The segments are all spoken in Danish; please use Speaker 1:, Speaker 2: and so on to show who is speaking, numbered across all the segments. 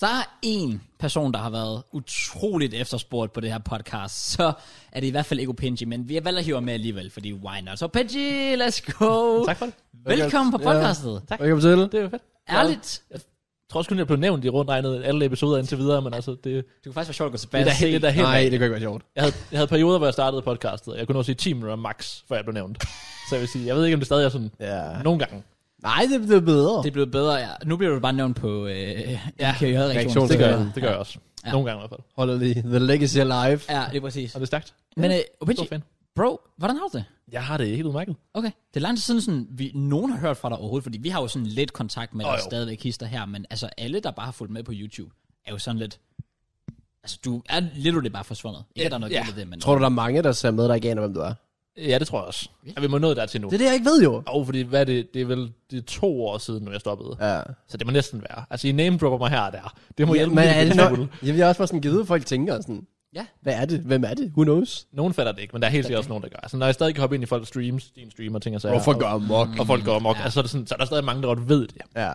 Speaker 1: der er en person, der har været utroligt efterspurgt på det her podcast, så er det i hvert fald ikke Opinji, men vi har valgt at hive ham med alligevel, fordi why not? Så Opinji, let's go!
Speaker 2: Tak for det.
Speaker 1: Velkommen på
Speaker 3: Ja.
Speaker 1: podcastet.
Speaker 2: Tak.
Speaker 3: Velkommen til.
Speaker 2: Det er jo fedt.
Speaker 1: Ærligt,
Speaker 2: Jeg tror også kun, jeg blev nævnt i rundt regnet alle episoder indtil videre, men altså, det,
Speaker 1: det kunne faktisk være sjovt at gå tilbage
Speaker 2: det er da
Speaker 1: og se.
Speaker 2: helt, det er da helt
Speaker 3: Nej, det kan ikke være sjovt.
Speaker 2: jeg havde, jeg havde perioder, hvor jeg startede podcastet, og jeg kunne nå sige 10 minutter max, før jeg blev nævnt. Så jeg vil sige, jeg ved ikke, om det stadig er sådan
Speaker 3: Ja.
Speaker 2: nogle gange.
Speaker 3: Nej, det er blevet bedre.
Speaker 1: Det er blevet bedre, ja. Nu bliver du bare nævnt på øh, ja,
Speaker 3: reaktion.
Speaker 1: reaktion.
Speaker 2: Det gør jeg,
Speaker 3: Ja.
Speaker 2: det gør jeg også.
Speaker 1: Ja.
Speaker 2: Nogle gange i hvert fald.
Speaker 3: Holder lige The Legacy Alive.
Speaker 1: Ja, det er præcis.
Speaker 2: Og det er stærkt.
Speaker 1: Men øh,
Speaker 2: Stor
Speaker 1: Opinji,
Speaker 2: fan.
Speaker 1: bro, hvordan har du det?
Speaker 2: Jeg har det helt udmærket.
Speaker 1: Okay. Det er lang tid siden, sådan, vi, nogen har hørt fra dig overhovedet, fordi vi har jo sådan lidt kontakt med dig
Speaker 2: Åh,
Speaker 1: oh,
Speaker 2: jo.
Speaker 1: stadigvæk hister her, men altså alle, der bare har fulgt med på YouTube, er jo sådan lidt... Altså, du er lidt det bare forsvundet. Ikke, at der er noget
Speaker 2: Ja.
Speaker 1: yeah. det, men...
Speaker 3: Tror du, der er mange, der ser med, der ikke aner, hvem du er?
Speaker 2: Ja, det tror jeg også. At vi må nå der til nu.
Speaker 3: Det er det, jeg ikke ved jo.
Speaker 2: Jo, fordi hvad er det, det er vel det er to år siden, jeg stoppede.
Speaker 3: Ja.
Speaker 2: Så det må næsten være. Altså, I name dropper mig her og der. Det må
Speaker 3: Ja,
Speaker 2: hjælpe
Speaker 3: men
Speaker 2: lidt
Speaker 3: er
Speaker 2: en
Speaker 3: det
Speaker 2: lille
Speaker 3: nok?
Speaker 2: smule.
Speaker 3: Jeg vil også bare sådan givet, at folk tænker sådan,
Speaker 1: Ja.
Speaker 3: hvad er det? Hvem er det? Who knows?
Speaker 2: Nogen fatter det ikke, men der er helt sikkert også nogen, der gør. Altså, når jeg stadig kan hoppe ind i folks streams, din stream og ting og sager.
Speaker 3: Hvorfor
Speaker 2: og-
Speaker 3: gør mok?
Speaker 2: Og folk går amok. Ja. Altså, så er, det sådan, så er der stadig mange, der godt ved det.
Speaker 3: Ja.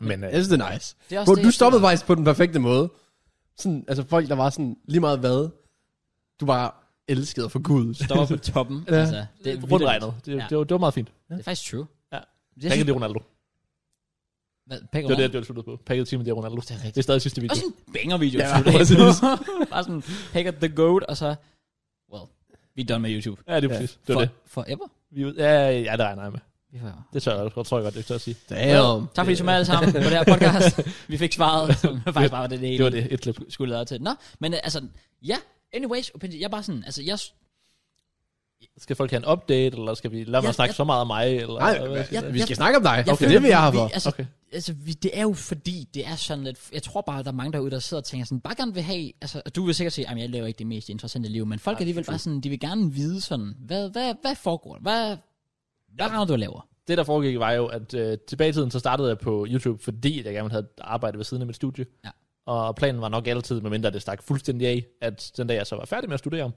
Speaker 2: Men øh,
Speaker 3: Jeg synes, det er nice.
Speaker 1: Det er også
Speaker 3: Bro,
Speaker 1: det,
Speaker 3: du
Speaker 1: jeg
Speaker 3: stoppede faktisk på den perfekte måde. Sådan, altså folk, der var sådan lige meget hvad. Du var elsket og for Gud.
Speaker 1: Stopper på toppen.
Speaker 3: Ja.
Speaker 1: altså, det er
Speaker 2: rundt
Speaker 1: vildt.
Speaker 2: regnet. Det,
Speaker 1: Ja.
Speaker 2: ja. det, var, det var meget fint.
Speaker 1: Det er faktisk true.
Speaker 2: Ja.
Speaker 1: Jeg
Speaker 2: Pakket
Speaker 1: synes,
Speaker 2: det Ronaldo.
Speaker 1: hvad, Pekka
Speaker 2: Det var det, det var sluttede på. Pakket time med det Ronaldo.
Speaker 1: Det er rigtigt.
Speaker 2: Det er stadig sidste video.
Speaker 1: Også sådan en banger-video.
Speaker 3: Ja,
Speaker 1: Ja,
Speaker 3: præcis.
Speaker 1: bare sådan, Pekka the goat, og så... Well, vi er done med YouTube.
Speaker 2: Ja, det er præcis. Det
Speaker 1: For,
Speaker 2: var det.
Speaker 1: Forever?
Speaker 2: Vi, ja, ja, det regner jeg med.
Speaker 1: Vi er forever.
Speaker 2: Det tør jeg, godt- tror jeg godt, det tør at sige.
Speaker 3: Damn.
Speaker 1: Tak fordi I så med alle sammen på det her podcast. Vi fik svaret, som faktisk bare var det, det,
Speaker 2: Det var det, et klip.
Speaker 1: skulle lade til. Nå, men øh, altså, ja, anyways, opinion, jeg er bare sådan, altså, jeg,
Speaker 2: Skal folk have en update, eller skal vi lade mig
Speaker 1: Ja,
Speaker 2: snakke
Speaker 1: ja.
Speaker 2: så meget om mig? Eller,
Speaker 3: Nej,
Speaker 2: eller hvad skal-
Speaker 1: ja.
Speaker 3: vi skal
Speaker 1: jeg-
Speaker 3: snakke om dig.
Speaker 1: jeg
Speaker 3: Okay, det er det, vi er her
Speaker 1: vi,
Speaker 3: for.
Speaker 1: altså, okay.
Speaker 2: Okay.
Speaker 1: altså vi, det er jo fordi, det er sådan lidt, jeg tror bare, der er mange derude, der sidder og tænker sådan, bare gerne vil have, altså, og du vil sikkert sige, at jeg laver ikke det mest interessante liv, men folk er alligevel bare sådan, de vil gerne vide sådan, hvad, hvad, hvad foregår der? Hvad, hvad render du og laver?
Speaker 2: Det, der foregik, var jo, at øh, tilbage i tiden, så startede jeg på YouTube, fordi jeg gerne ville have et arbejde ved siden af mit studie.
Speaker 1: Ja.
Speaker 2: Og planen var nok altid, medmindre det stak fuldstændig af, at den dag, jeg så var færdig med at studere,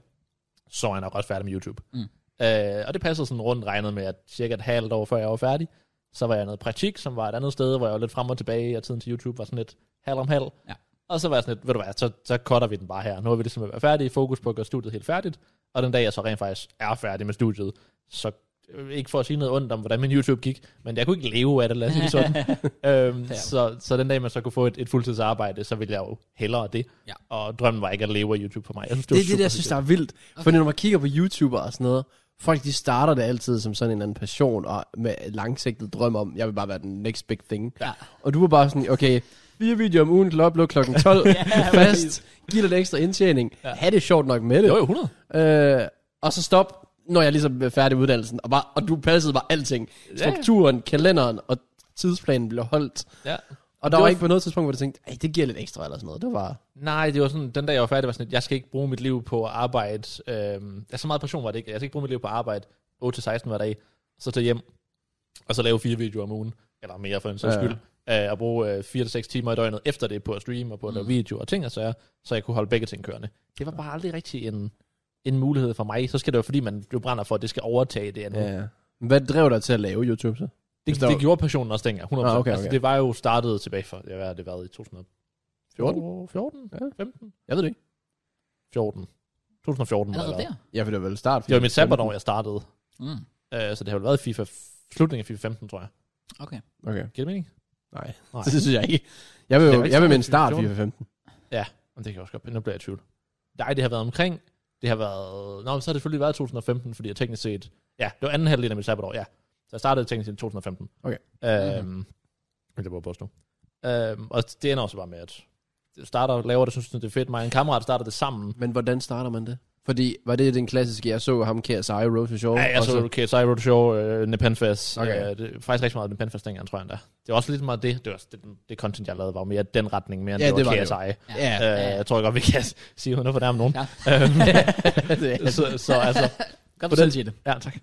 Speaker 2: så er jeg nok også færdig med YouTube.
Speaker 1: Mm.
Speaker 2: Øh, og det passede sådan rundt regnet med, at cirka et halvt år før jeg var færdig, så var jeg i noget praktik, som var et andet sted, hvor jeg var lidt frem og tilbage, og tiden til YouTube var sådan lidt halv om halv.
Speaker 1: Ja.
Speaker 2: Og så var jeg sådan lidt, ved du hvad, så, så cutter vi den bare her. Nu er vi ligesom ved at være færdige, fokus på at gøre studiet helt færdigt, og den dag, jeg så rent faktisk er færdig med studiet, så øh, ikke for at sige noget ondt om, hvordan min YouTube gik, men jeg kunne ikke leve af det, lad os sige det sådan. øhm, så, så den dag, man så kunne få et, et fuldtidsarbejde, så ville jeg jo hellere det.
Speaker 1: Ja.
Speaker 2: Og drømmen var ikke at leve af YouTube for mig. Jeg synes,
Speaker 3: Det
Speaker 2: var
Speaker 3: er det, der, jeg synes, der er vildt. Okay. For når man kigger på YouTuber og sådan noget, folk de starter det altid som sådan en eller anden passion, og med langsigtet drøm om, jeg vil bare være den next big thing.
Speaker 1: Ja.
Speaker 3: Og du var bare sådan, okay, fire videoer om ugen til upload klokken 12, fast, giv dig lidt ekstra indtjening, ja. have det sjovt nok med det,
Speaker 2: Jo, jo, 100.
Speaker 3: Øh, og så stop, når jeg ligesom er færdig med uddannelsen, og, bare, og du passede bare alting.
Speaker 2: ja.
Speaker 3: Strukturen, kalenderen og tidsplanen blev holdt.
Speaker 2: Ja.
Speaker 3: Og der var,
Speaker 2: var-
Speaker 3: ikke på noget tidspunkt, hvor du tænkte, "Ej, det giver lidt ekstra eller sådan noget. Det var,
Speaker 2: Nej, det var sådan, den dag jeg var færdig, var sådan, at jeg skal ikke bruge mit liv på at arbejde. Øhm, ja, så meget passion var det ikke. Jeg skal ikke bruge mit liv på at arbejde 8-16 hver dag, så tage hjem, og så lave fire videoer om ugen, eller mere for en sags
Speaker 3: Ja.
Speaker 2: skyld, øh, og bruge øh, 4-6 timer i døgnet efter det på at streame og på at lave
Speaker 1: Mm.
Speaker 2: videoer og ting og sager, så jeg kunne holde begge ting kørende. Det var bare aldrig rigtig en, en mulighed for mig. Så skal det jo, fordi man jo brænder for, at det skal overtage det andet. Ja.
Speaker 3: ja. Hvad drev dig til at lave YouTube så?
Speaker 2: Mhm. Det,
Speaker 3: der-
Speaker 2: det, gjorde passionen også dengang, 100%.
Speaker 3: Ah, okay,
Speaker 2: Altså,
Speaker 3: okay.
Speaker 2: det var jo startet tilbage for, ja, hvad har det været i 2014? 14?
Speaker 3: Ja.
Speaker 2: 15?
Speaker 3: Jeg ved det ikke.
Speaker 2: 14. 2014
Speaker 1: Allerede
Speaker 2: eller
Speaker 1: der?
Speaker 3: Ja, for det var vel start.
Speaker 2: Det var mit sabbatår, jeg startede.
Speaker 1: Mm,
Speaker 2: Uh, så det har vel været i FIFA, slutningen af FIFA 15, tror jeg.
Speaker 1: okay.
Speaker 3: Okay.
Speaker 2: Giver det mening?
Speaker 3: Nej.
Speaker 2: Nej.
Speaker 3: Det synes jeg ikke. Jeg vil,
Speaker 2: Det er
Speaker 3: jo,
Speaker 2: jo ikke
Speaker 3: jeg vil
Speaker 2: så
Speaker 3: med en
Speaker 2: meget,
Speaker 3: start
Speaker 2: vi gjorde
Speaker 3: 4 15.
Speaker 2: Jamen, det kan jeg også godt. Nu bliver jeg i tvivl. Nej, det har været omkring. Det har været... Nå, men så har det selvfølgelig været 2015, fordi jeg teknisk set... Ja, det var anden halvdel af mit sabbatår, ja. Så jeg startede teknisk set i 2015.
Speaker 3: Okay.
Speaker 2: Øhm, mm-hmm. Det var påstå. Øhm, og det ender også bare med, at jeg starter laver det, synes det er fedt. Mig og en kammerat starter det sammen.
Speaker 3: Men hvordan starter man det? Fordi, var det den klassiske, jeg så ham KSI, Rose Show?
Speaker 2: Ja, jeg
Speaker 3: og
Speaker 2: så okay, Cyber Show, øh, Nepenfest.
Speaker 3: Okay.
Speaker 2: Okay. Øh, det, faktisk rigtig meget Nepenfest dengang, tror jeg endda. Det var også lidt meget det. Det, var, også det, det content, jeg lavede, var mere den retning, mere end
Speaker 3: Ja,
Speaker 2: ja, det,
Speaker 3: det var
Speaker 2: var
Speaker 3: det
Speaker 2: KSI. Det
Speaker 1: Ja.
Speaker 3: Ja,
Speaker 2: øh, jeg tror godt, vi kan sige, uden at fornærme nogen.
Speaker 1: Ja.
Speaker 3: det
Speaker 2: Øhm, så, så altså,
Speaker 1: Godt, du
Speaker 2: På den-
Speaker 1: selv siger det.
Speaker 2: ja tak.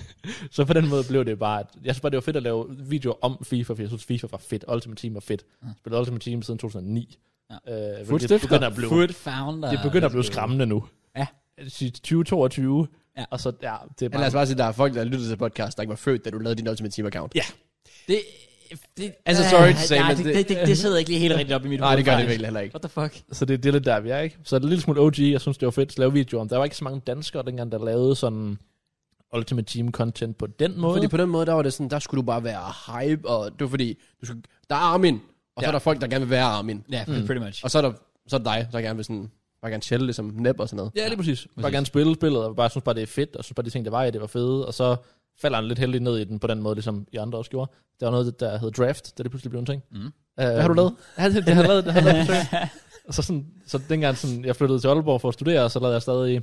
Speaker 2: så på den måde blev det bare, at, jeg synes bare, det var fedt at lave videoer om FIFA, for jeg synes, FIFA var fedt. Ultimate Team var fedt.
Speaker 1: Ja.
Speaker 2: Jeg spillede Ultimate Team siden 2009.
Speaker 1: Ja.
Speaker 2: Øh, hvilket
Speaker 3: Footstifter.
Speaker 2: begynder at blive,
Speaker 1: Food founder.
Speaker 2: det begynder at blive skræmmende nu.
Speaker 1: Ja.
Speaker 2: Jeg synes, 2022,
Speaker 1: Ja.
Speaker 2: og så, ja, det er
Speaker 3: Men altså, lad
Speaker 2: bare...
Speaker 3: os bare sige, der er folk, der lytter til podcast, der ikke var født, da du lavede din Ultimate Team account.
Speaker 2: Ja,
Speaker 1: Det, det,
Speaker 2: Altså, sorry to
Speaker 1: Øh,
Speaker 2: say,
Speaker 1: nej,
Speaker 2: men
Speaker 1: det,
Speaker 2: det-
Speaker 1: det, det, det, sidder ikke lige helt rigtigt op i mit
Speaker 3: Nej,
Speaker 1: hoved,
Speaker 3: det gør det
Speaker 1: faktisk.
Speaker 3: virkelig heller ikke.
Speaker 1: What the fuck?
Speaker 2: Så det, det er lidt der, vi er, ikke? Så er det en lille smule OG, jeg synes, det var fedt at lave videoer om. Der var ikke så mange danskere dengang, der lavede sådan Ultimate Team content på den måde.
Speaker 3: Fordi på den måde, der var det sådan, der skulle du bare være hype, og det var fordi, du skulle, der er Armin, og så
Speaker 2: Ja.
Speaker 3: er der folk, der gerne vil være Armin.
Speaker 1: Ja, yeah, pretty much.
Speaker 3: Og så er der, så er der dig, der gerne vil sådan, bare gerne chille, ligesom nep og sådan noget.
Speaker 2: Ja, lige præcis. Bare gerne spille spillet, og bare synes bare, det er fedt, og synes bare, de ting, der var i det, var fede, og så falder han lidt heldig ned i den på den måde, ligesom I andre også gjorde. Der var noget, der hed draft, da det pludselig blev en ting. Øh,
Speaker 1: Mm.
Speaker 2: Hvad har du lavet? Jeg har- Jeg har lavet, jeg har lavet forsøg. Og så, sådan, så dengang sådan, jeg flyttede til Aalborg for at studere, og så lavede jeg stadig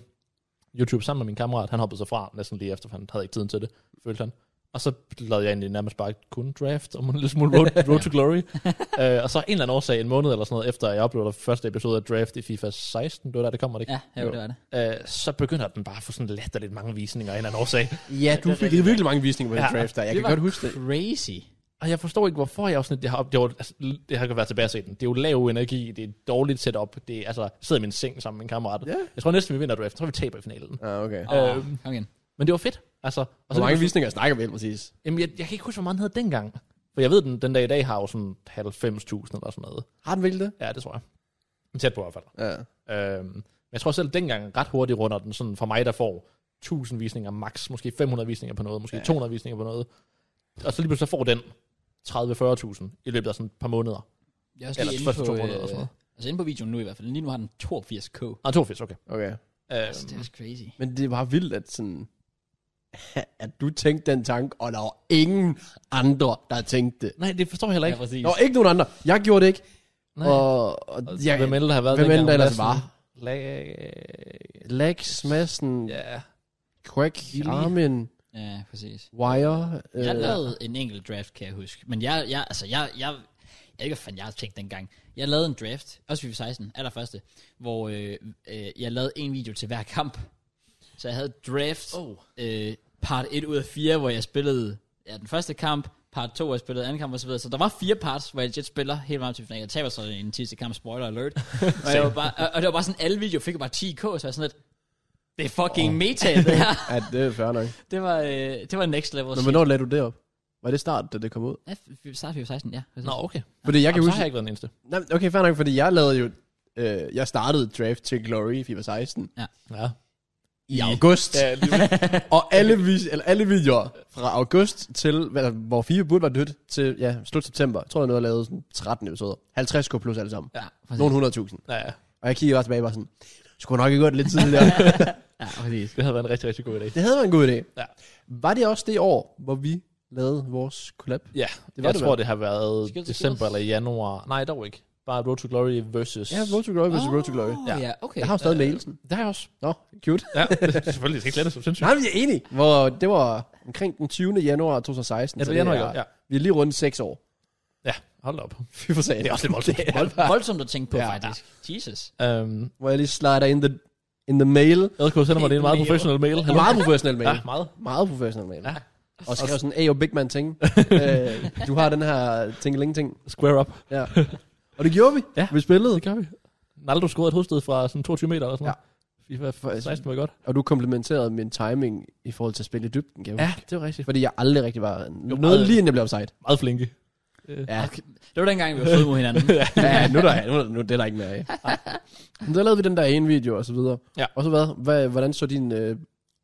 Speaker 2: YouTube sammen med min kammerat. Han hoppede så fra næsten lige efter, for han havde ikke tiden til det, følte han. Og så lavede jeg egentlig nærmest bare kun draft, og en lille smule road, road to glory. uh, og så en eller anden årsag, en måned eller sådan noget, efter jeg uploadede første episode af draft i FIFA 16, det var der, det kommer, det ikke?
Speaker 1: Ja, jo,
Speaker 2: Jo.
Speaker 1: det var det.
Speaker 2: øh, så begynder den bare at få sådan latterligt mange visninger af en eller anden årsag.
Speaker 3: Ja, du fik virkelig mange visninger på den
Speaker 2: Ja.
Speaker 3: draft der. Jeg
Speaker 1: Det var
Speaker 3: kan godt huske det.
Speaker 1: Crazy.
Speaker 2: Og jeg forstår ikke, hvorfor jeg også det har, det, var, altså, det har været tilbage at se den. Det er jo lav energi, det er et dårligt setup, det er, altså, jeg sidder i min seng sammen med en kammerat.
Speaker 3: Ja.
Speaker 2: Jeg tror næsten, vi vinder draft, jeg tror, vi taber i finalen.
Speaker 3: Ja, ah, okay.
Speaker 1: Åh,
Speaker 2: Øhm.
Speaker 1: kom igen.
Speaker 2: Men det var fedt, altså. Og
Speaker 3: Hvor mange visninger snakker vi helt præcis?
Speaker 2: jamen, jeg, jeg, kan ikke huske, hvor meget den hed dengang. For jeg ved, den, den dag i dag har jo sådan 90.000 eller sådan noget.
Speaker 3: Har den virkelig det?
Speaker 2: Ja, det tror jeg. Men Tæt på i hvert fald.
Speaker 3: Ja.
Speaker 2: Øhm, men jeg tror selv dengang ret hurtigt runder den sådan for mig, der får 1000 visninger max, måske 500 visninger på noget, måske
Speaker 3: Ja.
Speaker 2: ja. 200 visninger på noget. Og så lige pludselig så får den 30-40.000 i løbet af sådan et par måneder.
Speaker 1: Jeg er også
Speaker 2: Eller
Speaker 1: lige inde
Speaker 2: første
Speaker 1: på,
Speaker 2: to måneder eller sådan
Speaker 1: øh,
Speaker 2: noget.
Speaker 1: altså inde på videoen nu i hvert fald. Lige nu har den 82k.
Speaker 2: Ah, 82, okay.
Speaker 3: Okay.
Speaker 1: Altså, det er
Speaker 2: Øhm,
Speaker 1: også crazy.
Speaker 3: Men det var vildt, at sådan... At du tænkte den tanke, og der var ingen andre, der tænkte det.
Speaker 2: nej, det forstår jeg heller
Speaker 1: Ja,
Speaker 2: ikke.
Speaker 1: præcis.
Speaker 3: Der var ikke nogen andre. Jeg gjorde det ikke.
Speaker 2: Nej.
Speaker 3: Og, og
Speaker 2: Og
Speaker 3: jeg,
Speaker 2: hvem end der har været
Speaker 3: hvem end
Speaker 2: dengang?
Speaker 3: der ellers
Speaker 2: Madsen,
Speaker 3: var?
Speaker 2: Lag...
Speaker 3: Lex, Madsen, yeah.
Speaker 2: Ja.
Speaker 3: Quack,
Speaker 2: Gilly.
Speaker 3: Armin,
Speaker 1: Ja, præcis.
Speaker 3: Wire. Øh,
Speaker 1: Jeg lavede en enkelt draft, kan jeg huske. Men jeg, jeg altså, jeg, jeg, jeg ved ikke, hvad fanden jeg har tænkt dengang. Jeg lavede en draft, også FIFA 16, allerførste, hvor øh, øh, jeg lavede en video til hver kamp. Så jeg havde draft oh. øh, part 1 ud af 4, hvor jeg spillede ja, den første kamp, part 2, hvor jeg spillede anden kamp og Så, videre. så der var fire parts, hvor jeg jet spiller helt meget til finalen. Jeg taber så i den sidste kamp, spoiler alert. og, jeg var bare, og, og, det var bare sådan, alle videoer fik jeg bare 10k, så jeg var sådan lidt, det er fucking oh. meta, det her.
Speaker 3: Ja, det er fair nok.
Speaker 1: det var, øh, det var next level.
Speaker 3: Men hvornår lagde du det op? Var det start, da det kom ud?
Speaker 1: Ja, f- start 16, ja.
Speaker 2: Nå, okay.
Speaker 3: Fordi jeg
Speaker 2: Jeg
Speaker 3: kan
Speaker 2: kan
Speaker 3: huske...
Speaker 2: så har jeg ikke været den eneste.
Speaker 3: Nej, men okay, fair nok, fordi jeg lavede jo... Øh, jeg startede draft til Glory i FIFA 16
Speaker 2: Ja.
Speaker 3: i august.
Speaker 2: ja lige...
Speaker 3: Og alle, vis, eller alle videoer fra august til, hvad, hvor FIFA burde være dødt, til ja, slut september, tror jeg, noget lavede sådan 13 episoder. 50k plus alle sammen.
Speaker 1: Ja, præcis.
Speaker 3: Nogle 100.000.
Speaker 2: ja, ja.
Speaker 3: Og jeg kiggede bare tilbage og var sådan, skulle nok ikke gået lidt tidligere.
Speaker 1: Ja, præcis.
Speaker 2: Det havde været en rigtig, rigtig god idé.
Speaker 3: det havde været en god idé.
Speaker 2: Ja.
Speaker 3: Var det også det år, hvor vi lavede vores collab?
Speaker 2: Ja,
Speaker 3: Det
Speaker 2: det
Speaker 3: var
Speaker 2: var jeg
Speaker 3: det
Speaker 2: tror,
Speaker 3: vel?
Speaker 2: det har været
Speaker 1: Skills to
Speaker 2: december
Speaker 1: Skills.
Speaker 2: eller januar. Nej, dog ikke. Bare Road to Glory versus...
Speaker 3: Ja, Road to Glory versus Road to
Speaker 2: Oh,
Speaker 3: Glory.
Speaker 1: Ja, ja okay.
Speaker 3: Jeg har jo stadig mailen.
Speaker 2: Det har jeg også.
Speaker 3: Nå, cute.
Speaker 2: Ja, det er selvfølgelig. Det skal ikke lade som sindssygt.
Speaker 3: Nej, men jeg er enig. Hvor det var omkring den 20. januar 2016.
Speaker 2: Ja,
Speaker 3: så
Speaker 2: det er januar,
Speaker 3: er-
Speaker 2: ja.
Speaker 3: Vi er lige rundt 6 år.
Speaker 2: Ja, hold da op.
Speaker 3: Fy for sagen.
Speaker 2: Det er også lidt voldsomt.
Speaker 1: Øh, voldsomt at tænke på,
Speaker 3: Ja,
Speaker 1: ja,
Speaker 3: ja.
Speaker 1: faktisk. Jesus.
Speaker 2: øhm,
Speaker 3: Hvor jeg lige slider in the, in the mail.
Speaker 2: LK sender mig det en meget
Speaker 1: Mail.
Speaker 2: professionel mail.
Speaker 3: Hello. Meget professionel mail.
Speaker 2: Ja, meget.
Speaker 3: Meget professionel mail.
Speaker 2: Ja.
Speaker 3: Og skrev sådan, hey, yo, big man ting. øh, du har den her ting-ling-ting.
Speaker 2: Square up.
Speaker 3: Ja. Og det gjorde vi.
Speaker 2: Ja.
Speaker 3: Vi spillede.
Speaker 2: Det gør vi. Naldo scorede et hovedstød fra sådan 22 meter eller sådan
Speaker 3: Ja.
Speaker 2: noget. FIFA 16 var godt.
Speaker 3: Og du komplimenterede min timing i forhold til at spille i dybden, kan jeg huske.
Speaker 2: det var rigtigt.
Speaker 3: Fordi jeg aldrig rigtig var... Noget
Speaker 2: meget-
Speaker 3: lige inden jeg blev offside.
Speaker 2: Meget flinke.
Speaker 3: Ja,
Speaker 1: Det var dengang, vi var fede mod hinanden.
Speaker 3: ja nu, er der, nu, er der, nu er det der ikke mere af. Men der lavede vi den der ene video og så videre.
Speaker 2: Ja.
Speaker 3: Og så hvad, hvad hvordan så din... Øh,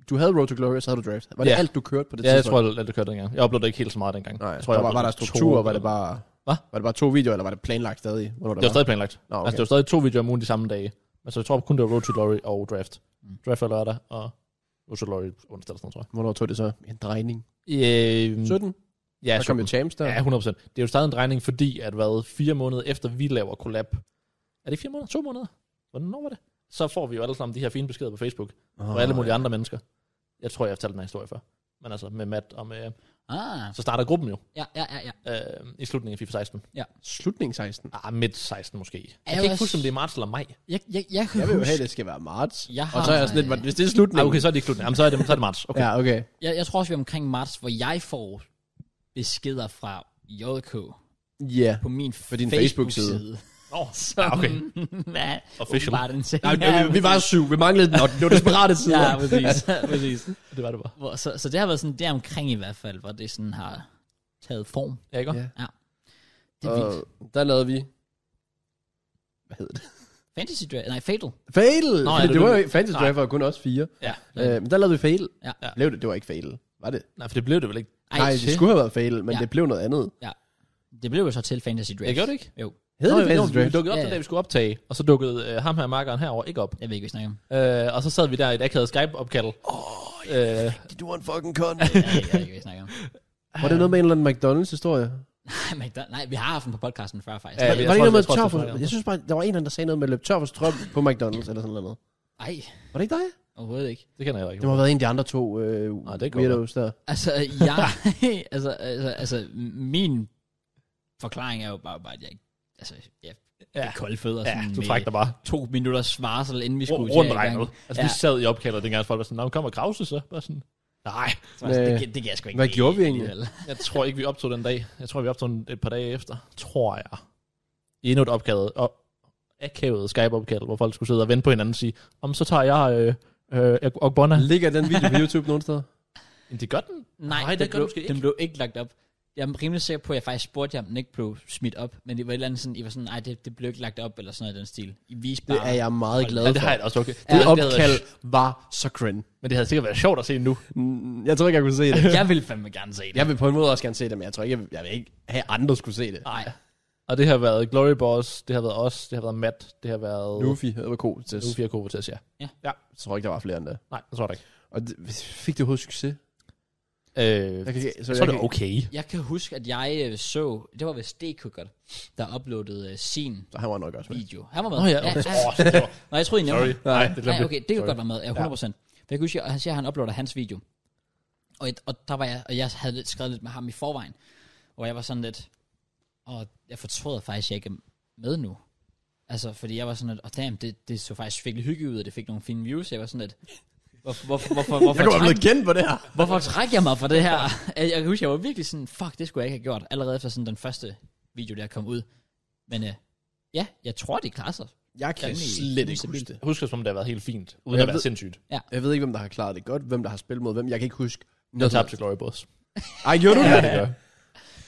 Speaker 3: du havde Road to Glory, og så havde du draft. Var det
Speaker 2: Ja.
Speaker 3: alt, du kørte på det
Speaker 2: Ja, jeg tror,
Speaker 3: tidspunkt?
Speaker 2: at det kørte dengang. Jeg oplevede det ikke helt så meget dengang.
Speaker 3: Nej,
Speaker 2: jeg
Speaker 3: tror, der
Speaker 2: jeg
Speaker 3: var, var der
Speaker 2: oplevede
Speaker 3: struktur,
Speaker 2: to-
Speaker 3: var det bare...
Speaker 2: Hva?
Speaker 3: Var det bare to videoer, eller var det planlagt stadig? Hvornår
Speaker 2: Det var stadig planlagt.
Speaker 3: Nå, okay.
Speaker 2: Altså, det var stadig to videoer om ugen de samme dage. Men så jeg tror kun, det var Road to Glory og Draft. Draft var lørdag, og Road to Glory onsdag eller sådan noget, tror jeg.
Speaker 3: Hvornår tog det så en drejning?
Speaker 2: Øhm,
Speaker 3: 17?
Speaker 2: Ja,
Speaker 3: Der kom jo
Speaker 2: 17.
Speaker 3: champs der.
Speaker 2: Ja, 100%. Det er jo stadig en drejning, fordi at hvad, fire måneder efter vi laver collab, er det fire måneder? To måneder? Hvornår var det? Så får vi jo alle sammen de her fine beskeder på Facebook,
Speaker 3: oh,
Speaker 2: fra alle mulige andre mennesker. Jeg tror, jeg har fortalt den her historie før. Men altså med Matt og med...
Speaker 1: ah,
Speaker 2: Så starter gruppen jo
Speaker 1: ja, ja, ja. ja.
Speaker 2: øh, i slutningen af FIFA 16.
Speaker 3: Slutning 16.
Speaker 2: Ah, midt 16 måske. Jeg
Speaker 1: Jeg
Speaker 2: kan ikke
Speaker 1: også-
Speaker 2: huske, om det er marts eller maj.
Speaker 1: Jeg, jeg, jeg kan
Speaker 3: Jeg vil jo
Speaker 1: huske,
Speaker 3: have, det skal være marts.
Speaker 1: Jeg
Speaker 3: Og så er jeg sådan lidt,
Speaker 1: har-
Speaker 3: "Hvad- hvis det er slutningen...
Speaker 2: Ah, okay, så er det ikke slutningen. Jamen, så er det, så er det marts. Okay.
Speaker 3: Ja, okay.
Speaker 1: jeg, jeg tror også, vi er omkring marts, hvor jeg får beskeder fra JK
Speaker 3: Ja.
Speaker 1: på min
Speaker 3: På din Ah,
Speaker 1: Facebook-side.
Speaker 2: Nå,
Speaker 1: Som,
Speaker 2: ja, okay.
Speaker 1: ja,
Speaker 2: Official.
Speaker 1: Bare den selv.
Speaker 3: Ja, øh, vi- vi var syv, vi manglede den, og det var desperate tider.
Speaker 1: Ja, præcis. præcis.
Speaker 2: Det var det bare.
Speaker 1: Hvor, så, så det har været sådan der omkring i hvert fald, hvor det sådan har taget form.
Speaker 2: Ja, ikke?
Speaker 3: Ja.
Speaker 1: Ja. Det er
Speaker 3: og
Speaker 1: vildt.
Speaker 3: der lavede vi... Hvad hed det?
Speaker 1: Fantasy Draft, nej, Fatal.
Speaker 3: Fatal!
Speaker 2: Nå,
Speaker 3: Nå,
Speaker 2: ja,
Speaker 3: det,
Speaker 2: det
Speaker 3: det, var
Speaker 2: blev-
Speaker 3: jo ikke... Fantasy
Speaker 2: Nej.
Speaker 3: Drive var jo kun også fire.
Speaker 2: Ja.
Speaker 3: Øh, men der lavede vi Fatal.
Speaker 1: Ja.
Speaker 2: Ja.
Speaker 3: Blev det? Det var ikke Fatal. Var det?
Speaker 2: Nej, for det blev det vel ikke.
Speaker 1: Ej,
Speaker 3: Nej, det
Speaker 1: shit.
Speaker 3: skulle have været Fatal, men
Speaker 1: Ja.
Speaker 3: det blev noget andet.
Speaker 1: det blev jo så til Fantasy Draft.
Speaker 2: Jeg gjorde det ikke.
Speaker 1: Jo,
Speaker 3: Hed det
Speaker 2: Nå, jo,
Speaker 3: Fantasy
Speaker 2: vi
Speaker 3: Draft?
Speaker 2: dukkede op,
Speaker 1: Ja,
Speaker 2: den
Speaker 1: ja.
Speaker 2: dag vi skulle optage, og så dukkede øh, ham her, markeren herover ikke op.
Speaker 1: jeg ved ikke, hvad vi snakker om.
Speaker 2: Øh, og så sad vi der i et akavet Skype-opkald. Oh, øh,
Speaker 3: Du var en fucking kon.
Speaker 1: Ja, jeg ved ikke, hvad vi snakker om.
Speaker 3: Var det noget med en eller anden McDonald's-historie?
Speaker 1: Nej, men der- nej, vi har haft den på podcasten før, faktisk.
Speaker 2: Ja,
Speaker 1: Ja,
Speaker 3: Var
Speaker 2: jeg
Speaker 3: det
Speaker 2: tror,
Speaker 3: ikke noget med
Speaker 2: jeg tror,
Speaker 3: tør
Speaker 2: jeg tror, jeg
Speaker 3: for...
Speaker 2: tror.
Speaker 3: Jeg synes bare, der var en eller anden, der sagde noget med at løbe tør for strøm på McDonald's eller sådan noget.
Speaker 1: Ej,
Speaker 3: Var det ikke dig?
Speaker 1: overhovedet ikke.
Speaker 2: det kender jeg ikke.
Speaker 3: Det må have været en af de andre to øh,
Speaker 2: Nå, det kan
Speaker 3: weirdos der.
Speaker 1: Altså, jeg... altså, altså, altså, min forklaring er jo bare, bare at jeg... Altså, jeg ja.
Speaker 2: Ja.
Speaker 1: kolde fødder
Speaker 2: Ja,
Speaker 1: sådan
Speaker 2: du
Speaker 1: med
Speaker 2: trak dig bare
Speaker 1: to minutters varsel, inden vi skulle
Speaker 2: Ru-
Speaker 1: til
Speaker 2: rundt
Speaker 1: i gang.
Speaker 2: regnet. Altså, vi
Speaker 1: Ja.
Speaker 2: sad i opkaldet dengang, folk var sådan, "Nå, kommer Krause så? Bare sådan, nej,
Speaker 1: Så altså, det,
Speaker 3: Øh,
Speaker 1: gi- det kan jeg sgu ikke.
Speaker 3: hvad
Speaker 1: lide
Speaker 3: gjorde vi egentlig?
Speaker 1: alligevel.
Speaker 2: jeg tror ikke, vi optog den dag. Jeg tror, vi optog den et par dage efter. Tror jeg. Endnu et opkald. Og akavet Skype-opkald, hvor folk skulle sidde og vente på hinanden og sige, om så tager jeg øh, øh, Ogbonna.
Speaker 3: Ligger den video på YouTube nogen steder?
Speaker 2: Men det gør den.
Speaker 1: Nej,
Speaker 2: Nej, det
Speaker 1: den,
Speaker 2: gør du
Speaker 1: blev,
Speaker 2: måske ikke.
Speaker 1: den blev ikke lagt op. Jeg er rimelig sikker på, at jeg faktisk spurgte jer, om den ikke blev smidt op. Men det var et eller andet sådan, I var sådan, nej, det, det blev ikke lagt op, eller sådan noget i den stil. I viste bare...
Speaker 3: Det er jeg meget glad
Speaker 2: Ja, det
Speaker 3: for.
Speaker 2: har jeg da også okay.
Speaker 3: Det
Speaker 2: havde-
Speaker 3: opkald
Speaker 2: havde,
Speaker 3: var så grin.
Speaker 2: men det havde sikkert været sjovt at se nu.
Speaker 3: Jeg tror ikke, jeg kunne se det.
Speaker 1: Jeg vil fandme gerne se det.
Speaker 3: Jeg vil på en måde også gerne se det, men jeg tror ikke, jeg vil, jeg vil ikke have andre skulle se
Speaker 2: Ah,
Speaker 3: det.
Speaker 1: Nej,
Speaker 2: Og det har været Glory Boss, det har været os, det har været Matt, det har været...
Speaker 3: Luffy havde været god til.
Speaker 2: oh. Luffy og Kovates, ja.
Speaker 3: Jeg tror ikke, der var flere end det.
Speaker 2: Nej, det tror jeg da ikke.
Speaker 3: Og det, fik det overhovedet succes?
Speaker 2: Øh,
Speaker 3: Jeg kan, ikke-
Speaker 2: så er det
Speaker 3: kan-
Speaker 2: okay.
Speaker 1: jeg kan huske, at jeg øh, så... Det var vist D-Cookert, der uploadede øh, sin
Speaker 3: Så han var nok også med.
Speaker 1: video. Han var med.
Speaker 2: Nå ja,
Speaker 1: ja,
Speaker 2: okay.
Speaker 1: ja.
Speaker 2: Åh, det var-
Speaker 1: Nå, jeg troede, I nævnte
Speaker 2: sorry.
Speaker 1: ham.
Speaker 2: Nej, det glemte
Speaker 1: Nej,
Speaker 2: jeg.
Speaker 1: okay, det kan
Speaker 2: Sorry.
Speaker 1: godt være med, ja, 100%. For jeg kan huske, at han siger, at han uploader hans video. Og, et, og der var jeg, og jeg havde lidt, skrevet lidt med ham i forvejen, hvor jeg var sådan lidt, og jeg fortrød faktisk, at jeg ikke er med nu. Altså, fordi jeg var sådan lidt, og damn, det, det så faktisk virkelig hyggeligt ud, og det fik nogle fine views, jeg var sådan lidt, hvorfor, hvorfor, hvorfor, hvorfor,
Speaker 3: Jeg kunne være
Speaker 1: træk,
Speaker 3: blevet kendt på det her.
Speaker 1: hvorfor træk jeg mig fra det her? Jeg kan huske, jeg var virkelig sådan, fuck, det skulle jeg ikke have gjort, allerede efter sådan den første video, der kom ud. Men øh, ja, jeg tror, de klarer sig.
Speaker 3: Jeg kan
Speaker 1: Fandme
Speaker 3: slet ikke
Speaker 1: ustabilt.
Speaker 3: huske det.
Speaker 2: Jeg husker, som det har været helt fint, uden
Speaker 3: Jeg
Speaker 2: at være
Speaker 3: ved-
Speaker 2: sindssygt.
Speaker 3: Jeg ved ikke, hvem der har klaret det godt, hvem der har spillet mod hvem. Jeg kan ikke huske.
Speaker 2: Jeg tabte til Glory Boss.
Speaker 3: Ej, gjorde du
Speaker 2: Ja,
Speaker 3: det?
Speaker 2: det gør jeg.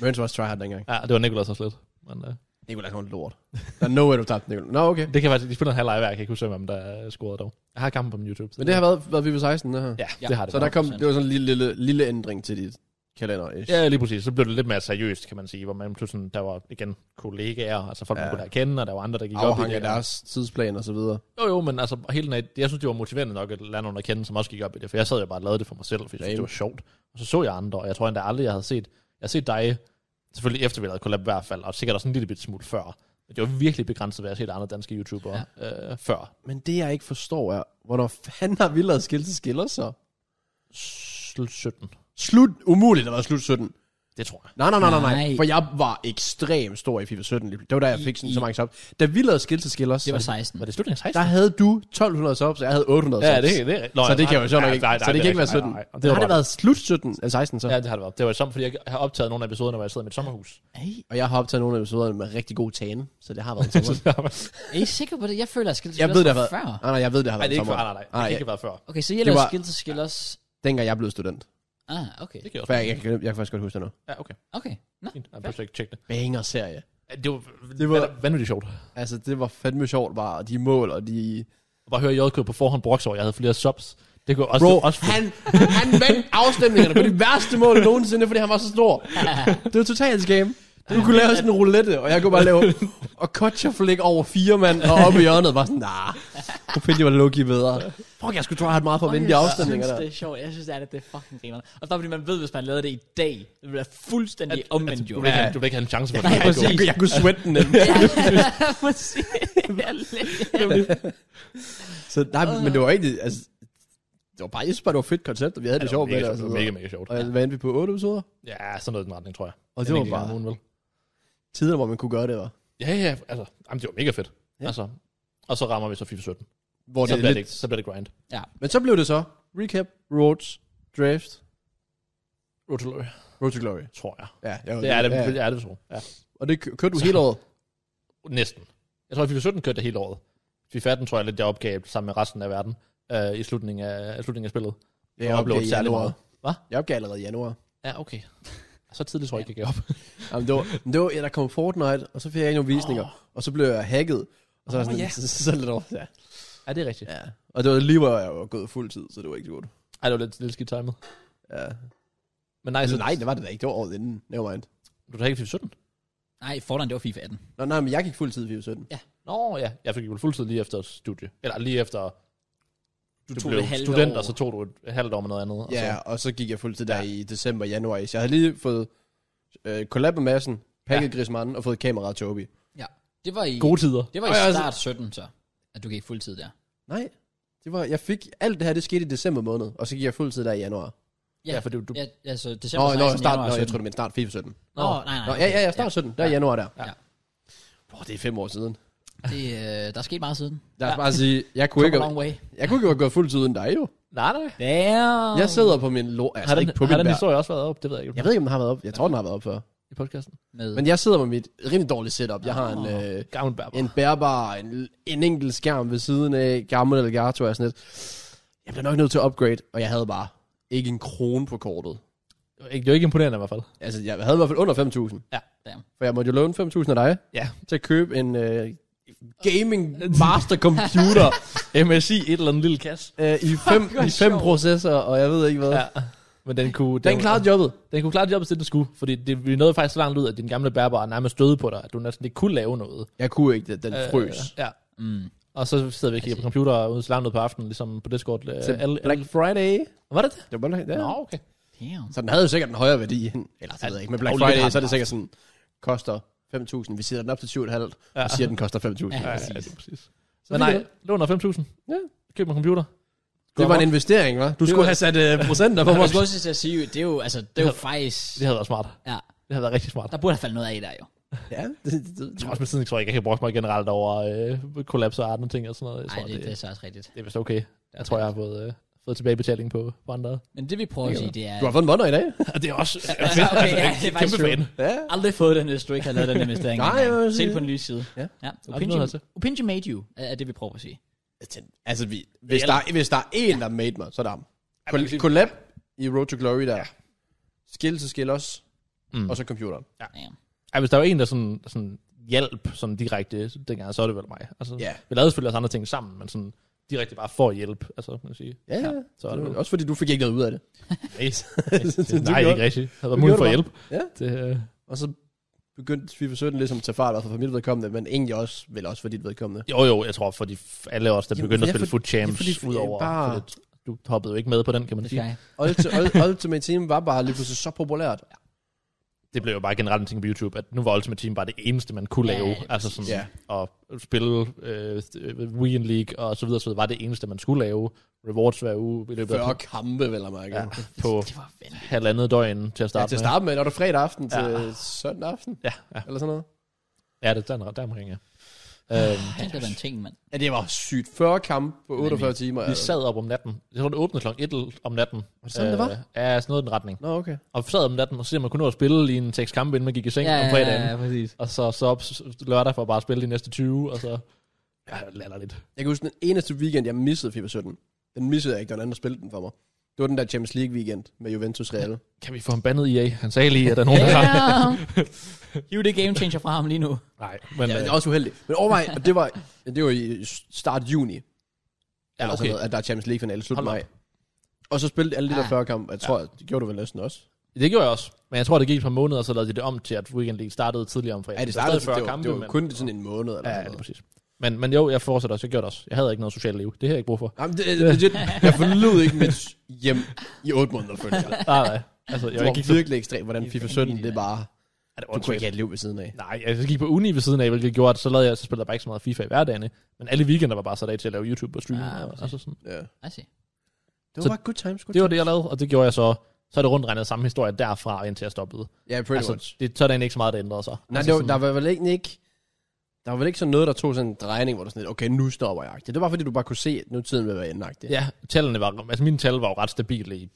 Speaker 3: Mørens var også tryhard dengang.
Speaker 2: Ja, det var Nicolas også lidt. Men, øh,
Speaker 3: Nikolaj kom lort. Der er no way, du tabte Nikolaj. Nå, okay.
Speaker 2: det kan faktisk, de spiller en halv live, jeg kan ikke huske, hvem der øh, scorede dog. Jeg har kampen på min YouTube.
Speaker 3: Men det har været, været vi på 16, det her.
Speaker 2: Ja,
Speaker 1: Ja.
Speaker 2: det har det.
Speaker 3: Så der kom, det var sådan en lille, lille, lille ændring til dit kalender. -ish.
Speaker 2: Ja, lige præcis. Så blev det lidt mere seriøst, kan man sige, hvor man pludselig, der var igen kollegaer, altså folk, man
Speaker 3: Ja.
Speaker 2: kunne lære at kende, og der var andre, der gik op i
Speaker 3: Afhang
Speaker 2: det.
Speaker 3: af deres tidsplan og så videre.
Speaker 2: Jo, jo, men altså, hele den, af- jeg synes, det var motiverende nok at lade nogen at kende, som også gik op i det, for jeg sad jo bare og lavede det for mig selv, fordi jeg synes, det var sjovt. Og så så jeg andre, og jeg tror endda aldrig, jeg havde set, jeg har set dig, selvfølgelig efter vi lavede collab i hvert fald, og sikkert også en lille bit smule før, men det var virkelig begrænset, hvad jeg har set andre danske YouTubere ja. øh, før.
Speaker 3: Men det, jeg ikke forstår, er, hvornår fanden har vi lavet skilt til skiller så?
Speaker 2: Slut 17,
Speaker 3: Slut, umuligt, der var slut 17.
Speaker 2: det tror jeg.
Speaker 3: Nej, nej, nej, nej,
Speaker 1: Nej.
Speaker 3: nej. For jeg var ekstremt stor i FIFA 17. Det var der, jeg fik sådan, så mange subs. Da vi lavede skilt til skiller,
Speaker 1: Det var
Speaker 3: så,
Speaker 1: 16.
Speaker 2: Var det slutningen af 16?
Speaker 3: der havde du 1200 subs, og jeg havde 800 subs.
Speaker 2: ja, det, det, nå,
Speaker 3: Så det kan jeg jo sjovt
Speaker 2: nej,
Speaker 3: nok ikke.
Speaker 2: nej, nej,
Speaker 3: Så det kan ikke være
Speaker 2: rigtigt.
Speaker 3: 17.
Speaker 2: Nej, nej, nej.
Speaker 3: Det har
Speaker 2: var
Speaker 3: det været slut 17, eller 16 så.
Speaker 2: Ja, det har det været. Det var sammen, fordi jeg har optaget nogle af episoderne, hvor jeg sidder i mit sommerhus.
Speaker 1: Ej,
Speaker 3: Og jeg har optaget nogle af episoderne med rigtig god tane, så det har været en sommer.
Speaker 1: Er I sikre på det? Jeg føler, at Skill to
Speaker 3: jeg ved, det har været...
Speaker 1: før.
Speaker 3: Nej, nej, jeg ved, det har
Speaker 2: Nej,
Speaker 3: været
Speaker 2: det er
Speaker 3: en
Speaker 2: ikke før. Nej, nej,
Speaker 3: sommer.
Speaker 2: nej. Det
Speaker 3: Nej,
Speaker 2: kan ikke være før.
Speaker 1: Okay, så jeg lavede
Speaker 3: var-
Speaker 1: Skill to Skill også.
Speaker 3: Dengang jeg blev student.
Speaker 1: Ah, okay.
Speaker 2: Det kan jeg
Speaker 3: For
Speaker 2: også.
Speaker 3: jeg, jeg, kan, jeg kan faktisk godt huske det nu.
Speaker 2: Ja, okay.
Speaker 1: Okay. Nå.
Speaker 2: Fint. Jeg prøver ikke tjekke det.
Speaker 3: Banger serie.
Speaker 2: Det var, det
Speaker 3: Det
Speaker 2: var
Speaker 3: var-
Speaker 2: vanvittigt sjovt.
Speaker 3: Altså, det var fandme sjovt bare, og de mål, og de...
Speaker 2: Og bare høre JK på forhånd broks over, jeg havde flere subs. Det kunne også... det var også
Speaker 3: han, han vandt afstemningerne på de værste mål nogensinde, fordi han var så stor. Det var totalt game. Du kunne lave sådan en roulette, og jeg kunne bare lave... Og Kotcher flæk over fire mand, og oppe i hjørnet var sådan, nah, Opinje var Loki bedre. Fuck, jeg skulle try hard meget for at vinde de afstemninger
Speaker 1: synes,
Speaker 3: der.
Speaker 1: det er sjovt. Jeg synes, det er, det, det er fucking griner. Og bare fordi man ved, hvis man lavede det i dag, det ville være fuldstændig at, omvendt
Speaker 2: du,
Speaker 1: jo.
Speaker 2: vil ikke, have- du vil ikke have en chance for det.
Speaker 1: Nej,
Speaker 2: JK.
Speaker 1: præcis.
Speaker 3: Jeg, kunne- jeg kunne sweat den. nemlig.
Speaker 1: Ja, præcis. Det er lidt-
Speaker 3: Så nej, uh. men det var ikke altså, det var bare, jeg synes bare, det var et fedt koncept, og vi havde
Speaker 2: Ja,
Speaker 3: det, sjovt med det.
Speaker 2: mega,
Speaker 3: Og,
Speaker 2: sjovt.
Speaker 3: så
Speaker 2: det var mega, mega sjovt.
Speaker 3: og altså, hvad endte vi på? Otte episoder?
Speaker 2: Ja, sådan noget i den retning, tror jeg.
Speaker 3: Og det
Speaker 2: Jeg
Speaker 3: var
Speaker 2: ved ikke,
Speaker 3: bare
Speaker 2: om nogen vil.
Speaker 3: tider, hvor man kunne gøre det, var.
Speaker 2: Ja, ja, altså. Jamen, det var mega fedt.
Speaker 3: Ja.
Speaker 2: Altså. Og så rammer vi så FIFA 17.
Speaker 3: Hvor
Speaker 2: Så
Speaker 3: det,
Speaker 2: bliver
Speaker 3: er
Speaker 2: det,
Speaker 3: lidt,
Speaker 2: ikke- så bliver det grind.
Speaker 1: ja.
Speaker 3: men så blev det så recap, roads, draft,
Speaker 2: Road to Glory,
Speaker 3: road to glory.
Speaker 2: tror jeg.
Speaker 3: Ja, jeg var-
Speaker 2: Det er det,
Speaker 3: ja,
Speaker 2: det
Speaker 3: ja.
Speaker 2: er det, tror jeg. Ja.
Speaker 3: Og det kø- kørte du
Speaker 2: Så-
Speaker 3: hele året.
Speaker 2: Næsten. Jeg tror, at FIFA 17 kørte det hele året. FIFA 18 tror jeg lidt, jeg opgav sammen med resten af verden øh, i slutningen af, slutningen af spillet.
Speaker 3: Jeg opgav
Speaker 2: upload
Speaker 3: i
Speaker 2: særlig
Speaker 3: januar.
Speaker 2: meget. Hva?
Speaker 3: Jeg opgav allerede i januar.
Speaker 2: Ja, okay. Så tidligt tror jeg ikke, jeg gav op.
Speaker 3: Jamen, det var, men det var, ja, der kom Fortnite, og så fik jeg ikke nogen visninger, oh. og så blev jeg hacket. Og så var
Speaker 2: Åh,
Speaker 3: jeg sådan,
Speaker 2: ja.
Speaker 3: oh, så, så, så lidt over. Ja.
Speaker 2: Ja, det er rigtigt. Ja.
Speaker 3: ja. Og det var lige, hvor jeg var gået fuld tid, så det var ikke så godt.
Speaker 2: Ej, det var lidt, lidt skidt timet.
Speaker 3: Ja.
Speaker 2: Men nej, så,
Speaker 3: Altså, nej, det var det da ikke. Det var året inden. Nevermind.
Speaker 2: Du har ikke 17?
Speaker 1: Nej, fordelen det var FIFA 18.
Speaker 3: Nå, nej, men jeg gik fuld tid i 17.
Speaker 2: Nå ja, jeg fik jo fuldtid lige efter studie. Eller lige efter
Speaker 1: Du,
Speaker 2: du
Speaker 1: tog
Speaker 2: blev
Speaker 1: det halve
Speaker 2: student,
Speaker 1: år.
Speaker 2: og så tog du et halvt år med noget andet.
Speaker 3: Ja,
Speaker 2: Og så,
Speaker 3: og så gik jeg fuld tid der ja. i december, januar. Så jeg havde lige fået øh, collab med Madsen, pakket ja. Grismanden og fået kameraet til Obi.
Speaker 1: Det var i,
Speaker 2: gode tider.
Speaker 1: det var i
Speaker 3: Og jeg også-
Speaker 1: start 17, så. At du gik fuld tid der.
Speaker 3: Nej, det var, jeg fik, alt det her, det skete i december måned, og så gik jeg fuld tid der i januar.
Speaker 2: Ja, ja for du, du,
Speaker 1: Ja, altså
Speaker 3: Nå,
Speaker 1: december
Speaker 3: nå,
Speaker 1: 16,
Speaker 3: start,
Speaker 1: januar
Speaker 3: nå, jeg
Speaker 1: 17.
Speaker 3: tror, du mente start FIFA 17.
Speaker 1: Nå, nej, nej.
Speaker 3: Nå, ja, ja, jeg start 17, der i
Speaker 1: Ja.
Speaker 3: januar der.
Speaker 1: Ja.
Speaker 3: Åh, det er fem år siden.
Speaker 1: Det, øh, der er sket meget siden.
Speaker 3: Lad os bare sige, jeg kunne
Speaker 1: Come
Speaker 3: ikke,
Speaker 1: a long way.
Speaker 3: jeg kunne ikke have gået fuld tid uden dig jo.
Speaker 2: Nej, nej.
Speaker 1: Damn.
Speaker 3: Jeg sidder på min lort, altså
Speaker 2: Har den,
Speaker 3: ikke på
Speaker 2: har
Speaker 3: min
Speaker 2: den
Speaker 3: bær.
Speaker 2: historie også været op? Det ved jeg ikke.
Speaker 3: Jeg ved ikke, om den har været op. Jeg tror, den har været op før.
Speaker 2: I podcasten.
Speaker 1: Med,
Speaker 3: Men jeg sidder med mit rimelig dårlige setup. Jeg har en, øh,
Speaker 2: Gammel bærbar.
Speaker 3: en bærbar, en, en enkelt skærm ved siden af, gammel Elgato og sådan lidt. Jeg blev nok nødt til at upgrade, og jeg havde bare ikke en krone på kortet.
Speaker 2: Ikke- Det er jo ikke imponerende i hvert fald.
Speaker 3: Altså, jeg havde i hvert fald under 5.000.
Speaker 1: damn.
Speaker 3: For jeg måtte jo låne 5.000 af dig
Speaker 2: Ja.
Speaker 3: til at købe en øh, gaming master computer
Speaker 2: MSI, et eller andet lille kasse.
Speaker 3: øh, i fem, i fem processorer, og jeg ved ikke hvad.
Speaker 2: Ja. Men den kunne...
Speaker 3: Den klarede jobbet.
Speaker 2: Den kunne klare jobbet, til den skulle, fordi det, vi nåede faktisk så langt ud, at din gamle bærbar nærmest døde på dig, at du næsten ikke kunne lave noget.
Speaker 3: Jeg kunne ikke det. Den frøs.
Speaker 2: Øh, ja.
Speaker 1: Mm.
Speaker 2: Og så sidder vi og kigger på computer ude langt ud på aftenen, ligesom på Discord. Øh,
Speaker 3: Til
Speaker 2: alle,
Speaker 3: Black
Speaker 2: alle,
Speaker 3: Friday.
Speaker 2: var det det?
Speaker 3: Det var Black, ja.
Speaker 2: Nå, okay.
Speaker 1: Damn.
Speaker 3: Så den havde jo sikkert en højere værdi end, eller det ved jeg ikke, men Black
Speaker 2: jo lidt
Speaker 3: Friday,
Speaker 2: hardt
Speaker 3: så er det sikkert sådan, koster 5.000, vi sætter den op til 7.500,
Speaker 2: Ja.
Speaker 3: og siger, at den koster 5.000.
Speaker 1: Ja,
Speaker 2: Ja,
Speaker 1: præcis.
Speaker 2: ja, det er præcis.
Speaker 3: Så
Speaker 2: Men
Speaker 3: fik
Speaker 2: nej,
Speaker 3: jeg
Speaker 2: låner 5.000.
Speaker 3: Ja.
Speaker 2: Køb en computer.
Speaker 3: Det var en investering, hva'? Du skulle
Speaker 2: var-
Speaker 3: have sat uh, procenter på
Speaker 1: Jeg
Speaker 3: vores
Speaker 1: skulle også til at sige, det er jo, altså, det er jo faktisk...
Speaker 2: Det havde været smart.
Speaker 1: Ja,
Speaker 2: Det havde været rigtig smart.
Speaker 1: der burde have faldet noget af i der jo.
Speaker 3: Ja, det, det, det,
Speaker 2: Jeg tror også, med tiden tror jeg ikke, jeg kan bruge mig generelt over øh, kollaps og andre ting og sådan noget. Jeg
Speaker 1: Nej,
Speaker 2: tror,
Speaker 1: det, det, er så også rigtigt.
Speaker 2: det, er vist okay. Jeg tror, jeg har fået, øh, fået tilbagebetaling på, på andre.
Speaker 1: Men det vi prøver at sige, det er...
Speaker 3: du har fået en måneder i dag.
Speaker 2: Og det er også
Speaker 1: Ja, okay, altså, ja, det er
Speaker 2: kæmpe
Speaker 1: faktisk
Speaker 2: fan.
Speaker 1: true.
Speaker 3: Ja.
Speaker 1: Aldrig fået den, hvis du ikke har lavet den investering.
Speaker 3: Nej,
Speaker 1: engang.
Speaker 3: jeg vil
Speaker 1: Se
Speaker 3: sige-
Speaker 1: det på en lys side.
Speaker 3: Ja.
Speaker 1: ja.
Speaker 2: noget
Speaker 1: Opinji,
Speaker 2: hertil.
Speaker 1: Opinji made you, er er det, vi prøver at sige.
Speaker 3: Altså, vi, hvis, der, er- hvis der er en, der har made mig, så er der ham. Col- Collab i Road to Glory der. Skill til skill os,
Speaker 2: Mm.
Speaker 3: og så computeren.
Speaker 1: Damn.
Speaker 2: Ja, hvis der var en, der sådan, sådan hjalp sådan direkte dengang, så er det vel mig. Altså,
Speaker 3: Ja.
Speaker 2: Vi lavede selvfølgelig også andre ting sammen, men sådan direkte bare for hjælp, altså, kan man sige.
Speaker 3: Ja, ja.
Speaker 2: Så er det vel.
Speaker 3: Også fordi du fik ikke noget ud af det.
Speaker 2: Nej,
Speaker 3: Du
Speaker 2: nej
Speaker 3: gjorde-
Speaker 2: ikke rigtigt. Det havde
Speaker 3: du
Speaker 2: været muligt for
Speaker 3: gjorde
Speaker 2: hjælp.
Speaker 3: det bare.
Speaker 2: Det, øh,
Speaker 3: Og så begyndte FIFA 17 ligesom at tage fart, i hvert fald for mit vedkommende, men egentlig også, vel også for dit vedkommende.
Speaker 2: jo, jo, jeg tror for de, alle os, der
Speaker 3: Jamen,
Speaker 2: begyndte at
Speaker 3: ja,
Speaker 2: spille
Speaker 3: for-
Speaker 2: Foot
Speaker 3: ja,
Speaker 2: Champs,
Speaker 3: fordi-
Speaker 2: ud over...
Speaker 3: bare-
Speaker 2: fordi Du hoppede jo ikke med på den, kan man
Speaker 1: Det
Speaker 2: sige.
Speaker 1: skal jeg.
Speaker 3: Ulti- Ul- Ultimate Team var bare lige pludselig så populært.
Speaker 2: det blev jo bare generelt en ting på YouTube, at nu var Ultimate Team bare det eneste, man kunne
Speaker 1: Ja,
Speaker 2: lave.
Speaker 1: ja,
Speaker 2: altså sådan,
Speaker 3: Ja.
Speaker 2: og spille øh, Wien League og så videre, så videre, var det eneste, man skulle lave. Rewards hver uge i løbet
Speaker 3: 40
Speaker 2: af
Speaker 3: kampe, vel og mærke. Ja.
Speaker 2: på
Speaker 1: Det var vanvittigt.
Speaker 2: halvandet døgn til at
Speaker 3: Ja,
Speaker 2: starte
Speaker 3: til at starte med, når det er fredag aften til
Speaker 2: Ja.
Speaker 3: søndag aften,
Speaker 2: med. Ja, ja.
Speaker 3: eller sådan noget.
Speaker 2: ja det er der, der omkring, ja. Øhm,
Speaker 1: Det var en ting, mand.
Speaker 3: Ja, det var sygt. 40 kampe på 48 timer. altså.
Speaker 2: vi sad op om natten. Jeg tror, det åbnede klokken 1 om natten. Var det
Speaker 3: sådan, det var?
Speaker 2: Ja, sådan noget i den retning.
Speaker 3: Nå, okay.
Speaker 2: Og sad om natten, og så ser man kunne nå at spille lige en seks kampe, inden man gik i seng
Speaker 1: Ja,
Speaker 2: om
Speaker 1: ja,
Speaker 2: fredagen.
Speaker 1: ja, præcis.
Speaker 2: Og så, så op s- lørdag for at bare spille de næste 20, og så ja, lander lidt.
Speaker 3: Jeg kan huske, den eneste weekend, jeg missede FIFA 17, den missede jeg ikke, der var en anden, der spillede den for mig. Det var den der Champions League weekend med Juventus Real.
Speaker 2: Kan vi få ham bandet i af? Han sagde lige, at der er nogen, der har
Speaker 1: Damn. Hiv det game changer fra ham lige nu.
Speaker 2: Nej, men...
Speaker 3: Ja, det
Speaker 2: øh,
Speaker 3: er også uheldigt. Men overvej, og det var, det var i start juni, ja, eller sådan
Speaker 2: okay.
Speaker 3: altså, noget, at der er Champions League-finale slut
Speaker 2: Hold
Speaker 3: maj. Og så spillede alle de der
Speaker 1: Ah.
Speaker 3: 40 kampe, jeg tror, det gjorde du vel næsten også.
Speaker 2: Det gjorde jeg også. Men jeg tror, det gik et par måneder, så lavede de det om til, at Weekend League startede tidligere om fredagen.
Speaker 3: Ja, det
Speaker 2: Så
Speaker 3: startede
Speaker 2: stadig 40
Speaker 3: det var,
Speaker 2: kampe,
Speaker 3: det var
Speaker 2: men-
Speaker 3: kun sådan en måned eller
Speaker 2: Ja, ja, det
Speaker 3: sådan
Speaker 2: er
Speaker 3: noget.
Speaker 2: præcis. Men, men jo, jeg fortsætter også. Jeg gjorde det også. Jeg havde ikke noget socialt liv. Det havde jeg ikke brug for.
Speaker 3: Jamen, det, det, legit, jeg forlod ikke mit hjem i 8 måneder, følte jeg.
Speaker 2: Nej, nej. Altså,
Speaker 3: Det
Speaker 2: jeg,
Speaker 3: var
Speaker 2: jeg gik
Speaker 3: virkelig ekstremt, hvordan FIFA 17, det bare...
Speaker 2: Ja, det var
Speaker 3: Du kunne
Speaker 2: åndssvagt.
Speaker 3: ikke have et liv ved siden af.
Speaker 2: Nej, altså, jeg gik på uni ved siden af, hvilket gjorde, at så, lavede jeg, så spillede jeg bare ikke så meget FIFA i hverdagene. Men alle weekender var bare sat af til at lave YouTube og streame.
Speaker 1: Ah,
Speaker 2: Ja,
Speaker 1: præcis.
Speaker 2: altså sådan.
Speaker 3: Ja.
Speaker 1: I see.
Speaker 3: Det var
Speaker 2: Så
Speaker 3: bare good times, good
Speaker 2: Det var
Speaker 3: times.
Speaker 2: det, jeg lavede, og det gjorde jeg så. Så er det rundt regnet samme historie derfra, indtil jeg stoppede.
Speaker 3: Ja, pretty much.
Speaker 2: Altså, det, så er der egentlig ikke så meget, der ændrede sig.
Speaker 3: Nej,
Speaker 2: altså,
Speaker 3: det var,
Speaker 2: sådan-
Speaker 3: der var vel egentlig ikke... Der var vel ikke sådan noget, der tog sådan en drejning, hvor du sådan lidt, okay, nu stopper jeg. Det var fordi, du bare kunne se, at nu tiden vil være endagtig.
Speaker 2: Ja, tallene var, altså mine tal var jo ret stabile i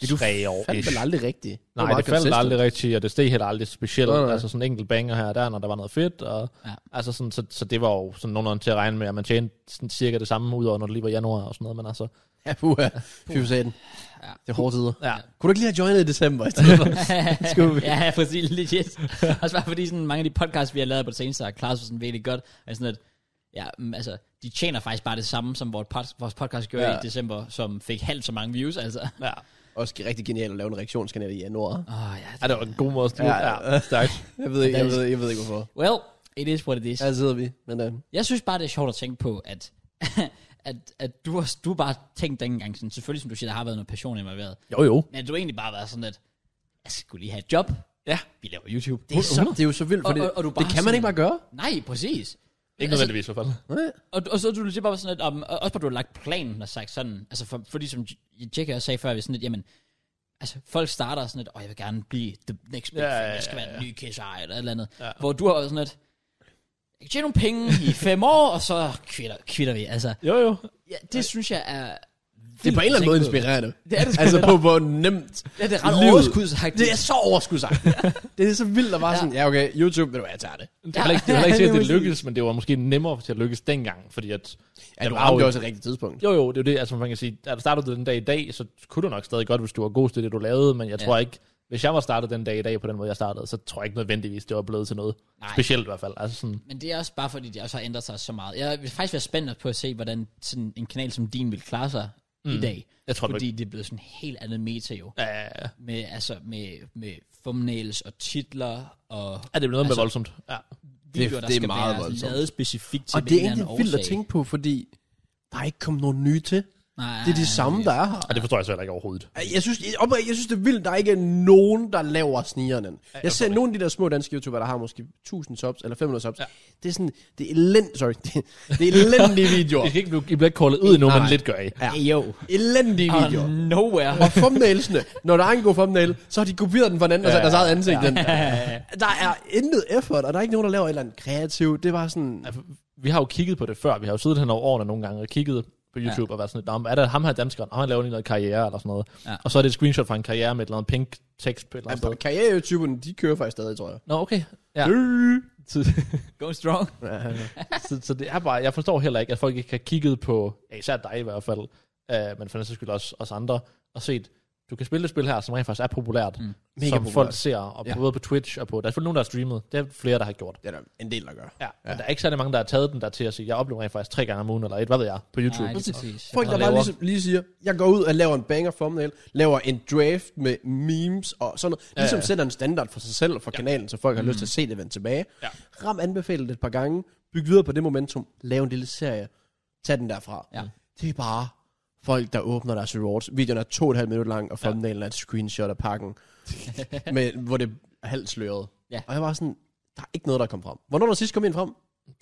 Speaker 2: det tre år.
Speaker 3: Fandt vel aldrig rigtigt. var
Speaker 2: Nej,
Speaker 3: meget
Speaker 2: det faldt
Speaker 3: consistent.
Speaker 2: aldrig rigtigt, og det steg heller aldrig specielt.
Speaker 3: Nej, nej.
Speaker 2: Altså sådan en enkelt banger her og der, når der var noget fedt. Og,
Speaker 1: Ja.
Speaker 2: ja. altså sådan, så, så det var jo sådan nogenlunde til at regne med, at man tjente sådan cirka det samme ud over, når det lige var januar og sådan noget. Men altså,
Speaker 3: Ja, puha. Fy for satan.
Speaker 1: Ja.
Speaker 3: Det er hårde tider.
Speaker 2: ja.
Speaker 3: Kunne du ikke lige have joinet i december i stedet for? Skulle vi?
Speaker 1: ja, præcis, legit. Også bare fordi sådan, mange af de podcasts, vi har lavet på det seneste, har klaret sig sådan virkelig godt. Er sådan, at, ja, mm, altså, de tjener faktisk bare det samme, som vores, pod, vores podcast gjorde ja.
Speaker 3: Ja.
Speaker 1: i december, som fik halvt så mange views, altså. Åh,
Speaker 2: ja.
Speaker 3: Også rigtig genialt at lave en reaktionskanal i januar.
Speaker 1: oh, ja.
Speaker 2: ja det var en god måde at styre.
Speaker 3: Ja, ja.
Speaker 2: Ja, ja. Stærkt.
Speaker 3: Jeg ved ikke, jeg ved, jeg ved ikke hvorfor.
Speaker 1: Well, it is what it is.
Speaker 3: Her sidder vi. Men øh,
Speaker 1: Jeg synes bare, det er sjovt at tænke på, at, at, at du, har, du har bare tænkt dengang, sådan, selvfølgelig som du siger, der har været noget passion involveret,
Speaker 2: Jo, jo.
Speaker 1: men at du egentlig bare har været sådan, at jeg skulle lige have et job.
Speaker 2: Ja.
Speaker 1: Vi laver YouTube. Det
Speaker 3: det
Speaker 1: er
Speaker 3: er, så,
Speaker 1: så...
Speaker 3: det er jo så vildt, for
Speaker 1: Og-
Speaker 3: det,
Speaker 1: og- og du
Speaker 3: det
Speaker 1: bare
Speaker 3: kan man
Speaker 1: sådan-
Speaker 3: ikke bare gøre.
Speaker 1: Nej, præcis.
Speaker 2: Ikke
Speaker 1: Altså,
Speaker 2: nødvendigvis i hvert fald.
Speaker 3: Nej.
Speaker 1: Og, og så er du legit bare sådan lidt, om, og også bare du har lagt planen og sagt sådan, altså for, fordi som J- Jackie også sagde før, vi sådan lidt, jamen, altså folk starter sådan lidt, åh, jeg vil gerne blive the next big
Speaker 2: Ja, ja,
Speaker 1: thing,
Speaker 2: ja,
Speaker 1: jeg skal være den nye kiss eller et eller andet.
Speaker 2: Ja.
Speaker 1: Hvor du har været sådan lidt, jeg kan tjene nogle penge i fem år, og så kvitter, kvitter vi. Altså,
Speaker 2: Jo, jo.
Speaker 1: ja, det synes jeg er...
Speaker 3: Det er på en eller anden måde inspirerende.
Speaker 1: Det er det sgu
Speaker 3: Altså
Speaker 1: lidt.
Speaker 3: på hvor nemt.
Speaker 1: Ja, det er ret
Speaker 3: Livet.
Speaker 1: overskudsagtigt.
Speaker 3: Det er så overskudsagt. det er så vildt at bare
Speaker 1: Ja.
Speaker 3: sådan, ja okay, YouTube, ved du hvad, jeg tager det.
Speaker 2: Det er heller ikke, det er heller ikke
Speaker 1: Ja,
Speaker 2: sikkert, at
Speaker 1: det
Speaker 2: det
Speaker 1: må jeg
Speaker 2: lykkedes, men det var måske nemmere til at lykkes dengang, fordi at...
Speaker 3: Ja, du
Speaker 2: var
Speaker 3: ramte
Speaker 2: jo-
Speaker 3: jo også et rigtigt tidspunkt.
Speaker 2: Jo, jo, det er jo det, altså man kan sige, at startede du den dag i dag, så kunne du nok stadig godt, hvis du var god til det, du lavede, men jeg
Speaker 1: Ja.
Speaker 2: ja. tror ikke, hvis jeg var startet den dag i dag på den måde, jeg startede, så tror jeg ikke nødvendigvis, det var blevet til noget.
Speaker 1: Nej.
Speaker 2: Nej. Specielt i hvert fald. Altså sådan,
Speaker 1: Men det er også bare fordi, det også har ændret sig så meget. Jeg vil faktisk være spændt på at se, hvordan sådan en kanal som din vil klare sig mm. i dag.
Speaker 2: jeg tror
Speaker 1: Fordi
Speaker 2: Fordi...
Speaker 1: det er blevet sådan en helt andet meta jo.
Speaker 2: Ja, ja, ja.
Speaker 1: Med, altså, med, med thumbnails og titler og
Speaker 2: ja, det er blevet noget
Speaker 1: Altså-
Speaker 2: altså... voldsomt. Ja.
Speaker 1: videoer, det,
Speaker 3: det
Speaker 1: der
Speaker 3: er
Speaker 1: skal
Speaker 3: meget
Speaker 1: være
Speaker 3: voldsomt.
Speaker 1: lavet specifikt til
Speaker 3: Og det er
Speaker 1: en eller
Speaker 3: egentlig
Speaker 1: anden
Speaker 3: vildt at
Speaker 1: årsag.
Speaker 3: tænke på, fordi der er ikke kommet nogen nye til.
Speaker 1: Nej,
Speaker 3: Det er de samme, der er her.
Speaker 2: Og det forstår jeg så heller ikke overhovedet.
Speaker 3: Jeg synes, jeg, oprigtigt, jeg synes, det er vildt, der ikke er nogen, der laver snigeren. Jeg ser nogle af de der små danske YouTubere, der har måske 1000 subs eller 500 subs. Ja. Det er sådan, det er elend, sorry, det, det er elendige videoer.
Speaker 2: I skal ikke blive, I bliver ikke kaldet ud endnu,
Speaker 3: Nej.
Speaker 2: men lidt gør I.
Speaker 3: Ja.
Speaker 1: Hey, yo.
Speaker 3: Elendige
Speaker 1: Out
Speaker 3: videoer.
Speaker 1: of nowhere.
Speaker 3: Og thumbnailsene, når der er en god thumbnail, så har de kopieret den fra den anden, og sat deres eget ansigt ja. den. Der er intet effort, og der er ikke nogen, der laver et eller andet kreativt. Det var sådan,
Speaker 2: Vi har jo kigget på det før. Vi har jo siddet hen over årene nogle gange og kigget på YouTube ja. og været sådan lidt, "Nå, men er der ham her danskeren, og han laver lige noget karriere eller sådan noget.
Speaker 1: Ja.
Speaker 2: Ja. Og så er det et screenshot fra en karriere med et eller andet pink tekst på et eller andet sted.
Speaker 3: altså, karriere-youtuberne, de kører faktisk stadig, tror jeg.
Speaker 2: Nå, okay. Øh. Ja. Så,
Speaker 1: Go strong.
Speaker 2: så, så det er bare, jeg forstår heller ikke, at folk ikke har kigget på, ja, især dig i hvert fald, øh, men for den sags skyld også os andre, og set, du kan spille et spil her, som rent faktisk er populært, mm.
Speaker 3: Mega
Speaker 2: som
Speaker 3: populært.
Speaker 2: folk ser, og
Speaker 3: Ja.
Speaker 2: ja. både på Twitch og på, der er selvfølgelig nogen, der har streamet, det er flere, der har gjort.
Speaker 3: Det er der en del, der gør.
Speaker 2: Ja, ja. Men der er ikke særlig mange, der har taget den der til at sige, jeg oplever rent faktisk tre gange om ugen, eller et, hvad ved jeg, på YouTube.
Speaker 1: Nej,
Speaker 2: Nej,
Speaker 1: det er præcis.
Speaker 3: Folk, der
Speaker 2: Han
Speaker 3: bare
Speaker 2: laver-
Speaker 3: ligesom, lige siger, jeg går ud og laver en banger thumbnail, laver en draft med memes og sådan noget. Ligesom
Speaker 2: Ja, ja.
Speaker 3: sætter en standard for sig selv og for kanalen, så folk har lyst til at se det vende tilbage.
Speaker 2: Ja.
Speaker 3: Ram anbefalet et par gange, byg videre på det momentum, lav en lille serie, tag den derfra.
Speaker 1: Ja.
Speaker 3: Det er bare folk, der åbner deres rewards. Videoen er to og et halvt minut lang, og thumbnailen er et screenshot af pakken, med, hvor det er halvt sløret.
Speaker 1: Ja.
Speaker 3: Og jeg var sådan, der er ikke noget, der kom frem. Hvornår der sidst kom ind frem?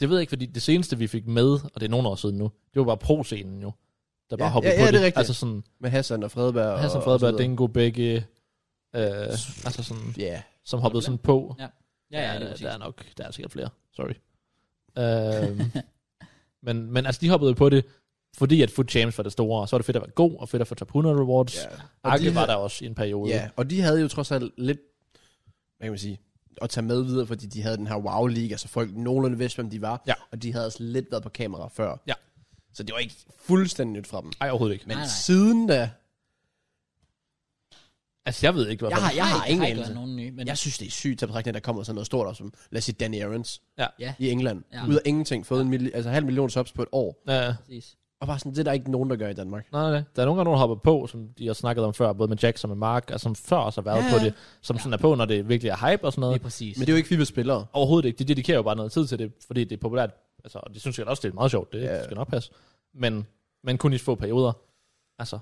Speaker 2: Det ved jeg ikke, fordi det seneste, vi fik med, og det er nogle år siden nu, det var bare pro-scenen jo, der bare
Speaker 3: Ja,
Speaker 2: hoppede
Speaker 3: ja,
Speaker 2: på
Speaker 3: ja, det er rigtigt.
Speaker 2: Altså sådan,
Speaker 3: Med Hassan og Fredberg. og-
Speaker 2: Hassan
Speaker 3: og så
Speaker 2: Fredberg,
Speaker 3: videre.
Speaker 2: Dingo, begge, øh, altså sådan,
Speaker 3: Ja. Yeah.
Speaker 2: som hoppede sådan på.
Speaker 1: Ja, ja, det er
Speaker 2: der,
Speaker 1: præcis.
Speaker 2: der er nok, der er sikkert flere. Sorry. Øhm, men, men altså, de hoppede på det, fordi at Food Champs var det store, og så var det fedt at være god, og fedt at få top 100 rewards. Yeah.
Speaker 3: Yeah.
Speaker 2: Arke
Speaker 3: de
Speaker 2: de var
Speaker 3: her-
Speaker 2: der også i en periode.
Speaker 3: Ja, og de havde jo trods alt lidt, hvad kan man sige, at tage med videre, fordi de havde den her wow liga så folk nogenlunde vidste, hvem de var.
Speaker 2: Ja.
Speaker 3: Og de havde også lidt været på kamera før.
Speaker 2: Ja.
Speaker 3: Så det var ikke fuldstændig nyt fra dem.
Speaker 2: Ej, overhovedet ikke.
Speaker 3: Men
Speaker 2: Men,
Speaker 1: Nej, nej.
Speaker 3: siden da,
Speaker 2: altså, jeg ved ikke, hvad
Speaker 3: jeg har, jeg
Speaker 1: Nej,
Speaker 3: har ingen
Speaker 1: der ikke
Speaker 3: anelse.
Speaker 1: været nogen nye, men
Speaker 3: Jeg synes, det er sygt at betragtning, at der kommer sådan noget stort op som, lad os sige, Danny Aarons
Speaker 2: Ja.
Speaker 1: Ja.
Speaker 3: i England.
Speaker 1: Ja.
Speaker 3: Ja. Ud af ingenting, fået en milli- altså halv million subs på et år.
Speaker 2: Øh,
Speaker 1: præcis.
Speaker 3: Og bare sådan, det er der ikke nogen, der gør i Danmark.
Speaker 2: nej, nej, nej. Der er nogle gange, nogen der hopper på, som de har snakket om før, både med Jack og med Mark, og som før også har været
Speaker 3: Ja,
Speaker 2: på
Speaker 3: ja.
Speaker 2: det, som sådan er på, når det virkelig er hype og sådan
Speaker 1: Det
Speaker 2: noget.
Speaker 1: er præcis.
Speaker 3: Men det er jo ikke FIFA-spillere.
Speaker 2: Overhovedet ikke. De dedikerer jo bare noget tid til det, fordi det er populært. Altså, og de synes sikkert også, det er meget sjovt. Det
Speaker 3: Ja.
Speaker 2: yeah. skal nok passe. Men, men kun i få perioder. Altså,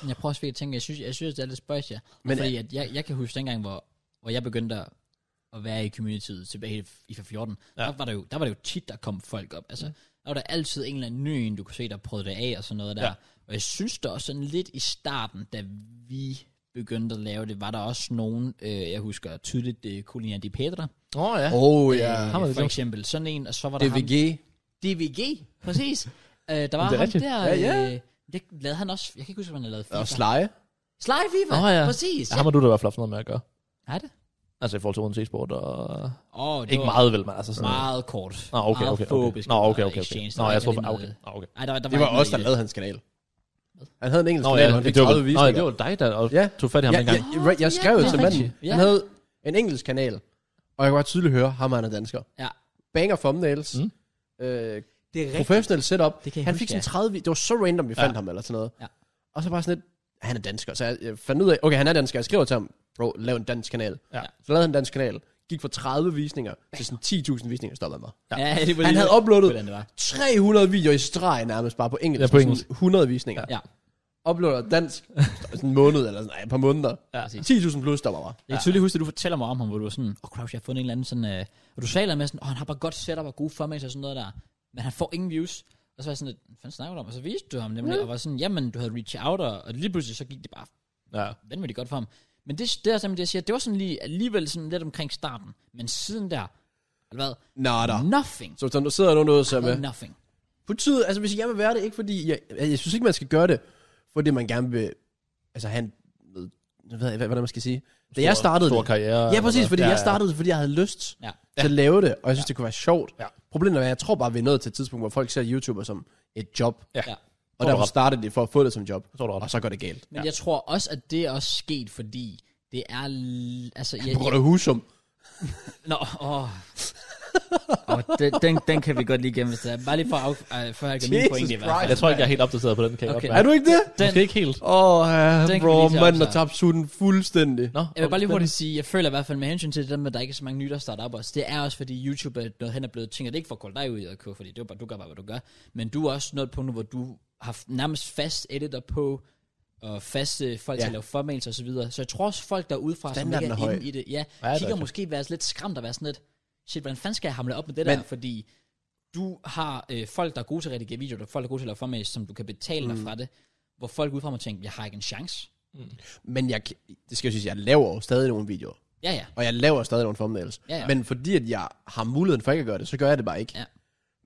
Speaker 1: Men Jeg prøver også virkelig at tænke, jeg synes, jeg synes det er lidt spøjs, ja. Men
Speaker 3: Men
Speaker 1: fordi at jeg, jeg kan huske dengang, hvor, hvor jeg begyndte at, at være i communityet tilbage i- i for 14, ja.
Speaker 2: Ja.
Speaker 1: der, var det jo, der var det jo tit, der kom folk op. Altså, der var der altid en eller anden ny en, du kunne se, der prøvede det af og sådan noget der. Ja.
Speaker 2: Ja.
Speaker 1: Og jeg synes da også sådan lidt i starten, da vi begyndte at lave det, var der også nogen, øh, jeg husker tydeligt, det er Colina Di Pedra,
Speaker 2: åh oh, ja.
Speaker 3: Oh
Speaker 1: øh,
Speaker 3: ja.
Speaker 2: ham er vi
Speaker 1: for
Speaker 2: glemt.
Speaker 1: eksempel. Sådan en, og så var der ham,
Speaker 3: DVG.
Speaker 1: DVG, præcis. øh, der var
Speaker 2: det er
Speaker 1: ham
Speaker 2: rigtigt.
Speaker 1: der,
Speaker 3: Ja, ja.
Speaker 1: Øh, det lavede han også, jeg kan ikke huske, hvad han lavede.
Speaker 3: Og Sleje.
Speaker 1: Sly FIFA,
Speaker 2: Åh, ja.
Speaker 1: præcis.
Speaker 2: Ja, ham har du da i hvert fald haft noget med at gøre.
Speaker 1: Er det?
Speaker 2: Altså i forhold til Odense e-sport og...
Speaker 1: Åh, det
Speaker 2: Ikke
Speaker 1: var
Speaker 2: meget vel, men altså sådan...
Speaker 1: Meget kort.
Speaker 2: Nå, okay,
Speaker 1: meget
Speaker 2: okay, okay.
Speaker 1: fobisk,
Speaker 2: Nå, okay,
Speaker 1: meget
Speaker 2: okay, okay.
Speaker 1: exchange. Der
Speaker 2: Nå,
Speaker 1: var
Speaker 2: jeg
Speaker 1: ikke
Speaker 2: tror...
Speaker 1: rigtig
Speaker 2: ah, Okay,
Speaker 1: noget-
Speaker 2: ah, okay.
Speaker 1: Ej, der, var- der
Speaker 3: Det var
Speaker 1: ikke
Speaker 3: os, der
Speaker 1: noget i
Speaker 3: lavede hans kanal. Han havde en
Speaker 2: Nå,
Speaker 3: engelsk kanal,
Speaker 2: ja,
Speaker 3: og han fik
Speaker 2: det var, nå,
Speaker 3: 30
Speaker 2: ja,
Speaker 3: visninger.
Speaker 2: det var dig, der og
Speaker 3: Ja.
Speaker 2: tog fat i ham
Speaker 3: jeg,
Speaker 2: dengang.
Speaker 3: jeg, jeg, jeg skrev jo
Speaker 1: Ja, det
Speaker 3: til
Speaker 1: er
Speaker 3: manden.
Speaker 1: rigtigt. Ja.
Speaker 3: Han havde en engelsk kanal, og jeg kunne ret tydeligt høre, ham og han er dansker.
Speaker 1: Ja.
Speaker 3: Banger thumbnails.
Speaker 2: Mm.
Speaker 3: Øh,
Speaker 1: Det er rigtigt.
Speaker 3: professionel setup.
Speaker 1: Det kan jeg
Speaker 3: han
Speaker 1: huske,
Speaker 3: fik
Speaker 1: ja.
Speaker 3: sådan 30... vi- Det var så random, vi
Speaker 2: Ja.
Speaker 3: fandt ham eller sådan noget.
Speaker 1: Ja.
Speaker 3: Og så bare sådan lidt... Han er dansker, så jeg, jeg fandt ud af... Okay, han er dansker. Jeg skriver til ham, bro, lav en dansk kanal.
Speaker 2: Ja.
Speaker 3: Så lavede han en dansk kanal. Gik fra 30 visninger til sådan 10.000 visninger, stoppede han mig.
Speaker 1: Ja, det var
Speaker 3: Han
Speaker 1: lige-
Speaker 3: havde uploadet
Speaker 1: hvordan det var.
Speaker 3: 300 videoer i streg nærmest bare på engelsk.
Speaker 2: Ja, på
Speaker 3: Sådan
Speaker 2: engelsk.
Speaker 3: 100 visninger.
Speaker 1: Ja.
Speaker 3: Uploader dansk sådan en måned eller sådan, nej, et par måneder.
Speaker 1: Ja.
Speaker 3: 10.000 plus, stopper bare.
Speaker 1: Jeg kan tydeligt huske, at du fortæller mig om ham, hvor du var sådan, åh, oh, Crouch, jeg har fundet en eller anden sådan, øh, og du sagde noget med sådan, åh, oh, han har bare godt setup og gode formats og sådan noget der, men han får ingen views. Og så var jeg sådan lidt, hvad fanden snakker du om? Og så viste du ham nemlig, og var sådan, jamen, du havde reach out, og, og lige pludselig så gik det bare
Speaker 2: Ja.
Speaker 1: vanvittigt godt for ham. Men det, det er simpelthen det, jeg siger, det var sådan lige, alligevel sådan lidt omkring starten, men siden der, eller hvad?
Speaker 3: Nå, da.
Speaker 1: Nothing.
Speaker 3: Så hvis der sidder nogen derude, så med.
Speaker 1: Nothing.
Speaker 3: På tide, altså hvis I gerne vil være det, ikke fordi, jeg, jeg, jeg synes ikke, man skal gøre det, fordi man gerne vil, altså han, jeg ved ikke, hvad- hvordan man skal sige. Da jeg startede
Speaker 2: Stor
Speaker 3: det,
Speaker 2: karriere.
Speaker 3: ja præcis,
Speaker 2: eller-
Speaker 3: fordi
Speaker 2: Ja,
Speaker 3: jeg
Speaker 2: ja.
Speaker 3: startede det, fordi jeg havde lyst
Speaker 1: Ja.
Speaker 3: til at lave det, og jeg synes, det kunne være sjovt.
Speaker 2: Ja.
Speaker 3: Problemet er, at jeg tror bare, vi er nået til et tidspunkt, hvor folk ser YouTuber som et job,
Speaker 2: Ja.
Speaker 1: Ja.
Speaker 2: du
Speaker 3: og derfor
Speaker 2: ret.
Speaker 3: startede de for at få det som job,
Speaker 2: tror du ret.
Speaker 3: og så går det galt.
Speaker 1: Men ja. jeg tror også, at det er også sket, fordi det er... l- Altså, jeg,
Speaker 3: På grund af husum.
Speaker 1: Nå, åh. Oh, den, den, den kan vi godt lige gemme, hvis det er. Bare lige for at, af, uh, for at gøre min
Speaker 3: Jesus
Speaker 1: pointe i hvert
Speaker 3: Christ.
Speaker 1: fald.
Speaker 2: Jeg tror ikke, jeg er helt opdateret på den, kan jeg
Speaker 1: Okay.
Speaker 2: okay.
Speaker 3: Er du ikke det?
Speaker 1: Den,
Speaker 2: Måske ikke helt.
Speaker 3: Åh, oh,
Speaker 1: Den
Speaker 3: ja,
Speaker 1: kan vi lige
Speaker 3: bro,
Speaker 1: tage op,
Speaker 3: manden
Speaker 1: så.
Speaker 3: har tabt suten fuldstændig.
Speaker 2: Nå,
Speaker 1: jeg vil bare lige
Speaker 2: spændende.
Speaker 1: hurtigt sige, jeg føler i hvert fald med hensyn til det der med, at der ikke er så mange nye, der starter op også. Det er også fordi YouTube er noget hen er blevet ting, og det er ikke for at kolde dig ud, JK, fordi det er bare, du gør bare, hvad du gør. Men du er også nået på nu, hvor du har f- nærmest fast editor på, og faste folk ja. til
Speaker 3: Ja.
Speaker 1: at lave formals og så videre. Så jeg tror også folk derudefra, som
Speaker 3: Standarden
Speaker 1: ikke er,
Speaker 3: er høj.
Speaker 1: inde i det, ja,
Speaker 2: Ja, det
Speaker 1: ja
Speaker 2: er
Speaker 1: kigger
Speaker 2: rigtigt.
Speaker 1: måske være lidt skræmt og være sådan lidt, shit, hvordan fanden skal jeg hamle op med det
Speaker 3: Men-
Speaker 1: der, fordi du har øh, folk, der er gode til at redigere videoer, der er folk, der er gode til at lave formals, som du kan betale mm. dig fra det, hvor folk udefra må tænke, jeg har ikke en chance.
Speaker 3: Men jeg, det skal jeg sige, jeg laver jo stadig nogle videoer.
Speaker 1: Ja, ja.
Speaker 3: Og jeg laver stadig nogle thumbnails.
Speaker 1: Ja, ja.
Speaker 3: Men fordi at jeg har muligheden for ikke at gøre det, så gør jeg det bare ikke.
Speaker 1: Ja.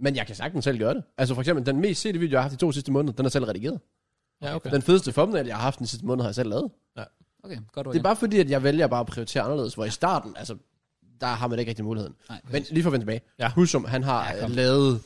Speaker 3: Men jeg kan sagtens selv gøre det. Altså for eksempel, den mest sete video, jeg har haft i to sidste måneder, den er selv redigeret.
Speaker 2: Ja, okay.
Speaker 3: Den fedeste thumbnail, jeg har haft den sidste måned, har jeg selv lavet.
Speaker 1: Okay, godt ord,
Speaker 3: Det er
Speaker 1: Jan.
Speaker 3: bare fordi, at jeg vælger bare at prioritere anderledes. Hvor i starten, altså, der har man ikke rigtig muligheden.
Speaker 1: Nej,
Speaker 3: Men lige for at vende tilbage.
Speaker 2: Ja.
Speaker 3: Husum, han har
Speaker 1: Ja,
Speaker 3: ja,
Speaker 1: kom.
Speaker 3: lavet...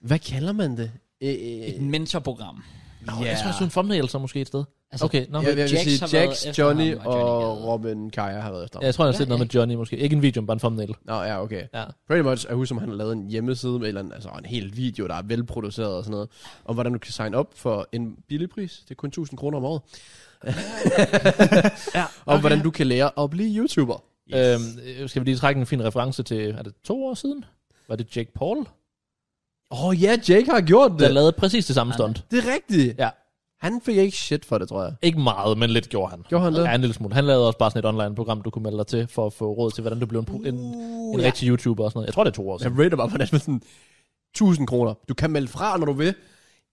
Speaker 3: Hvad kalder man det? Øh, øh, ja.
Speaker 1: Et mentorprogram.
Speaker 2: Nå, jeg tror, jeg så en thumbnail så måske et sted.
Speaker 1: Altså,
Speaker 2: okay, nå.
Speaker 3: Jeg, jeg vil
Speaker 1: Jax
Speaker 3: sige,
Speaker 1: har været
Speaker 3: Jax,
Speaker 1: efter
Speaker 3: Johnny
Speaker 1: ham, og
Speaker 3: og,
Speaker 1: Johnny Gade.
Speaker 3: Robin Kaja har været efter
Speaker 2: Ja,
Speaker 3: ham.
Speaker 2: jeg tror, jeg har
Speaker 1: Ja,
Speaker 2: set noget
Speaker 1: ja.
Speaker 2: med Johnny måske. Ikke en video, men bare en thumbnail.
Speaker 3: Nå, ja, okay.
Speaker 2: Ja.
Speaker 3: Pretty much er Husum, han har lavet en hjemmeside med en, eller anden, altså en hel video, der er velproduceret og sådan noget, om hvordan du kan signe op for en billig pris. Det er kun 1000 kroner om året.
Speaker 2: ja.
Speaker 3: Og okay. hvordan du kan lære at blive YouTuber.
Speaker 2: Øhm, øh, skal vi lige trække en fin reference til, er det to år siden? Var det Jake Paul,
Speaker 3: Åh oh, ja, Jake har gjort
Speaker 2: der
Speaker 3: det.
Speaker 2: lavede præcis det samme
Speaker 1: Han-
Speaker 2: stunt?
Speaker 3: Det er rigtigt.
Speaker 2: Ja.
Speaker 3: Han fik ikke shit for det, tror jeg.
Speaker 2: Ikke meget, men lidt gjorde han.
Speaker 3: Gjorde han det?
Speaker 2: Ja, en lille smule. Han lavede også bare sådan et online program, du kunne melde dig til, for at få råd til, hvordan du blev en, pro- en, en
Speaker 1: ja.
Speaker 2: rigtig YouTuber og sådan noget. Jeg tror, det er to år
Speaker 3: Uh, Altså, Jeg
Speaker 2: siden.
Speaker 3: rater bare, hvordan det er sådan 1000 kroner. Du kan melde fra, når du vil.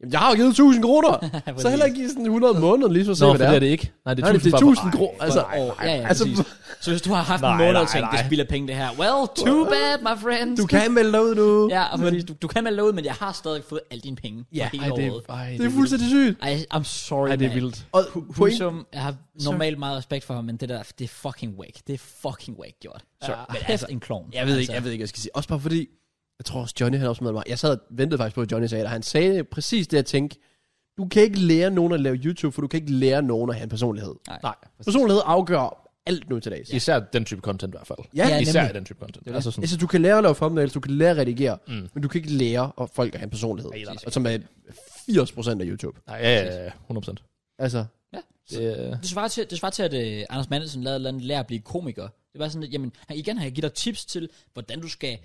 Speaker 3: Jamen, jeg har jo givet 1000 kroner. så heller ikke give sådan 100 om måneden, lige så se,
Speaker 2: Nå,
Speaker 3: hvad
Speaker 2: for
Speaker 3: det er.
Speaker 2: det ikke. Nej, det er
Speaker 3: Nej, det
Speaker 2: 1000 bare
Speaker 3: er
Speaker 2: for-
Speaker 3: 1000
Speaker 2: Ej,
Speaker 3: kroner. Altså,
Speaker 1: Åh, ja, ja,
Speaker 3: altså,
Speaker 1: altså, så hvis du har haft en
Speaker 2: Nej,
Speaker 1: måned og
Speaker 2: nej,
Speaker 1: tænkt, det
Speaker 2: nej.
Speaker 1: spilder penge det her. Well, too bad, my friends.
Speaker 3: du kan melde dig ud nu.
Speaker 1: Ja, og men, du, du kan melde ud, men jeg har stadig fået alle dine penge. for
Speaker 2: Ja,
Speaker 1: hele
Speaker 2: ej, det er,
Speaker 1: året.
Speaker 2: ej,
Speaker 3: Det er fuldstændig sygt.
Speaker 1: Ej, I'm sorry,
Speaker 2: Ej, det er
Speaker 1: man.
Speaker 2: vildt.
Speaker 3: Og point,
Speaker 1: Husum, jeg har normalt meget respekt for ham, men det der, det er fucking wake. Det er fucking wake gjort. Så, ja, men altså, en klovn.
Speaker 3: Jeg ved, ikke,
Speaker 1: altså,
Speaker 3: jeg ved ikke, hvad jeg skal sige. Også bare fordi, jeg tror også, Johnny han også med mig. Jeg sad og ventede faktisk på, at Johnny sagde det, og han sagde præcis det, jeg tænkte. Du kan ikke lære nogen at lave YouTube, for du kan ikke lære nogen at have en personlighed.
Speaker 1: Nej.
Speaker 2: Nej,
Speaker 3: Personlighed afgør alt nu til dags.
Speaker 2: især den type content i hvert fald.
Speaker 3: Ja,
Speaker 1: Ja,
Speaker 2: Især
Speaker 1: nemlig.
Speaker 2: den type content. Altså sådan,
Speaker 3: Altså, du kan lære at lave thumbnails, du kan lære at redigere, mm. men du kan ikke lære at folk at have en personlighed.
Speaker 2: nej, nej.
Speaker 3: Og som er 80% af YouTube.
Speaker 2: nej, ja, ja, ja, 100%.
Speaker 3: Altså,
Speaker 2: Det, øh,
Speaker 1: Det svarer til, det svarer til at uh, Anders Mandelsen lavede et eller andet lære at blive komiker. Det var sådan lidt, jamen, han- igen har jeg givet dig tips til, hvordan du skal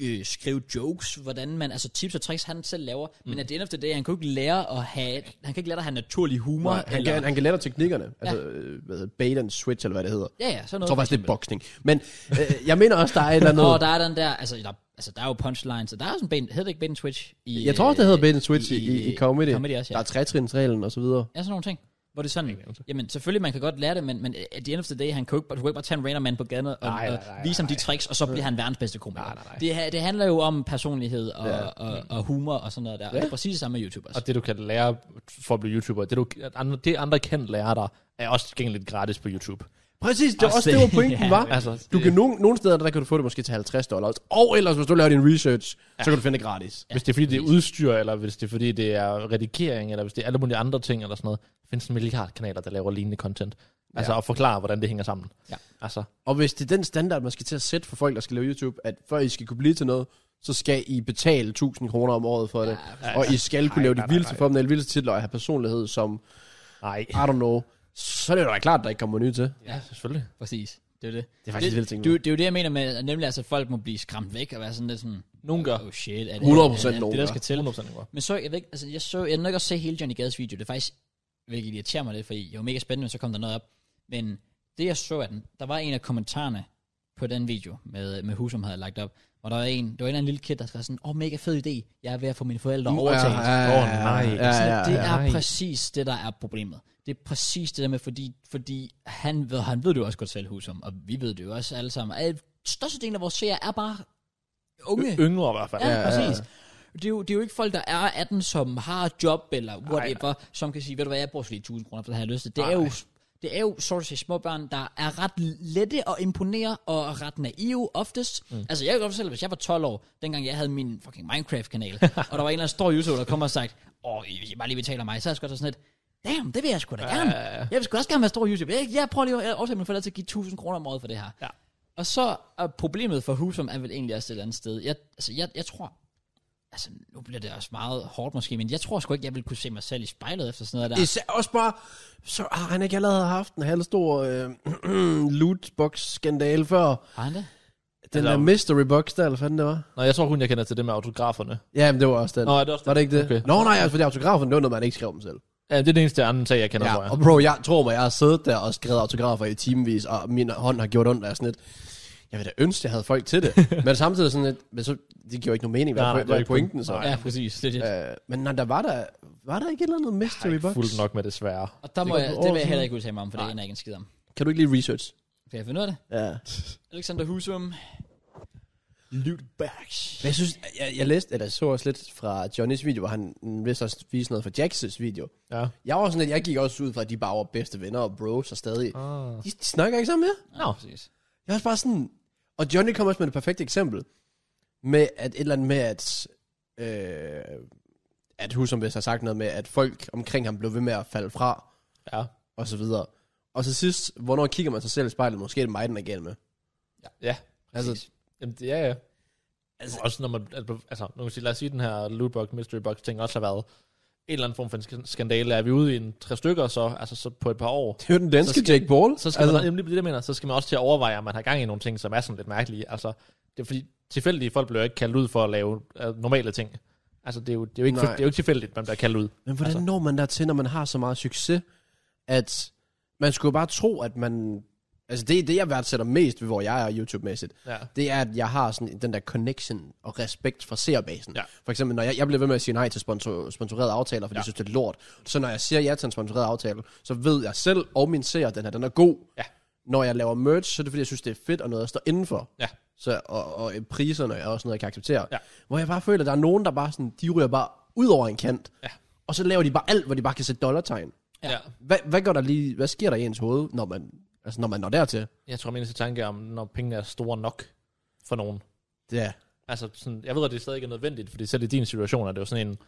Speaker 1: øh, skrive jokes, hvordan man, altså tips og tricks, han selv laver. Mm. Men at det ender efter det, han kan jo ikke lære at have, han kan ikke lære at have naturlig humor.
Speaker 3: nej, han,
Speaker 1: eller,
Speaker 3: kan, han kan lære dig teknikkerne. Altså, øh, hvad hedder det, bait and switch, eller hvad det hedder.
Speaker 1: ja, ja, sådan
Speaker 3: Jeg
Speaker 1: noget.
Speaker 3: tror faktisk, det er boksning. Men øh, jeg mener også, der er et eller andet...
Speaker 1: Nå, der er den der, altså der, altså, der er jo punchlines, og der er jo sådan, ben, hedder det ikke Ben Twitch? I,
Speaker 3: Jeg tror også, det
Speaker 1: øh,
Speaker 3: hedder bait and switch i, i, i comedy.
Speaker 1: comedy også, ja.
Speaker 3: Der er trætrinsreglen og så videre.
Speaker 1: Ja, sådan nogle ting. Hvor det er sådan,
Speaker 2: Ingen anelse.
Speaker 1: jamen selvfølgelig, man kan godt lære det, men, men at the end of the day, han kan jo ikke, du kan ikke bare tage en random man på gaden og,
Speaker 2: Nej, nej,
Speaker 1: og
Speaker 2: nej,
Speaker 1: vise ham de
Speaker 2: nej.
Speaker 1: tricks, og så bliver han verdens bedste komiker.
Speaker 2: Nej, nej, nej.
Speaker 1: Det, ha- det handler jo om personlighed og,
Speaker 2: Ja.
Speaker 1: og, og humor og sådan noget der, og det er præcis det samme med YouTubers.
Speaker 2: Og det, du kan lære for at blive YouTuber, det, du, at andre, det andre kan lære dig, er også tilgængeligt gratis på YouTube.
Speaker 3: Præcis, det er
Speaker 1: Også
Speaker 3: også det, hvor
Speaker 1: det.
Speaker 3: pointen
Speaker 1: Ja,
Speaker 3: var.
Speaker 2: altså,
Speaker 3: Altså, du
Speaker 2: det-
Speaker 3: kan nogen, nogen steder, der kan du få det måske til 50 dollars. Og ellers, hvis du laver din research, så kan du finde det gratis.
Speaker 2: Hvis det er fordi, det er udstyr, eller hvis det er fordi, det er redigering, eller hvis det er alle mulige andre ting, eller sådan noget. Der findes en milliard kanaler, der laver lignende content. Altså, og forklare, hvordan det hænger sammen.
Speaker 1: Ja.
Speaker 2: Altså,
Speaker 3: Og hvis det er den standard, man skal til at sætte for folk, der skal lave YouTube, at før I skal kunne blive til noget, så skal I betale 1000 kroner om året for det.
Speaker 2: ja,
Speaker 3: og I skal kunne
Speaker 2: Nej,
Speaker 3: lave
Speaker 2: nej,
Speaker 3: de
Speaker 2: nej,
Speaker 3: vildeste
Speaker 2: nej.
Speaker 3: formelle, vildeste titler og have personlighed som,
Speaker 2: nej.
Speaker 3: I don't know. Så er det jo da klart, at der ikke kommer nyt til.
Speaker 2: Ja, selvfølgelig.
Speaker 1: Præcis, det er det.
Speaker 3: Det er faktisk det, vildt ting.
Speaker 1: Det, er jo- det er jo det, jeg mener med, at nemlig altså, at folk må blive skræmt væk og være sådan lidt sådan,
Speaker 2: Nogen gør.
Speaker 1: oh shit, er det,
Speaker 3: 100%
Speaker 1: er det, er
Speaker 3: nogen
Speaker 1: det, der
Speaker 3: gør.
Speaker 1: skal til?
Speaker 2: 100% godt.
Speaker 1: Men så, jeg ved ikke, altså jeg så, jeg nåede ikke at se hele Johnny Gades video, det er faktisk, hvilket irriterer mig lidt, fordi jeg var mega spændende, men så kom der noget op. Men det jeg så af den, der var en af kommentarerne på den video, med, med Husum havde lagt op, hvor der var en, der var en eller anden lille kid, der skrev sådan, åh, oh, mega fed idé, jeg er ved at få mine forældre overtaget.
Speaker 2: Åh, nej.
Speaker 1: Ja, ja, det er
Speaker 2: nej.
Speaker 1: præcis det, der er problemet. Det er præcis det der med, fordi, fordi han, ved, han ved det jo også godt selv, Husum, og vi ved det jo også alle sammen. Al- Størstedelen af vores seere er bare unge.
Speaker 2: Yngre i hvert fald.
Speaker 1: Ja, ja,
Speaker 3: ja,
Speaker 1: præcis. Det er, jo, det er jo ikke folk, der er 18, som har job eller whatever, som kan sige, ved du hvad, jeg bruger lige 1000 kroner, for det har jeg lyst til. Det er jo, det er jo, så at sige, små børn, der er ret lette at imponere og ret naive oftest. Mm. Altså, jeg kan godt fortælle, hvis jeg var 12 år, dengang jeg havde min fucking Minecraft-kanal, og der var en eller anden stor YouTuber, der kom og sagde, åh, hvis I bare lige betaler mig, så er jeg sgu da sådan lidt, Damn, det vil jeg sgu da gerne. Jeg vil sgu også gerne være stor YouTube. Jeg, jeg prøver lige at overtage mine forældre til at give 1000 kroner om året for det her.
Speaker 2: Ja.
Speaker 1: Og så er problemet for Husum er vel egentlig også et eller andet sted. Jeg, altså, jeg, jeg tror, altså, nu bliver det også meget hårdt måske, men jeg tror sgu ikke, jeg ville kunne se mig selv i spejlet efter sådan noget der.
Speaker 3: Især også bare, så har han ikke allerede haft en halvstor øh, lootbox-skandale før.
Speaker 1: Har han det?
Speaker 3: Den
Speaker 2: Eller-
Speaker 3: der mystery box der, eller hvad fanden det var?
Speaker 2: Nå, jeg tror kun, jeg kender til det med autograferne.
Speaker 3: Ja, men det var også den.
Speaker 2: Nå, er det også
Speaker 3: var det ikke det?
Speaker 2: Okay.
Speaker 3: Okay. Nå, nej, altså, fordi autografen, det var noget, man ikke skrev dem selv.
Speaker 2: Ja, det er den eneste anden sag, jeg kender,
Speaker 3: Ja,
Speaker 2: ja, tror jeg.
Speaker 3: og bro, jeg tror mig, jeg har siddet der og skrevet autografer i timevis, og min hånd har gjort ondt, og jeg er sådan lidt, jeg vil da ønske, jeg havde folk til det. men samtidig sådan lidt, men så, det giver jo ikke nogen mening, hvad
Speaker 2: Nej, nej,
Speaker 3: er
Speaker 2: det er
Speaker 3: po-
Speaker 2: ikke
Speaker 3: pointen så.
Speaker 2: pointen.
Speaker 1: Ja, præcis. Det, er det.
Speaker 3: Øh, men nej, der var der, var der ikke et eller andet
Speaker 2: Jeg er
Speaker 3: mystery
Speaker 2: ikke
Speaker 3: box?
Speaker 2: fuldt nok med det svære.
Speaker 1: Og der må
Speaker 3: det
Speaker 1: jeg,
Speaker 3: går på
Speaker 1: det
Speaker 3: år
Speaker 1: vil jeg heller
Speaker 3: siden.
Speaker 1: ikke udtale mig om, for det ender jeg ikke en skid om.
Speaker 3: Kan du ikke lige research?
Speaker 1: Kan jeg finde ud af det?
Speaker 3: Ja.
Speaker 1: Alexander Husum. Lootbox.
Speaker 3: Men jeg synes, jeg, jeg læste, eller jeg så også lidt fra Johnnys video, hvor han mm, vist også viste noget fra Jax's video.
Speaker 2: Ja.
Speaker 3: Jeg var sådan lidt, jeg gik også ud fra, at de bare var bedste venner og bros og stadig.
Speaker 2: Ah.
Speaker 3: De, de snakker ikke sammen mere.
Speaker 1: Ja, præcis.
Speaker 3: Jeg er også bare sådan... Og Johnny kom også med det perfekte eksempel. Med at et eller andet med, at... Øh, at Husum vist har sagt noget med, at folk omkring ham blev ved med at falde fra,
Speaker 2: Ja.
Speaker 3: og så videre. Og så sidst, hvornår kigger man sig selv i spejlet? Måske er det mig, den er gal med.
Speaker 2: Ja.
Speaker 3: Altså,
Speaker 2: Jamen, det, ja, ja. Altså, også når man, altså, nu kan sige, lad os sige, den her lootbox, mystery box ting også har været en eller anden form for en sk- skandale. Er vi ude i en tre stykker så, altså så på et par år,
Speaker 3: det er jo den danske
Speaker 2: skal-
Speaker 3: Jake Paul.
Speaker 2: så skal altså, man, nemlig det, jeg mener, så skal man også til at overveje, om man har gang i nogle ting, som er sådan lidt mærkelige. Altså, det er fordi, tilfældige folk bliver jo ikke kaldt ud for at lave uh, normale ting. Altså, det er jo, det er jo, ikke, for,
Speaker 3: Nej.
Speaker 2: det er jo ikke tilfældigt, hvem der er kaldt ud.
Speaker 3: Men hvordan
Speaker 2: Altså-
Speaker 3: altså. når man dertil, når man har så meget succes, at man skulle jo bare tro, at man... Altså det, det jeg værdsætter mest ved, hvor jeg er YouTube-mæssigt,
Speaker 2: Ja.
Speaker 3: det er, at jeg har sådan den der connection og respekt for seerbasen.
Speaker 2: Ja.
Speaker 3: For eksempel, når jeg, jeg bliver ved med at sige nej til sponsor, sponsorerede aftaler, fordi
Speaker 2: Ja.
Speaker 3: ja. jeg synes, det er lort. Så når jeg siger ja til en sponsoreret aftale, så ved jeg selv og min seer, den her, den er god.
Speaker 2: Ja.
Speaker 3: Når jeg laver merch, så er det fordi, jeg synes, det er fedt og noget at stå indenfor.
Speaker 2: Ja.
Speaker 3: Så, og, og øh, priserne er også noget, jeg kan acceptere.
Speaker 2: Ja.
Speaker 3: Hvor jeg bare føler, at der er nogen, der bare sådan, de ryger bare ud over en kant. Ja. Og så laver de bare alt, hvor de bare kan sætte dollartegn.
Speaker 2: ja. ja.
Speaker 3: Hvad, hvad, gør der lige, hvad sker der i ens hoved, når man, altså, når man når dertil?
Speaker 2: Jeg tror, min eneste tanke er, om når pengene er store nok for nogen.
Speaker 3: Ja.
Speaker 2: Altså, sådan, jeg ved, at det stadig ikke er nødvendigt, fordi selv i din situation er det jo sådan en,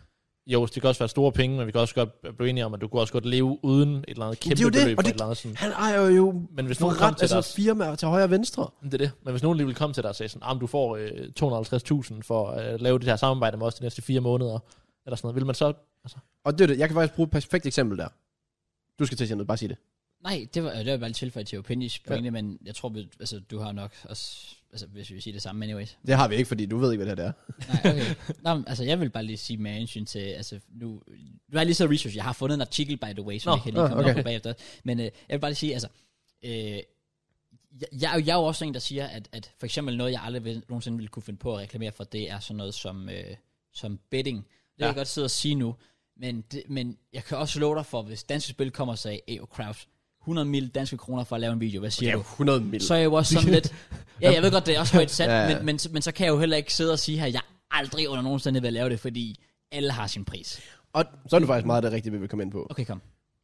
Speaker 2: jo, det kan også være store penge, men vi kan også godt blive enige om, at du kunne også godt leve uden et eller andet
Speaker 3: er
Speaker 2: kæmpe
Speaker 3: jo det,
Speaker 2: beløb. for
Speaker 3: og det-
Speaker 2: et eller andet, sådan.
Speaker 3: Han ejer jo
Speaker 2: Men hvis nogen
Speaker 3: for
Speaker 2: kom
Speaker 3: ret,
Speaker 2: til
Speaker 3: altså
Speaker 2: dig,
Speaker 3: firmaer til højre og venstre.
Speaker 2: det er det. Men hvis nogen lige vil komme til dig og sige sådan, ah, men du får øh, 250.000 for at lave det her samarbejde med os de næste fire måneder, eller sådan noget, vil man så... Altså,
Speaker 3: Og det er det. Jeg kan faktisk bruge et perfekt eksempel der. Du skal til at sige noget. Bare sig det.
Speaker 1: Nej, det var, det var bare lidt tilføjet til Opinis pointe, men jeg tror, vi, altså, du har nok også, altså, hvis vi vil sige det samme anyways.
Speaker 3: Det har vi ikke, fordi du ved ikke, hvad det her det er.
Speaker 1: Nej, okay. Nå, men, altså, jeg vil bare lige sige med hensyn til, altså, nu, du har lige så research, jeg har fundet en artikel, by the way, som
Speaker 2: Nå,
Speaker 1: jeg kan lige
Speaker 3: nå,
Speaker 1: komme okay. op
Speaker 3: okay.
Speaker 1: på bagefter. Men øh, jeg vil bare lige sige, altså, øh, jeg, jeg, er jo- jeg er jo også en, der siger, at, at for eksempel noget, jeg aldrig vil, nogensinde ville kunne finde på at reklamere for, det er sådan noget som, øh, som betting. Det kan
Speaker 2: Ja.
Speaker 1: jeg godt sidde og sige nu. Men, det, men jeg kan også love dig for, hvis danske spil kommer og sagde, Ej, Kraus, 100 mil danske kroner for at lave en video, hvad siger
Speaker 3: Ja,
Speaker 1: du?
Speaker 3: 100 mil.
Speaker 1: Så er jeg jo også sådan lidt, ja, jeg ved godt, det er også højt sat,
Speaker 3: Ja,
Speaker 1: ja,
Speaker 3: ja.
Speaker 1: ja. Men, men, men så kan jeg jo heller ikke sidde og sige her, jeg aldrig under nogen stande vil lave det, fordi alle har sin pris.
Speaker 3: Og så er det faktisk meget af det rigtige, vi vil komme ind på.
Speaker 1: Okay, kom.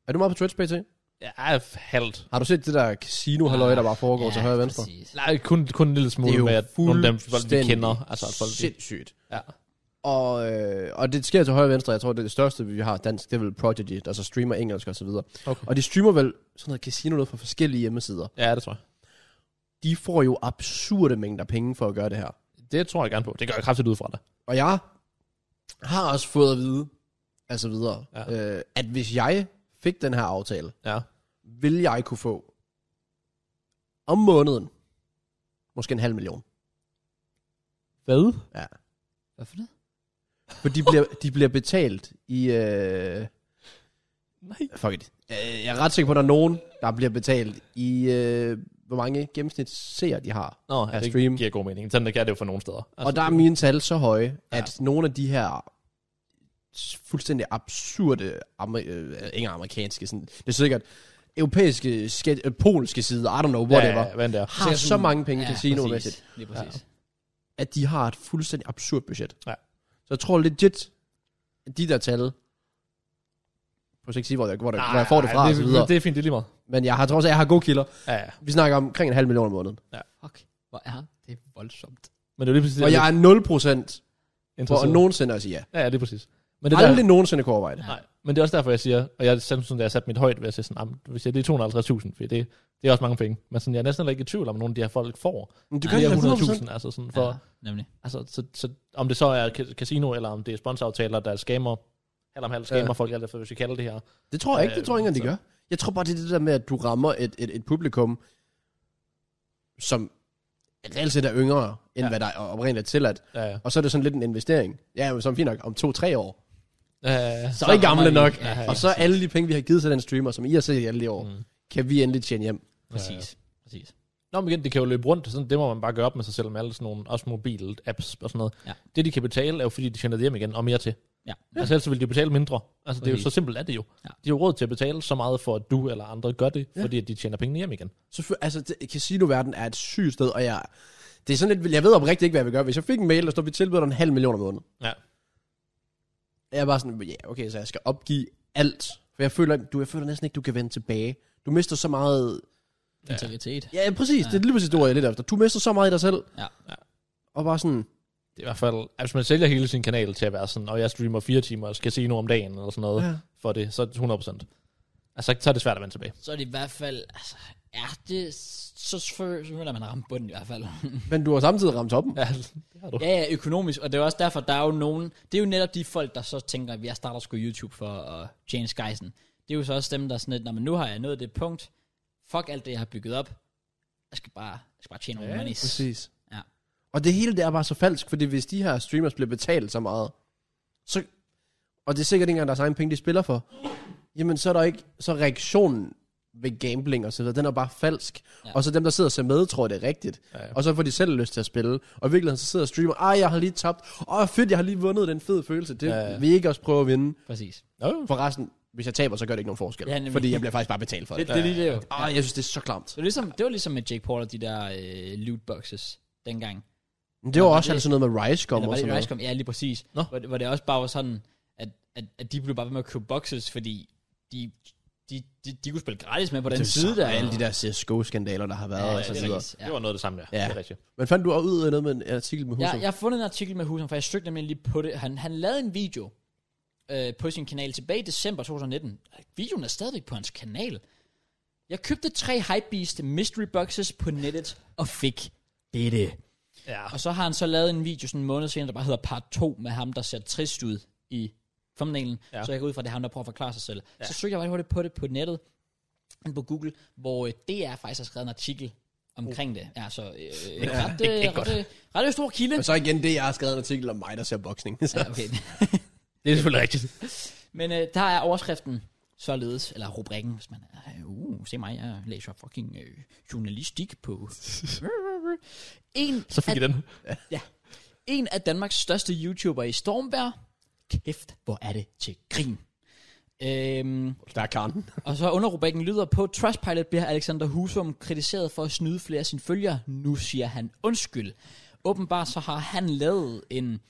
Speaker 3: Er du meget på Twitch, PT?
Speaker 2: Jeg er halvt.
Speaker 3: Har du set det der casino halløj der bare foregår ja, til højre og venstre?
Speaker 1: præcis.
Speaker 2: Nej, kun, kun en lille smule med, at nogle af dem, folk, vi kender. Altså, at folk, vi,
Speaker 3: sindssygt.
Speaker 2: ja.
Speaker 3: Og, øh, og det sker til højre og venstre. Jeg tror, det, er det største, vi har dansk, det er vel Prodigy, der så streamer engelsk og så videre.
Speaker 2: Okay.
Speaker 3: Og de streamer vel sådan noget casino noget fra forskellige hjemmesider.
Speaker 2: ja, det tror jeg.
Speaker 3: De får jo absurde mængder penge for at gøre det her.
Speaker 2: Det tror jeg gerne på. Det gør jeg kraftigt ud fra dig.
Speaker 3: Og jeg har også fået at vide, altså videre, ja. øh, at hvis jeg fik den her aftale,
Speaker 2: Ja.
Speaker 3: vil jeg kunne få om måneden måske en halv million.
Speaker 2: Hvad?
Speaker 3: Ja.
Speaker 1: Hvorfor det?
Speaker 3: For de bliver, de bliver betalt i... Øh,
Speaker 2: Nej.
Speaker 3: fuck it. Øh, Jeg er ret sikker på, at der er nogen, der bliver betalt i... Øh, hvor mange gennemsnitsseere de har.
Speaker 2: Nå, ja, det
Speaker 3: stream.
Speaker 2: stream. giver god mening. Sådan kan det jo for nogle steder.
Speaker 3: Altså, og der er mine tal så høje,
Speaker 2: Ja.
Speaker 3: at nogle af de her s- fuldstændig absurde, amer- øh, ikke amerikanske, sådan, det er sikkert europæiske, ske- øh, polske sider, I don't know,
Speaker 2: ja,
Speaker 3: whatever,
Speaker 2: ja, hvad end det er.
Speaker 3: har så mange penge ja,
Speaker 1: præcis.
Speaker 3: casino-mæssigt,
Speaker 1: Lige præcis.
Speaker 3: at de har et fuldstændig absurd budget.
Speaker 2: Ja.
Speaker 3: Så jeg tror legit, at de der tal, på ikke sige, hvor, jeg, hvor, der, hvor jeg får Ah, det fra,
Speaker 2: Ej,
Speaker 3: og
Speaker 2: det,
Speaker 3: så videre.
Speaker 2: det er fint, det er lige meget.
Speaker 3: men jeg har trods alt, jeg har gode kilder.
Speaker 2: Ja, ja.
Speaker 3: Vi snakker om omkring en halv million om måneden.
Speaker 1: Fuck, hvor er det voldsomt.
Speaker 2: Men det er jo lige præcis det,
Speaker 3: Og jeg er 0%
Speaker 2: er
Speaker 3: for
Speaker 2: interesseret.
Speaker 3: at nogensinde at sige ja.
Speaker 2: Ja, ja, det er præcis. Men det er
Speaker 3: Aldrig nogensinde kunne overveje det.
Speaker 2: der, nej. Men det er også derfor, jeg siger, og jeg selv sådan, da jeg satte mit højt ved at sige sådan, "Jamen, hvis jeg, det er 250.000, for det, det er også mange penge. Men sådan, jeg er næsten heller ikke i tvivl om, at nogle af de her folk får.
Speaker 3: Men du
Speaker 2: Det er
Speaker 3: da
Speaker 2: 100.000, altså sådan for,
Speaker 1: Ja, nemlig.
Speaker 2: Altså, så, så, om det så er ca- casino, eller om det er sponsoraftaler, der er scammer, halv om halv scammer
Speaker 3: Ja.
Speaker 2: ja. folk, alt efter, hvis vi kalder det her.
Speaker 3: Det tror jeg ikke, det
Speaker 2: Øh,
Speaker 3: tror jeg ikke, engang, de
Speaker 2: så-
Speaker 3: gør. Jeg tror bare, det er det der med, at du rammer et, et, et publikum, som reelt set er yngre, end ja.
Speaker 2: Ja.
Speaker 3: hvad der er oprindeligt tilladt.
Speaker 2: Ja, ja.
Speaker 3: Og så er det sådan lidt en investering. Ja, men som fint nok, om to-tre år.
Speaker 2: ja.
Speaker 3: Så er I gamle nok.
Speaker 1: Ja, ja,
Speaker 3: Og så alle de penge, vi har givet til den streamer, som I har set i alle de år,
Speaker 2: Mm.
Speaker 3: kan vi endelig tjene hjem.
Speaker 1: præcis. Præcis.
Speaker 2: Nå, men igen, det kan jo løbe rundt, sådan, det må man bare gøre op med sig selv med alle sådan nogle, også mobil-apps og sådan noget.
Speaker 1: Ja.
Speaker 2: Det, de kan betale, er jo fordi, de tjener det hjem igen og mere til.
Speaker 1: Ja.
Speaker 2: Altså, ellers så vil de betale mindre. Altså, det er jo
Speaker 1: Præcis.
Speaker 2: så simpelt er det jo.
Speaker 1: Ja.
Speaker 2: De har jo råd til at betale så meget for, at du eller andre gør det, fordi at de tjener pengene hjem igen.
Speaker 3: Så fyr- altså, det, casino-verden er et sygt sted, og jeg... Det er sådan lidt, jeg ved oprigtigt ikke, hvad jeg vil gøre. Hvis jeg fik en mail, der stod, vi tilbyder dig en halv million om måneden.
Speaker 2: Ja.
Speaker 3: Jeg er bare sådan, ja, okay, så jeg skal opgive alt. For jeg føler, du, jeg føler næsten ikke, du kan vende tilbage. Du mister så meget...
Speaker 1: Integritet.
Speaker 3: Ja, ja, præcis. Ja. Det er lige præcis det, ord, jeg er lidt efter. Du mister så meget i dig selv.
Speaker 1: Ja.
Speaker 2: Ja.
Speaker 3: Og bare sådan...
Speaker 2: Det er i hvert fald, altså, hvis man sælger hele sin kanal til at være sådan, og jeg streamer fire timer casino om dagen eller sådan noget,
Speaker 3: Ja.
Speaker 2: for det, så er det 100%. Altså, så er det svært at vende tilbage.
Speaker 1: Så er det i hvert fald, altså, er det, så føler så føler man at ramme bunden i hvert fald.
Speaker 3: Men du har samtidig ramt toppen.
Speaker 2: Ja, det har du.
Speaker 1: ja, ja, økonomisk, og det er også derfor, der er jo nogen, det er jo netop de folk, der så tænker, at jeg starter sgu YouTube for uh, James Geisen. Det er jo så også dem, der er sådan lidt, "Nå, men nu har jeg nået det punkt, fuck alt det, jeg har bygget op, jeg skal bare, jeg skal bare tjene nogle
Speaker 2: Ja,
Speaker 1: monies.
Speaker 3: Præcis.
Speaker 1: Ja.
Speaker 3: Og det hele, det er bare så falsk, fordi hvis de her streamers bliver betalt så meget, så... Og det er sikkert ikke engang deres egen penge, de spiller for. Jamen, så er der ikke... Så reaktionen ved gambling og så videre, den er bare falsk. Ja.
Speaker 1: Ja.
Speaker 3: Og så dem, der sidder og ser med, tror det er rigtigt.
Speaker 2: Ja, ja.
Speaker 3: Og så får de selv lyst til at spille. Og i virkeligheden, så sidder og streamer, ej, jeg har lige tabt. Åh, fedt, jeg har lige vundet den fede følelse. Det
Speaker 2: Ja,
Speaker 3: ja.
Speaker 2: ja.
Speaker 3: vil I ikke også prøve at vinde.
Speaker 1: Præcis.
Speaker 2: Nå,
Speaker 3: For resten, hvis jeg taber, så gør det ikke nogen forskel.
Speaker 1: Ja,
Speaker 3: Ja,
Speaker 1: nemlig.
Speaker 3: fordi jeg bliver faktisk bare betalt for det.
Speaker 1: Det, det er lige det jo.
Speaker 3: Ej, jeg synes, det er så klamt.
Speaker 1: Så det, er ligesom, det var ligesom med Jake Paul og de der øh, lootboxes dengang.
Speaker 3: Men det var
Speaker 1: Nå,
Speaker 3: også
Speaker 1: det-
Speaker 3: altså noget med Rice
Speaker 1: Eller
Speaker 3: Gum
Speaker 1: var
Speaker 3: og
Speaker 1: det i
Speaker 3: sådan noget.
Speaker 1: Ricecom? Ja, lige præcis.
Speaker 2: Nå.
Speaker 1: Hvor, hvor det også bare var sådan, at, at, at de blev bare ved med at købe boxes, fordi de, de, de, de kunne spille gratis med på den
Speaker 3: Det er
Speaker 1: side der.
Speaker 3: der alle de der CSGO-skandaler, der har været
Speaker 1: Ja,
Speaker 3: ja,
Speaker 1: ja,
Speaker 3: og så
Speaker 1: det er
Speaker 3: videre.
Speaker 1: rigtigt.
Speaker 2: det var noget af det samme der.
Speaker 3: Ja.
Speaker 2: Ja. Det er rigtigt.
Speaker 3: Men fandt du også ud af noget med en artikel med
Speaker 1: Jeg,
Speaker 3: Husum?
Speaker 1: jeg har fundet en artikel med Husum, for jeg søgte nemlig lige på det. Han, han lavede en video øh, på sin kanal tilbage i december 2019. Videoen er stadigvæk på hans kanal. Jeg købte tre Hypebeast mystery boxes på nettet og fik dette.
Speaker 2: Ja.
Speaker 1: Og så har han så lavet en video sådan en måned senere, der bare hedder part 2 med ham, der ser trist ud i thumbnailen. Ja.
Speaker 2: Ja.
Speaker 1: Så jeg går ud fra, at det er ham, der prøver at forklare sig selv. Ja. Så søgte jeg bare hurtigt på det på nettet, ind på Google, hvor øh, DR faktisk har skrevet en artikel omkring det. Ja, så øh, ikke, ret,
Speaker 2: ikke-
Speaker 1: øh,
Speaker 2: ikke
Speaker 1: ret, øh, ret, øh, stor kilde.
Speaker 3: Men så igen, det jeg har skrevet en artikel om mig, der ser boksning. Så.
Speaker 1: Ja, okay.
Speaker 2: Det er selvfølgelig rigtigt.
Speaker 1: Men øh, der er overskriften således, eller rubrikken, hvis man er, uh, se mig, jeg læser fucking øh, journalistik på. en,
Speaker 2: Så fik
Speaker 1: af,
Speaker 2: I den.
Speaker 1: en af Danmarks største YouTubere i Stormberg kæft, hvor er det til grin. Øhm,
Speaker 3: Der er Karen.
Speaker 1: og så underrubrikken lyder på, Trustpilot bliver Alexander Husum kritiseret for at snyde flere af sine følgere. Nu siger han undskyld. Åbenbart så har han lavet en...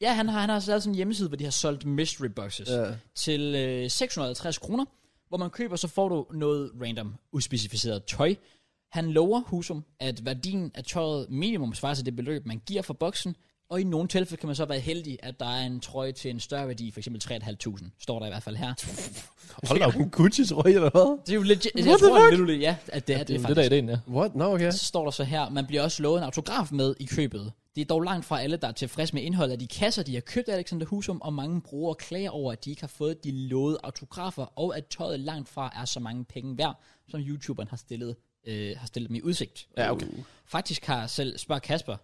Speaker 1: Ja, han har, han har lavet sådan en hjemmeside, hvor de har solgt mystery boxes
Speaker 3: Ja.
Speaker 1: til øh, 650 kroner, hvor man køber, så får du noget random, uspecificeret tøj. Han lover Husum, at værdien af tøjet minimum svarer til det beløb, man giver for boksen, og i nogle tilfælde kan man så være heldig, at der er en trøje til en større værdi, f.eks. 3.500, står der i hvert fald her.
Speaker 2: Hold da op.
Speaker 3: en Gucci, tror jeg, eller hvad?
Speaker 1: Det er jo legit, jeg
Speaker 3: What the
Speaker 1: tror
Speaker 3: fuck?
Speaker 1: literally, ja, at det er det,
Speaker 2: Det
Speaker 1: er
Speaker 2: er
Speaker 1: faktisk.
Speaker 2: det der er ideen, ja.
Speaker 3: What? Nå, no, okay.
Speaker 1: Så står der så her, man bliver også lovet en autograf med i købet. Det er dog langt fra alle, der er tilfredse med indholdet af de kasser, de har købt af Alexander Husum, og mange brugere klager over, at de ikke har fået de lovede autografer, og at tøjet langt fra er så mange penge værd, som YouTuberen har stillet, øh, har stillet dem i udsigt. Uh.
Speaker 2: Ja, okay.
Speaker 1: Faktisk har selv, spørg Kasper,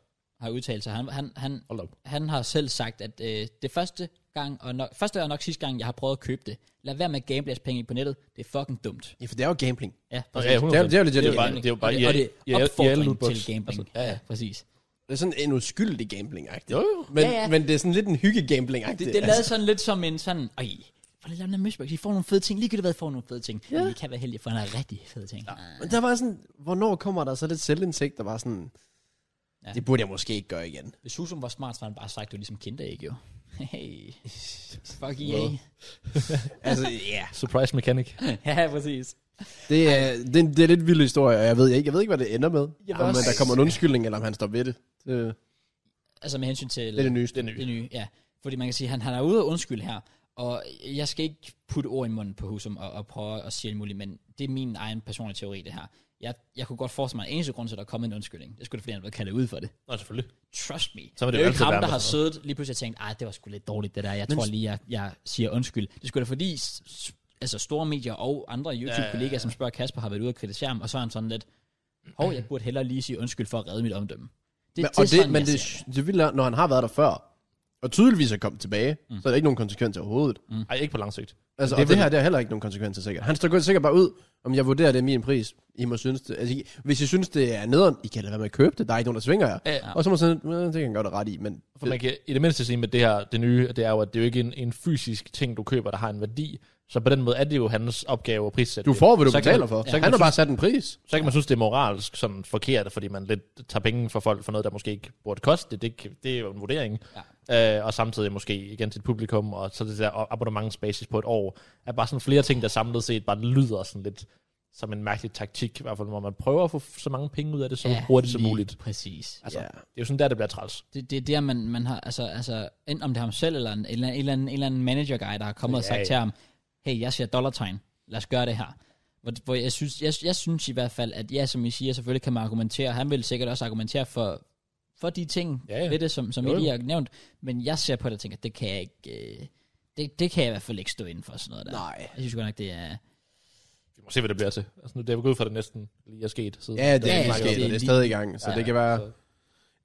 Speaker 1: har udtalt sig, han, han, han,
Speaker 2: Hold da op.
Speaker 1: han har selv sagt, at øh, det første gang, og nok, første og nok sidste gang, jeg har prøvet at købe det, lad være med at gamble jeres penge på nettet, det er fucking dumt.
Speaker 3: Ja, for det er jo gambling.
Speaker 1: Ja,
Speaker 2: Og
Speaker 1: præcis.
Speaker 2: Altså, ja, 100%.
Speaker 3: Det er jo- det er jo legit
Speaker 2: det er jo bare,
Speaker 1: gambling.
Speaker 2: det er jo bare,
Speaker 1: og det, og det
Speaker 2: ja, ja,
Speaker 1: opfordring
Speaker 2: lootbox.
Speaker 1: til gambling.
Speaker 2: Altså,
Speaker 1: ja, ja. præcis.
Speaker 3: Det er sådan en uskyldig gambling -agtig.
Speaker 2: Jo, jo.
Speaker 3: Men,
Speaker 1: Ja, ja.
Speaker 3: men det er sådan lidt en hygge-gambling
Speaker 1: Det,
Speaker 3: -agtig.
Speaker 1: det lavede
Speaker 2: altså-
Speaker 1: sådan lidt som en sådan, ej, for lige lavende møsbøk, I får nogle fede ting, ligegyldigt hvad, I får nogle fede ting. Ja. Men I kan være heldige for en rigtig fede ting. Ja.
Speaker 3: Men Altså. der var sådan, hvornår kommer der så lidt selvindsigt, der var sådan,
Speaker 1: Ja.
Speaker 3: ja. det burde jeg måske ikke gøre igen.
Speaker 1: Hvis Susum var smart, så havde han bare sagt, det var ligesom kinderæg, jo. Hey, fuck EA.
Speaker 3: Altså, ja.
Speaker 2: Surprise mechanic.
Speaker 1: ja, præcis.
Speaker 3: Det er, det, er- det er lidt vild historie, og jeg ved, jeg, jeg ved ikke, hvad det ender med.
Speaker 1: Jeg
Speaker 3: Om
Speaker 1: vil også-
Speaker 3: der kommer en undskyldning, eller om han står ved det. Det,
Speaker 1: Altså med hensyn til
Speaker 3: det er det nyeste.
Speaker 2: Det er
Speaker 1: det nye, ja. Fordi man kan sige, han, han er ude og undskyld her, og jeg skal ikke putte ord i munden på Husum og, og prøve at sige alt muligt, men det er min egen personlige teori, det her. Jeg, jeg kunne godt forestille mig en eneste grund til, at der er kommet en undskyldning. Det skulle da, fordi han var kaldet ud for det.
Speaker 2: Nå, selvfølgelig.
Speaker 1: Trust me.
Speaker 2: Så
Speaker 1: det er
Speaker 2: vil det jo
Speaker 1: jo ikke
Speaker 2: altid
Speaker 1: ham,
Speaker 2: være
Speaker 1: der
Speaker 2: med
Speaker 1: har
Speaker 2: sådan
Speaker 1: siddet lige pludselig og tænkt, ej, det var sgu lidt dårligt det der, jeg tror lige, jeg, jeg siger undskyld. Det skulle da fordi, s- s- altså store medier og andre YouTube-kollegaer, ja, ja, ja. som spørger Kasper, har været ude og kritisere ham, og så er han sådan lidt, hov, jeg burde hellere lige sige undskyld for at redde mit omdømme. Det,
Speaker 3: Men, og det,
Speaker 1: sådan,
Speaker 3: men
Speaker 1: jeg
Speaker 3: det,
Speaker 1: ser
Speaker 3: det, det vildt er, når han har været der før, og tydeligvis er kommet tilbage, mm. så er der ikke nogen konsekvenser overhovedet. Mm.
Speaker 2: Ej, ikke på lang sigt.
Speaker 3: Altså,
Speaker 2: det
Speaker 3: det, og det
Speaker 2: vil-
Speaker 3: her, det har heller ikke nogen konsekvenser sikkert. Han står godt sikkert bare ud, om jeg vurderer, det er min pris. I må synes det. Altså, I, hvis I synes, det er nederen, I kan lade være med at købe det. Der er ikke nogen, der svinger jer.
Speaker 2: Ja.
Speaker 3: Og så må sådan, "Øh, det kan jeg godt have ret i, men...
Speaker 2: For man kan i det mindste sige med det her, det nye, det er jo, at det er jo ikke en, en fysisk ting, du køber, der har en værdi. Så på den måde er det jo hans opgave at prissætte
Speaker 3: Du
Speaker 2: det.
Speaker 3: får, hvad du
Speaker 2: så kan
Speaker 3: betaler
Speaker 2: man-
Speaker 3: for.
Speaker 2: så kan
Speaker 3: Han har
Speaker 2: man
Speaker 3: bare sat en pris.
Speaker 2: Så kan man synes, det er moralsk sådan forkert, fordi man lidt tager penge fra folk for noget, der måske ikke burde koste det. Det, kan- det er jo en vurdering. Ja. Øh, og samtidig måske igen til et publikum, og så det der abonnementsbasis på et år, er bare sådan flere ting, der samlet set bare lyder sådan lidt som en mærkelig taktik, i hvert fald, hvor man prøver at få f- så mange penge ud af det, så ja, hurtigt som
Speaker 1: lige
Speaker 2: muligt.
Speaker 1: Præcis.
Speaker 2: Altså,
Speaker 3: Ja.
Speaker 2: yeah. Det er jo sådan der, det bliver træls.
Speaker 1: Det, det er der, man, man har, altså, altså, enten om det er ham selv, eller en, en, eller, anden- en, eller, anden, en eller anden manager guy, der har kommet ja, og
Speaker 2: Ja,
Speaker 1: sagt
Speaker 2: ja.
Speaker 1: ja. til ham, hey, jeg ser dollartegn, lad os gøre det her. Hvor, hvor jeg, synes, jeg, jeg synes i hvert fald, at ja, som I siger, selvfølgelig kan man argumentere, han vil sikkert også argumentere for, for de ting
Speaker 2: Ja,
Speaker 1: ja,
Speaker 2: ja.
Speaker 1: ja. ved det, som, som
Speaker 2: Jo,
Speaker 1: I lige
Speaker 2: jo.
Speaker 1: har nævnt, men jeg ser på det og tænker, det kan jeg ikke, øh, det, det kan jeg i hvert fald ikke stå inden for sådan noget der.
Speaker 3: Nej.
Speaker 1: Jeg synes godt nok, det er...
Speaker 2: Vi må se, hvad det bliver til. Altså, nu, det er jo gået ud fra, at det næsten lige er sket. Siden
Speaker 3: Ja, det
Speaker 1: Ja,
Speaker 3: er
Speaker 1: ja,
Speaker 3: ikke
Speaker 1: det er
Speaker 3: sket, og det er
Speaker 1: lige-
Speaker 3: stadig i gang, så
Speaker 2: Ja,
Speaker 3: det kan være...
Speaker 2: så-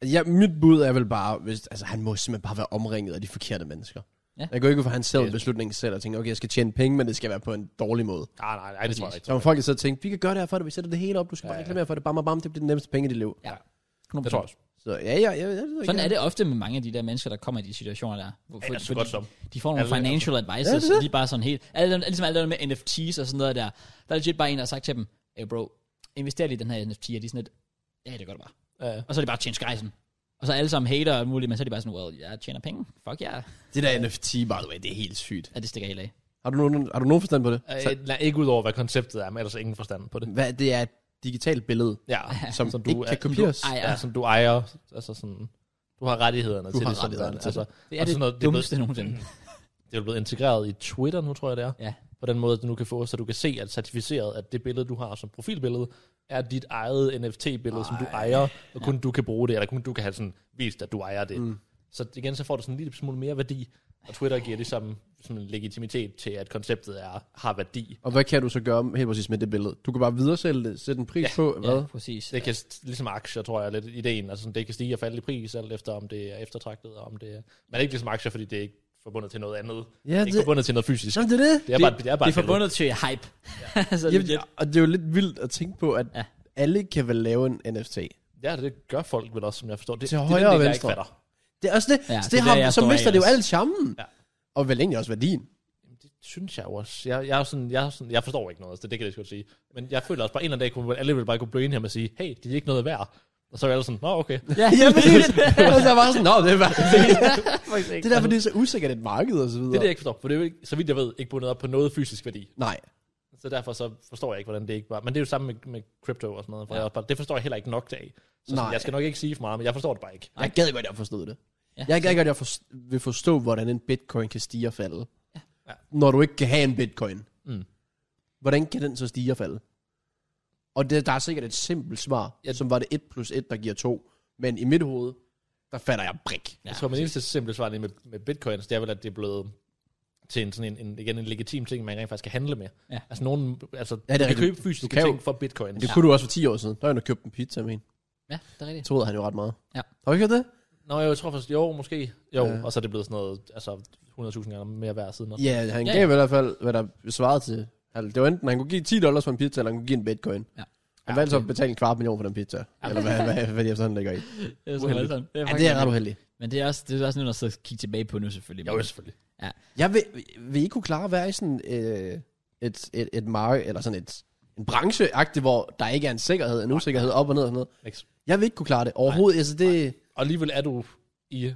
Speaker 3: Altså, Ja, mit bud er vel bare, hvis, altså han må simpelthen bare være omringet af de forkerte mennesker.
Speaker 1: Ja.
Speaker 3: Ja. Jeg går ikke ud for, at han selv
Speaker 2: Ja.
Speaker 3: en beslutning selv og tænker, okay, jeg skal tjene penge, men det skal være på en dårlig måde.
Speaker 2: Nej, nej, nej, det tror jeg ikke.
Speaker 3: Så må folk sidde og tænke, vi kan gøre det her for dig, vi sætter det hele op, du skal
Speaker 2: Ja,
Speaker 3: bare
Speaker 2: ja.
Speaker 3: reklamere for det, bam, bam, bam, det bliver den nemmeste penge i dit liv.
Speaker 1: Ja.
Speaker 2: Det tror jeg også.
Speaker 3: Så ja, ja, jeg, jeg, jeg
Speaker 1: Sådan er det ofte med mange af de der mennesker, der kommer i de situationer der. Hvor,
Speaker 2: Ja, så godt som.
Speaker 1: de får nogle
Speaker 2: Alle-
Speaker 1: financial advisors,
Speaker 3: Ja,
Speaker 1: ja,
Speaker 3: det er
Speaker 1: det.
Speaker 3: det.
Speaker 1: de er bare sådan helt... Alle, dem- ligesom alle dem med NFTs og sådan noget der. Der er legit bare en, der har sagt til dem, hey bro, invester lige i den her NFT, og de er sådan lidt, ja, det gør det bare.
Speaker 2: Ja.
Speaker 1: Og så er det bare tjent skejsen. Og så er alle sammen hater og alt muligt, men så er de bare sådan, well, jeg tjener penge. Fuck ja. Yeah.
Speaker 3: Det der NFT, by the way, det er helt sygt.
Speaker 1: Ja, det stikker helt af.
Speaker 3: Har du nogen, har du nogen forstand på det?
Speaker 2: Øh,
Speaker 3: Så,
Speaker 2: nej, ikke ud over, hvad konceptet er, men ellers ingen forstand på det.
Speaker 3: hvad, det er et digitalt billede,
Speaker 2: Ja,
Speaker 3: som, som
Speaker 2: som
Speaker 3: du ikke kan
Speaker 2: er-
Speaker 3: kopieres.
Speaker 1: Ej, ah.
Speaker 2: Ja,
Speaker 1: ja.
Speaker 2: som du ejer. Altså sådan, du har rettighederne
Speaker 3: Du
Speaker 2: til
Speaker 3: har
Speaker 2: det. som
Speaker 3: rettighederne
Speaker 2: der-
Speaker 3: til
Speaker 2: altså,
Speaker 1: Det er
Speaker 2: og sådan
Speaker 1: det
Speaker 2: noget, det er Mm.
Speaker 1: dummeste nogensinde.
Speaker 2: Det er jo blevet integreret i Twitter nu, tror jeg det er.
Speaker 1: Ja.
Speaker 2: På den måde, du nu kan få, så du kan se, at certificeret, at det billede, du har som profilbillede, er dit eget NFT-billede, som du ejer, og kun du kan bruge det, eller kun du kan have sådan vist, at du ejer det. Mm. Så igen, så får du sådan en lille smule mere værdi, og Twitter giver ligesom sådan en legitimitet til, at konceptet er, har værdi.
Speaker 3: Og hvad kan du så gøre helt præcis med det billede? Du kan bare videresælge det, sætte en pris ja. på, hvad?
Speaker 1: Ja, præcis.
Speaker 2: Det kan, ligesom aktier, tror jeg, lidt ideen. Altså, sådan, det kan stige og falde i pris, alt efter om det er eftertragtet, og om det er... Men ikke ligesom aktier, fordi det er ikke forbundet til noget andet. Ja, det er ikke
Speaker 3: det-
Speaker 2: forbundet til noget fysisk.
Speaker 3: Nå, det er det.
Speaker 2: Det er bare, det er bare
Speaker 1: det er forbundet til hype. Ja. så
Speaker 3: Jamen,
Speaker 1: legit.
Speaker 3: og det er jo lidt vildt at tænke på, at
Speaker 1: Ja.
Speaker 3: ja. alle kan vel lave en NFT.
Speaker 2: Ja, det gør folk vel også, som jeg forstår. Det,
Speaker 3: Til
Speaker 2: det er
Speaker 3: højre
Speaker 2: den
Speaker 3: og
Speaker 2: del, jeg
Speaker 3: venstre.
Speaker 2: ikke fatter.
Speaker 3: Det er også det.
Speaker 1: Ja,
Speaker 3: Ja, så, det
Speaker 1: det er
Speaker 3: har,
Speaker 1: der, jeg
Speaker 3: så
Speaker 1: står af
Speaker 3: mister det jo
Speaker 1: også.
Speaker 3: alt charmen.
Speaker 2: Ja.
Speaker 3: Ja. Og vel egentlig også værdien.
Speaker 2: synes jeg jo også. Jeg, jeg, er jo sådan, jeg, er sådan, jeg forstår ikke noget, altså, det, det kan jeg godt sige. Men jeg føler også bare, en eller anden dag kunne alle ville bare kunne blive enige om at sige, hey, de er ikke noget værd. Og så er alle sådan, nå okay.
Speaker 1: Ja,
Speaker 3: Ja, præcis. Og så er jeg bare sådan, nå, det er bare...
Speaker 2: det,
Speaker 3: Det er derfor, det er så usikkert et marked og så videre.
Speaker 2: det er det, jeg ikke forstår, for det er jo ikke, så vidt jeg ved, ikke bundet op på noget fysisk værdi.
Speaker 3: Nej.
Speaker 2: Så derfor så forstår jeg ikke, hvordan det ikke var. Men det er jo samme med, med crypto og sådan noget. For
Speaker 1: Ja.
Speaker 2: ja. jeg, også bare- det forstår jeg heller ikke nok af. Så
Speaker 3: Nej.
Speaker 2: sådan, jeg skal nok ikke sige for meget, men jeg forstår det bare ikke.
Speaker 3: Jeg gad godt, jeg forstod det.
Speaker 1: Ja.
Speaker 3: Ja. Jeg gad godt, jeg forst- vil forstå, hvordan en bitcoin kan stige og falde.
Speaker 2: Ja.
Speaker 3: Ja. Når du ikke kan have en bitcoin.
Speaker 2: Mm.
Speaker 3: Hvordan kan den så stige og falde? Og det, der er sikkert et simpelt svar,
Speaker 2: Ja.
Speaker 3: ja. som var det 1 plus 1, der giver 2. Men i mit hoved, der fatter jeg brik.
Speaker 2: Ja, jeg tror, min eneste simple svar lige med, med bitcoins, det er vel, at det er blevet til en, sådan en, en, igen, en legitim ting, man rent faktisk kan handle med.
Speaker 1: Ja.
Speaker 2: Altså, nogen, altså,
Speaker 3: er
Speaker 2: ja, det er du kan
Speaker 3: rigtigt.
Speaker 2: købe fysiske
Speaker 3: Du kan jo-
Speaker 2: ting for bitcoins.
Speaker 3: Det kunne du også for 10 år siden. Der var jo købt en pizza med en.
Speaker 1: Ja, det er rigtigt.
Speaker 3: Det troede han jo ret meget.
Speaker 1: Ja.
Speaker 3: Har du ikke hørt det?
Speaker 2: Nå, jeg tror faktisk, jo, måske. Jo,
Speaker 3: Ja.
Speaker 2: og så er det blevet sådan noget, altså 100.000 gange mere værd siden. også.
Speaker 3: Ja, han
Speaker 1: Ja,
Speaker 3: gav i hvert fald, hvad der svarede til. Altså, det var enten, han kunne give 10 dollars for en pizza, eller han kunne give en bitcoin.
Speaker 1: Ja.
Speaker 3: Han
Speaker 2: Ja,
Speaker 3: valgte så
Speaker 2: okay.
Speaker 3: at betale en kvart million for den pizza. Eller hvad, hvad, hvad de efterhånden ligger i.
Speaker 1: Det er, så
Speaker 2: Uheldigt.
Speaker 1: voldsomt. det er,
Speaker 3: Ja,
Speaker 1: faktisk-
Speaker 3: det er ret uheldigt.
Speaker 1: Men det er også, det er også noget, der sidder og kigger tilbage på nu, selvfølgelig.
Speaker 2: Jo, selvfølgelig.
Speaker 3: Jeg vil, vil I kunne klare at være i sådan øh, et, et, et marked, eller sådan et, en brancheagtig, hvor der ikke er en sikkerhed, en usikkerhed op og ned og sådan noget.
Speaker 2: Niks.
Speaker 3: Jeg vil ikke kunne klare det overhovedet. altså det,
Speaker 2: Og alligevel er du i,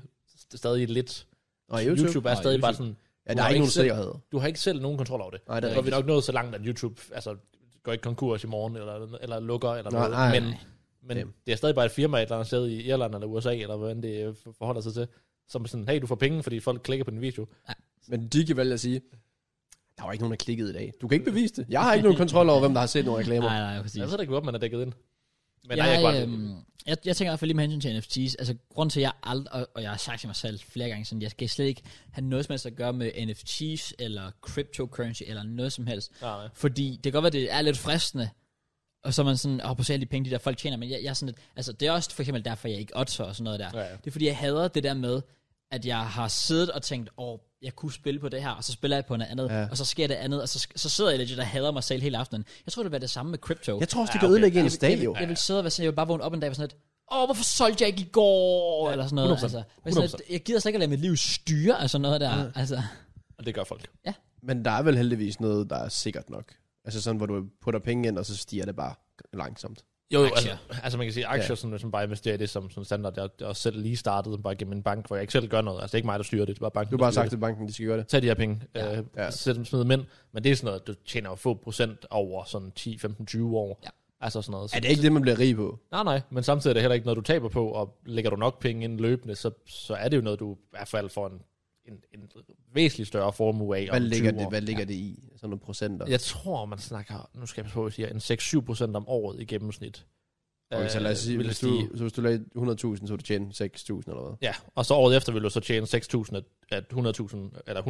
Speaker 2: stadig lidt.
Speaker 3: og YouTube,
Speaker 2: YouTube er
Speaker 1: Og
Speaker 2: stadig
Speaker 1: YouTube.
Speaker 2: bare sådan,
Speaker 3: ja,
Speaker 2: du
Speaker 3: der er
Speaker 2: har
Speaker 3: ikke nogen
Speaker 2: selv-
Speaker 3: sikkerhed.
Speaker 2: du har ikke selv nogen kontrol over det.
Speaker 3: Nej, det er
Speaker 2: Så er vi
Speaker 3: rigtigt.
Speaker 2: nok nået så langt, at YouTube altså, går ikke konkurs i morgen, eller, eller lukker, eller
Speaker 3: Nej,
Speaker 2: noget.
Speaker 3: nej,
Speaker 2: men
Speaker 1: nej.
Speaker 2: men
Speaker 3: Damn.
Speaker 2: det er stadig bare et firma et eller andet sted i Irland eller USA, eller hvordan det øh, forholder sig til, som er sådan, hey, du får penge, fordi folk klikker på din video.
Speaker 3: Men de kan vælge at sige, der var ikke nogen, der klikkede i dag. Du kan ikke bevise det. Jeg har ikke nogen kontrol over, hvem der har set nogle reklamer.
Speaker 1: Nej, nej, præcis.
Speaker 2: Jeg ved da ikke, hvor man er dækket ind. Men nej, jeg,
Speaker 1: jeg,
Speaker 2: jeg,
Speaker 1: øhm, jeg, jeg tænker i hvert fald lige med hensyn til NFTs, altså grund til, at jeg aldrig, og, og jeg har sagt til mig selv flere gange, sådan, jeg skal slet ikke have noget som helst at gøre med NFTs, eller cryptocurrency, eller noget som helst.
Speaker 2: nej, nej.
Speaker 1: Fordi det kan godt være, det er lidt fristende, og så er man sådan, åh, oh, på alle de penge, de der folk tjener, men jeg, jeg er sådan lidt, altså det er også for eksempel derfor, jeg ikke otter og sådan noget der.
Speaker 2: Ja, ja.
Speaker 1: Det er fordi, jeg hader det der med, at jeg har siddet og tænkt, åh, oh, jeg kunne spille på det her, og så spiller jeg på noget andet, ja.
Speaker 3: Ja.
Speaker 1: og så sker det andet, og så, sk- så sidder jeg legit og hader mig selv hele aftenen. Jeg tror, det var det samme med crypto.
Speaker 3: Jeg tror også, det
Speaker 2: Ja,
Speaker 3: kan
Speaker 2: okay.
Speaker 3: ødelægge
Speaker 1: Jeg
Speaker 3: ens
Speaker 1: vil-
Speaker 3: dag,
Speaker 1: jeg, vil-
Speaker 3: jo.
Speaker 1: Jeg vil sidde og være sådan, jeg vil bare vågne op en dag og sådan lidt, åh, hvorfor solgte jeg ikke i går? Ja, eller sådan noget.
Speaker 2: 100%.
Speaker 1: Altså, Men sådan lidt, jeg gider slet ikke at lade mit liv styre af sådan noget der. Ja. Altså,
Speaker 2: Og det gør folk.
Speaker 3: Men der er vel heldigvis noget, der er sikkert nok. Altså sådan, hvor du putter penge ind, og så stiger det bare langsomt.
Speaker 2: Jo, jo,
Speaker 1: Aktier.
Speaker 2: altså, altså, man kan sige, aktier,
Speaker 3: Ja.
Speaker 2: ja. som, som bare investerer i det som, som standard. Jeg, jeg er også selv lige startet som bare gennem en bank, hvor jeg ikke selv gør noget. Altså, det er ikke mig, der styrer det. Det er bare banken,
Speaker 3: Du har
Speaker 2: der
Speaker 3: bare
Speaker 2: styrer
Speaker 3: sagt til banken, de skal gøre det.
Speaker 2: det. Tag de her penge, ja. øh,
Speaker 3: Ja.
Speaker 2: ja. sæt dem smid dem ind. Men det er sådan noget, du tjener jo få procent over sådan 10, 15, 20 år.
Speaker 1: Ja.
Speaker 2: Altså sådan noget. Så,
Speaker 3: Er det ikke det, man bliver rig på?
Speaker 2: Nej, nej, men samtidig er det heller ikke noget, du taber på, og lægger du nok penge ind løbende, så, så er det jo noget, du i hvert fald får en, en, en væsentlig større formue af
Speaker 3: Hvad
Speaker 2: om
Speaker 3: ligger,
Speaker 2: 20
Speaker 3: det,
Speaker 2: år.
Speaker 3: hvad ligger det i? Altså Sådan nogle procenter?
Speaker 2: Jeg tror, man snakker, nu skal jeg passe på, at jeg siger, en 6-7 procent om året i gennemsnit.
Speaker 3: Okay, så lad os sige,
Speaker 2: Øh, vil
Speaker 3: hvis
Speaker 2: stige.
Speaker 3: du, så hvis du lagde 100.000, så ville du tjene 6.000 eller hvad?
Speaker 2: Ja, og så året efter vil du så tjene 6.000, at- at 100.000, eller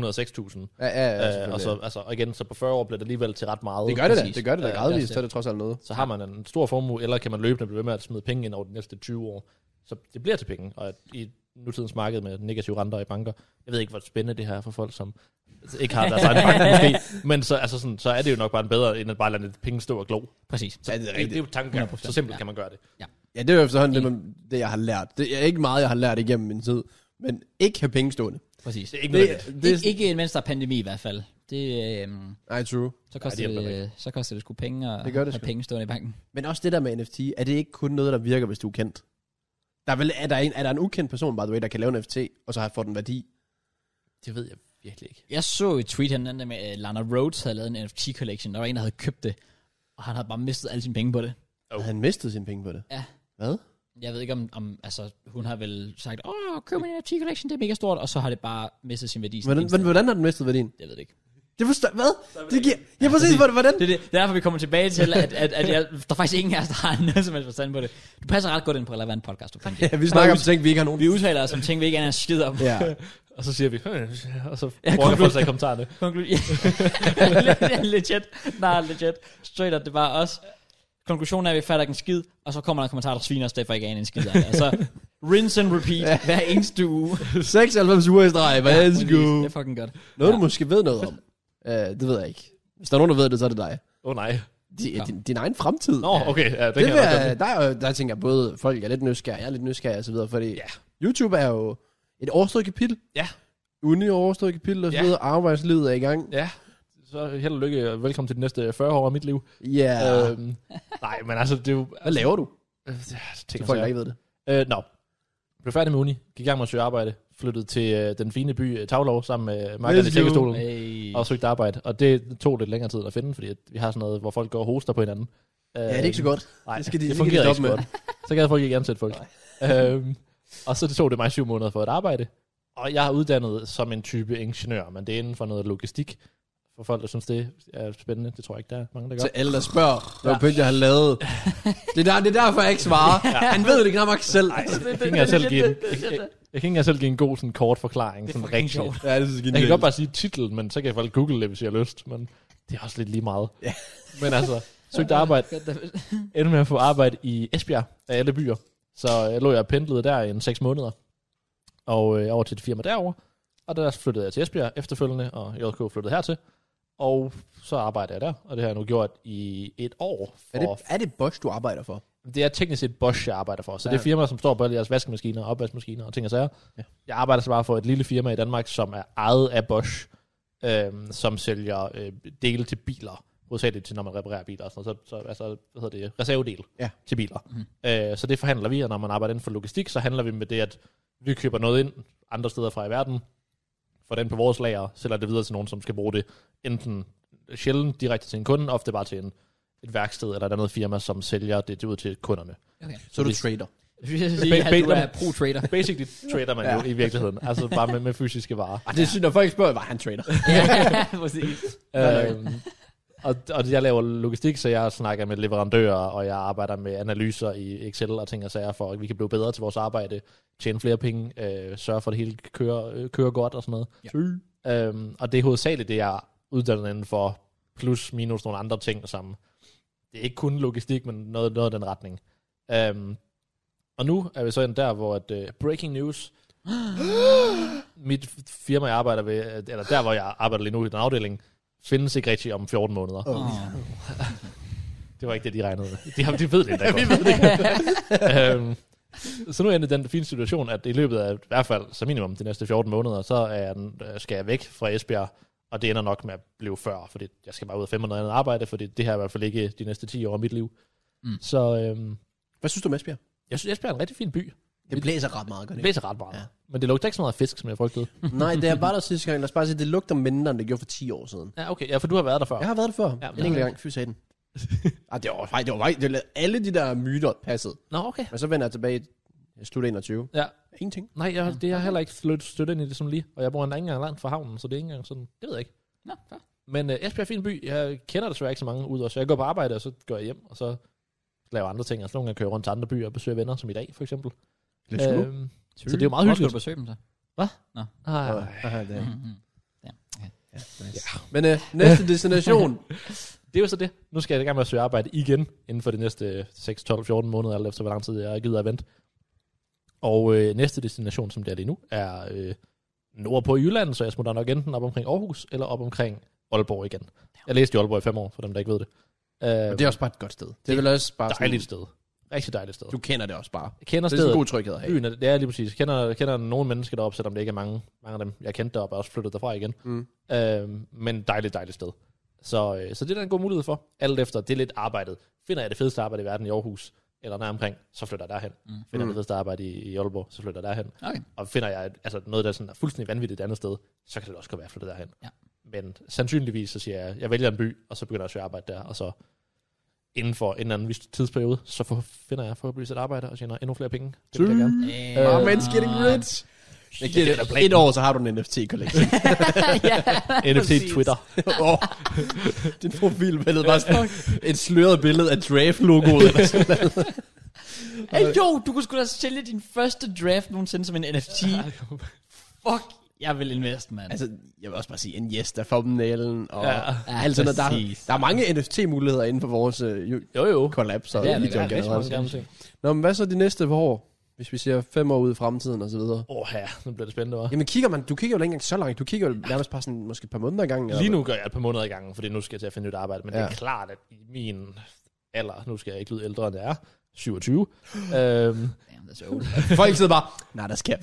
Speaker 2: 106.000.
Speaker 3: Ja, ja, ja
Speaker 2: Ja, øh,
Speaker 3: selvfølgelig.
Speaker 2: og, så, altså, og igen, så på 40 år bliver det alligevel til ret meget.
Speaker 3: det gør det da,
Speaker 1: præcis.
Speaker 3: det gør det da
Speaker 2: Ja,
Speaker 3: gradvist,
Speaker 2: ja.
Speaker 3: så er det trods alt noget.
Speaker 2: Så har man en stor formue, eller kan man løbende blive ved med at smide penge ind over de næste 20 år. Så det bliver til penge, og at i nutidens marked med negative renter i banker, jeg ved ikke, hvor spændende det her er for folk, som ikke har deres egen bank måske, men så, altså sådan, så er det jo nok bare en bedre, end at bare lade lidt penge stå og glo.
Speaker 1: præcis.
Speaker 2: Så
Speaker 3: Ja, det er
Speaker 2: det,
Speaker 3: rigtigt.
Speaker 2: det er jo tanken,
Speaker 1: 100%,
Speaker 2: så simpelt
Speaker 1: ja.
Speaker 2: ja. kan man gøre det.
Speaker 3: Ja, det er jo efterhånden det, man, det, jeg har lært. Det er ikke meget, jeg har lært igennem min tid, men ikke have penge stående.
Speaker 1: Præcis.
Speaker 2: Det er ikke
Speaker 3: Det,
Speaker 2: nødvendigt.
Speaker 3: det,
Speaker 1: Det
Speaker 3: er
Speaker 1: er ikke, mens der er pandemi i hvert fald. Det, øh,
Speaker 3: Nej, true.
Speaker 1: så, koster
Speaker 2: Ja, det
Speaker 1: det,
Speaker 2: hjælper
Speaker 1: det, så koster det sgu penge og
Speaker 3: Det gør det
Speaker 1: have
Speaker 3: sgu.
Speaker 1: penge stående i banken.
Speaker 3: Men også det der med NFT, er det ikke kun noget, der virker, hvis du er kendt? Der er, vel, er, der en, er der en ukendt person, by the way, der kan lave en NFT, og så har fået den værdi?
Speaker 2: Det ved jeg virkelig ikke.
Speaker 1: Jeg så et tweet her den anden dag med, at Lana Rhodes havde lavet en NFT-collection. Der var en, der havde købt det, og han havde bare mistet alle sine penge på det.
Speaker 2: Jo.
Speaker 3: Oh. Han mistede sine penge på det.
Speaker 1: Ja.
Speaker 3: Hvad?
Speaker 1: Jeg ved ikke om, om altså, hun har vel sagt, åh, køb min NFT-collection, det er mega stort, og så har det bare mistet sin værdi. sådan
Speaker 3: Hvordan,
Speaker 1: instant.
Speaker 3: hvordan, hvordan har den mistet værdien?
Speaker 1: Jeg ved det ikke.
Speaker 3: Det forstår, hvad? Det giver, ja, præcis, hvordan?
Speaker 1: Det er det, det er derfor, vi kommer tilbage til, at, at, at jeg, der er faktisk ingen af os, der har noget som helst forstand på det. Du passer ret godt ind på relevant podcast, du fandt det.
Speaker 3: Ja, vi snakker om ting, vi ikke har nogen.
Speaker 1: Vi udtaler os om ting, vi ikke aner en skid om.
Speaker 3: Ja.
Speaker 2: Og så siger vi, "Øh," og så
Speaker 1: Ja,
Speaker 2: bruger folk sig i kommentarerne.
Speaker 1: Konklu- Ja, legit. Nej, legit. Straight up, det var os. Konklusionen er, at vi fatter ikke en skid, og så kommer der en kommentar, der sviner os, derfor ikke aner en skid af det. Altså, rinse and repeat hver eneste uge.
Speaker 3: 96 uger i streg, let's
Speaker 1: Præcis.
Speaker 3: go.
Speaker 1: Det er fucking godt.
Speaker 3: Noget, du måske ved noget om. Uh, det ved jeg ikke. Hvis der er nogen, der ved det, så er det dig.
Speaker 2: Åh oh, nej.
Speaker 3: Di, din, din egen fremtid.
Speaker 2: Nå, okay, ja, det,
Speaker 3: det
Speaker 2: det kan
Speaker 3: vil
Speaker 2: jeg godt
Speaker 3: jeg, der, er jo- der tænker jeg både, folk er lidt nysgerrige, jeg er lidt nysgerrig og så videre, fordi
Speaker 2: Ja.
Speaker 3: YouTube er jo et overstået kapitel.
Speaker 2: Ja.
Speaker 3: Uni overstået kapitel og så
Speaker 2: Ja.
Speaker 3: videre, arbejdslivet er i gang.
Speaker 2: Ja, så held og lykke, og velkommen til de næste 40 år af mit liv.
Speaker 3: Ja.
Speaker 2: Ja. Øhm, nej, men altså, det er jo...
Speaker 3: Hvad laver du?
Speaker 2: Øh, det er-
Speaker 3: Til
Speaker 2: ting,
Speaker 3: folk, der
Speaker 2: sager.
Speaker 3: ikke ved det.
Speaker 2: Øh, nå. Blev færdig med uni, gik i gang med at søge arbejde, flyttede til øh, den fine by øh, Tavlov sammen med Margaret i
Speaker 3: you.
Speaker 2: Tjekkestolen.
Speaker 1: Hey.
Speaker 2: og søgte arbejde. Og det tog lidt længere tid at finde, fordi at vi har sådan noget, hvor folk går og hoster på hinanden. Ja,
Speaker 3: Ja, det er ikke så godt.
Speaker 2: Nej,
Speaker 3: Det skal de-
Speaker 2: det
Speaker 3: det kan de
Speaker 2: fungerer ikke så
Speaker 3: stoppe
Speaker 2: godt. Så gad folk ikke ansætte folk. øhm, og så det tog det mig syv måneder for at arbejde. Og jeg er uddannet som en type ingeniør, men det er inden for noget logistik. For folk, der synes, det er spændende. Det tror jeg ikke, der er mange, der gør.
Speaker 3: Til alle, der spørger, hvad ja. pynt jeg har lavet. Det er, der, det er derfor, jeg ikke svarer. Han ved det knap nok selv.
Speaker 2: Jeg kan ikke engang selv give en, jeg, jeg, jeg kan ikke engang selv give en god sådan, kort forklaring.
Speaker 1: Det er
Speaker 2: Sådan
Speaker 1: fucking
Speaker 2: rigtig.
Speaker 1: sjovt.
Speaker 3: Ja, det synes jeg
Speaker 2: Jeg kan godt bare sige titlen, men så kan jeg folk google det, hvis jeg har lyst. Men det er også lidt lige meget.
Speaker 3: Ja.
Speaker 2: Men altså, søgte arbejde. endte med at få arbejde i Esbjerg af alle byer. Så jeg lå jeg og pendlede der i en seks måneder. Og øh, over til et firma derover Og der flyttede jeg til Esbjerg efterfølgende, og JK flyttede hertil. Og så arbejder jeg der, og det har jeg nu gjort i et år. For,
Speaker 3: Er det, er det Bosch, du arbejder for?
Speaker 2: det er teknisk set Bosch, jeg arbejder for. Så ja.
Speaker 3: Ja.
Speaker 2: det er firma, som står på alle jeres vaskemaskiner, opvaskemaskiner og ting og sager.
Speaker 3: Ja.
Speaker 2: Ja. Jeg arbejder så bare for et lille firma i Danmark, som er ejet af Bosch, øhm, som sælger øh, dele til biler. Hovedsageligt til, når man reparerer biler og sådan noget. Så, så altså, hvad hedder det, reservedel
Speaker 3: Ja.
Speaker 2: til biler. Mm. Øh, så det forhandler vi, og når man arbejder inden for logistik, så handler vi med det, at vi køber noget ind andre steder fra i verden, får den på vores lager, sælger det videre til nogen, som skal bruge det, enten sjældent direkte til en kunde, ofte bare til en, et værksted eller et andet firma, som sælger det ud til kunderne.
Speaker 1: Okay.
Speaker 3: Så er du
Speaker 2: Hvis-
Speaker 3: trader.
Speaker 1: Jeg vil sige, at du er pro-trader.
Speaker 2: Basically trader man jo i virkeligheden, altså bare med, med fysiske varer.
Speaker 3: Ah, det er sygt, når folk spørger, var han trader?
Speaker 1: ja, præcis.
Speaker 2: øhm, og, og jeg laver logistik, så jeg snakker med leverandører, og jeg arbejder med analyser i Excel og ting og sager, for at vi kan blive bedre til vores arbejde, tjene flere penge, øh, sørge for, at det hele kører, øh, kører godt og sådan noget. Ja. Øhm, og det er hovedsageligt det, jeg er uddannet inden for, plus minus nogle andre ting, som det er ikke kun logistik, men noget, noget af den retning. Øhm, og nu er vi så endt der, hvor at, øh, breaking news, mit firma, jeg arbejder ved, øh, eller der, hvor jeg arbejder lige nu i den afdeling, findes ikke rigtig om 14 måneder.
Speaker 3: Åh.
Speaker 1: Oh.
Speaker 2: Det var ikke det, de regnede med. De, har- de ved det endda godt. ved det øhm, så nu er jeg i den fine situation, at i løbet af i hvert fald, så minimum de næste 14 måneder, så er jeg, den- øh, skal jeg væk fra Esbjerg, og det ender nok med at blive før, fordi jeg skal bare ud og finde mig noget andet arbejde, fordi det her er i hvert fald ikke de næste 10 år af mit liv.
Speaker 1: Mm.
Speaker 2: Mm. Så øhm,
Speaker 3: Hvad synes du om Esbjerg?
Speaker 2: jeg synes, Esbjerg er en rigtig fin by.
Speaker 3: Det blæser ret meget, gør
Speaker 2: Det
Speaker 3: det? ikke?
Speaker 2: blæser ret meget.
Speaker 3: Ja.
Speaker 2: Ja. Men det lugter ikke så meget af fisk, som jeg frygtede.
Speaker 3: Nej, det er bare der sidste gang. Lad os bare sige, det lugter mindre, end det gjorde for 10 år siden.
Speaker 2: ja, okay. Ja, for du har været der før.
Speaker 3: Jeg har været der før.
Speaker 2: Ja,
Speaker 3: Ja,
Speaker 2: men-
Speaker 3: en enkelt gang. Fy den. Ah, det var faktisk, det var faktisk, det var, alle de der myter passede.
Speaker 2: Nå, okay.
Speaker 3: Men så vender jeg tilbage i slut 21.
Speaker 2: Ja.
Speaker 3: Ingenting.
Speaker 2: Nej, jeg, det har jeg heller ikke støttet, støttet ind i det som lige. Og jeg bor endda ikke engang langt fra havnen, så det er ikke engang sådan... Det ved jeg ikke.
Speaker 1: Nå, fair.
Speaker 2: Men uh, Esbjerg er en fin by. Jeg kender desværre ikke så mange ud, så jeg går på arbejde, og så går jeg hjem, og så laver andre ting. Altså nogle gange kører jeg rundt til andre byer og besøger venner, som i dag, for eksempel. Øhm,
Speaker 3: Øh,
Speaker 2: ah, så det er jo meget
Speaker 1: Hvor skal
Speaker 2: hyggeligt.
Speaker 1: du besøge dem så?
Speaker 3: ah,
Speaker 2: Nej,
Speaker 3: Ja.
Speaker 1: Mm-hmm.
Speaker 3: Men øh, næste destination.
Speaker 2: det er jo så det. Nu skal jeg i gang med at søge arbejde igen, inden for de næste 6, 12, 14 måneder, alt efter hvor lang tid jeg gider at vente. Og øh, næste destination, som det er lige nu, er øh, nordpå i Jylland, så jeg smutter nok enten op omkring Aarhus, eller op omkring Aalborg igen. Jeg læste i Aalborg i fem år, for dem der ikke ved det. Øh,
Speaker 3: Og
Speaker 2: det
Speaker 3: det er også bare et godt sted. Det er vel også bare
Speaker 2: er et dejligt sted. Rigtig dejligt sted.
Speaker 3: Sådan, du kender det også bare.
Speaker 2: Jeg kender
Speaker 3: Det er sådan
Speaker 2: stedet.
Speaker 3: en god tryghed at have.
Speaker 2: Byen, er- det er lige præcis. Jeg kender, jeg kender nogle mennesker deroppe, selvom det ikke er mange, mange af dem. Jeg kendte deroppe og også flyttet derfra igen.
Speaker 3: Mm.
Speaker 2: Øhm, men dejligt, dejligt sted. Så, øh, så det er der en god mulighed for. Alt efter, det er lidt arbejdet. Finder jeg det fedeste arbejde i verden i Aarhus, eller nær omkring, så flytter jeg derhen.
Speaker 1: Mm.
Speaker 2: Mm. Finder jeg det fedeste arbejde i, i Aalborg, så flytter jeg derhen.
Speaker 1: Okay.
Speaker 2: Og finder jeg et- altså noget, der sådan er fuldstændig vanvittigt et andet sted, så kan det også godt være, at jeg flytter derhen.
Speaker 1: Ja.
Speaker 2: Men sandsynligvis, så siger jeg, jeg vælger en by, og så begynder jeg at søge arbejde der, og så inden for en eller anden vis tidsperiode, så for, finder jeg forhåbentlig et arbejde og tjener endnu flere penge. Det vil jeg gerne.
Speaker 1: Øh,
Speaker 3: Oh, man's getting rich. Jeg giver
Speaker 2: det er da
Speaker 3: det
Speaker 2: planen.
Speaker 3: et år, så har du en NFT-kollektion.
Speaker 1: ja,
Speaker 2: NFT Twitter.
Speaker 3: oh, din profilbillede var sådan et sløret billede af Draft-logoet. eller sådan noget.
Speaker 1: Hey, jo, du kunne sgu da sælge din første draft nogensinde som en NFT. Fuck, jeg vil invest, mand.
Speaker 3: altså, jeg vil også bare sige, en yes, der thumbnailen og
Speaker 2: Ja.
Speaker 1: Ja,
Speaker 3: alt sådan noget. Der,
Speaker 1: præcis.
Speaker 3: der er mange NFT-muligheder inden for vores uh,
Speaker 2: Jo jo.
Speaker 3: collab, så
Speaker 1: Ja, det er
Speaker 3: ja,
Speaker 1: der.
Speaker 3: det
Speaker 1: Ja,
Speaker 3: er
Speaker 1: rigtig
Speaker 3: generelt.
Speaker 2: gerne ting.
Speaker 3: Nå, men hvad så de næste par år? Hvis vi siger fem år ude i fremtiden og så videre.
Speaker 2: Åh ja, nu bliver det spændende, hva'?
Speaker 3: Jamen kigger man, du kigger jo ikke engang så langt, du kigger jo nærmest bare sådan, måske et par måneder i gangen. eller
Speaker 2: Lige nu gør jeg et par måneder i gangen, fordi nu skal jeg til at finde nyt arbejde, men ja. det
Speaker 3: Ja.
Speaker 2: er klart, at i min alder, nu skal jeg ikke lyde ældre end jeg er, 27. øhm,
Speaker 1: Damn, that's old.
Speaker 3: Folk sidder bare, nej, der skal.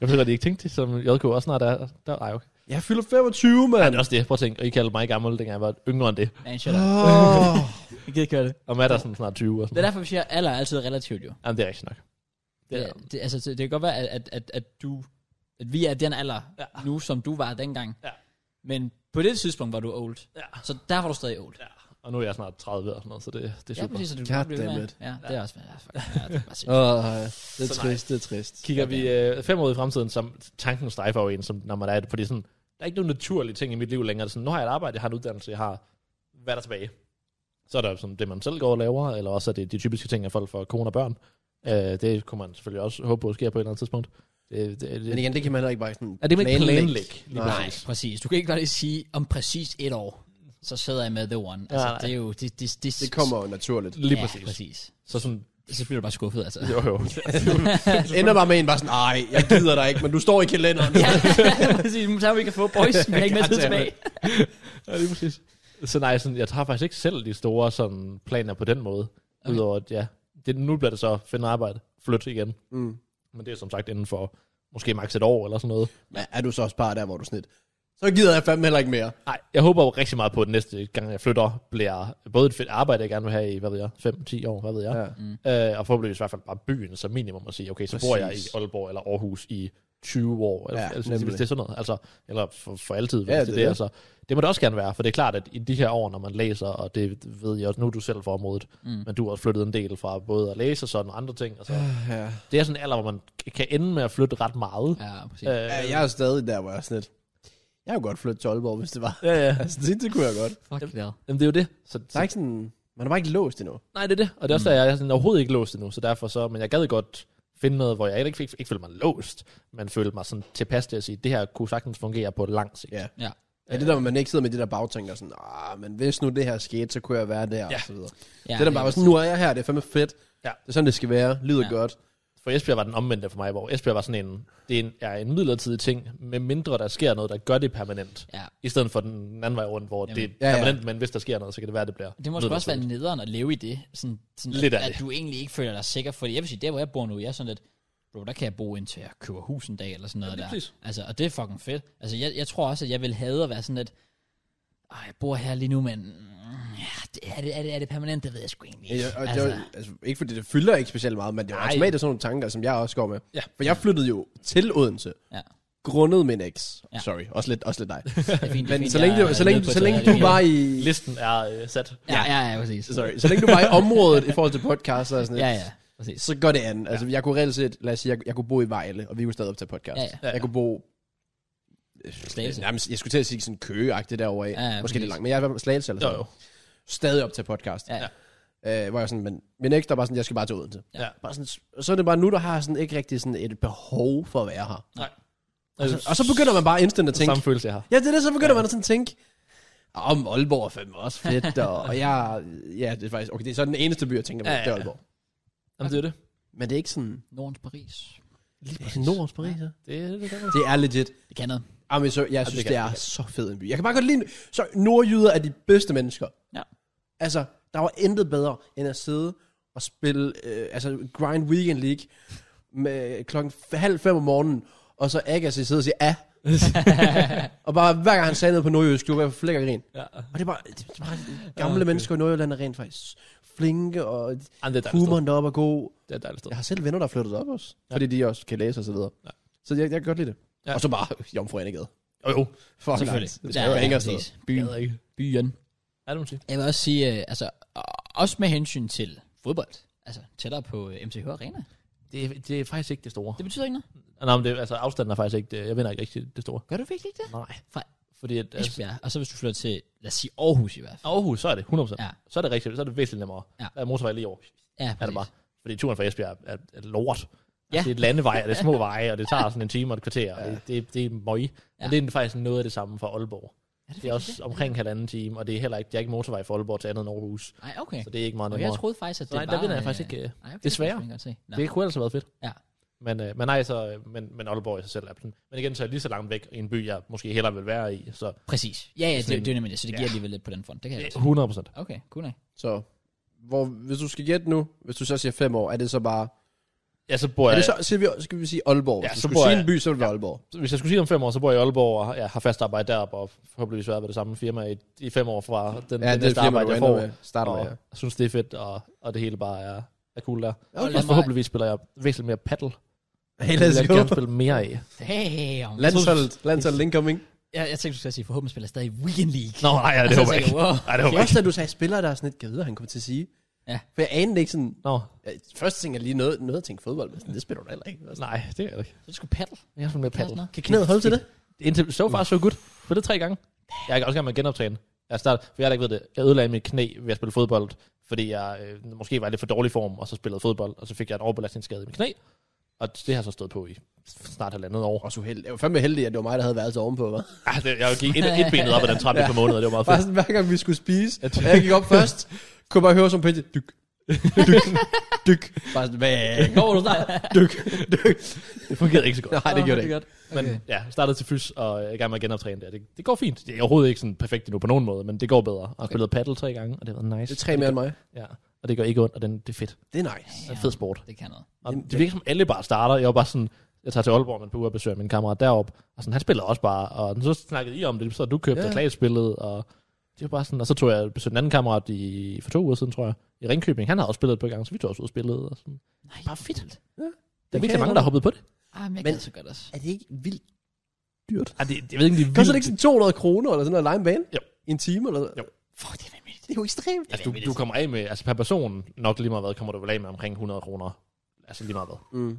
Speaker 2: jeg føler, at I ikke tænkte det, som JK også snart er. Der, ej, okay.
Speaker 3: Jeg fylder 25, mand.
Speaker 2: Ej, det er også det. Prøv at tænke, og I kaldte mig gammel, dengang jeg var yngre end det.
Speaker 1: Man, shut up.
Speaker 3: Åh.
Speaker 1: Jeg gider ikke høre det.
Speaker 2: Og Matt er sådan snart 20 og
Speaker 1: Det er
Speaker 2: sådan
Speaker 1: derfor, vi siger, alder er altid relativt jo.
Speaker 2: Jamen, det er rigtigt nok. Det er,
Speaker 1: Det, det, altså, det, det kan godt være, at, at, at, at du, at vi er den alder ja. nu, som du var dengang.
Speaker 2: Ja.
Speaker 1: Men på det tidspunkt var du old.
Speaker 2: ja.
Speaker 1: Så der var du stadig old.
Speaker 2: ja. Og nu er jeg snart 30 og sådan noget, så det, det er
Speaker 1: Ja,
Speaker 2: super.
Speaker 1: præcis, så du
Speaker 3: God
Speaker 1: kan blive ved
Speaker 3: damn
Speaker 1: med.
Speaker 3: it.
Speaker 1: Ja, det er også, ja, fuck, ja, det er bare sindssygt.
Speaker 3: Åh, ja. det er
Speaker 2: Så nej.
Speaker 3: trist, det er trist.
Speaker 2: Kigger vi øh, fem år ud i fremtiden, som tanken strejfer over en, som, når man er i det, fordi sådan, der er ikke nogen naturlige ting i mit liv længere. Det er sådan, nu har jeg et arbejde, jeg har en uddannelse, jeg har hvad er der tilbage. Så er der sådan, det, man selv går og laver, eller også er det de typiske ting, at folk får kone og børn. Øh, det kunne man selvfølgelig også håbe på sker på et eller andet tidspunkt. Det, det,
Speaker 3: Men
Speaker 2: det,
Speaker 3: igen, det kan man heller ikke bare sådan
Speaker 2: er det man ikke planlægge? Lige
Speaker 3: Nej.
Speaker 2: præcis.
Speaker 1: Præcis. Du kan ikke bare lige sige, om præcis et år, så sidder jeg med The One. Altså,
Speaker 2: Nej, nej.
Speaker 1: det er jo... Det, det, det,
Speaker 3: Det kommer jo naturligt.
Speaker 2: Lige
Speaker 1: ja,
Speaker 2: præcis.
Speaker 1: præcis.
Speaker 2: Så sådan,
Speaker 1: Så bliver du bare skuffet, altså.
Speaker 2: jo jo.
Speaker 3: Ender bare med en bare sådan, nej, jeg gider dig ikke, men du står i kalenderen.
Speaker 1: ja, præcis. Så har vi kan få boys, men jeg er ikke med tid tilbage.
Speaker 2: ja, lige præcis. Så nej, sådan, jeg tager faktisk ikke selv de store sådan, planer på den måde. Okay.
Speaker 1: Okay.
Speaker 2: Udover at, ja, det, nu bliver det så finde arbejde, flytte igen.
Speaker 3: Mm.
Speaker 2: Men det er som sagt inden for måske maks et år eller sådan noget.
Speaker 3: Men er du så også bare der, hvor du snit? Så gider jeg fandme heller ikke mere.
Speaker 2: Nej, jeg håber jo rigtig meget på, at næste gang jeg flytter, bliver både et fedt arbejde, jeg gerne vil have i, hvad ved jeg, 5-10 år, hvad ved jeg. Ja. Øh, og forhåbentlig i hvert fald bare byen som minimum at sige, okay, så Præcis. bor jeg i
Speaker 3: Præcis.
Speaker 2: Aalborg eller Aarhus i 20 år, eller,
Speaker 3: Ja,
Speaker 2: ja, altså, hvis
Speaker 3: nemlig.
Speaker 2: det er sådan noget, altså, eller for, for altid,
Speaker 3: Ja,
Speaker 2: ja, hvis det,
Speaker 3: det
Speaker 2: det
Speaker 3: er
Speaker 2: er det.
Speaker 3: det.
Speaker 2: Altså, det må det også gerne være, for det er klart, at i de her år, når man læser, og det ved jeg også, nu er du selv for området, mm. men du har også flyttet en del fra både at læse og sådan og andre ting, og så,
Speaker 3: Øh, Ja.
Speaker 2: det er sådan en alder, hvor man kan ende med at flytte ret meget.
Speaker 1: Ja, præcis.
Speaker 2: Ja, øh,
Speaker 3: Ja, jeg er stadig der, hvor jeg er snit. Jeg kunne godt flytte til Aalborg, hvis det var.
Speaker 2: ja, ja.
Speaker 3: Altså, det, det kunne jeg godt.
Speaker 1: Fuck det.
Speaker 2: Jamen, det er jo det. Så,
Speaker 3: Der
Speaker 2: så
Speaker 3: er ikke sådan... Man er bare ikke låst endnu.
Speaker 2: Nej, det er det. Og det
Speaker 3: Mm.
Speaker 2: er også der, jeg er sådan overhovedet ikke låst endnu, så derfor så, men jeg gad godt finde noget, hvor jeg ikke, ikke, ikke følte mig låst, men følte mig sådan tilpas til at sige, det her kunne sagtens fungere på lang sigt.
Speaker 3: Ja.
Speaker 1: Ja.
Speaker 3: Ja, det der, hvor man ikke sidder med det der bagtænk, og sådan, ah, men hvis nu det her skete, så kunne jeg være der,
Speaker 2: Ja.
Speaker 3: og så videre.
Speaker 1: Ja,
Speaker 3: Ja, det der bare var sådan, nu er jeg her, det er fandme fedt.
Speaker 2: Ja.
Speaker 3: Det er sådan, det skal være. Lyder
Speaker 1: Ja.
Speaker 3: ja. godt.
Speaker 2: For Esbjerg var den omvendte for mig, hvor Esbjerg var sådan en, det er en, er en midlertidig ting, med mindre der sker noget, der gør det permanent.
Speaker 1: Ja.
Speaker 2: I stedet for den anden vej rundt, hvor
Speaker 1: Jamen.
Speaker 2: det er
Speaker 3: Ja, ja.
Speaker 2: permanent, men hvis der sker noget, så kan det være, det bliver
Speaker 1: Det må sgu også være
Speaker 2: midlertidigt.
Speaker 1: nederen at leve i det. Sådan, sådan
Speaker 2: Lidt
Speaker 1: at,
Speaker 2: af
Speaker 1: at,
Speaker 2: det.
Speaker 1: du egentlig ikke føler dig sikker. Fordi jeg vil sige, der hvor jeg bor nu, jeg er sådan lidt, bro, der kan jeg bo indtil jeg køber hus en dag, eller sådan noget
Speaker 2: lige
Speaker 1: der.
Speaker 2: præcis.
Speaker 1: Altså, og det er fucking fedt. Altså, jeg, jeg tror også, at jeg vil have at være sådan lidt, Ej, jeg bor her lige nu, men mm, ja, det, er, det, er, det, er det permanent? Det ved jeg sgu egentlig ikke.
Speaker 3: Ja, og altså. Det var, altså, ikke fordi det fylder ikke specielt meget, men det var
Speaker 2: Nej.
Speaker 3: automatisk sådan nogle tanker, som jeg også går med.
Speaker 2: Ja.
Speaker 3: For jeg flyttede jo til Odense,
Speaker 1: ja,
Speaker 3: grundet min eks.
Speaker 1: Ja.
Speaker 3: Ja. Sorry, også lidt, også lidt dig.
Speaker 1: det er fint, det er
Speaker 3: Men
Speaker 1: fint,
Speaker 3: så længe,
Speaker 1: jeg
Speaker 3: du, så
Speaker 1: er
Speaker 3: længe,
Speaker 1: nede på
Speaker 3: så
Speaker 1: et
Speaker 3: længe
Speaker 1: sted, jeg
Speaker 3: du var
Speaker 1: lige-
Speaker 3: i...
Speaker 2: Listen er øh, sat.
Speaker 1: Ja, ja, ja, præcis.
Speaker 3: Sorry, så længe du var i området i forhold til podcast og sådan
Speaker 1: Ja,
Speaker 3: noget,
Speaker 1: ja, præcis.
Speaker 3: så går det an. Altså, jeg kunne reelt set, lad os sige, jeg, jeg kunne bo i Vejle, og vi kunne stadig optage podcast.
Speaker 1: Ja, ja.
Speaker 2: Ja, ja.
Speaker 3: Jeg kunne bo...
Speaker 1: Slagelse.
Speaker 3: Nærmest, jeg skulle til at sige sådan køgeagtigt derovre.
Speaker 1: Ja, ja,
Speaker 3: Ja, Måske lidt
Speaker 1: præcis.
Speaker 3: langt, men jeg er i slagelse eller
Speaker 2: Jo,
Speaker 3: sådan
Speaker 2: jo.
Speaker 3: Stadig op til podcast.
Speaker 1: Ja, ja.
Speaker 3: Øh, hvor jeg sådan, men min eks, der var sådan, jeg skal bare til Odense.
Speaker 2: Ja.
Speaker 3: Bare sådan, og så er det bare nu, der har sådan ikke rigtig sådan et behov for at være her.
Speaker 2: Nej.
Speaker 3: Og så, og så begynder man bare instant at tænke,
Speaker 2: Samme følelse, jeg har.
Speaker 3: Ja, det er det, så begynder ja. man at sådan tænke, om Aalborg er fandme også fedt, og, og jeg, ja, det er faktisk, okay, det er så den eneste by, jeg tænker på,
Speaker 2: Ja,
Speaker 3: ja,
Speaker 2: ja,
Speaker 3: det er
Speaker 2: ja.
Speaker 3: Aalborg.
Speaker 2: Jamen, det er det.
Speaker 3: Men det er ikke sådan,
Speaker 1: Nordens Paris.
Speaker 3: Nordens Paris, ja.
Speaker 2: Det er det, det, er det.
Speaker 3: Det er legit.
Speaker 1: Det kan noget.
Speaker 3: Jamen, Ah, så, jeg synes,
Speaker 2: kan-
Speaker 3: det,
Speaker 2: det
Speaker 3: er
Speaker 2: kan.
Speaker 3: så fed en by. Jeg kan bare godt lide, så nordjyder er de bedste mennesker.
Speaker 1: Ja.
Speaker 3: Altså, der var intet bedre, end at sidde og spille, øh, altså, Grind Weekend League, med klokken f- halv fem om morgenen, og så Agassi sidder og siger, ja. og bare hver gang han sagde noget på nordjysk, du var flækker grin.
Speaker 2: Ja.
Speaker 3: Og det er bare, det er bare gamle Ah, okay. mennesker i Nordjylland er rent faktisk flinke, og
Speaker 2: Jamen, det er et dejligt sted.
Speaker 3: humoren deroppe er god.
Speaker 2: Det er et dejligt sted.
Speaker 3: Jeg har selv venner, der er flyttet op også, ja. fordi de også kan læse og så videre.
Speaker 2: Ja.
Speaker 3: Ja. Så jeg, jeg kan godt lide det.
Speaker 2: Ja.
Speaker 3: Ja. Og så bare øh, Jomfru Annegade.
Speaker 2: Jo, jo.
Speaker 3: Fuck
Speaker 1: Selvfølgelig.
Speaker 3: nice. Det
Speaker 1: Ja,
Speaker 3: skal jo
Speaker 1: ja,
Speaker 3: ikke
Speaker 1: præcis.
Speaker 2: Jeg ved ikke.
Speaker 1: Byen.
Speaker 2: Er det, man siger?
Speaker 1: Jeg vil også sige, øh, altså, og- også med hensyn til fodbold, altså tættere på øh, MTH Arena.
Speaker 2: Det, er- det er faktisk ikke det store.
Speaker 1: Det betyder ikke noget.
Speaker 2: Det... Nej, men det, altså afstanden er faktisk ikke det. Jeg vinder ikke rigtig det store.
Speaker 1: Gør du virkelig ikke det?
Speaker 2: Nej.
Speaker 1: Fra-
Speaker 2: Fordi at, altså,
Speaker 1: Esbjerg, og så hvis du flytter til, lad os sige Aarhus i hvert fald.
Speaker 2: Aarhus, så er det 100%. Ja.
Speaker 1: Ja.
Speaker 2: Så er det rigtigt. Så er det væsentligt nemmere.
Speaker 1: Ja.
Speaker 2: Der er motorvej lige over.
Speaker 1: Ja,
Speaker 2: Er det bare. Fordi turen fra Esbjerg er, er lort. Ja.
Speaker 1: Ja.
Speaker 2: Altså, det er et landevej, og det er små veje, og det tager sådan en time og et kvarter. Ja. Det, det, det er møg. Ja.
Speaker 1: Ja.
Speaker 2: Og det er faktisk noget af det samme for Aalborg.
Speaker 1: Er det,
Speaker 2: Det er også omkring halvanden time, og det er heller ikke, det er ikke motorvej fra Aalborg til andet end Aarhus.
Speaker 1: Nej, okay.
Speaker 2: Så det er ikke meget
Speaker 1: Og
Speaker 2: nemmere.
Speaker 1: jeg troede faktisk, at det
Speaker 2: Nej,
Speaker 1: var...
Speaker 2: der vinder jeg faktisk ikke. øh,
Speaker 1: Nej, okay,
Speaker 2: Desværre.
Speaker 1: Det, kan jeg godt se. Nå.
Speaker 2: Det kunne ellers have været fedt.
Speaker 1: Ja.
Speaker 2: Men, øh, men nej, så, øh, men, men Aalborg i sig selv er sådan. Men igen, så er jeg lige så langt væk i en by, jeg måske hellere vil være i. Så
Speaker 1: Præcis. Ja, ja, det,
Speaker 2: Sådan en-
Speaker 1: det er nemlig det, så det
Speaker 2: Ja.
Speaker 1: giver alligevel lidt på den front. Det kan jeg godt se.
Speaker 2: 100 procent.
Speaker 1: Okay, cool nok.
Speaker 3: Så hvor, hvis du skal gætte nu, hvis du så siger fem år, er det så bare...
Speaker 2: Ja, så bor
Speaker 3: Er
Speaker 2: jeg...
Speaker 3: det så, skal vi, skal vi sige Aalborg?
Speaker 2: Ja,
Speaker 3: Hvis
Speaker 2: så
Speaker 3: du
Speaker 2: bor
Speaker 3: skulle sige
Speaker 2: jeg-
Speaker 3: en by, så ville det være Aalborg.
Speaker 2: Hvis jeg skulle sige om fem år, så bor jeg i Aalborg, og jeg har fast arbejde deroppe, og forhåbentlig været ved det samme firma i, i fem år fra den, den
Speaker 3: Ja, det er det
Speaker 2: næste
Speaker 3: firma,
Speaker 2: arbejde,
Speaker 3: du
Speaker 2: jeg
Speaker 3: ender
Speaker 2: får.
Speaker 3: med. Starter med,
Speaker 2: og
Speaker 3: ja.
Speaker 2: jeg synes, det er fedt, og, og det hele bare er, er cool der.
Speaker 1: Og
Speaker 2: Okay.
Speaker 1: lad
Speaker 2: Og
Speaker 1: mig-
Speaker 2: forhåbentlig spiller jeg væsentligt mere paddle.
Speaker 3: Hey,
Speaker 2: Det vil jeg gerne spille mere af.
Speaker 1: Damn.
Speaker 3: Landsholdet, landsholdet incoming.
Speaker 1: Jeg, jeg tænkte, du skulle sige, forhåbentlig spiller stadig Weekend League.
Speaker 2: Nå, nej, ja,
Speaker 1: Og
Speaker 2: det
Speaker 1: så
Speaker 2: håber jeg
Speaker 1: tænker
Speaker 2: ikke.
Speaker 1: wow.
Speaker 2: Nej, det håber
Speaker 3: Det er
Speaker 2: jeg ikke.
Speaker 3: også, at du sagde spiller, der er sådan lidt, kan jeg vide, hvad han kommer til at sige.
Speaker 1: Ja.
Speaker 3: For jeg anede ikke sådan...
Speaker 2: Nå,
Speaker 3: Jeg, først tænker jeg lige noget, noget at tænke fodbold, men sådan, det spiller du da heller ikke.
Speaker 2: nej, det er det ikke.
Speaker 1: Så skulle paddle.
Speaker 2: Jeg er spille mere paddle.
Speaker 1: Paddle.
Speaker 3: Kan knæet holde til det?
Speaker 2: Indtil so far, so good. Spillede tre gange. Jeg er også gerne med at genoptage den. Jeg startede, for jeg har ikke ved det. Jeg ødelagde mit knæ ved at spille fodbold, fordi jeg øh, måske var i lidt for dårlig form, og så spillede fodbold, og så fik jeg en overbelastningsskade i mit knæ. Og det har jeg så stået på i snart halvandet år.
Speaker 3: Også uheldig. Jeg var fandme heldig, at det var mig, der havde været så ovenpå, hva'?
Speaker 2: Ah, det- Jeg gik et, et benet op ad den trappe ja. på måneder, det var meget
Speaker 3: Bare
Speaker 2: fedt.
Speaker 3: sådan, hver gang vi skulle spise, og jeg gik op først, kunne jeg bare høre som Pelle, dyk, dyk, dyk. Bare sådan, hvad går du snart? Dyk, dyk.
Speaker 2: Det fungerede ikke så godt.
Speaker 3: Nej, det gjorde det ikke.
Speaker 2: Men okay. ja, startede til fys, og jeg er i gang med at genoptræne det. det. Det går fint. Det er overhovedet ikke sådan perfekt endnu på nogen måde, men det går bedre. Og jeg har spillet paddle tre gange, og det har været nice.
Speaker 3: Det er tre mere end mig.
Speaker 2: Ja, og det gør ikke ondt, og den, det er fedt.
Speaker 3: Det er nice.
Speaker 2: Det er en fed sport.
Speaker 1: Det kan noget.
Speaker 2: Og
Speaker 3: Jamen,
Speaker 2: det virker som alle bare starter. Jeg var bare sådan, jeg tager til Aalborg med en uge og besøger min kammerat derop, og sådan, han spiller også bare, og så snakkede I om det, så du købte
Speaker 3: Ja.
Speaker 2: ja. og Klaas spillede, og det var bare sådan, og så tog jeg besøgte en anden kammerat i, for to uger siden, tror jeg, i Ringkøbing. Han har også spillet et par gange, så vi tog også ud og spillede. Og sådan.
Speaker 1: Nej,
Speaker 2: Bare fedt. Der
Speaker 3: kan
Speaker 2: er
Speaker 3: jeg
Speaker 2: virkelig mange,
Speaker 3: godt
Speaker 2: der har hoppet på det.
Speaker 1: Ah, men jeg
Speaker 3: Men-
Speaker 1: kan så godt også.
Speaker 3: Er det ikke vildt?
Speaker 2: Ej, det, jeg ved ikke, om det er
Speaker 3: Koster det ikke sådan 200 kroner eller sådan noget at lege en bane?
Speaker 2: Jo.
Speaker 3: I en time eller sådan?
Speaker 2: Jo.
Speaker 1: Fuck, det er vanvittigt.
Speaker 3: Det er jo ekstremt.
Speaker 2: Altså, du, du kommer af med, altså per person, nok lige meget hvad, kommer du vel af med omkring 100 kroner. Altså lige meget hvad,
Speaker 3: Mm.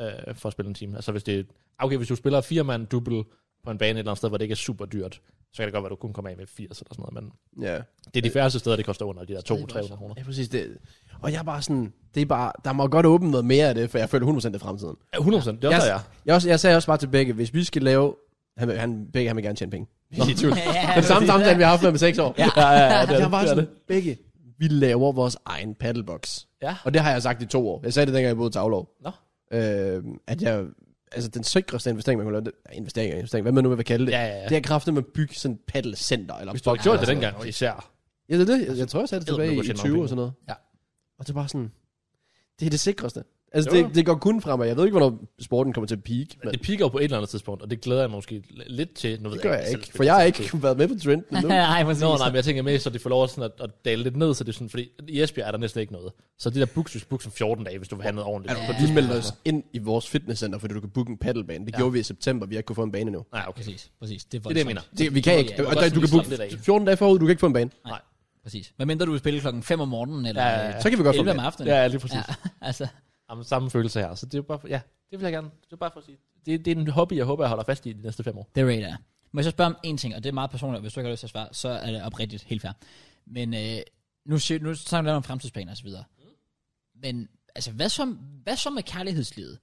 Speaker 2: øh, for at spille en time. Altså hvis det okay, hvis du spiller fire mand dubbel på en bane et eller andet sted, hvor det ikke er super dyrt, så kan det godt være, at du kun kommer af med 80 eller sådan noget, men
Speaker 3: Ja.
Speaker 2: det er de færreste steder, det koster under de der 200-300 kroner.
Speaker 3: Ja, præcis. Det. Og jeg er bare sådan, det er bare, der må godt åbne noget mere af det, for jeg føler 100% det er fremtiden.
Speaker 2: Ja, 100 det er også der, jeg. er.
Speaker 3: Jeg, også, jeg sagde også bare til begge, hvis vi skal lave... Han, vil- han, begge, han vil gerne tjene penge. Nå. Det er det samme samtale, vi har haft med ham i seks år. Ja,
Speaker 2: Ja, ja, ja, det
Speaker 3: jeg
Speaker 2: er
Speaker 3: var bare
Speaker 2: det.
Speaker 3: sådan, begge, vi laver vores egen paddlebox.
Speaker 2: Ja.
Speaker 3: Og det har jeg sagt i to år. Jeg sagde det, dengang jeg boede i Taglov.
Speaker 2: Nå.
Speaker 3: Øh, at jeg, altså den sikreste investering, man kunne lave, det, ja, investering, investering, hvad man nu vil kalde det,
Speaker 2: Ja, ja, ja.
Speaker 3: det er kraftigt med at bygge sådan et paddlecenter. Eller
Speaker 2: Hvis du har
Speaker 3: box
Speaker 2: gjort
Speaker 3: eller
Speaker 2: det
Speaker 3: sådan
Speaker 2: dengang, især.
Speaker 3: Ja, det er det. Jeg, jeg tror, jeg sagde det
Speaker 2: Eddermame
Speaker 3: tilbage i
Speaker 2: kunne
Speaker 3: 20
Speaker 2: tjene mange
Speaker 3: og sådan noget.
Speaker 1: Ja.
Speaker 3: Og det er bare sådan, det er det sikreste. Altså,
Speaker 2: Jo, jo.
Speaker 3: det, det går kun fremad. Jeg ved ikke, hvornår sporten kommer til at peak, men
Speaker 2: Det piker jo på et eller andet tidspunkt, og det glæder jeg mig måske lidt til. Nu ved
Speaker 3: det gør jeg
Speaker 2: selv
Speaker 3: ikke. For
Speaker 2: spiller
Speaker 3: jeg har
Speaker 2: selv.
Speaker 3: ikke været med på trenden endnu.
Speaker 1: Nej, præcis.
Speaker 2: Nå, nej, men jeg tænker mere, så det får lov sådan at, at dale lidt ned, så det er sådan, fordi i Esbjerg er der næsten ikke noget. Så det der books, du books om 14 dage, hvis du vil have noget ordentligt.
Speaker 1: Ja.
Speaker 2: På
Speaker 3: Vi
Speaker 2: dis-
Speaker 3: Altså, meldte os ind i vores fitnesscenter, fordi du kan booke en paddlebane. Det ja. gjorde vi i september. Vi har ikke kunne få en bane endnu.
Speaker 2: Nej, okay.
Speaker 1: Præcis, præcis. Det er,
Speaker 2: Det er det, jeg
Speaker 1: voldsomt.
Speaker 2: mener.
Speaker 3: Det, vi kan
Speaker 1: Ja,
Speaker 3: ikke.
Speaker 1: ja,
Speaker 3: Ja,
Speaker 1: det
Speaker 2: var
Speaker 3: og
Speaker 2: godt,
Speaker 3: der, du
Speaker 2: så
Speaker 3: kan
Speaker 2: vi slap lidt
Speaker 3: booke
Speaker 2: af.
Speaker 3: 14 dage forud, du kan ikke få en bane.
Speaker 1: Nej, præcis. Hvad mindre du vil spille klokken 5 om morgenen, eller
Speaker 2: Ja, ja, ja.
Speaker 1: øh,
Speaker 3: Så kan vi godt få
Speaker 1: 11
Speaker 3: en
Speaker 1: om
Speaker 3: bane.
Speaker 1: aftenen.
Speaker 2: Ja, lige præcis.
Speaker 1: Ja,
Speaker 2: Ja.
Speaker 1: altså.
Speaker 2: Jamen, samme følelse her. Så det er jo bare for, ja, det vil jeg gerne. Det er bare for at sige, det, det er en hobby, jeg håber, jeg holder fast i de næste fem år.
Speaker 1: Det er radar. Må jeg så spørge om en ting, og det er meget personligt, og hvis du ikke har lyst til at svare, så er det oprigtigt helt fair. Men øh, nu, siger- nu snakker vi lidt om fremtidsplaner og så videre. Men altså, hvad så, hvad så med kærlighedslivet?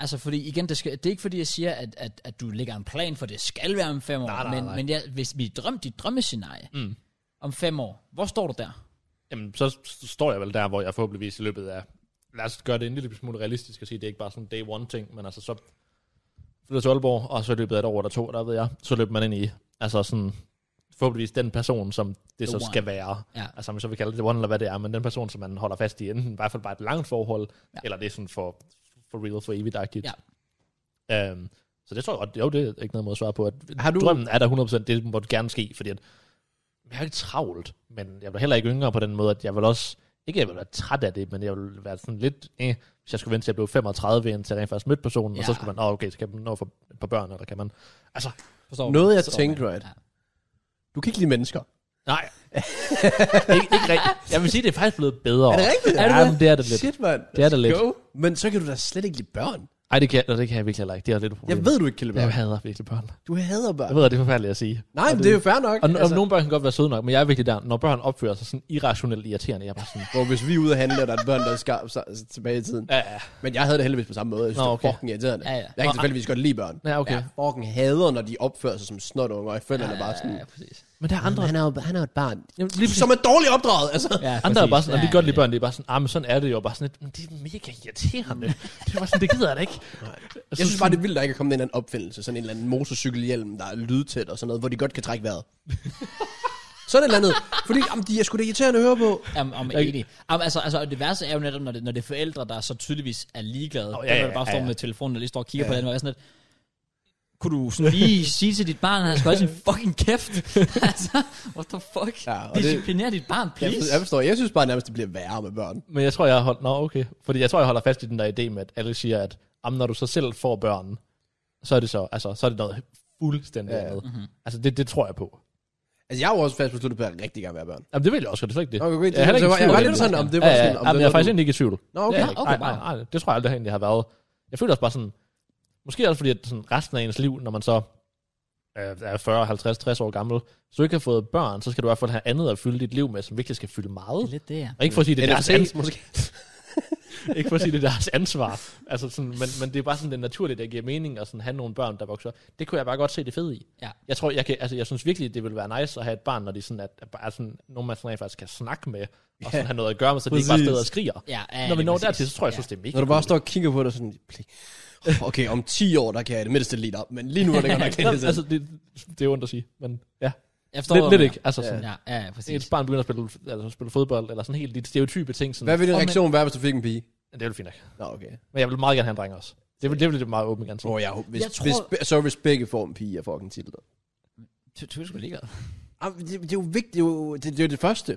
Speaker 1: Altså, fordi igen, det, skal, det er ikke fordi, jeg siger, at, at, at du lægger en plan for, det skal være om fem år.
Speaker 2: Nej, nej,
Speaker 1: men
Speaker 2: nej.
Speaker 1: men ja, hvis vi drømte dit drømmescenarie
Speaker 2: Mm.
Speaker 1: om fem år, hvor står du der?
Speaker 2: Jamen, så s- står jeg vel der, hvor jeg forhåbentligvis i løbet af... Lad os gøre det en lille smule realistisk og sige, det er ikke bare sådan day one ting, men altså så flytter til Aalborg, og så i løbet af et år eller to, der ved jeg, så løber man ind i, altså sådan forhåbentligvis den person, som det
Speaker 1: The
Speaker 2: så
Speaker 1: one.
Speaker 2: skal være.
Speaker 1: Ja.
Speaker 2: Altså, om vi så vil kalde det the one, eller hvad det er, men den person, som man holder fast i, enten i hvert fald bare et langt forhold,
Speaker 1: Ja.
Speaker 2: ja. eller det er sådan for, for real, for evigt-agtigt.
Speaker 1: Ja.
Speaker 2: Øhm, så det tror jeg godt, jo, det er ikke noget måde at svare på. At
Speaker 3: Har
Speaker 2: har
Speaker 3: du-
Speaker 2: du... Drømmen er der 100%, det måtte gerne ske, fordi at, jeg er ikke travlt, men jeg bliver heller ikke yngre på den måde, at jeg vil også, ikke jeg vil være træt af det, men jeg vil være sådan lidt, eh, hvis jeg skulle vente til at blive 35, indtil jeg rent faktisk mødte personen, ja. og
Speaker 1: Ja.
Speaker 2: så skulle man, åh, okay, så kan man nå for et par børn, eller kan man, altså,
Speaker 1: Forstår du?
Speaker 3: Noget, jeg
Speaker 1: Forstår
Speaker 3: tænkte,
Speaker 1: man?
Speaker 3: right?
Speaker 1: Ja.
Speaker 3: Du kan ikke lide mennesker.
Speaker 2: nej, ikke, ikke rigtigt. Jeg vil sige, det er faktisk blevet bedre. Er det rigtigt?
Speaker 3: Er det
Speaker 2: Ja,
Speaker 3: det?
Speaker 2: men det er det lidt.
Speaker 3: Shit, mand.
Speaker 2: Det er det lidt.
Speaker 3: Go. Men så kan du da slet ikke lide børn.
Speaker 2: Ej, det kan, jeg, det kan jeg virkelig heller ikke. Det er lidt et problem.
Speaker 3: Jeg ved, du ikke kan lide
Speaker 2: jeg
Speaker 3: børn.
Speaker 2: hader virkelig børn.
Speaker 3: Du hader børn.
Speaker 2: Jeg ved, at det er forfærdeligt at sige.
Speaker 3: Nej, men det er jo fair nok.
Speaker 2: Og, altså, og nogle børn kan godt være søde nok, men jeg er virkelig der, når børn opfører sig sådan irrationelt irriterende. Jeg er bare sådan,
Speaker 3: Hvor hvis vi er ude og handle, og der er et børn, der skal tilbage i tiden.
Speaker 2: ja, ja,
Speaker 3: Men jeg havde det heldigvis på samme måde. Jeg synes,
Speaker 2: Nå,
Speaker 3: Nå, okay. det
Speaker 2: okay.
Speaker 3: var fucking irriterende.
Speaker 1: Ja, ja.
Speaker 3: Jeg kan selvfølgelig godt lide børn.
Speaker 2: ja, okay. Ja.
Speaker 3: Jeg fucking hader, når de opfører sig som snotunger, og jeg føler, ja, bare sådan...
Speaker 1: Ja, præcis.
Speaker 2: Men der er andre,
Speaker 3: Han er jo han er jo et barn.
Speaker 2: jamen, lige præcis,
Speaker 3: Som er dårligt opdraget, altså.
Speaker 1: Ja,
Speaker 2: andre er bare sådan, og
Speaker 1: Ja,
Speaker 2: de kan godt lide
Speaker 1: ja.
Speaker 2: børn, det er bare sådan, ah, men sådan er det jo, Og bare sådan lidt, men det er mega irriterende. det er bare sådan, det gider jeg da ikke.
Speaker 3: Jeg synes bare, det er vildt, at der ikke er kommet en eller anden opfindelse. Sådan en eller anden motorcykelhjelm, der er lydtæt og sådan noget, hvor de godt kan trække vejret. Sådan et eller andet. Fordi jamen, de er sgu da irriterende at høre på.
Speaker 1: Jamen, om
Speaker 2: Jeg-
Speaker 1: enig. Jamen, altså, altså, og det værste er jo netop, når det, når det er forældre, der så tydeligvis er ligeglade. Oh,
Speaker 2: Åh,
Speaker 1: ja,
Speaker 2: ja,
Speaker 1: ja,
Speaker 2: ja,
Speaker 1: bare
Speaker 2: ja,
Speaker 1: står
Speaker 2: ja.
Speaker 1: med telefonen og lige står og kigger ja. på den, og er sådan lidt, kunne du sådan lige sige til dit barn, at han skal holde sin fucking kæft? altså, what the fuck?
Speaker 3: Ja,
Speaker 1: Ja,
Speaker 3: og det-
Speaker 1: Discipliner dit barn,
Speaker 3: Jeg,
Speaker 1: please.
Speaker 3: jeg forstår, jeg synes bare nærmest, det bliver værre med børn.
Speaker 2: Men jeg tror, jeg holder... Nå, okay. Fordi jeg tror, jeg holder fast i den der idé med, at alle siger, at jamen, når du så selv får børn, så er det så, altså, så er det noget fuldstændig
Speaker 3: Ja.
Speaker 2: ja. andet.
Speaker 1: Mhm,
Speaker 2: Mm-hmm. Altså, det, det tror jeg på.
Speaker 3: Altså, jeg er jo også fast besluttet på, at jeg rigtig gerne vil have børn.
Speaker 2: Jamen, det vil jeg også, og det er slet ikke det.
Speaker 3: Okay, okay,
Speaker 2: jeg er heller
Speaker 3: så
Speaker 2: ikke i
Speaker 3: jeg, jeg
Speaker 2: tvivl
Speaker 3: var
Speaker 2: om det.
Speaker 3: lidt sådan, om det
Speaker 2: Ja,
Speaker 3: var
Speaker 2: ja,
Speaker 3: sådan,
Speaker 2: ja.
Speaker 3: om
Speaker 2: Jamen,
Speaker 3: det
Speaker 2: jeg er
Speaker 3: var
Speaker 2: faktisk
Speaker 3: sådan-
Speaker 2: egentlig ikke i tvivl.
Speaker 3: Nå, okay.
Speaker 2: Ja,
Speaker 1: okay,
Speaker 2: okay, nej,
Speaker 1: wow.
Speaker 2: nej, nej, det tror jeg aldrig egentlig har været. Jeg føler også bare sådan, måske også fordi, at sådan resten af ens liv, når man så øh, er 40, 50, 60 år gammel, så du ikke har fået børn, så skal du i hvert fald have andet at fylde dit liv med, som virkelig skal fylde
Speaker 1: Det er
Speaker 2: meget.
Speaker 1: lidt det, ja.
Speaker 2: Og ikke for at sige, det er
Speaker 3: Eller
Speaker 2: deres,
Speaker 3: sex,
Speaker 2: ans-
Speaker 3: måske.
Speaker 2: ikke for at sige, det er deres ansvar. Altså sådan, men, men det er bare sådan, det er naturligt, der giver mening at sådan have nogle børn, der vokser. op. Det kunne jeg bare godt se det fede i.
Speaker 1: Ja.
Speaker 2: Jeg tror, jeg, kan, altså, jeg synes virkelig, det ville være nice at have et barn, når de sådan, at, at bare sådan, nogen man sådan rent faktisk kan snakke med, og sådan have noget at gøre med, så de ikke bare
Speaker 3: præcis.
Speaker 2: sidder og skriger.
Speaker 1: ja, ja
Speaker 2: Når vi
Speaker 1: lige
Speaker 2: når
Speaker 1: præcis.
Speaker 2: dertil, så tror jeg, jeg synes, det er mega
Speaker 3: Når du bare står og kigger på det sådan, "Pli- okay, om 10 år, der kan jeg i det mindste lidt op, men lige nu er det godt nok
Speaker 2: Nå,
Speaker 3: lidt
Speaker 2: altså,
Speaker 3: altså,
Speaker 2: det, det er ondt at sige, men ja.
Speaker 1: Jeg forstår,
Speaker 2: Lidt,
Speaker 1: hvad
Speaker 2: lidt
Speaker 1: du
Speaker 2: ikke. Altså,
Speaker 3: Ja.
Speaker 2: sådan,
Speaker 1: mener. Ja, ja, præcis.
Speaker 2: Et barn begynder at spille, altså, spille fodbold, eller sådan helt de stereotype ting. Sådan,
Speaker 3: Hvad ville din
Speaker 1: Om-
Speaker 3: reaktion være, hvis du fik en pige?
Speaker 2: Det er jo fint nok.
Speaker 3: Nå, okay.
Speaker 2: Men jeg vil meget gerne have en dreng også. Det vil, det vil det meget åbent gerne til.
Speaker 3: Bro, jeg, hvis,
Speaker 1: Jeg
Speaker 3: jeg
Speaker 1: tror-
Speaker 3: tror... hvis, så hvis begge får en pige, jeg får en titel.
Speaker 1: Du- Du er sgu ligeglad.
Speaker 3: Ah, men Det, det, er jo vigtigt, det er jo det, det, er jo det første.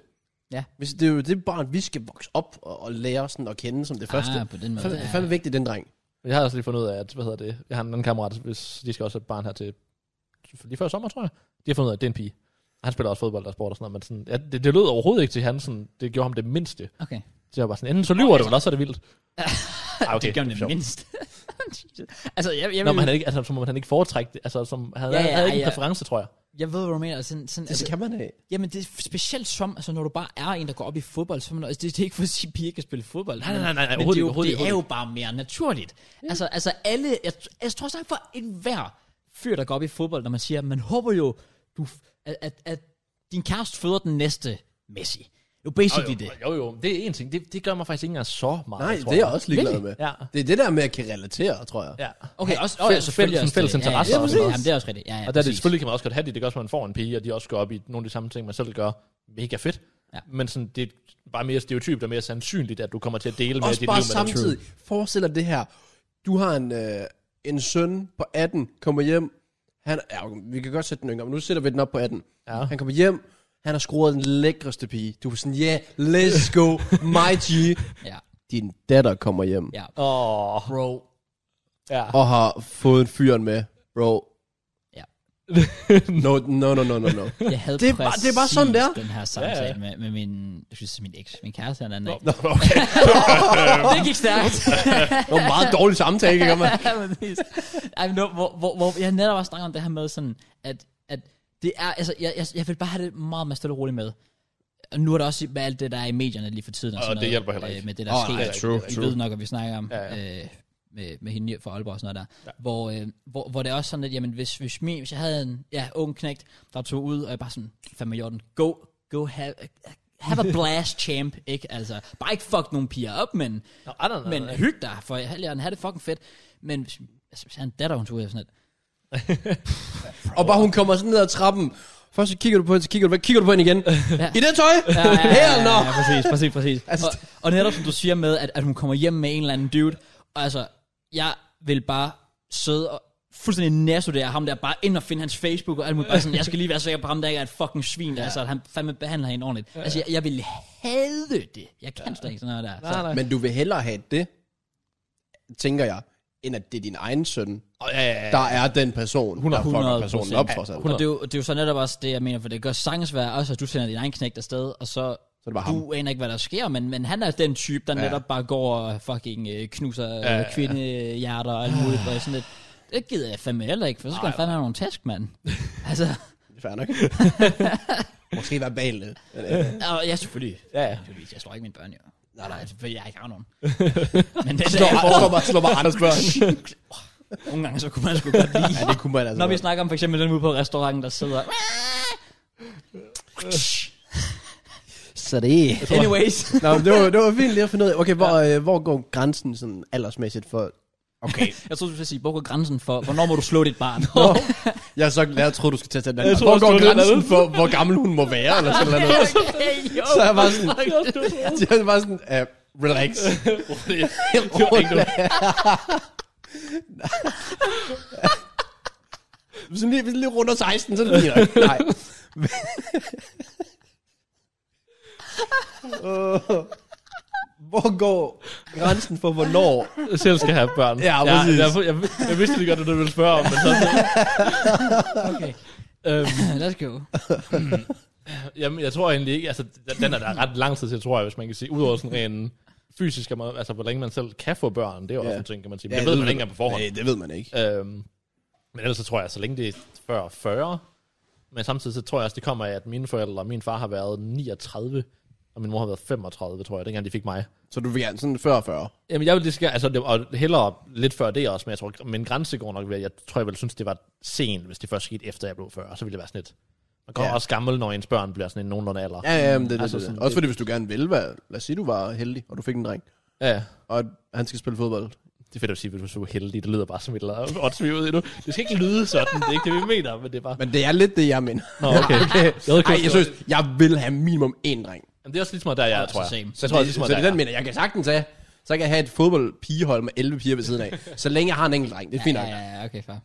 Speaker 1: Ja.
Speaker 3: Hvis, det er jo det barn, vi skal vokse op og, og lære sådan at kende som det første.
Speaker 1: Ah, på den måde.
Speaker 3: Fandme-
Speaker 1: ja.
Speaker 3: Fandme vigtigt, den dreng.
Speaker 2: Jeg har også lige fundet ud af, at, hvad hedder det, jeg har en anden kammerat, hvis de skal også have et barn her til, lige før sommer, tror jeg. De har fundet ud af, at det er en pige. Han spiller også fodbold og sport og sådan noget, men sådan, ja, det, det lød overhovedet ikke til han, sådan, det gjorde ham det mindste.
Speaker 1: Okay.
Speaker 2: Så jeg var sådan, enten så lyver du, eller også er det vildt. Ah,
Speaker 1: Det gør
Speaker 2: er
Speaker 1: det
Speaker 2: sjovt.
Speaker 1: mindst. Jesus. altså, jeg, jeg,
Speaker 2: Nå, men
Speaker 1: vil-
Speaker 2: han er ikke, altså, som om han ikke foretrækker det. Altså, som, han,
Speaker 1: Ja,
Speaker 2: ja,
Speaker 1: ja,
Speaker 2: ja, havde ikke
Speaker 1: ja.
Speaker 2: en præference, tror jeg.
Speaker 1: jeg ved, hvad du mener. Sådan, sådan, altså,
Speaker 3: Det skal man have.
Speaker 1: Jamen, det er specielt som, altså, når du bare er en, der går op i fodbold, så er man, altså, det, det er ikke for at sige, at piger kan spille fodbold.
Speaker 2: Nej, nej, nej, nej,
Speaker 1: men- men det, er
Speaker 2: overhovedet
Speaker 1: jo,
Speaker 2: ikke, overhovedet
Speaker 1: det er jo bare mere naturligt. Ja. Altså, altså alle, jeg, jeg tror snart for enhver fyr, der går op i fodbold, når man siger, man håber jo, du, f- at, at, at din kæreste føder den næste Messi. Jo,
Speaker 2: Jo,
Speaker 1: basically
Speaker 2: jo,
Speaker 1: det.
Speaker 2: jo, jo, det er en ting. Det, det gør mig faktisk ikke engang så meget,
Speaker 3: Nej,
Speaker 2: tror
Speaker 3: det er jeg også ligeglad
Speaker 1: Virkelig?
Speaker 3: med.
Speaker 2: Ja.
Speaker 3: Det er det der med, at jeg kan relatere, tror jeg.
Speaker 2: Ja.
Speaker 1: Okay, også,
Speaker 2: fælles-
Speaker 1: og, ja, selvfølgelig
Speaker 2: fælles-
Speaker 1: også
Speaker 2: fælles
Speaker 1: det. Ja,
Speaker 2: interesser
Speaker 1: ja,
Speaker 2: og
Speaker 1: ja,
Speaker 2: sådan noget.
Speaker 1: Jamen, det er også rigtigt. Ja, ja,
Speaker 2: Og der er det,
Speaker 1: præcis.
Speaker 2: selvfølgelig kan man også godt have det. Det gør også, at man får en pige, og de også går op i nogle af de samme ting, man selv gør. Mega fedt.
Speaker 1: Ja.
Speaker 2: Men sådan, det er bare mere stereotypt og mere sandsynligt, at du kommer til at dele med dit
Speaker 3: Også
Speaker 2: liv.
Speaker 3: bare
Speaker 2: med den
Speaker 3: samtidig. Forestil dig det her. Du har en, øh, en søn på 18, kommer hjem. Han, ja, okay, vi kan godt sætte den yngre, men nu sætter vi den op på 18.
Speaker 2: Ja.
Speaker 3: Han kommer hjem. Han har scoret den lækreste pige. Du er sådan, yeah, let's go, my G.
Speaker 1: Ja,
Speaker 3: Din datter kommer hjem
Speaker 1: ja.
Speaker 2: anden. Åh, oh,
Speaker 1: Bro.
Speaker 2: ja.
Speaker 3: og har fået fyren med. Bro,
Speaker 1: Ja.
Speaker 3: no, no, no, no, no, no.
Speaker 1: Jeg havde
Speaker 3: Det er bare- det er bare sådan, det er.
Speaker 1: præcis den her samtale ja,
Speaker 2: Ja,
Speaker 1: ja.
Speaker 2: ja.
Speaker 1: Med, med, min, jeg synes, min eks, min kæreste, han er en
Speaker 2: Nå, okay.
Speaker 1: Det gik stærkt.
Speaker 3: Det var en meget dårlig samtale, ikke? Man.
Speaker 1: Ja, præcis. Ej, men nu, hvor, hvor, hvor jeg netop også snakker om det her med sådan, at, at det er, altså, jeg, jeg, jeg vil bare have det meget mere stille og roligt med. Og nu er der også med alt det, der er i medierne lige for tiden. Og,
Speaker 2: Og
Speaker 1: sådan
Speaker 2: det
Speaker 1: noget,
Speaker 2: hjælper heller ikke.
Speaker 1: Øh, med det, der
Speaker 3: Åh,
Speaker 1: sker.
Speaker 3: nej, true,
Speaker 1: I
Speaker 3: true.
Speaker 1: ved nok, hvad vi snakker om.
Speaker 2: Ja,
Speaker 1: Øh, med, med hende fra Aalborg og sådan noget der. Ja. Hvor, øh, hvor, hvor det er også sådan, at jamen, hvis, hvis, min, hvis jeg havde en ja, ung knægt, der tog ud, og jeg bare sådan, fandme Jordan, go, go have, have a blast champ, ikke? Altså, bare ikke fuck nogle piger op, men
Speaker 2: Nå, I don't know.
Speaker 1: men hyg dig, for helgen, have det fucking fedt. Men hvis, altså, hvis han datter, hun tog ud af sådan et.
Speaker 3: Og bare hun kommer sådan ned ad trappen. Først så kigger du på hende, så kigger du, hvad kigger du på hende igen?
Speaker 1: Ja.
Speaker 3: I det tøj? Ja, Hell no!
Speaker 1: præcis, præcis, præcis.
Speaker 3: Altså,
Speaker 1: altså, og, og netop som du siger med, at, at hun kommer hjem med en eller anden dude, og altså, jeg vil bare sidde og fuldstændig næstudere ham der, bare ind og finde hans Facebook og alt muligt. Bare sådan, jeg skal lige være sikker på ham, der ikke er et fucking svin, ja. altså, at han fandme behandler hende ordentligt. Altså, jeg, jeg vil hade det. Jeg kan slet ikke sådan noget der. Så,
Speaker 2: Nej, nej.
Speaker 3: Men du vil hellere have det, tænker jeg, end at det er din egen søn,
Speaker 2: Åh, ja, ja, ja.
Speaker 3: der er den person, 100, der
Speaker 1: 100%.
Speaker 3: fucker personen op for sig.
Speaker 1: og det er, jo, det er jo så netop også det, jeg mener, for det gør sagtens være også, at du sender din egen knægt afsted, og så
Speaker 3: Så er det bare ham.
Speaker 1: Du aner ikke, hvad der sker, men, men han er den type, der ja.
Speaker 3: Ja.
Speaker 1: netop bare går og fucking øh, knuser
Speaker 2: Ja, ja,
Speaker 1: øh,
Speaker 2: ja.
Speaker 1: kvindehjerter og alt muligt. Og sådan lidt. Det gider jeg fandme heller ikke, for så skal han fandme have nogle tæsk, mand. altså,
Speaker 3: Det er fair nok. Måske verbalt. men, øh,
Speaker 1: og ja, selvfølgelig.
Speaker 2: Ja, ja.
Speaker 1: Naturligvis, Jeg slår ikke mine børn, jo.
Speaker 3: Nej, nej.
Speaker 1: Altså, fordi jeg ikke har nogen. men det
Speaker 3: Slår,
Speaker 1: er
Speaker 3: slår, bare, slår bare andres børn.
Speaker 1: nogle gange, så kunne man sgu godt lide.
Speaker 3: Ja, det kunne man altså.
Speaker 1: Når vi
Speaker 3: godt.
Speaker 1: snakker om for eksempel den ude på restauranten, der sidder...
Speaker 3: Så det er...
Speaker 1: Anyways.
Speaker 3: Nå, men det var, det var fint lige at finde ud af, okay, hvor, ja. øh, hvor går grænsen sådan aldersmæssigt for Okay.
Speaker 1: Jeg tror du skulle sige, hvor går grænsen for, hvornår må du slå dit barn?
Speaker 3: Jeg er så glad, jeg troede, du skulle til at tage den
Speaker 2: Jeg
Speaker 3: anden.
Speaker 2: troede
Speaker 3: Hvor
Speaker 2: også,
Speaker 3: går
Speaker 2: det var den
Speaker 3: grænsen
Speaker 2: anden.
Speaker 3: for, hvor gammel hun må være, eller sådan noget.
Speaker 1: okay, jo.
Speaker 3: Så er jeg bare sådan,
Speaker 2: det
Speaker 3: så er jeg bare sådan, uh, relax. Hvis hun lige, hvis hun lige runder 16, så er det lige nok. Nej. uh, hvor går grænsen for, hvornår
Speaker 2: Jeg selv skal have børn.
Speaker 3: Ja,
Speaker 2: jeg,
Speaker 3: præcis.
Speaker 2: Jeg, jeg, jeg, jeg vidste lige godt, at du ville spørge om, men så...
Speaker 1: okay.
Speaker 2: Øhm,
Speaker 1: Let's go.
Speaker 2: Jamen, jeg tror egentlig ikke, altså, den- den er der ret lang tid til, tror jeg, hvis man kan sige, udover sådan en fysisk, er meget- altså, hvor længe man selv kan få børn, det er jo
Speaker 3: Ja.
Speaker 2: også en ting, kan man sige. Men det ved man ikke engang på forhånd.
Speaker 3: Nej, det ved man ikke.
Speaker 2: Øhm, men ellers så tror jeg, så længe det er før 40, men samtidig så tror jeg også, det kommer af, at mine forældre og min far har været 39, og min mor har været 35, tror jeg, dengang de fik mig.
Speaker 3: Så du vil gerne sådan før 40.
Speaker 2: Jamen, jeg vil lige skal, altså, det- og hellere lidt før det også, men jeg tror, min grænse går nok ved, at jeg tror, jeg ville synes, det var sent, hvis det først skete efter, jeg blev 40, så ville det være sådan lidt. Man kommer
Speaker 3: Ja.
Speaker 2: ja. også gammel, når ens børn bliver sådan en nogenlunde alder.
Speaker 3: Ja, ja, men det, altså,
Speaker 2: Altså
Speaker 3: det, det.
Speaker 2: sådan,
Speaker 3: Også
Speaker 2: det-
Speaker 3: fordi, hvis du gerne vil være... Lad os sige, du var heldig, og du fik en dreng,
Speaker 2: ja.
Speaker 3: og han skal spille fodbold.
Speaker 2: Det er fedt at sige, hvis du er heldig. Det lyder bare som et eller andet åndssvig ud endnu. Det skal ikke lyde sådan. Det er ikke det, vi mener, men det er bare...
Speaker 3: Men det er lidt det, jeg mener.
Speaker 2: Nå, okay. Jeg ved,
Speaker 3: Nej, jeg synes, jeg vil have minimum én dreng.
Speaker 2: Jamen, det er også ligesom der, jeg er, tror jeg.
Speaker 1: same.
Speaker 2: Så jeg tror, jeg
Speaker 3: det,
Speaker 2: ligesom
Speaker 3: så
Speaker 2: der,
Speaker 3: det er
Speaker 2: jeg
Speaker 3: den, mener jeg. Jeg kan sagtens have... Så kan jeg have et fodboldpigehold med 11 piger ved siden af. så længe jeg har en enkelt dreng. Det er fint
Speaker 1: Ja,
Speaker 3: nok.
Speaker 1: ja, ja, okay, far.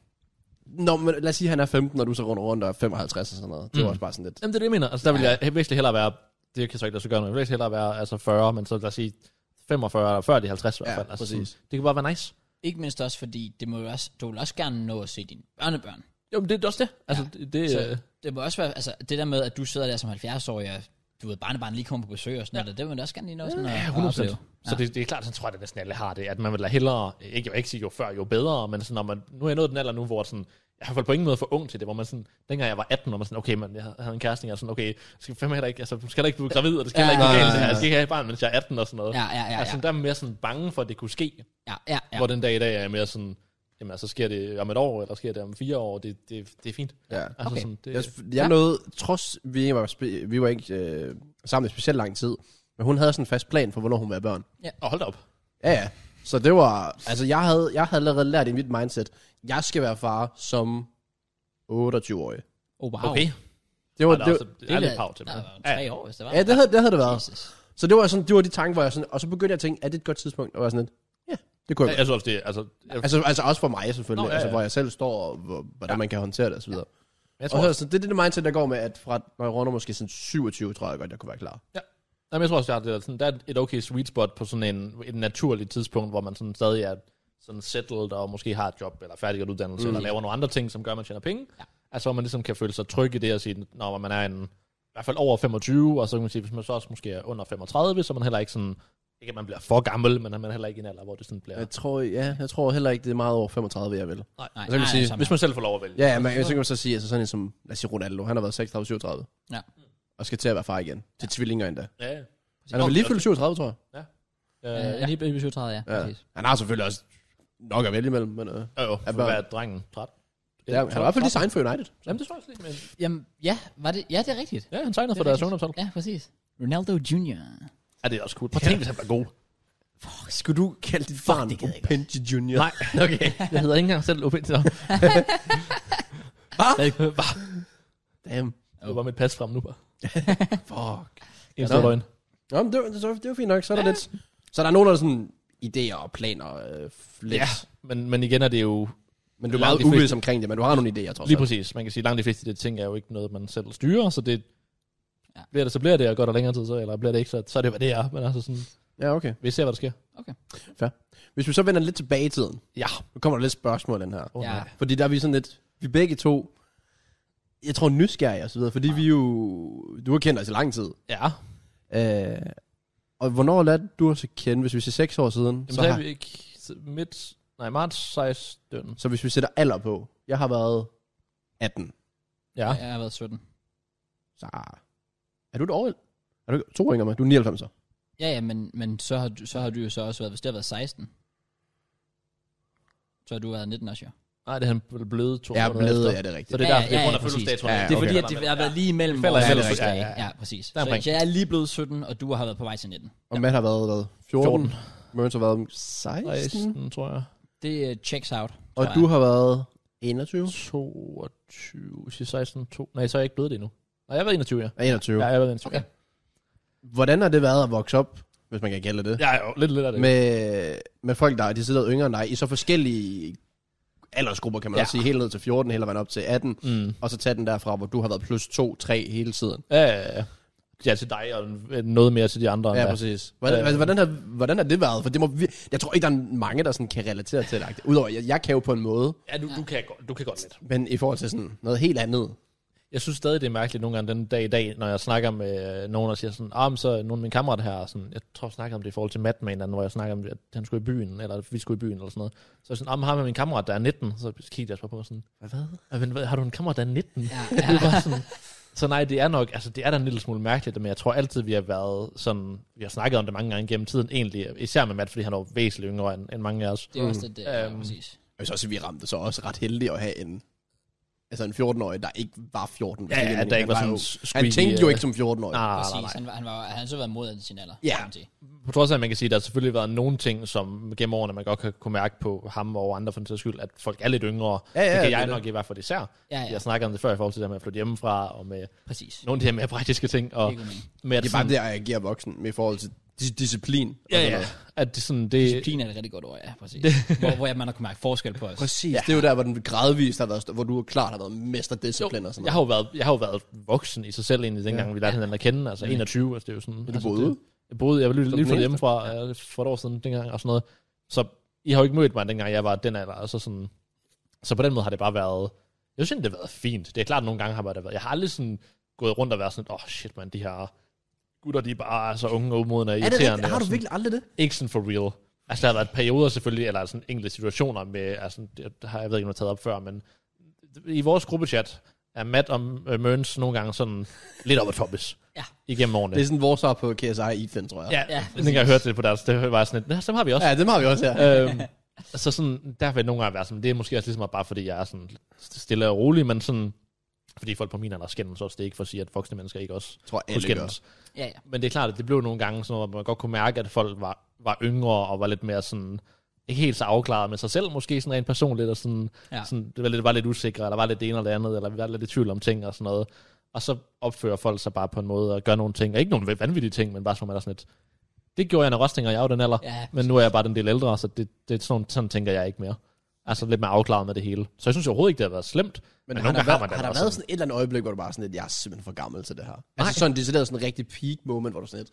Speaker 3: Nå, men lad os sige, at han er 15, og du så rundt rundt og er 55 og sådan noget.
Speaker 2: Mm.
Speaker 3: Det var også bare sådan lidt.
Speaker 2: Jamen, det er det, jeg mener. Altså, der vil jeg væsentligt hellere være... Det kan så ikke lade sig gøre noget. Jeg vil væsentligt hellere være altså 40, men så lad os sige 45 eller 40 de 50 i hvert
Speaker 3: Ja,
Speaker 2: fald. altså, sådan,
Speaker 3: præcis.
Speaker 2: det kan bare være nice.
Speaker 1: Ikke mindst også, fordi det må jo også, du vil også gerne nå at se dine børnebørn.
Speaker 2: Jo, men det er også det. Altså, det, det,
Speaker 1: Så
Speaker 2: øh,
Speaker 1: det må også være, altså det der med, at du sidder der som 70-årig, og du ved, barnebarn lige kommer på besøg og sådan ja. noget, det vil man også gerne lige nå sådan ja,
Speaker 2: 100%. Så det, det er klart, sådan tror jeg, at næsten alle har det, at man vil da hellere, ikke, jeg vil ikke sige jo før, jo bedre, men sådan, når man, nu er jeg nået den alder nu, hvor sådan, jeg har fået på ingen måde for ung til det, hvor man sådan, dengang jeg var 18, hvor man sådan, okay, man, jeg havde en kæreste, og jeg var sådan, okay, jeg skal fandme heller ikke, altså, du skal heller ikke blive gravid, og det skal
Speaker 1: Ja,
Speaker 2: heller ikke gå
Speaker 3: ja,
Speaker 2: galt,
Speaker 3: ja,
Speaker 2: det her,
Speaker 3: ja.
Speaker 2: jeg skal ikke have et barn, mens jeg er 18 og sådan noget.
Speaker 1: Ja, ja, ja,
Speaker 2: altså,
Speaker 1: ja,
Speaker 2: der er man mere sådan bange for, at det kunne ske,
Speaker 1: ja, ja, ja.
Speaker 2: hvor den dag i dag er jeg mere sådan, jamen, så sker det om et år, eller sker det om fire år, det, det, det er fint.
Speaker 3: Ja.
Speaker 2: Altså,
Speaker 1: Okay.
Speaker 2: sådan, det,
Speaker 3: Jeg, jeg nåede, trods vi ikke var, spe, vi var ikke øh, sammen i specielt lang tid, men hun havde sådan en fast plan for, hvornår hun ville have børn.
Speaker 2: og hold da op.
Speaker 3: Ja, ja. Så det var... Altså, jeg havde, jeg havde allerede lært i mit mindset, jeg skal være far som 28-årig.
Speaker 1: Oh, wow.
Speaker 2: Okay.
Speaker 3: Det var,
Speaker 2: Og der er
Speaker 3: det,
Speaker 2: også,
Speaker 3: var-
Speaker 2: det er lidt pav til
Speaker 1: mig.
Speaker 2: mig.
Speaker 1: Tre år, hvis det var.
Speaker 3: ja, det havde, det havde det været.
Speaker 1: Jesus.
Speaker 3: Så det var, sådan, det var de tanker, hvor jeg sådan... Og så begyndte jeg at tænke, er det et godt tidspunkt? Og jeg var sådan lidt, ja, det kunne jeg godt.
Speaker 2: Jeg synes også, det er- altså, jeg,
Speaker 3: Altså, altså også for mig
Speaker 2: Nå,
Speaker 3: selvfølgelig, Nå,
Speaker 2: ja,
Speaker 3: ja, altså
Speaker 2: ja.
Speaker 3: hvor jeg selv står, og hvor, hvordan ja. man kan håndtere det og så videre.
Speaker 2: jeg tror
Speaker 3: Og så, så det er det mindset, der går med, at fra, når jeg runder måske sådan 27, tror jeg godt, jeg kunne være klar.
Speaker 2: Jamen, jeg tror også, jeg har det der, sådan, der er et okay sweet spot på sådan en, et naturligt tidspunkt, hvor man sådan stadig er sådan settled og måske har et job eller færdiggjort uddannelse mm. eller laver nogle andre ting, som gør, at man tjener penge. Ja. Altså, hvor man ligesom kan føle sig tryg i det og sige, når man er en, i hvert fald over 25, og så kan man sige, hvis man så også måske er under 35, så er man heller ikke sådan, ikke at man bliver for gammel, men at man er heller ikke i en alder, hvor det sådan bliver...
Speaker 3: Jeg tror, ja, jeg tror heller ikke, det er meget over 35, jeg vil.
Speaker 1: Nej, nej,
Speaker 3: så kan man
Speaker 1: nej, altså,
Speaker 3: sige,
Speaker 1: nej,
Speaker 2: altså, Hvis man selv får lov at vælge.
Speaker 3: Ja, ja, men så kan man så sige, altså sådan en som, lad os sige Ronaldo, han har været 36-37.
Speaker 1: Ja.
Speaker 3: Og skal til at være far igen. Til tvillinger endda.
Speaker 2: ja. ja.
Speaker 3: Han er vel lige fyldt 37, tror jeg.
Speaker 1: Øh,
Speaker 2: Øh,
Speaker 1: ja. Lige i 37, ja.
Speaker 3: Ja.
Speaker 1: præcis.
Speaker 3: Han har selvfølgelig også nok at vælge imellem, men øh, ja,
Speaker 2: jo, jo,
Speaker 3: Er
Speaker 2: for
Speaker 3: børn.
Speaker 2: hvad er drengen? 13?
Speaker 3: han er i hvert fald design for United.
Speaker 2: Jamen, det tror jeg også lige, men...
Speaker 1: Jamen, ja, var det, ja, det er rigtigt.
Speaker 2: Ja, han tegnede
Speaker 1: Det
Speaker 2: for
Speaker 1: er
Speaker 2: deres
Speaker 1: rigtigt.
Speaker 2: ungdomshold.
Speaker 1: Ja, præcis. Ronaldo Jr.
Speaker 2: Ja, det er også cool. Prøv at tænke, hvis han var god.
Speaker 3: Skulle du kalde dit barn
Speaker 1: det gad jeg ikke.
Speaker 3: Opinji Junior?
Speaker 2: Nej, okay. Jeg hedder ikke engang selv Opinji. Hvad? Hvad?
Speaker 3: Damn.
Speaker 2: Det var mit pas frem nu bare.
Speaker 3: Fuck.
Speaker 2: En
Speaker 3: stor
Speaker 2: stor løgn.
Speaker 3: Nå, men det, var- det, var- det var fint nok. Så er der lidt... Så er der nogen, der er sådan idéer og planer øh, lidt.
Speaker 2: Ja, men, men igen er det jo
Speaker 3: Men du
Speaker 2: Langt
Speaker 3: er meget
Speaker 2: de fleste-
Speaker 3: uvis omkring det, men du har nogle idéer, trods
Speaker 2: lige
Speaker 3: alt.
Speaker 2: præcis. Man kan sige, langt de fleste af de ting er jo ikke noget, man selv styrer, så det
Speaker 1: Ja.
Speaker 2: ja. bliver det, så bliver det, og går der længere tid, så, eller bliver det ikke, så, så er det, hvad det er. Men altså sådan,
Speaker 3: Ja, okay.
Speaker 2: vi ser, hvad der sker.
Speaker 3: Hvis vi så vender lidt tilbage i tiden,
Speaker 2: Ja.
Speaker 3: nu kommer der lidt spørgsmål den her.
Speaker 2: Oh,
Speaker 1: Ja.
Speaker 2: ja. Nej.
Speaker 3: Fordi der er vi sådan lidt, vi begge to, jeg tror nysgerrige og så videre, fordi vi jo, du har kendt os i lang tid.
Speaker 2: Ja.
Speaker 3: Øh, og hvornår lærte du os at kende, hvis vi siger 6 år siden?
Speaker 2: Jamen,
Speaker 3: så,
Speaker 2: så er
Speaker 3: har,
Speaker 2: vi ikke midt, nej, marts 16.
Speaker 3: så hvis vi sætter alder på, jeg har været 18.
Speaker 2: Ja.
Speaker 1: Jeg har været 17.
Speaker 3: Så er du et år? ældre? Er du to år yngre end mig? Du er 99.
Speaker 1: Ja, ja, men, men så, har du, så har du jo så også været, hvis det har været 16, så har du været 19 også, jo.
Speaker 2: Nej, det er han bl- blevet to
Speaker 3: Jeg er
Speaker 2: måneder
Speaker 3: blevet,
Speaker 2: efter.
Speaker 3: ja, det er rigtigt.
Speaker 2: Så det er
Speaker 1: Ja,
Speaker 2: ja,
Speaker 1: ja,
Speaker 2: derfor,
Speaker 1: ja,
Speaker 2: det er
Speaker 1: ja,
Speaker 2: grund af
Speaker 3: præcis.
Speaker 2: fødselsdatoren.
Speaker 3: Ja, ja,
Speaker 1: Det er
Speaker 3: okay.
Speaker 1: fordi, at det har været lige imellem
Speaker 2: Falder
Speaker 1: vores
Speaker 2: imellem
Speaker 1: fødselsdage.
Speaker 2: fødselsdage, ja,
Speaker 1: Ja,
Speaker 2: ja.
Speaker 1: præcis. Så,
Speaker 2: Der omkring.
Speaker 1: så jeg er lige blevet 17, og du har været på vej til 19.
Speaker 3: Og Matt har været, hvad, 14? 14. Mørens har været 16?
Speaker 2: 16, tror jeg.
Speaker 1: Det øh, checks out.
Speaker 3: Og
Speaker 1: tror
Speaker 3: du
Speaker 1: jeg.
Speaker 3: har været 21?
Speaker 2: 22, siger 16, 2. Nej, så er jeg ikke blevet det endnu. Nej, jeg har været 21, ja.
Speaker 3: Ja, 21.
Speaker 2: Ja, jeg har været 21.
Speaker 1: Okay.
Speaker 2: Okay.
Speaker 3: Hvordan har det været at vokse op, hvis man kan kalde det det?
Speaker 2: Ja, jo, lidt lidt af det. Men,
Speaker 3: Med, med folk, der er decideret yngre end dig, i så forskellige aldersgrupper, kan man ja.
Speaker 2: Ja.
Speaker 3: også sige, helt ned til 14, hele vejen op til 18,
Speaker 2: mm.
Speaker 3: og så tage den derfra, hvor du har været plus 2, 3 hele tiden.
Speaker 2: ja, ja, ja. ja, til dig, og noget mere til de andre. end
Speaker 3: Ja,
Speaker 2: dig.
Speaker 3: præcis. Hvordan,
Speaker 2: Øh.
Speaker 3: altså, hvordan, har, hvordan har det været? For det må, vir- jeg tror ikke, der er mange, der sådan kan relatere til det. Udover, jeg, jeg kan jo på en måde,
Speaker 2: Ja, du, du, kan, godt- du kan godt lidt.
Speaker 3: men i forhold til sådan noget helt andet.
Speaker 2: Jeg synes stadig, det er mærkeligt nogle gange den dag i dag, når jeg snakker med øh, nogen, og siger sådan, ah, men så er nogle af mine kammerater her, og sådan, jeg tror, jeg snakker om det i forhold til Matt med en eller anden, hvor jeg snakker om, at han skulle i byen, eller at vi skulle i byen, eller sådan noget. Så er jeg sådan, ah, men ham er min kammerat, der er 19, så kigger jeg bare på mig sådan, hvad, hvad? Men, hvad, har du en kammerat, der er 19? Ja, ja. Det er bare sådan, så nej, det er nok, altså det er da en lille smule mærkeligt, men jeg tror altid, vi har været sådan, vi har snakket om det mange gange gennem tiden egentlig, især med Matt, fordi han er jo væsentligt yngre end, end mange af os.
Speaker 1: Det er også det, det ja,
Speaker 2: Øhm,
Speaker 1: præcis.
Speaker 3: Jeg vil så også sige, vi ramte så også ret heldige at have en, altså en 14-årig, der ikke var 14.
Speaker 2: Ja,
Speaker 3: hvis det giver
Speaker 2: ja,
Speaker 3: mening.
Speaker 2: der ikke var
Speaker 3: Han
Speaker 2: sådan
Speaker 3: jo-
Speaker 2: squeaky,
Speaker 3: Han tænkte jo
Speaker 2: øh,
Speaker 3: ikke som 14-årig.
Speaker 2: Nej, nej, nej,
Speaker 1: Præcis,
Speaker 2: nej.
Speaker 1: han var, han var, han så været moden sin alder.
Speaker 3: Ja.
Speaker 1: kan man sige.
Speaker 2: på trods af, at man kan sige, at der er selvfølgelig været nogle ting, som gennem årene, man godt kan kunne mærke på ham og andre for den sags skyld, at folk er lidt yngre.
Speaker 3: Ja, ja,
Speaker 2: det
Speaker 3: det
Speaker 2: kan
Speaker 3: er
Speaker 2: jeg
Speaker 3: det.
Speaker 2: nok i hvert fald især.
Speaker 1: Ja, ja.
Speaker 2: Jeg snakker om det før i forhold til det her med at flytte hjemmefra, og med
Speaker 1: Præcis.
Speaker 2: nogle af de her mere praktiske ting. Og
Speaker 1: Det er god mening.
Speaker 2: med at
Speaker 3: Det er bare det, jeg agerer voksen med i forhold til dis- disciplin. og
Speaker 2: ja,
Speaker 3: sådan
Speaker 2: ja,
Speaker 3: noget.
Speaker 2: at det sådan, det,
Speaker 1: Disciplin er et rigtig godt ord, ja, præcis. hvor, hvor man har kunnet mærke forskel på os.
Speaker 3: Præcis. Ja. Det er jo der, hvor den gradvist har været, st- hvor du klart har været mesterdisciplin og sådan
Speaker 2: jeg
Speaker 3: noget.
Speaker 2: har jo været, jeg har jo været voksen i sig selv egentlig, dengang ja. vi lærte hinanden at kende, altså 21, altså det er jo sådan... Du altså,
Speaker 3: boede?
Speaker 2: Det, jeg boede, jeg var lige,
Speaker 3: den
Speaker 2: lige flyttet
Speaker 3: eneste?
Speaker 2: hjemmefra ja. for et år siden dengang og sådan noget. Så I har jo ikke mødt mig dengang jeg var den alder, altså sådan... Så på den måde har det bare været... Jeg synes egentlig, det har været fint. Det er klart, at nogle gange har det været... Jeg har aldrig sådan gået rundt og været sådan, åh oh, shit man, de her gutter, de er bare så unge og umodne og
Speaker 3: Er det
Speaker 2: irriterende.
Speaker 3: rigtigt? Har
Speaker 2: og
Speaker 3: du
Speaker 2: sådan-
Speaker 3: virkelig aldrig det?
Speaker 2: ikke sådan for real. Altså, der har været perioder selvfølgelig, eller sådan enkelte situationer med, altså, det har jeg ved ikke, om jeg har taget op før, men i vores gruppechat er Matt og øh, Møns nogle gange sådan lidt oppe at toppes
Speaker 1: Ja.
Speaker 2: igennem årene.
Speaker 3: Det er sådan vores svar på KSI Ethan, tror jeg.
Speaker 2: ja,
Speaker 1: Ja,
Speaker 2: ja, den jeg hørte det på deres, det var sådan lidt, "Nå, så har vi også.
Speaker 3: ja dem har vi også her.
Speaker 2: øhm, så sådan, der vil jeg nogle gange være sådan, det er måske også ligesom bare, fordi jeg er sådan stille og rolig, men sådan, fordi folk på min alder skændes også, det er ikke for at sige, at voksne mennesker ikke også
Speaker 3: tror alle
Speaker 2: kunne
Speaker 3: gør.
Speaker 2: skændes.
Speaker 1: Ja, ja.
Speaker 2: Men det er klart, at det blev nogle gange sådan, at man godt kunne mærke, at folk var, var yngre og var lidt mere sådan, ikke helt så afklaret med sig selv, måske sådan rent personligt, og sådan,
Speaker 1: Ja.
Speaker 2: ja. sådan det var lidt, var lidt usikre, eller var lidt det ene eller det andet, eller vi var lidt i tvivl om ting og sådan noget. Og så opfører folk sig bare på en måde og gør nogle ting, og ikke nogle vanvittige ting, men bare som man er sådan lidt, det gjorde jeg, når Rosting og jeg var den alder,
Speaker 1: Ja,
Speaker 2: men nu er jeg bare den del ældre, så det, det er sådan, nogle- sådan tænker jeg ikke mere. Altså lidt mere afklaret med det hele. Så jeg synes overhovedet ikke, det har været slemt.
Speaker 3: Men,
Speaker 2: Men
Speaker 3: har,
Speaker 2: nogle
Speaker 3: der
Speaker 2: gange har
Speaker 3: været,
Speaker 2: man altså. da
Speaker 3: har der
Speaker 2: bare sådan-
Speaker 3: været sådan et eller andet øjeblik, hvor du bare sådan lidt, jeg er simpelthen for gammel til det her? Altså sådan, det er sådan en rigtig peak moment, hvor du sådan lidt,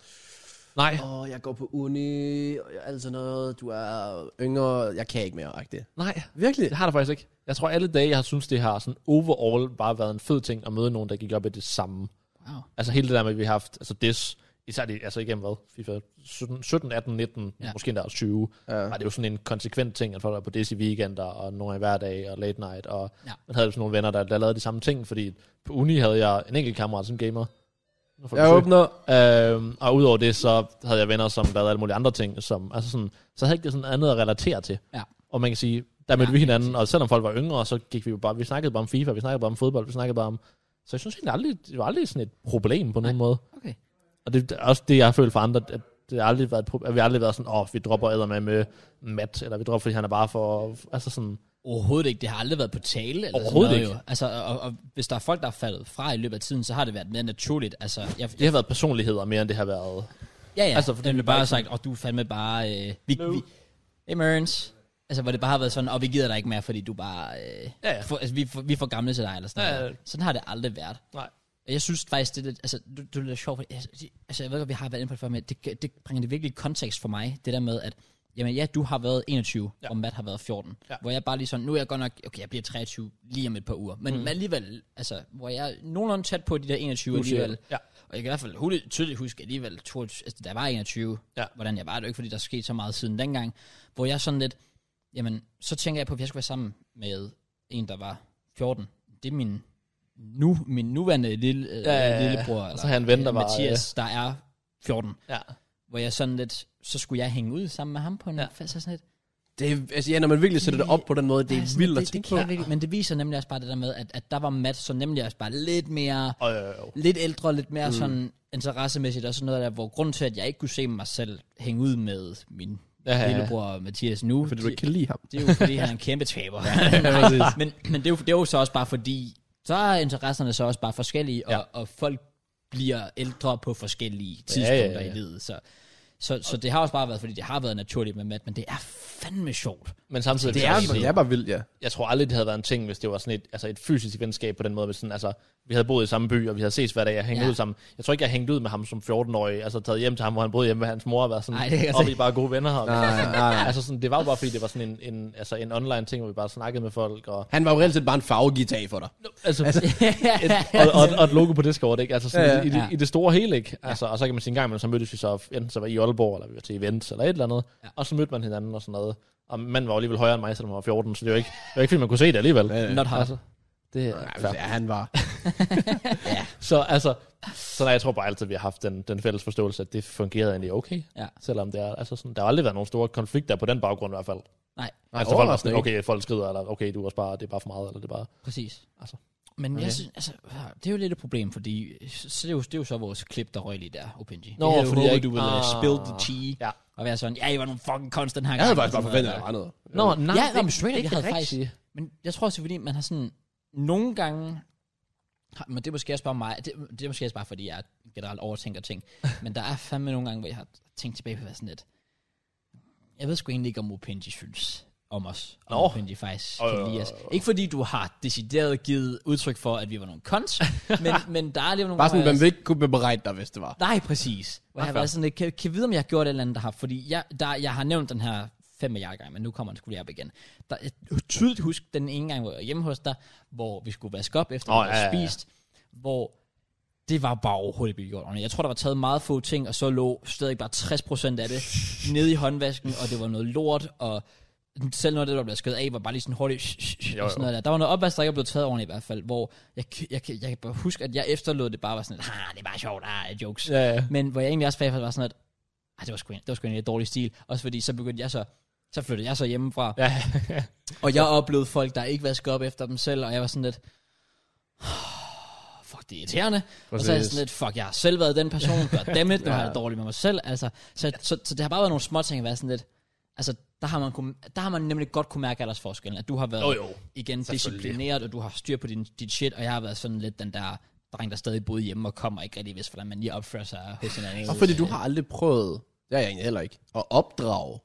Speaker 2: Nej,
Speaker 3: åh, jeg går på uni, og jeg er alt sådan noget, du er yngre, jeg kan ikke mere, agtigt.
Speaker 2: nej,
Speaker 3: Virkelig?
Speaker 2: Det har der faktisk ikke. Jeg tror alle dage, jeg har syntes, det har sådan overall bare været en fed ting at møde nogen, der gik op i det samme.
Speaker 1: Wow.
Speaker 2: Altså hele det der med, at vi har haft, altså des, især det, altså igennem hvad, FIFA 17, 17 18, 19,
Speaker 1: Ja.
Speaker 2: ja. måske endda også 20.
Speaker 3: Ja.
Speaker 2: Ja. Og det er jo sådan en konsekvent ting, at folk er på des i weekender, og nogle i hverdag, og late night, og
Speaker 1: Ja.
Speaker 2: ja. man havde sådan nogle venner, der, der lavede de samme ting, fordi på uni havde jeg en enkelt kammerat som gamer. Nu får
Speaker 3: Jeg
Speaker 2: besøg.
Speaker 3: åbner.
Speaker 2: Øhm, og udover det, så havde jeg venner, som lavede alle mulige andre ting. Som, altså sådan, så havde jeg ikke sådan andet at relatere til.
Speaker 1: Ja.
Speaker 2: Og man kan sige, der mødte
Speaker 1: Ja,
Speaker 2: ja, vi hinanden, og selvom folk var yngre, så gik vi jo bare, vi snakkede bare om FIFA, vi snakkede bare om fodbold, vi snakkede bare om... Så jeg synes egentlig aldrig, det var aldrig sådan et problem på nogen måde.
Speaker 1: Okay.
Speaker 2: Og det er også det, jeg har følt for andre, at det har aldrig været et problem, at vi har aldrig været sådan, åh, oh, vi dropper æder med med Matt, eller vi dropper, fordi han er bare for... Altså sådan,
Speaker 1: Overhovedet ikke. Det har aldrig været på tale. Eller
Speaker 2: Overhovedet
Speaker 1: sådan noget,
Speaker 2: ikke.
Speaker 1: Jo. Altså, og, og, hvis der er folk, der er faldet fra i løbet af tiden, så har det været mere naturligt. Altså, jeg,
Speaker 2: det har været personligheder mere, end det har været...
Speaker 1: ja, ja.
Speaker 2: altså,
Speaker 1: Altså,
Speaker 2: fordi
Speaker 1: det blev
Speaker 2: vi bare
Speaker 1: bare
Speaker 2: ikke-
Speaker 1: sagt, og du er fandme bare... Øh, vi, vi, hey, Merns. Altså, hvor det bare har været sådan, og vi gider dig ikke mere, fordi du bare... Øh,
Speaker 2: Ja, ja.
Speaker 1: For, altså, vi, er for, vi er for gamle til dig, eller sådan
Speaker 2: Ja, ja.
Speaker 1: noget. Sådan har det aldrig været.
Speaker 2: Nej.
Speaker 1: Og Jeg synes faktisk, det er lidt, altså, du, du er lidt sjovt, fordi, altså, det- altså, jeg ved godt, vi har været inde på det før, men det, det bringer det virkelig i kontekst for mig, det der med, at jamen, ja, du har været 21, ja.
Speaker 2: Ja.
Speaker 1: og Matt har været 14, ja.
Speaker 2: Ja.
Speaker 1: hvor jeg bare lige sådan, nu er jeg godt nok, okay, jeg bliver 23 lige om et par uger, men mm. alligevel, altså, hvor jeg er nogenlunde tæt på de der 21
Speaker 2: siger
Speaker 1: alligevel,
Speaker 2: det. Ja.
Speaker 1: og jeg kan i hvert fald hurtigt, tydeligt huske alligevel, 22, altså, da jeg var 21,
Speaker 2: Ja.
Speaker 1: hvordan jeg var, det var ikke, fordi der skete så meget siden dengang, hvor jeg sådan lidt, jamen, så tænker jeg på, at jeg skulle være sammen med en, der var 14. Det er min, nu, min nuværende lille, øh,
Speaker 2: Ja, ja, ja.
Speaker 1: lillebror, eller øh,
Speaker 2: Og så har jeg en ven, der var,
Speaker 1: Mathias, der er 14.
Speaker 2: Ja.
Speaker 1: Hvor jeg sådan lidt, så skulle jeg hænge ud sammen med ham på en ja.
Speaker 2: Ja.
Speaker 1: fest, så sådan lidt.
Speaker 3: Det er, altså, ja, når man virkelig sætter det op på den måde, det
Speaker 1: ja,
Speaker 3: er
Speaker 1: sådan,
Speaker 3: vildt
Speaker 1: Altså, det,
Speaker 3: at tænke
Speaker 1: det
Speaker 3: på.
Speaker 1: kan jeg virkelig- Men det viser nemlig også bare det der med, at, at der var Matt, så nemlig også bare lidt mere
Speaker 2: Og, øh,
Speaker 1: lidt ældre, lidt mere mm. sådan interessemæssigt og sådan noget der, hvor grund til, at jeg ikke kunne se mig selv hænge ud med min
Speaker 2: Ja, ja, ja.
Speaker 1: lillebror Mathias nu.
Speaker 3: Fordi du ikke kan lide ham.
Speaker 1: Det er jo fordi, han er en kæmpe taber. men men det, er jo, det er jo så også bare fordi, så er interesserne så også bare forskellige, og,
Speaker 2: Ja.
Speaker 1: og folk bliver ældre på forskellige tidspunkter ja, ja, ja. i livet. Så, så, så det har også bare været, fordi det har været naturligt med Matt, men det er fandme sjovt.
Speaker 2: Men samtidig...
Speaker 1: Det
Speaker 2: vil jeg
Speaker 1: er-
Speaker 2: også sige-
Speaker 3: Det er bare vildt, ja.
Speaker 2: jeg tror aldrig, det havde været en ting, hvis det var sådan et, altså et fysisk venskab på den måde. Hvis sådan, altså, vi havde boet i samme by, og vi havde ses hver dag, og hængt
Speaker 1: Ja.
Speaker 2: ja. ud sammen. Jeg tror ikke, jeg hængte ud med ham som 14-årig, altså taget hjem til ham, hvor han boede hjemme med hans mor, og været sådan,
Speaker 1: Ej, det kan jeg
Speaker 2: "Åh,
Speaker 1: se."
Speaker 2: vi er bare gode venner. Og,
Speaker 3: Nej, nej, nej.
Speaker 2: altså sådan, det var jo bare, fordi det var sådan en, en, altså en online ting, hvor vi bare snakkede med folk. Og,
Speaker 3: Han var jo reelt set bare en farvegitar for dig.
Speaker 2: altså, altså, et, og, og, og, et logo på Discord, ikke? Altså sådan,
Speaker 3: Ja,
Speaker 2: ja,
Speaker 3: ja.
Speaker 2: ja. I, det,
Speaker 1: Ja.
Speaker 2: i det store hele, ikke? Altså, og så kan man sige, en gang imellem, så mødtes vi så, enten så var i Aalborg, eller vi var til events, eller et eller andet,
Speaker 1: Ja.
Speaker 2: ja. og så mødte man hinanden og sådan noget. Og manden var jo alligevel højere end mig, selvom han var 14, så det var ikke, det var ikke fordi, man kunne se det alligevel.
Speaker 3: Ja, ja.
Speaker 1: Not hard.
Speaker 2: Altså, det er fair.
Speaker 3: Ja, han var.
Speaker 2: Så altså, så nej, jeg tror bare altid, vi har haft den, den fælles forståelse, at det fungerede egentlig okay.
Speaker 1: Ja.
Speaker 2: Selvom det er, altså sådan, der har aldrig været nogen store konflikter på den baggrund i hvert fald.
Speaker 1: Nej,
Speaker 3: Nej,
Speaker 2: altså folk var
Speaker 3: overraskende
Speaker 2: sådan, okay, folk skrider, eller okay, du er også bare, det er bare for meget, eller det er bare...
Speaker 1: præcis.
Speaker 2: Altså.
Speaker 1: Men okay.
Speaker 2: Okay.
Speaker 1: jeg synes, altså, det er jo lidt et problem, fordi så det, er jo, det er jo så vores klip, der røg lige der, Opinji.
Speaker 2: Nå,
Speaker 1: jeg havde
Speaker 2: fordi
Speaker 1: håbet,
Speaker 2: jeg ikke-
Speaker 1: du ville uh,
Speaker 2: Ah.
Speaker 1: spill the tea,
Speaker 2: Ja.
Speaker 1: og være sådan, ja, I var nogle fucking constant her.
Speaker 3: Jeg havde faktisk bare forventet, at der var noget.
Speaker 2: Øh, Nå, nej,
Speaker 1: Ja, det, men straight up, jeg havde faktisk... Men jeg tror også, det er, fordi man har sådan... Nogle gange... har- Men det er måske også bare mig... Det, det er måske også bare, fordi jeg generelt overtænker ting. men der er fandme nogle gange, hvor jeg har tænkt tilbage på at være sådan lidt... Jeg ved sgu egentlig ikke, om Opinji synes om os. Om
Speaker 2: Nå.
Speaker 1: Opinji faktisk
Speaker 2: Åh,
Speaker 1: kan
Speaker 2: jo,
Speaker 1: lide
Speaker 2: jo,
Speaker 1: os.
Speaker 2: jo,
Speaker 1: Ikke fordi du har decideret givet udtryk for, at vi var nogle cons, men, men der er alligevel nogle
Speaker 3: Bare
Speaker 1: gange,
Speaker 3: sådan,
Speaker 1: hvor
Speaker 3: man
Speaker 1: jeg-
Speaker 3: vil ikke kunne bebrejde dig, hvis det var.
Speaker 1: Nej, præcis. Hvor jeg har
Speaker 2: fair.
Speaker 1: været sådan lidt, kan, kan jeg vide, om jeg har gjort et eller andet, der har, fordi jeg, der, jeg har nævnt den her fem milliarder gange, men nu kommer den skulle lige op igen. Der, jeg tydeligt husker den ene gang, hvor jeg var hjemme hos dig, hvor vi skulle vaske op efter,
Speaker 2: Åh,
Speaker 1: oh, vi havde
Speaker 2: ja, ja, ja.
Speaker 1: spist, hvor det var bare overhovedet ikke gjort ordentligt. Jeg tror, der var taget meget få ting, og så lå stadig bare 60% af det nede i håndvasken, og det var noget lort, og selv noget af det, der blev skrevet af, var bare lige sådan hurtigt, sh- sh- sh-
Speaker 2: Jo,
Speaker 1: og sådan
Speaker 2: jo.
Speaker 1: noget der. Der var noget opvask, der ikke blev taget ordentligt i hvert fald, hvor jeg, jeg, jeg, kan- jeg kan bare huske, at jeg efterlod det bare var sådan, ah, det er bare sjovt, ah, jokes.
Speaker 2: Ja, ja.
Speaker 1: Men hvor jeg egentlig også bagefter var sådan, at "Ej, det var sgu, en- det var sgu en lidt dårlig stil. Også fordi, så begyndte jeg så, så flyttede jeg så hjemmefra.
Speaker 2: ja.
Speaker 1: Og jeg oplevede folk, der ikke vaskede op efter dem selv, og jeg var sådan lidt, "Åh, fuck, det er irriterende. Og så er jeg
Speaker 2: Præcis.
Speaker 1: sådan lidt, fuck, jeg har selv været den person, der dammit, nu har jeg det dårligt med mig selv. Altså, så, så, så, det har bare været nogle små ting at være sådan lidt, altså, der har, man kunne, der har man nemlig godt kunne mærke aldersforskellen, at du har været
Speaker 2: Jo, jo.
Speaker 1: igen
Speaker 2: Selvfølgelig.
Speaker 1: disciplineret, og du har styr på din, dit shit, og jeg har været sådan lidt den der dreng, der stadig boede hjemme og kommer og ikke rigtig vidste, hvordan man lige opfører sig hos hinanden.
Speaker 3: Og fordi du har aldrig prøvet, det har jeg egentlig heller ikke, at opdrage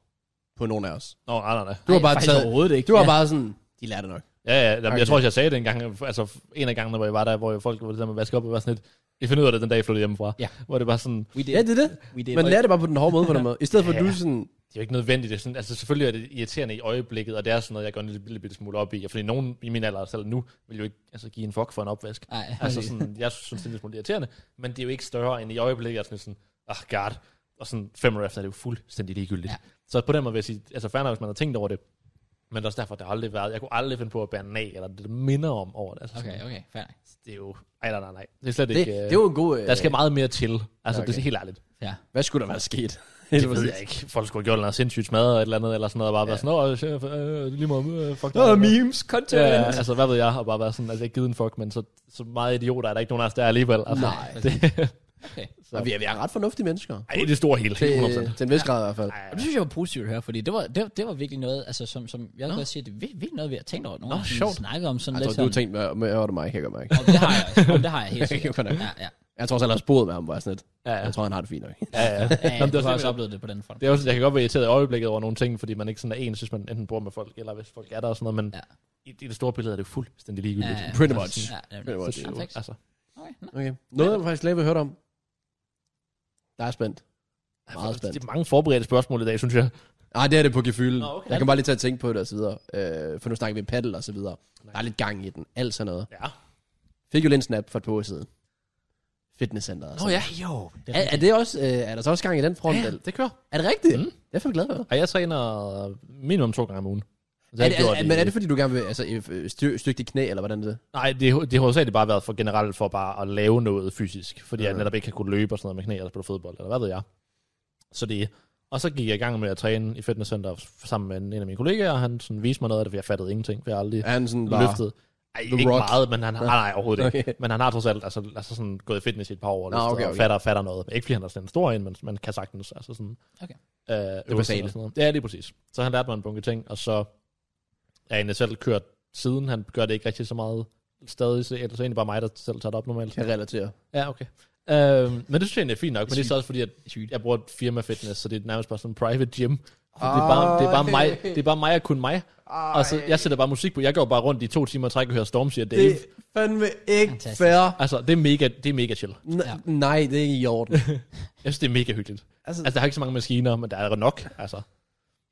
Speaker 3: på nogen af os.
Speaker 2: Nå, nej, nej, nej.
Speaker 3: Du har
Speaker 1: Nej,
Speaker 3: bare
Speaker 1: faktisk
Speaker 3: taget,
Speaker 1: overhovedet ikke.
Speaker 3: du har
Speaker 1: Ja.
Speaker 3: bare sådan, de lærte nok.
Speaker 2: Ja, ja, jamen,
Speaker 3: Okay.
Speaker 2: jeg tror også, jeg sagde det en gang, altså en af gangene, hvor jeg var der, hvor folk var det der med at vaske op, og var sådan lidt, I finder ud af det den dag, jeg flyttede hjemmefra.
Speaker 1: Ja.
Speaker 2: Hvor det var sådan,
Speaker 1: We did.
Speaker 3: Ja, det er det.
Speaker 1: We did.
Speaker 3: Man lærer det bare på den hårde måde, på den måde. I stedet for, at du
Speaker 2: Ja.
Speaker 3: sådan,
Speaker 2: det er jo ikke nødvendigt. Det er sådan, altså selvfølgelig er det irriterende i øjeblikket, og det er sådan noget, jeg går en lille, lille bitte smule op i. Og Fordi nogen i min alder, selv nu, vil jo ikke altså, give en fuck for en opvask.
Speaker 1: Ej,
Speaker 2: altså, sådan, jeg synes, det er en lille smule irriterende, men det er jo ikke større end i øjeblikket. Jeg er sådan, lidt sådan ah, oh god. Og sådan fem år efter er det jo fuldstændig ligegyldigt.
Speaker 1: Ja.
Speaker 2: Ja. Så på den måde vil jeg sige, altså fair nok, hvis man har tænkt over det, men det er også derfor, det har aldrig været, jeg kunne aldrig finde på at bære den af, eller det der minder om over det. Altså, sådan,
Speaker 1: Okay, okay, fair.
Speaker 2: det er jo, ej, nej, nej, nej. Det er slet
Speaker 3: det,
Speaker 2: ikke,
Speaker 3: det er jo en god... øh,
Speaker 2: der skal meget mere til. Altså, okay. det
Speaker 3: Okay.
Speaker 2: er helt ærligt.
Speaker 1: Ja.
Speaker 3: Hvad skulle der være sket?
Speaker 2: Det ved jeg ikke. Folk skulle have gjort noget sindssygt smadret og et eller andet, eller sådan noget, og bare ja. være sådan, åh, chef, øh, lige meget, øh, fuck dig."
Speaker 1: memes, content.
Speaker 2: Ja, altså, hvad ved jeg, og bare være sådan, altså, ikke givet en fuck, men så, så meget idioter er der ikke nogen af os, der er alligevel. Altså,
Speaker 3: Nej.
Speaker 2: Det,
Speaker 1: Okay.
Speaker 3: Og vi er, vi er ret fornuftige mennesker.
Speaker 2: ej, det er det store hele,
Speaker 3: Til,
Speaker 2: 100%.
Speaker 3: til en vis grad i hvert fald.
Speaker 1: Og det synes jeg var positivt at høre, fordi det var, det, det var virkelig noget, altså, som, som jeg også siger, det er vir- virkelig noget, vi har tænkt over. Nogle Nå,
Speaker 2: sjovt.
Speaker 1: snakket om sådan
Speaker 3: Jeg
Speaker 1: lidt
Speaker 3: tror, du har
Speaker 1: sådan,
Speaker 3: tænkt, hvad hvad var det mig, kan jeg gøre mig ikke?
Speaker 1: og det har jeg også, og det har jeg helt
Speaker 3: Okay,
Speaker 1: sikkert.
Speaker 3: fair nok.
Speaker 1: Ja, ja.
Speaker 3: Jeg tror også, jeg har boet med ham, hvor jeg sådan lidt.
Speaker 2: Ja, ja.
Speaker 3: Jeg tror, han har det fint nok.
Speaker 2: Ja, ja.
Speaker 1: ja, ja
Speaker 2: Nå, men
Speaker 1: du
Speaker 2: det,
Speaker 1: har også
Speaker 2: er også,
Speaker 1: oplevet det på den front.
Speaker 2: det er også, jeg kan godt være irriteret i øjeblikket over nogle ting, fordi man ikke sådan er en, synes man enten bor med folk, eller hvis folk er der og sådan noget, men
Speaker 1: Ja.
Speaker 2: ja. i, i, det store billede er det jo fuldstændig ligegyldigt.
Speaker 1: Ja, ja.
Speaker 3: Pretty much.
Speaker 1: Ja, ja,
Speaker 3: Pretty
Speaker 1: ja.
Speaker 2: Så
Speaker 3: much.
Speaker 2: det er jo-
Speaker 1: Perfekt.
Speaker 2: Altså,
Speaker 1: Okay, nå.
Speaker 3: Okay. Noget, jeg faktisk længe har hørt om. Der er spændt. Meget spændt.
Speaker 2: det er mange forberedte spørgsmål i dag, synes jeg.
Speaker 3: Nej, Ah, det er det på gefylden.
Speaker 2: Nå,
Speaker 3: okay.
Speaker 2: okay.
Speaker 3: Jeg kan bare lige tage og tænke på det og så videre. Øh, for nu snakker vi paddle og så videre. Der er lidt gang i den. Alt sådan noget.
Speaker 2: Ja.
Speaker 3: Fik jo lidt en snap for et par år siden. Fitnesscenteret.
Speaker 1: Nå ja, jo. Det
Speaker 3: Er, er, det også, øh, er der så også gang i den front? Ja.
Speaker 2: det kører.
Speaker 3: Er det rigtigt? Mm. Det er jeg for glad for.
Speaker 2: Og jeg træner minimum to gange om ugen. Så
Speaker 3: Er
Speaker 2: jeg
Speaker 3: det,
Speaker 2: gjorde
Speaker 3: er, men er det fordi, du gerne vil altså, øh, styr, styrke dit knæ, eller hvordan det er?
Speaker 2: Nej, det, det har hovedsageligt bare været for generelt for bare at lave noget fysisk. Fordi jeg
Speaker 3: Ja.
Speaker 2: netop ikke kan kunne løbe og sådan noget med knæ, eller spille fodbold, eller hvad ved jeg. Så det... Og så gik jeg i gang med at træne i fitnesscenter sammen med en en af mine kollegaer, og han sådan viste mig noget af det, for jeg fattede ingenting, for jeg har aldrig
Speaker 3: Er han sådan bare...
Speaker 2: løftet. Ej,
Speaker 3: The
Speaker 2: ikke
Speaker 3: Rock?
Speaker 2: meget, men han har, nej, nej, overhovedet okay.
Speaker 3: Okay.
Speaker 2: ikke. Men han har trods alt altså, altså sådan gået i fitness i et par år, og,
Speaker 3: Nå,
Speaker 2: løftet,
Speaker 3: okay, okay.
Speaker 2: og fatter, fatter noget. Ikke fordi han er sådan en stor en, men man kan sagtens. Altså sådan,
Speaker 1: Okay.
Speaker 2: Øh, øvelser
Speaker 3: basale.
Speaker 2: og sådan noget. Ja, lige præcis. Så han lærte mig en bunke ting, og så er jeg selv kørt siden. Han gør det ikke rigtig så meget stadig, så ellers er det egentlig bare mig, der selv tager det op normalt.
Speaker 3: Kan relatere.
Speaker 2: Ja, okay. Øhm, men det synes jeg egentlig er fint nok, men det er så også fordi, at
Speaker 1: Sygt.
Speaker 2: jeg bruger et firma fitness, så det er nærmest bare sådan en private
Speaker 3: Ah,
Speaker 2: gym. Det er, bare, det, er bare mig, det er bare mig og kun mig. Og så, jeg sætter bare musik på. Jeg går bare rundt i to timer og trækker og hører Stormzy og Dave.
Speaker 3: Det er
Speaker 2: Det...
Speaker 3: fandme ikke
Speaker 1: Fantastisk.
Speaker 3: fair.
Speaker 2: Altså, det er, mega, det er mega chill.
Speaker 3: N-
Speaker 1: Ja.
Speaker 3: Nej, det er ikke i orden.
Speaker 2: Jeg synes, det er mega hyggeligt.
Speaker 3: Altså-
Speaker 2: Altså, altså der er ikke så mange maskiner, men der er nok. Altså,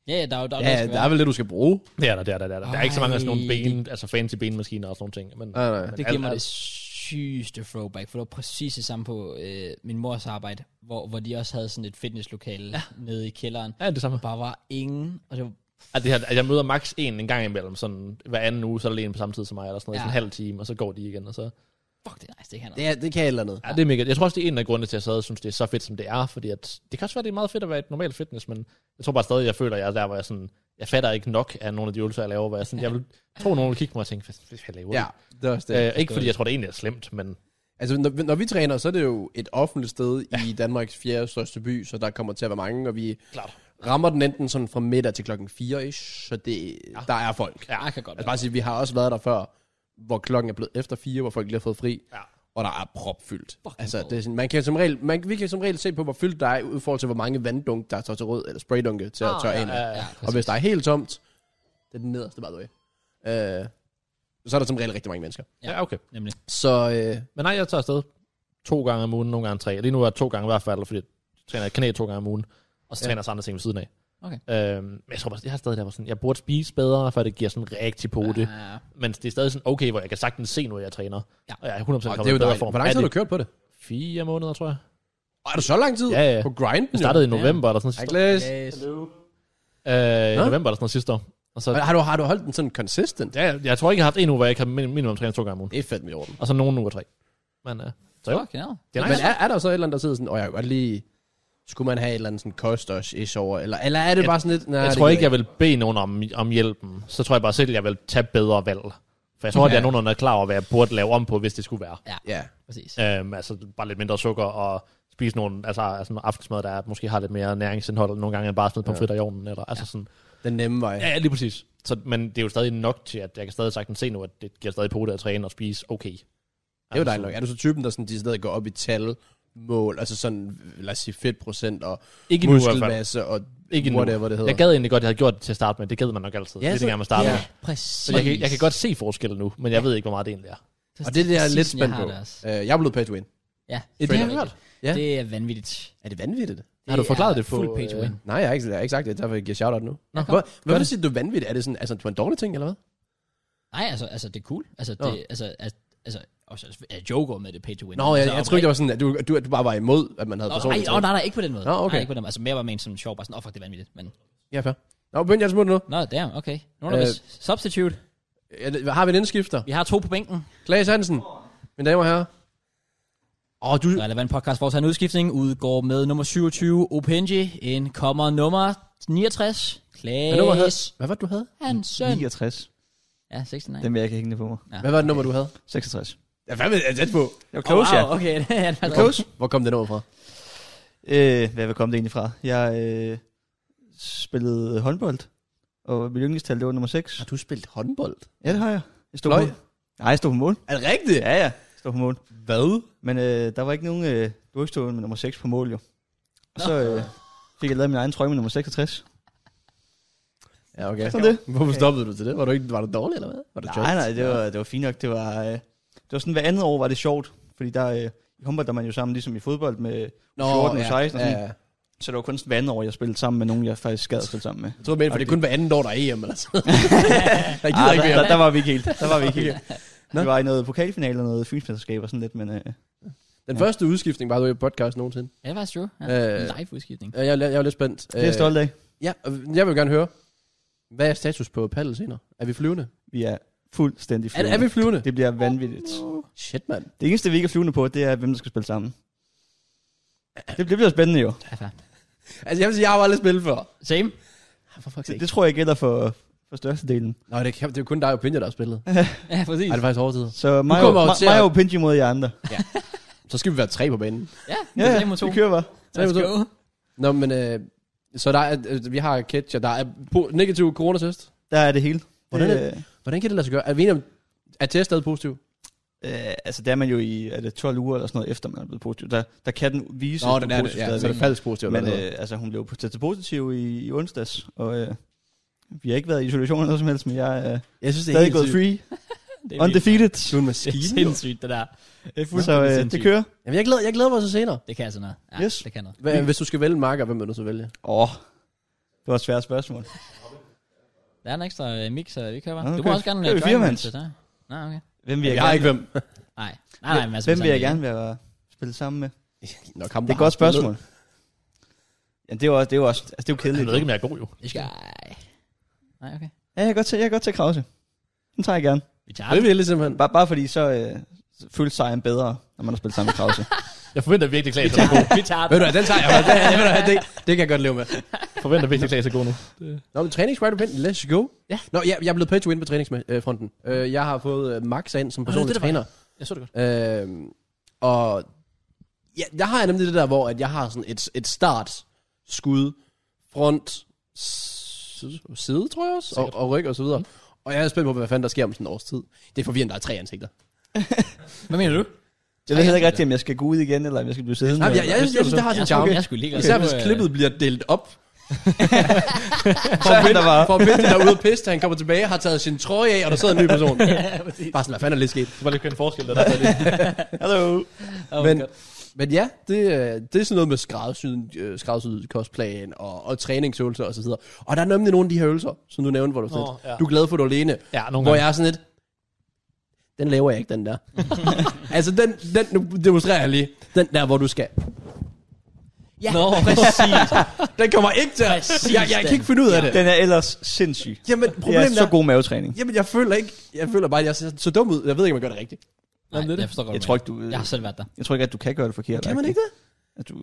Speaker 1: Ja, ja, der er jo der, er
Speaker 3: ja,
Speaker 1: noget, der,
Speaker 3: der
Speaker 1: der
Speaker 3: er vel det, du skal bruge.
Speaker 2: det er der, det er der, det er der. Der er ikke så mange af sådan nogle
Speaker 1: Ej,
Speaker 2: ben, altså fancy benmaskiner og sådan nogle ting. Men,
Speaker 3: Nej, nej.
Speaker 2: men
Speaker 1: Det
Speaker 2: alt-
Speaker 1: giver mig det
Speaker 2: alt-
Speaker 1: sygeste throwback, for det var præcis det samme på øh, min mors arbejde, hvor, hvor de også havde sådan et fitnesslokale ja. nede i kælderen.
Speaker 2: Ja, det er det samme.
Speaker 1: Der bare var ingen, og det var
Speaker 2: At det her, at jeg møder max en en gang imellem, sådan hver anden uge, så er der lige en på samme tid som mig, eller sådan noget,
Speaker 1: Ja.
Speaker 2: ja. sådan en halv time, og så går de igen, og så...
Speaker 1: fuck det er nice, det kan
Speaker 3: Det, er, det kan et eller andet.
Speaker 2: Ja, det er mega. Jeg tror også, det er en af grundene til, at jeg stadig synes, det er så fedt, som det er. Fordi at, det kan også være, det er meget fedt at være i et normalt fitness, men jeg tror bare stadig, jeg føler, at jeg er der, hvor jeg sådan... Jeg fatter ikke nok af nogle af de øvelser, jeg laver, hvor jeg sådan... Jeg vil tro, nogen vil kigge på mig og tænke, hvad hvad laver
Speaker 3: Ja,
Speaker 2: jeg?
Speaker 3: det er også
Speaker 2: Øh,
Speaker 3: det.
Speaker 2: ikke fordi jeg tror, det egentlig er slemt, men
Speaker 3: Altså, når, vi- når vi træner, så er det jo et offentligt sted ja. i Danmarks fjerde største by, så der kommer til at være mange, og vi
Speaker 2: Klart.
Speaker 3: rammer den enten sådan fra middag til klokken 4 ish, så det, ja. der er folk.
Speaker 1: Ja, jeg kan godt
Speaker 3: Altså
Speaker 1: være.
Speaker 3: bare sige, vi har også været der før, hvor klokken er blevet efter 4, hvor folk lige har fået fri,
Speaker 2: Ja.
Speaker 3: og der er propfyldt.
Speaker 1: Fucking
Speaker 3: Altså,
Speaker 1: god.
Speaker 3: det er sådan, man kan som regel, man, vi kan som regel se på, hvor fyldt der er, ud i forhold til, hvor mange vanddunk, der står til rød, eller spraydunke til at tørre ind.
Speaker 2: Ah, ja, ja.
Speaker 1: Ja,
Speaker 3: øh, Og hvis der er helt tomt, det er den nederste, by the way. Øh, så er der som regel rigtig mange mennesker.
Speaker 2: ja, okay.
Speaker 1: nemlig.
Speaker 3: Så øh,
Speaker 2: Men nej, jeg tager afsted to gange om ugen, nogle gange tre. Lige nu er jeg to gange i hvert fald, fordi jeg træner knæ to gange om ugen, og så
Speaker 3: Ja.
Speaker 2: træner jeg så andre ting ved siden af.
Speaker 1: Okay.
Speaker 2: Øhm, men jeg tror bare, jeg har stadig der, hvor sådan, jeg burde spise bedre, for det giver sådan rigtig på det.
Speaker 1: Ja,
Speaker 2: Men det er stadig sådan, okay, hvor jeg kan sagtens se nu, jeg træner.
Speaker 1: Ja.
Speaker 2: Og jeg er 100% kommet
Speaker 3: og det
Speaker 2: i
Speaker 3: er jo
Speaker 2: bedre
Speaker 3: dejligt.
Speaker 2: form.
Speaker 3: Hvor lang
Speaker 2: Er
Speaker 3: tid har
Speaker 2: det
Speaker 3: du kørt på det?
Speaker 2: Fire måneder, tror jeg.
Speaker 3: Og er det så lang tid?
Speaker 2: Ja, ja.
Speaker 3: På grinden?
Speaker 2: Jeg startede i november, eller sådan
Speaker 3: Hej,
Speaker 2: noget.
Speaker 3: Klaas.
Speaker 1: Yes.
Speaker 2: Øh,
Speaker 3: Nå.
Speaker 2: i november, eller sådan noget sidste år. Og så,
Speaker 3: Men Har du, har du holdt den sådan consistent?
Speaker 2: ja, jeg tror ikke, jeg har haft en uge, hvor jeg ikke har min- minimum trænet to gange om ugen.
Speaker 3: Det er fandme i orden.
Speaker 2: Og så nogle uger tre. Men øh, så jo,
Speaker 1: Fuck, ja.
Speaker 2: det er
Speaker 3: Men
Speaker 2: nice.
Speaker 3: er, er der så et eller andet, der sidder sådan, åh, oh, jeg kan godt lige... Skulle man have et eller andet sådan kost os ish over? Eller, eller er det
Speaker 2: Jeg-
Speaker 3: bare sådan lidt... Nej,
Speaker 2: Jeg
Speaker 3: det
Speaker 2: tror
Speaker 3: gider
Speaker 2: ikke, jeg vil bede nogen om, om hjælpen. Så tror jeg bare selv, jeg vil tage bedre valg. For jeg tror, at jeg
Speaker 3: Ja.
Speaker 2: er nogen, der er klar over, hvad jeg burde lave om på, hvis det skulle være.
Speaker 3: Ja.
Speaker 1: Præcis.
Speaker 2: Øhm, altså bare lidt mindre sukker og spise nogle, altså, altså nogle aftensmad, der er, måske har lidt mere næringsindhold nogle gange, end bare smide pomfritter i ovnen. Eller, altså sådan.
Speaker 3: Den nemme vej.
Speaker 2: Ja, lige præcis. Så, men det er jo stadig nok til, at jeg kan stadig sagtens se nu, at det giver stadig på det at træne og spise okay. Altså,
Speaker 3: Det er jo dejligt nok. Er du så typen, der sådan de steder går op i tal, mål, altså sådan, lad os sige fedtprocent og
Speaker 2: Ikke nu i hvert fald.
Speaker 3: muskelmasse og
Speaker 2: Ikke nu.
Speaker 3: whatever det hedder?
Speaker 2: Jeg gad egentlig godt, at jeg havde gjort det til at starte med. Det gad man nok altid.
Speaker 3: Ja,
Speaker 2: Ja, det er
Speaker 3: så-
Speaker 2: det, gang, man starter
Speaker 1: Ja,
Speaker 2: med.
Speaker 1: præcis.
Speaker 2: Så jeg kan, jeg kan godt se forskellen nu, men jeg ved ikke, hvor meget det egentlig er.
Speaker 3: og det er det, jeg er
Speaker 1: præcis
Speaker 3: lidt
Speaker 1: sådan,
Speaker 3: spændt
Speaker 1: har
Speaker 3: på.
Speaker 1: det også.
Speaker 3: Øh, jeg er blevet pay to win.
Speaker 1: Ja,
Speaker 2: det har jeg hørt.
Speaker 3: Ja.
Speaker 1: Ja. Det er vanvittigt.
Speaker 3: Er det vanvittigt?
Speaker 1: Det
Speaker 2: Har du forklaret
Speaker 1: er
Speaker 2: det på,
Speaker 1: Fuld page
Speaker 2: øh,
Speaker 1: win.
Speaker 3: Nej, jeg har ikke, jeg har ikke sagt det, derfor giver jeg shout-out nu.
Speaker 1: Nå,
Speaker 3: Hvor, hvorfor
Speaker 2: det.
Speaker 3: siger du vanvittigt? Er det sådan, altså, det var en dårlig ting, eller hvad?
Speaker 1: Nej, altså, altså, det er cool. Altså,
Speaker 3: Nå.
Speaker 1: det, altså, altså, altså, også, altså, jeg joker med det pay to win.
Speaker 3: Nå, jeg,
Speaker 1: altså,
Speaker 3: jeg tror ikke, det var sådan, at du, at du, at du bare var imod, at man havde
Speaker 1: Nå, nej,
Speaker 3: personligt.
Speaker 1: åh, nej, nej, ikke på den måde.
Speaker 3: Nå, okay.
Speaker 1: Nej, ikke på den måde. Altså, mere var ment som sjov, bare sådan, åh, oh, fuck, det er vanvittigt. Men,
Speaker 3: Ja, fair. Nå, begyndte jeg at smutte nu.
Speaker 1: nå, damn, okay. Nogle øh,
Speaker 3: Øh.
Speaker 1: af os. Substitute.
Speaker 3: Ja, det- Har vi en indskifter?
Speaker 1: Vi har to på bænken.
Speaker 3: Klaas Hansen, mine damer og herrer. Åh, du...
Speaker 1: Relevant podcast foretager en udskiftning. Udgår med nummer 27, Openji. En kommer nummer 69,
Speaker 3: Hvad, nummer havde?
Speaker 1: Klaas
Speaker 3: Hvad var det, du havde?
Speaker 1: Hansen.
Speaker 4: 69.
Speaker 1: Ja, 69.
Speaker 4: Den vil jeg ikke hængende på mig.
Speaker 3: Hvad var det nummer, du havde?
Speaker 4: 66.
Speaker 3: Ja, hvad ved jeg tæt på?
Speaker 4: Jeg var close,
Speaker 1: oh,
Speaker 4: oh,
Speaker 1: wow, okay. det er faktisk-
Speaker 3: Close. Hvor kom det nummer fra?
Speaker 4: ja. Øh, hvad vil komme det egentlig fra? Jeg øh, spillede håndbold, og mit yndlingstal, det var nummer 6.
Speaker 3: Har du spillet håndbold?
Speaker 4: Ja, det har jeg. Jeg stod
Speaker 3: Fløj?
Speaker 4: på mål. Nej, jeg stod på mål.
Speaker 3: Er det rigtigt?
Speaker 4: Ja, ja. Jeg stod på mål.
Speaker 3: Hvad?
Speaker 4: Men øh, der var ikke nogen øh, durkstående med nummer 6 på mål, jo. Og så øh, fik jeg lavet min egen trøje med nummer 66.
Speaker 3: Ja, okay.
Speaker 4: Sådan det.
Speaker 3: Hvorfor stoppede du til det? Var du, ikke, var du dårlig, eller hvad? Var du
Speaker 4: Nej, nej, det var, det var fint nok. Det var, øh, det var sådan, hver andet år var det sjovt, fordi der, øh, i håndbold der er man jo sammen, ligesom i fodbold, med 14 og 16 og sådan.
Speaker 3: ja.
Speaker 4: Så det var kun sådan hver andet år, jeg spillede sammen med nogen, jeg faktisk gad at spille sammen med.
Speaker 3: Jeg tror, men for det er kun hver anden år, der er EM, eller sådan. jeg gider
Speaker 4: Ah,
Speaker 3: ikke
Speaker 4: der,
Speaker 3: mere.
Speaker 4: der, der, var vi ikke helt. Der var vi ikke helt.
Speaker 3: Nå.
Speaker 4: Vi var i noget pokalfinale og noget fynsmesterskab og sådan lidt, men øh,
Speaker 3: Den første udskiftning var du i podcast nogensinde.
Speaker 1: Ja, det var true. Ja.
Speaker 3: Øh,
Speaker 1: Live udskiftning.
Speaker 3: Jeg, jeg, jeg er lidt spændt. Øh,
Speaker 4: det er jeg stolt af.
Speaker 3: Ja, og jeg vil gerne høre, hvad er status på paddel senere? Er vi flyvende?
Speaker 4: Vi er fuldstændig
Speaker 3: Er,
Speaker 4: flyvende.
Speaker 3: er vi flyvende?
Speaker 4: Det bliver vanvittigt.
Speaker 3: Shit, mand.
Speaker 4: Det eneste, vi ikke er flyvende på, det er, hvem der skal spille sammen. Det, det bliver spændende jo.
Speaker 1: Ja, fair.
Speaker 3: Altså, jeg vil sige, jeg har jo aldrig spillet før.
Speaker 1: Same.
Speaker 3: For fuck's
Speaker 4: Det, det tror jeg gælder for, for størstedelen.
Speaker 3: Nå, det, kan, det er jo kun dig og Pinja, der har spillet. Ej,
Speaker 1: Ja, præcis.
Speaker 3: det er faktisk overtid.
Speaker 4: Så mig og,
Speaker 3: kommer jo
Speaker 4: mig,
Speaker 3: til at-
Speaker 4: mig og Pinji mod jer andre.
Speaker 3: Så skal vi være tre på banen.
Speaker 1: Ja, det
Speaker 4: Ja,
Speaker 1: er 3 mod 2.
Speaker 4: vi kører bare.
Speaker 3: Tre mod
Speaker 1: Let's
Speaker 3: to.
Speaker 1: go.
Speaker 3: Nå, men øh, Så der er, øh, vi har Ketcher, der er po- negativ coronatest.
Speaker 4: Der er det hele.
Speaker 3: Hvordan
Speaker 4: det,
Speaker 3: Hvordan kan det lade sig gøre? Er vi enige om, at test er positiv?
Speaker 4: øh, altså, der er man jo i er det 12 uger eller sådan noget, efter man er blevet positiv. Der, der kan den vise,
Speaker 3: Nå,
Speaker 4: at du
Speaker 3: den er det.
Speaker 4: positiv
Speaker 3: Ja, så er
Speaker 4: stadigvæk.
Speaker 3: det falsk positiv.
Speaker 4: Men øh, altså, hun blev testet positiv i, i onsdags, og øh, vi har ikke været i isolation eller noget som helst, men jeg øh,
Speaker 3: jeg synes,
Speaker 4: er stadig gået free,
Speaker 2: Det er
Speaker 4: undefeated.
Speaker 3: Du er en
Speaker 1: Det er
Speaker 3: maskine.
Speaker 1: sindssygt, det der. Det er
Speaker 4: Så
Speaker 1: fuldstændig
Speaker 4: øh, det
Speaker 1: sindssygt.
Speaker 4: kører.
Speaker 3: Jamen, jeg glæder, jeg glæder mig så senere.
Speaker 1: Det kan altså noget. Ja,
Speaker 4: Yes.
Speaker 1: det kan noget.
Speaker 3: Hvad, hvis du skal vælge en marker, hvem vil du så vælge?
Speaker 4: Åh, oh, det var et svært spørgsmål.
Speaker 1: Der er en ekstra øh, mix, så vi kører bare.
Speaker 4: Nå,
Speaker 1: Du
Speaker 4: okay.
Speaker 1: kan også gerne øh,
Speaker 4: Kører vi
Speaker 1: join,
Speaker 4: firemands?
Speaker 1: hvis det er. Nej, okay.
Speaker 4: Hvem vil jeg,
Speaker 3: har
Speaker 4: gerne,
Speaker 3: ikke hvem.
Speaker 1: Nej, nej, nej, men altså,
Speaker 4: hvem vil jeg
Speaker 1: sådan-
Speaker 4: gerne være spille sammen med?
Speaker 3: Nok ham,
Speaker 4: Det er
Speaker 3: der
Speaker 4: et godt
Speaker 3: har spillet.
Speaker 4: spørgsmål. Ja, det er jo også, det er jo også, altså det er jo
Speaker 2: Jeg
Speaker 4: kedeligt.
Speaker 2: ved ikke, om jeg er god jo.
Speaker 1: Det øh, skal... Nej, okay.
Speaker 4: Ja, jeg kan godt tage, jeg kan godt tage Krause. Den tager jeg gerne.
Speaker 1: Vi tager
Speaker 3: Det
Speaker 1: det.
Speaker 3: vil jeg simpelthen.
Speaker 4: Bare, bare fordi så øh, så føles sejren bedre, når man har spillet sammen med Krause.
Speaker 2: Jeg forventer virkelig, at Klaas er god.
Speaker 1: Vi tager
Speaker 3: Ved
Speaker 1: det.
Speaker 3: du hvad, den tager jeg. Det, ved du hvad, det, det kan jeg godt leve med.
Speaker 2: forventer virkelig, at Klaas er god nu.
Speaker 3: Nå, men træningsriderpind, let's go.
Speaker 1: Ja.
Speaker 3: Nå, jeg, jeg er blevet pay to win på træningsfronten. Øh, jeg har fået øh, Max ind som
Speaker 1: det er
Speaker 3: personlig
Speaker 1: det, der
Speaker 3: træner.
Speaker 1: var- Jeg så det godt.
Speaker 3: Øh, og ja, der har jeg nemlig det der, hvor at jeg har sådan et, et start, skud, front, side, side tror jeg også, og,
Speaker 2: Sikkert.
Speaker 3: og ryg og så
Speaker 1: Mm.
Speaker 3: videre. Og jeg er spændt på, hvad fanden der sker om sådan en års tid. Det er forvirrende, der er tre ansigter.
Speaker 1: Hvad mener du?
Speaker 4: Jeg ved heller ikke rigtigt, om jeg skal gå ud igen, eller om jeg skal blive siddende.
Speaker 3: Jamen, jeg, jeg, jeg, jeg,
Speaker 2: synes,
Speaker 3: synes, det har sin
Speaker 1: Jeg skulle,
Speaker 3: charme.
Speaker 1: jeg skulle lige godt.
Speaker 3: Især
Speaker 1: Nu,
Speaker 3: hvis
Speaker 1: øh,
Speaker 3: klippet bliver delt op.
Speaker 4: så er han der bare.
Speaker 3: For at Vindy derude og pisse, da han kommer tilbage, har taget sin trøje af, og der sidder en ny person. Bare sådan, hvad fanden er lige sket?
Speaker 2: Det var lige kun en forskel, der der.
Speaker 4: Hello.
Speaker 1: Oh
Speaker 3: Men,
Speaker 1: men,
Speaker 3: men ja, det, øh, det er sådan noget med skræddersyden, øh, skræddersyet cosplayen og, og træningsøvelser og så videre. Og der er nemlig nogle af de her øvelser, som du nævnte, hvor du,
Speaker 2: Nå,
Speaker 3: Nå,
Speaker 2: ja.
Speaker 3: ja. du er glad for, at du er alene.
Speaker 2: Ja, nogle
Speaker 3: Hvor
Speaker 2: gange.
Speaker 3: jeg er sådan lidt, den laver jeg ikke, den der. altså, den, den nu demonstrerer jeg lige. Den der, hvor du skal.
Speaker 1: ja. Nå, præcis.
Speaker 3: Den kommer ikke til at...
Speaker 1: Præcis
Speaker 3: Jeg, jeg kan
Speaker 1: den.
Speaker 3: ikke finde ud af det.
Speaker 4: Den er ellers sindssyg.
Speaker 3: Jamen,
Speaker 4: Det er
Speaker 3: problemet
Speaker 4: så
Speaker 3: er...
Speaker 4: god mavetræning.
Speaker 3: Jamen, jeg føler ikke... Jeg føler bare, at jeg ser så dum ud. Jeg ved ikke, om jeg gør det rigtigt.
Speaker 1: Nej,
Speaker 3: Jamen, det er det.
Speaker 1: jeg forstår godt,
Speaker 4: Jeg
Speaker 1: hvad du
Speaker 4: tror ikke, du,
Speaker 1: mener. Jeg har selv været der.
Speaker 4: jeg tror ikke, at du kan gøre det forkert.
Speaker 3: Kan man
Speaker 4: agtigt.
Speaker 3: ikke det?
Speaker 4: At du,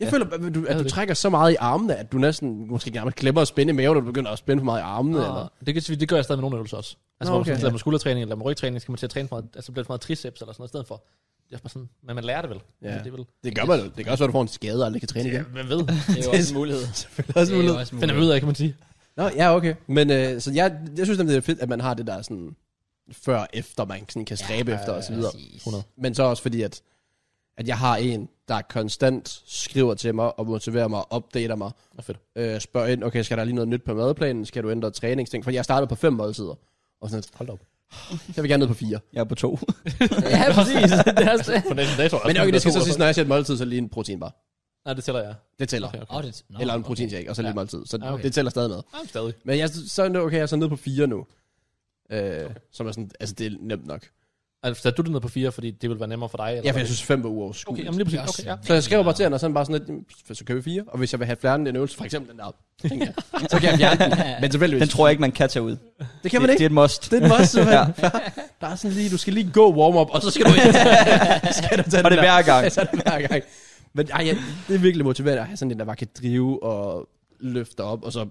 Speaker 3: Jeg
Speaker 4: Ja.
Speaker 3: føler, at du, at
Speaker 2: ved
Speaker 3: du
Speaker 2: det.
Speaker 3: trækker så meget i armene, at du næsten måske gerne klemmer og spænde i maven, når du begynder at spænde for meget i armene. Eller?
Speaker 2: Nå, det, kan- det gør jeg stadig med nogle øvelser også. Altså,
Speaker 3: Nå,
Speaker 2: hvor
Speaker 3: okay.
Speaker 2: okay. man lader med skuldertræning eller med rygtræning, så skal man til at træne for meget, altså bliver det for meget triceps eller sådan noget i stedet for. Det er bare sådan, men man lærer det vel.
Speaker 3: Ja.
Speaker 2: Altså, det er vel
Speaker 3: Det gør man jo. Det gør også, at du får en skade og aldrig kan træne igen.
Speaker 2: man ved.
Speaker 1: Det er jo også en mulighed.
Speaker 3: Det er
Speaker 1: Det
Speaker 3: også
Speaker 1: er jo
Speaker 3: muligt.
Speaker 1: også en
Speaker 2: Finder vi
Speaker 1: mulighed.
Speaker 2: ud af, kan man sige.
Speaker 3: Nå, ja, okay. Men øh, så jeg, jeg synes nemlig, det er fedt, at man har det der sådan før efter, man sådan kan stræbe ja, efter og så videre.
Speaker 1: Præcis.
Speaker 2: 100.
Speaker 3: Men så også fordi, at, at jeg har en, der konstant skriver til mig og motiverer mig, opdater mig,
Speaker 2: Nå, fedt.
Speaker 3: øh, spørger ind, okay, skal der lige noget nyt på madplanen? Skal du ændre træningsting? For jeg startede på fem måltider. Og sådan,
Speaker 2: Hold da op.
Speaker 3: jeg vil gerne ned på fire.
Speaker 4: jeg er på to.
Speaker 1: Ja, præcis. Det er også det.
Speaker 2: På næsten dato.
Speaker 3: Men okay, det skal så sige, når jeg siger et måltid, så lige en proteinbar.
Speaker 2: Nej, det tæller jeg.
Speaker 3: Det tæller.
Speaker 2: Okay, okay.
Speaker 1: Åh, det- nå,
Speaker 3: Eller en
Speaker 1: okay.
Speaker 3: proteinshake, og så lige
Speaker 2: Ja.
Speaker 3: måltid. Så
Speaker 2: Ja, okay.
Speaker 3: det tæller stadig med.
Speaker 2: Jamen, stadig.
Speaker 3: Men jeg, så er det okay, jeg er så nede på fire nu. Øh, som er sådan, altså det er nemt nok.
Speaker 2: Altså, satte du det ned på fire, fordi det ville være nemmere for dig? Eller
Speaker 3: Ja, for jeg
Speaker 2: hvad?
Speaker 3: synes fem var uoverskueligt.
Speaker 2: Okay,
Speaker 3: Okay,
Speaker 2: jamen lige præcis.
Speaker 1: Det er
Speaker 2: Okay,
Speaker 1: også-
Speaker 2: ja.
Speaker 3: så jeg skriver bare til hende, og sådan bare sådan lidt, "Jamen, så kører vi fire. Og hvis jeg vil have fjernet en øvelse, for eksempel den der, tænker jeg, så kan jeg fjerne den. Men tilfældigvis.
Speaker 4: Den tror jeg ikke, man kan tage ud.
Speaker 3: det kan man
Speaker 4: Det, det
Speaker 3: ikke.
Speaker 4: er et must.
Speaker 3: Det er den også,
Speaker 4: Ja.
Speaker 3: ja. Der er sådan lige, du skal lige gå warm-up, og så skal du ind. skal du tage den
Speaker 4: Og det er
Speaker 3: der.
Speaker 4: hver gang.
Speaker 3: Ja, så er det hver gang. Men ej, ja, det er virkelig motiverende at have sådan en, der bare kan drive og løfte op, og så...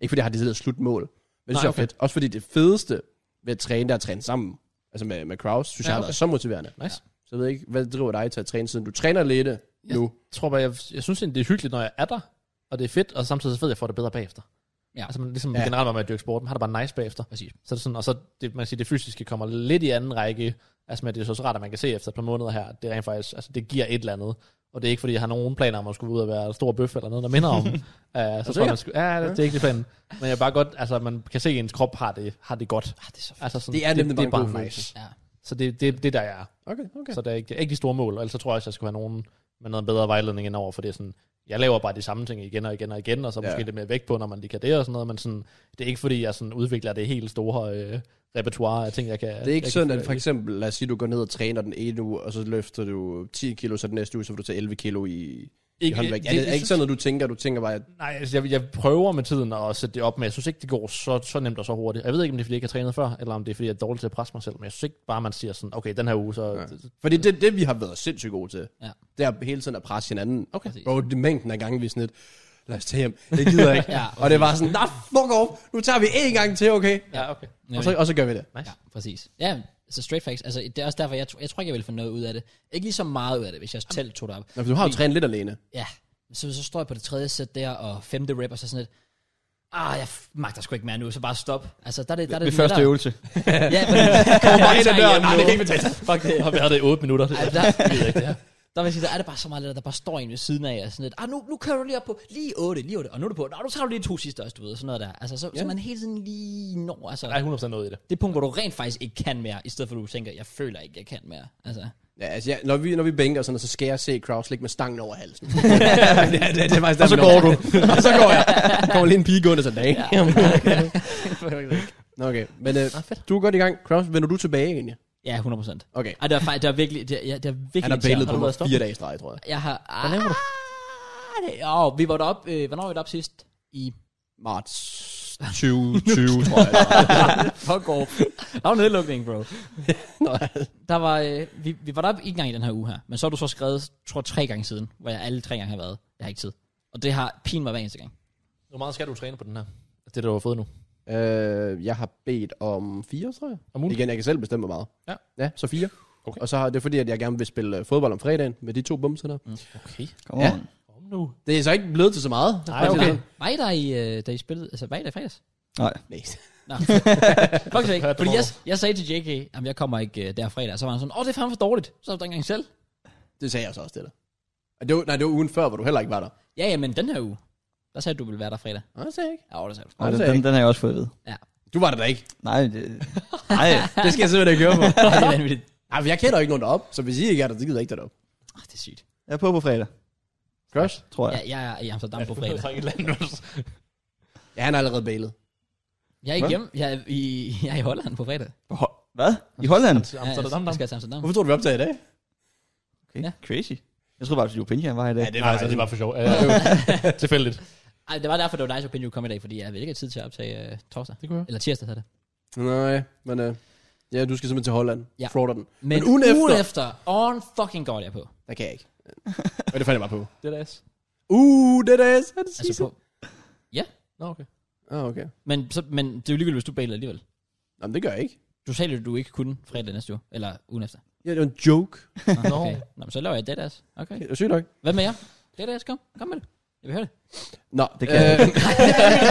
Speaker 3: Ikke fordi jeg har det der slutmål, men det synes
Speaker 2: Nej,
Speaker 3: jeg er
Speaker 2: okay.
Speaker 3: fedt. Også fordi det fedeste ved at træne, der er at træne sammen. Altså med, med Kraus, synes
Speaker 2: Ja,
Speaker 3: ja, jeg har
Speaker 2: okay.
Speaker 3: været så motiverende.
Speaker 2: Nice.
Speaker 3: Så jeg ved ikke, hvad driver dig til at træne, siden du træner alene nu?
Speaker 2: Jeg tror bare, jeg, jeg synes egentlig, det er hyggeligt, når jeg er der, og det er fedt, og samtidig så ved jeg, at jeg får det bedre bagefter.
Speaker 1: Ja.
Speaker 2: Altså, man, ligesom
Speaker 3: Ja.
Speaker 2: ja. generelt med at dyrke sport, man har det bare nice bagefter.
Speaker 1: Præcis.
Speaker 2: Så er det sådan, og så det, man siger, det fysiske kommer lidt i anden række. Altså, men det er så også rart, at man kan se efter et par måneder her, at det rent faktisk, altså, det giver et eller andet. Og det er ikke, fordi jeg har nogen planer om at skulle ud og være stor bøf eller noget, der minder om. uh, så tror jeg, man skulle, ja, det, det er ikke det planen. Men jeg er bare godt, altså, man kan se, at ens krop har det, har det godt.
Speaker 1: Ah, det er så fedt.
Speaker 2: Altså, sådan,
Speaker 3: Det er nemlig
Speaker 2: det, det er
Speaker 3: bare en god
Speaker 2: bare
Speaker 3: følelse.
Speaker 2: nice.
Speaker 1: Ja.
Speaker 2: Så det, det, det er der, jeg er.
Speaker 3: Okay, okay.
Speaker 2: Så der er ikke, ikke de store mål, og ellers så tror jeg også, jeg skulle have nogen med noget bedre vejledning indover, for det er sådan, jeg laver bare de samme ting igen og igen og igen, og så
Speaker 3: Ja.
Speaker 2: ja. måske lidt mere vægt på, når man lige kan det og sådan noget, men sådan, det er ikke fordi, jeg sådan udvikler det helt store øh, repertoire af ting, jeg kan...
Speaker 3: Det er ikke
Speaker 2: jeg
Speaker 3: sådan,
Speaker 2: kan,
Speaker 3: at for eksempel, lad os sige, du går ned og træner den ene uge, og så løfter du 10 kilo, så den næste uge, så vil du tage 11 kilo i, ikke, i
Speaker 2: Ikke-
Speaker 3: håndvægt. Ja,
Speaker 2: det-
Speaker 3: det, er
Speaker 2: jeg
Speaker 3: ikke sådan, at du tænker, du tænker bare, at
Speaker 2: Nej, altså, jeg, jeg prøver med tiden at sætte det op, men jeg synes ikke, det går så, så nemt og så hurtigt. Jeg ved ikke, om det er, fordi jeg ikke har trænet før, eller om det er, fordi jeg er dårlig til at presse mig selv, men jeg synes ikke bare, man siger sådan, okay, den her uge, så... Ja.
Speaker 3: Fordi det er det, vi har været sindssygt gode til.
Speaker 1: Ja.
Speaker 3: Det er hele tiden at presse hinanden.
Speaker 1: Okay.
Speaker 3: Bro, det er mængden af gange, vi er sådan lidt, lad os tage hjem. Det gider jeg ikke.
Speaker 1: Ja,
Speaker 3: og det var sådan, nej, fuck off. Nu tager vi én gang til, okay?
Speaker 2: Ja, okay.
Speaker 3: Og så, og så gør vi det.
Speaker 1: Ja, præcis. Ja, så straight facts. Altså, det er også derfor, jeg, tr- jeg tror ikke, jeg vil få noget ud af det. Ikke lige så meget ud af det, hvis jeg selv tog det op.
Speaker 3: Nå, for du har jo trænet lidt alene.
Speaker 1: Ja, Så, så står jeg på det tredje sæt der, og femte rep, og så sådan lidt, ah, jeg f- magter sgu ikke mere nu, så bare stop. Altså, der er det, der er det
Speaker 4: Ved første
Speaker 1: lettere.
Speaker 4: øvelse.
Speaker 1: Ja, præcis. Kommer bare ind ad døren.
Speaker 2: Nej, det kan ikke
Speaker 1: betale sig. Fuck det.
Speaker 2: har været det i 8 minutter. Det
Speaker 1: Ej,
Speaker 2: er
Speaker 1: der,
Speaker 2: ikke det her.
Speaker 1: der, vil jeg sige, der er det bare så meget lidt, at der bare står en ved siden af jer, sådan lidt, ah, nu, nu kører du lige op på, lige 8, lige 8, og nu er du på, Nå, nu tager du lige to sidste også, du ved, sådan noget der. Altså, så, ja. så man hele tiden lige når, altså,
Speaker 2: Der er 100% noget i det.
Speaker 1: det punkt, hvor du rent faktisk ikke kan mere, i stedet for at du tænker, jeg føler ikke, jeg kan mere. Altså,
Speaker 3: Ja, altså, ja, når, vi, når vi bænker sådan noget, så skal jeg se Kraus ligge med stangen over halsen. det, er- det, er- det, er faktisk, og så går du. og så går jeg. Der kommer lige en pige gående sådan, dag. okay, men
Speaker 2: Ah,
Speaker 3: øh, du er godt i gang. Kraus, vender du tilbage egentlig?
Speaker 1: ja, 100 procent.
Speaker 3: Okay.
Speaker 1: Ej, det er faktisk, det er virkelig, det er, ja, det er virkelig
Speaker 3: Han har
Speaker 1: irriterende.
Speaker 3: bailet på mig fire dage i streg, tror jeg.
Speaker 1: Jeg har, hvad laver du? Det, åh, vi var deroppe, øh, hvornår var vi deroppe sidst? I
Speaker 3: Marts 2020, tror jeg.
Speaker 1: fuck off. Der var nedlukning, bro. der var, øh, vi, vi var deroppe en gang i den her uge her, men så har du så skrevet, tror tre gange siden, hvor jeg alle tre gange har været. Jeg har ikke tid. Og det har pin mig hver eneste gang.
Speaker 2: Hvor meget skal du træne på den her? Altså, Det, du har fået nu.
Speaker 3: Øh, jeg har bedt om fire, tror jeg.
Speaker 2: Om ugen?
Speaker 3: Igen, jeg kan selv bestemme, hvor meget.
Speaker 2: Ja.
Speaker 3: Ja, så fire.
Speaker 2: Okay.
Speaker 3: Og så har det er fordi, at jeg gerne vil spille øh, fodbold om fredagen med de to bumser der. Mm.
Speaker 2: Okay.
Speaker 4: Kom
Speaker 3: Ja.
Speaker 4: on.
Speaker 2: Kom nu.
Speaker 3: Det er så ikke blevet til så meget. Altså,
Speaker 2: Nej, okay.
Speaker 1: Var I der, i, øh, da I spillede? Altså, var I der i fredags?
Speaker 4: Nej.
Speaker 3: Nej.
Speaker 1: Nå, fuck ikke.
Speaker 2: Hørte
Speaker 1: Fordi
Speaker 2: du
Speaker 1: jeg, jeg sagde til JK, at jeg kommer ikke øh, der fredag. Så var han sådan, åh, det er fandme for dårligt. Så er du der ikke engang selv.
Speaker 3: Det sagde jeg så også til dig. Og Det var, nej, det var ugen før, hvor du heller ikke var der.
Speaker 1: Ja, ja, men den her uge, der sagde du, du ville være der fredag.
Speaker 3: Nej, det sagde jeg ikke.
Speaker 1: Ja, det sagde du.
Speaker 4: Nej,
Speaker 3: det
Speaker 4: den,
Speaker 3: sagde jeg
Speaker 4: den, den har jeg også fået ved.
Speaker 3: Du var der da ikke.
Speaker 4: Nej, det, nej.
Speaker 3: Det skal jeg simpelthen ikke høre på.
Speaker 1: Ja, det er vanvittigt.
Speaker 3: Nej, for jeg kender ikke nogen derop, så hvis I ikke er der, så gider jeg ikke derop.
Speaker 1: Ah, det er sygt.
Speaker 4: Jeg er på på fredag,
Speaker 3: Crush?
Speaker 4: tror jeg.
Speaker 1: Ja, jeg er i Amsterdam på fredag.
Speaker 2: Jeg et eller andet.
Speaker 3: Ja, han er allerede bailet.
Speaker 1: Jeg er ikke hjemme. Jeg er i, jeg er i Holland på fredag.
Speaker 4: Ho- Hvad? I Holland?
Speaker 2: Amsterdam,
Speaker 1: Ja, jeg skal til Amsterdam.
Speaker 3: Hvorfor tror du, vi optager i dag?
Speaker 4: Okay.
Speaker 1: Ja.
Speaker 4: Crazy. Jeg troede bare, at Jopinja var her i dag.
Speaker 3: Ja, det
Speaker 2: Det
Speaker 3: var
Speaker 2: var,
Speaker 3: altså
Speaker 2: altså, det var for sjov. Øh, Tilfældigt.
Speaker 1: Ej, det var derfor, det var dig, som opinion kom i dag, fordi jeg ville ikke have tid til at optage øh, torsdag.
Speaker 2: Det kunne jeg.
Speaker 1: Eller tirsdag, hedder det.
Speaker 3: Nej, men øh, ja, du skal simpelthen til Holland.
Speaker 1: Ja.
Speaker 3: Ja. Frauder den.
Speaker 1: Men, men ugen, efter. ugen efter, on fucking god jeg er på.
Speaker 3: Der kan jeg ikke. Og det fandt jeg bare på.
Speaker 2: Det er deres.
Speaker 3: Uh, det er da sådan
Speaker 1: Altså på.
Speaker 2: Nå, okay.
Speaker 3: Ah, okay.
Speaker 1: Men, så, men det er jo ligegyldigt, hvis du bailer alligevel.
Speaker 3: Jamen, det gør jeg ikke.
Speaker 1: Du sagde jo, du ikke kunne fredag næste uge, eller ugen efter.
Speaker 3: Ja, det var en joke.
Speaker 1: Nå, okay. Nå, men så laver jeg det deres. Okay.
Speaker 3: Det er sygt nok.
Speaker 1: Hvad med jer? Det er deres, kom. Kom med det. Jeg vil høre det.
Speaker 3: Nå,
Speaker 4: Det kan jeg
Speaker 3: ikke.
Speaker 1: det,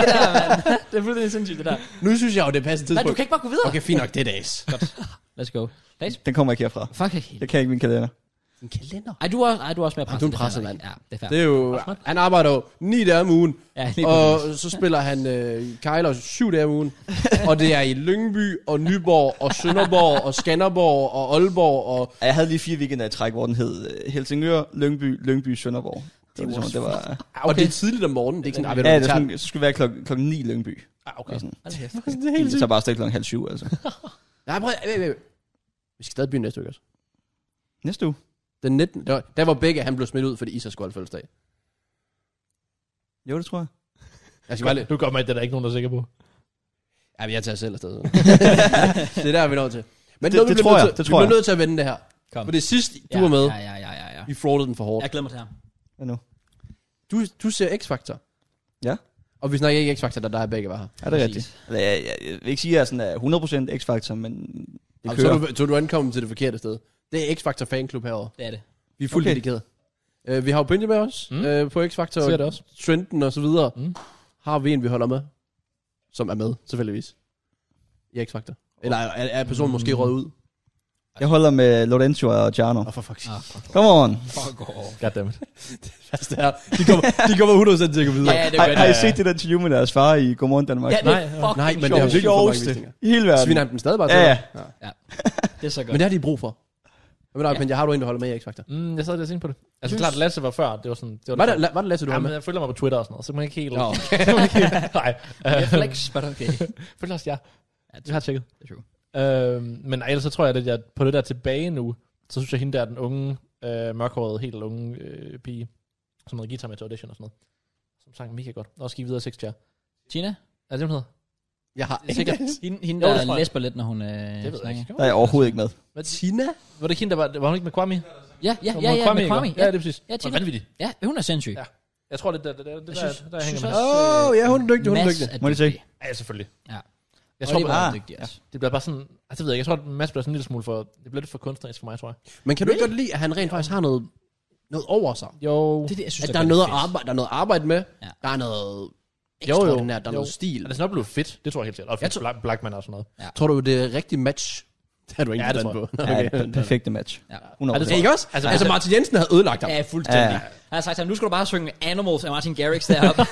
Speaker 1: der, det er fuldstændig sindssygt, det der.
Speaker 3: Nu synes jeg jo, det er passende
Speaker 1: Nej, du
Speaker 3: tidspunkt.
Speaker 1: kan ikke bare gå videre.
Speaker 3: Okay, fint nok, det er dags.
Speaker 1: Let's go.
Speaker 4: Den kommer ikke herfra.
Speaker 1: Fuck ikke helt.
Speaker 4: Det kan ikke min kalender.
Speaker 3: En kalender.
Speaker 1: Ej, du er, ej, du er også mere presset.
Speaker 3: du er en
Speaker 1: det
Speaker 3: presset
Speaker 1: fair
Speaker 3: mand.
Speaker 1: nok. Ja, det er fair.
Speaker 3: Det er jo, han arbejder jo ni dage om ugen,
Speaker 1: ja, lige
Speaker 3: og
Speaker 1: præcis.
Speaker 3: så spiller han øh, Kejler syv dage om ugen. og det er i Lyngby, og Nyborg, og Sønderborg, og Skanderborg, og Aalborg, og...
Speaker 4: Ja, Jeg havde lige fire weekender i træk, hvor den hed øh, Helsingør, Lyngby, Lyngby, Sønderborg. Det var, ligesom, det var,
Speaker 3: Okay. Og det er tidligt om morgenen, det er ikke sådan, "Ej, ved du
Speaker 4: ja,
Speaker 3: hvad,
Speaker 4: det
Speaker 3: vi
Speaker 4: var
Speaker 3: tager den."
Speaker 4: sådan, så skulle det være klokken, klokken 9 Lyngby.
Speaker 2: Ah, okay.
Speaker 4: Og sådan.
Speaker 1: Hold da kæft.
Speaker 3: det er helt
Speaker 4: Det
Speaker 3: sygt.
Speaker 4: tager bare stadig klokken halv syv, altså.
Speaker 3: Nej, prøv, øh, øh, øh. Vi skal stadig begynde næste uge også.
Speaker 4: Næste uge.
Speaker 3: Den 19. Der var, der var begge, han blev smidt ud, fordi Isa skulle holde fødselsdag.
Speaker 4: Jo, det tror jeg.
Speaker 3: Jeg skal bare lidt.
Speaker 2: Du kommer med, at det er der ikke nogen, der er sikker på.
Speaker 3: Ja, men jeg tager selv afsted. så. det er der, vi når til. Men
Speaker 4: Det-
Speaker 3: det, noget, vi
Speaker 4: det
Speaker 3: bliver
Speaker 4: tror
Speaker 3: nødt
Speaker 4: jeg,
Speaker 3: til-
Speaker 4: det
Speaker 3: vi
Speaker 4: tror
Speaker 3: bliver
Speaker 4: jeg.
Speaker 3: nødt til at vende det her.
Speaker 1: Kom.
Speaker 3: For det sidste, du var med,
Speaker 1: Ja, ja, ja, ja, ja.
Speaker 3: vi fraudede den for hårdt.
Speaker 1: Jeg glæder mig til ham.
Speaker 4: Hvad nu?
Speaker 3: Du, du ser X-Factor.
Speaker 4: Ja.
Speaker 3: Og vi snakker ikke X-Factor, da dig begge var her.
Speaker 4: Er det
Speaker 1: Præcis.
Speaker 4: rigtigt? Eller, jeg, jeg, jeg, vil ikke sige, at jeg er sådan er 100% X-Factor, men det
Speaker 3: Jamen, så,
Speaker 4: kører.
Speaker 3: er du, så er du ankommet til det forkerte sted. Det er X-Factor fanklub herovre.
Speaker 1: Det er det.
Speaker 3: Vi er fuldt
Speaker 4: Okay.
Speaker 3: okay. dedikeret. Uh, vi har jo Benji med os mm.
Speaker 2: Mm.
Speaker 3: uh, på X-Factor.
Speaker 2: Ser det også.
Speaker 3: Trenden og så videre.
Speaker 2: Mm.
Speaker 3: Mm. Har vi en, vi holder med? Som er med, selvfølgelig. I X-Factor. Eller er, er personen måske røget ud?
Speaker 4: Jeg holder med Lorenzo og Giano.
Speaker 3: Åh, oh, for fuck's sake.
Speaker 1: Ah, fuck.
Speaker 4: Come on.
Speaker 1: Fuck off.
Speaker 2: Goddammit.
Speaker 3: Altså, det her, de kommer, de kommer 100% til at gå
Speaker 1: Ja,
Speaker 3: videre.
Speaker 1: ja, det
Speaker 4: Har,
Speaker 1: er godt.
Speaker 4: har I
Speaker 1: ja.
Speaker 4: set det der interview med deres far i Godmorgen Danmark?
Speaker 1: Ja, det
Speaker 2: Nej,
Speaker 1: er fucking
Speaker 3: Nej, men det er jo
Speaker 1: sjovt.
Speaker 3: sikkert for mange
Speaker 4: sjoveste.
Speaker 3: visninger.
Speaker 4: I hele verden.
Speaker 3: Sviner han dem stadig bare
Speaker 4: Ja,
Speaker 3: til?
Speaker 4: ja.
Speaker 3: ja.
Speaker 1: Det er så godt.
Speaker 3: Men det har de brug for. Hvad med dig,
Speaker 1: Ja.
Speaker 3: Benji? Har du en, der holder med i X-Factor?
Speaker 2: Mm, jeg sad lige og tænkte på det. Altså,
Speaker 1: Synes-
Speaker 2: klart, Lasse var før. Det var sådan... Det var
Speaker 3: Var det, var det Lasse, du
Speaker 2: Ja,
Speaker 3: var
Speaker 2: men
Speaker 3: med?
Speaker 2: jeg følger mig på Twitter og sådan noget, så kan man ikke helt...
Speaker 3: Nå,
Speaker 2: Nej.
Speaker 1: Jeg flex, but okay.
Speaker 2: Følg os, ja.
Speaker 1: Ja,
Speaker 2: Jeg har tjekket.
Speaker 1: det er true.
Speaker 2: Øhm, men ellers så tror jeg, at jeg på det der tilbage nu, så synes jeg, at hende der, den unge, øh, mørkhårede, helt unge øh, pige, som havde guitar med til audition og sådan noget, som sang mega godt. Også gik videre 6 chair.
Speaker 1: Tina?
Speaker 2: Er det, hun hedder?
Speaker 3: jeg har
Speaker 1: Det er sikkert. Hende, hende
Speaker 2: Jo,
Speaker 1: der
Speaker 2: det tror jeg.
Speaker 1: læsper lidt, når hun øh,
Speaker 2: Det ved jeg
Speaker 1: snakker.
Speaker 2: ikke.
Speaker 4: Der er jeg overhovedet ikke med.
Speaker 3: Tina?
Speaker 2: Var det ikke hende, der var, var hun ikke med Kwame?
Speaker 1: Ja, ja,
Speaker 2: Hun
Speaker 1: ja,
Speaker 2: var
Speaker 1: ja, med
Speaker 2: ikke?
Speaker 1: Kwame.
Speaker 2: Ja, det er præcis.
Speaker 1: Ja,
Speaker 2: Ja, det
Speaker 1: Tina.
Speaker 2: er vanvittigt.
Speaker 1: ja, hun er sindssyg.
Speaker 2: Ja. Jeg tror, det er der, der, der, der,
Speaker 1: synes-
Speaker 2: der, der
Speaker 1: synes
Speaker 2: hænger med.
Speaker 1: også-
Speaker 3: Åh, ja, hun er dygtig, hun er
Speaker 1: Mads
Speaker 3: dygtig.
Speaker 1: er
Speaker 4: Må jeg se?
Speaker 1: dygtig.
Speaker 2: Ja, selvfølgelig.
Speaker 1: Ja.
Speaker 2: Jeg
Speaker 1: Jeg
Speaker 2: tror,
Speaker 1: tror,
Speaker 2: det,
Speaker 1: Oliver er
Speaker 4: bare-
Speaker 1: dygtig også.
Speaker 2: det bliver bare sådan... Altså, det ved jeg ikke. Jeg tror, at Mads bliver sådan en lille smule for... Det bliver lidt for kunstnerisk for mig, tror jeg.
Speaker 3: Men kan du ikke godt lide, at han rent faktisk har noget noget over sig.
Speaker 2: Jo.
Speaker 1: Det er det, jeg synes,
Speaker 3: at
Speaker 1: der
Speaker 3: der er, noget at
Speaker 1: fedt.
Speaker 3: arbejde, der er noget at arbejde med.
Speaker 1: Ja.
Speaker 3: Ja. Der er noget
Speaker 2: Jo, jo.
Speaker 3: ekstraordinært, der er
Speaker 2: Jo. Altså-
Speaker 3: noget stil.
Speaker 2: Er det sådan blevet fedt? Det tror jeg helt sikkert. Og fedt
Speaker 3: tror-
Speaker 2: Black, Blackman og sådan noget.
Speaker 3: Tror du, det er rigtig match? Det har du ingen
Speaker 2: Ja, det
Speaker 3: forstand på.
Speaker 4: Okay. Ja, det perfekte match.
Speaker 1: Ja.
Speaker 4: 100%.
Speaker 2: Er det
Speaker 3: Ja, ikke også?
Speaker 2: Altså,
Speaker 3: Altså,
Speaker 2: altså-
Speaker 3: altså Martin Jensen havde ødelagt ham.
Speaker 1: Ja, fuldstændig.
Speaker 4: Ja.
Speaker 1: Ja. Jeg har sagt til ham, nu skal du bare synge Animals af Martin Garrix deroppe.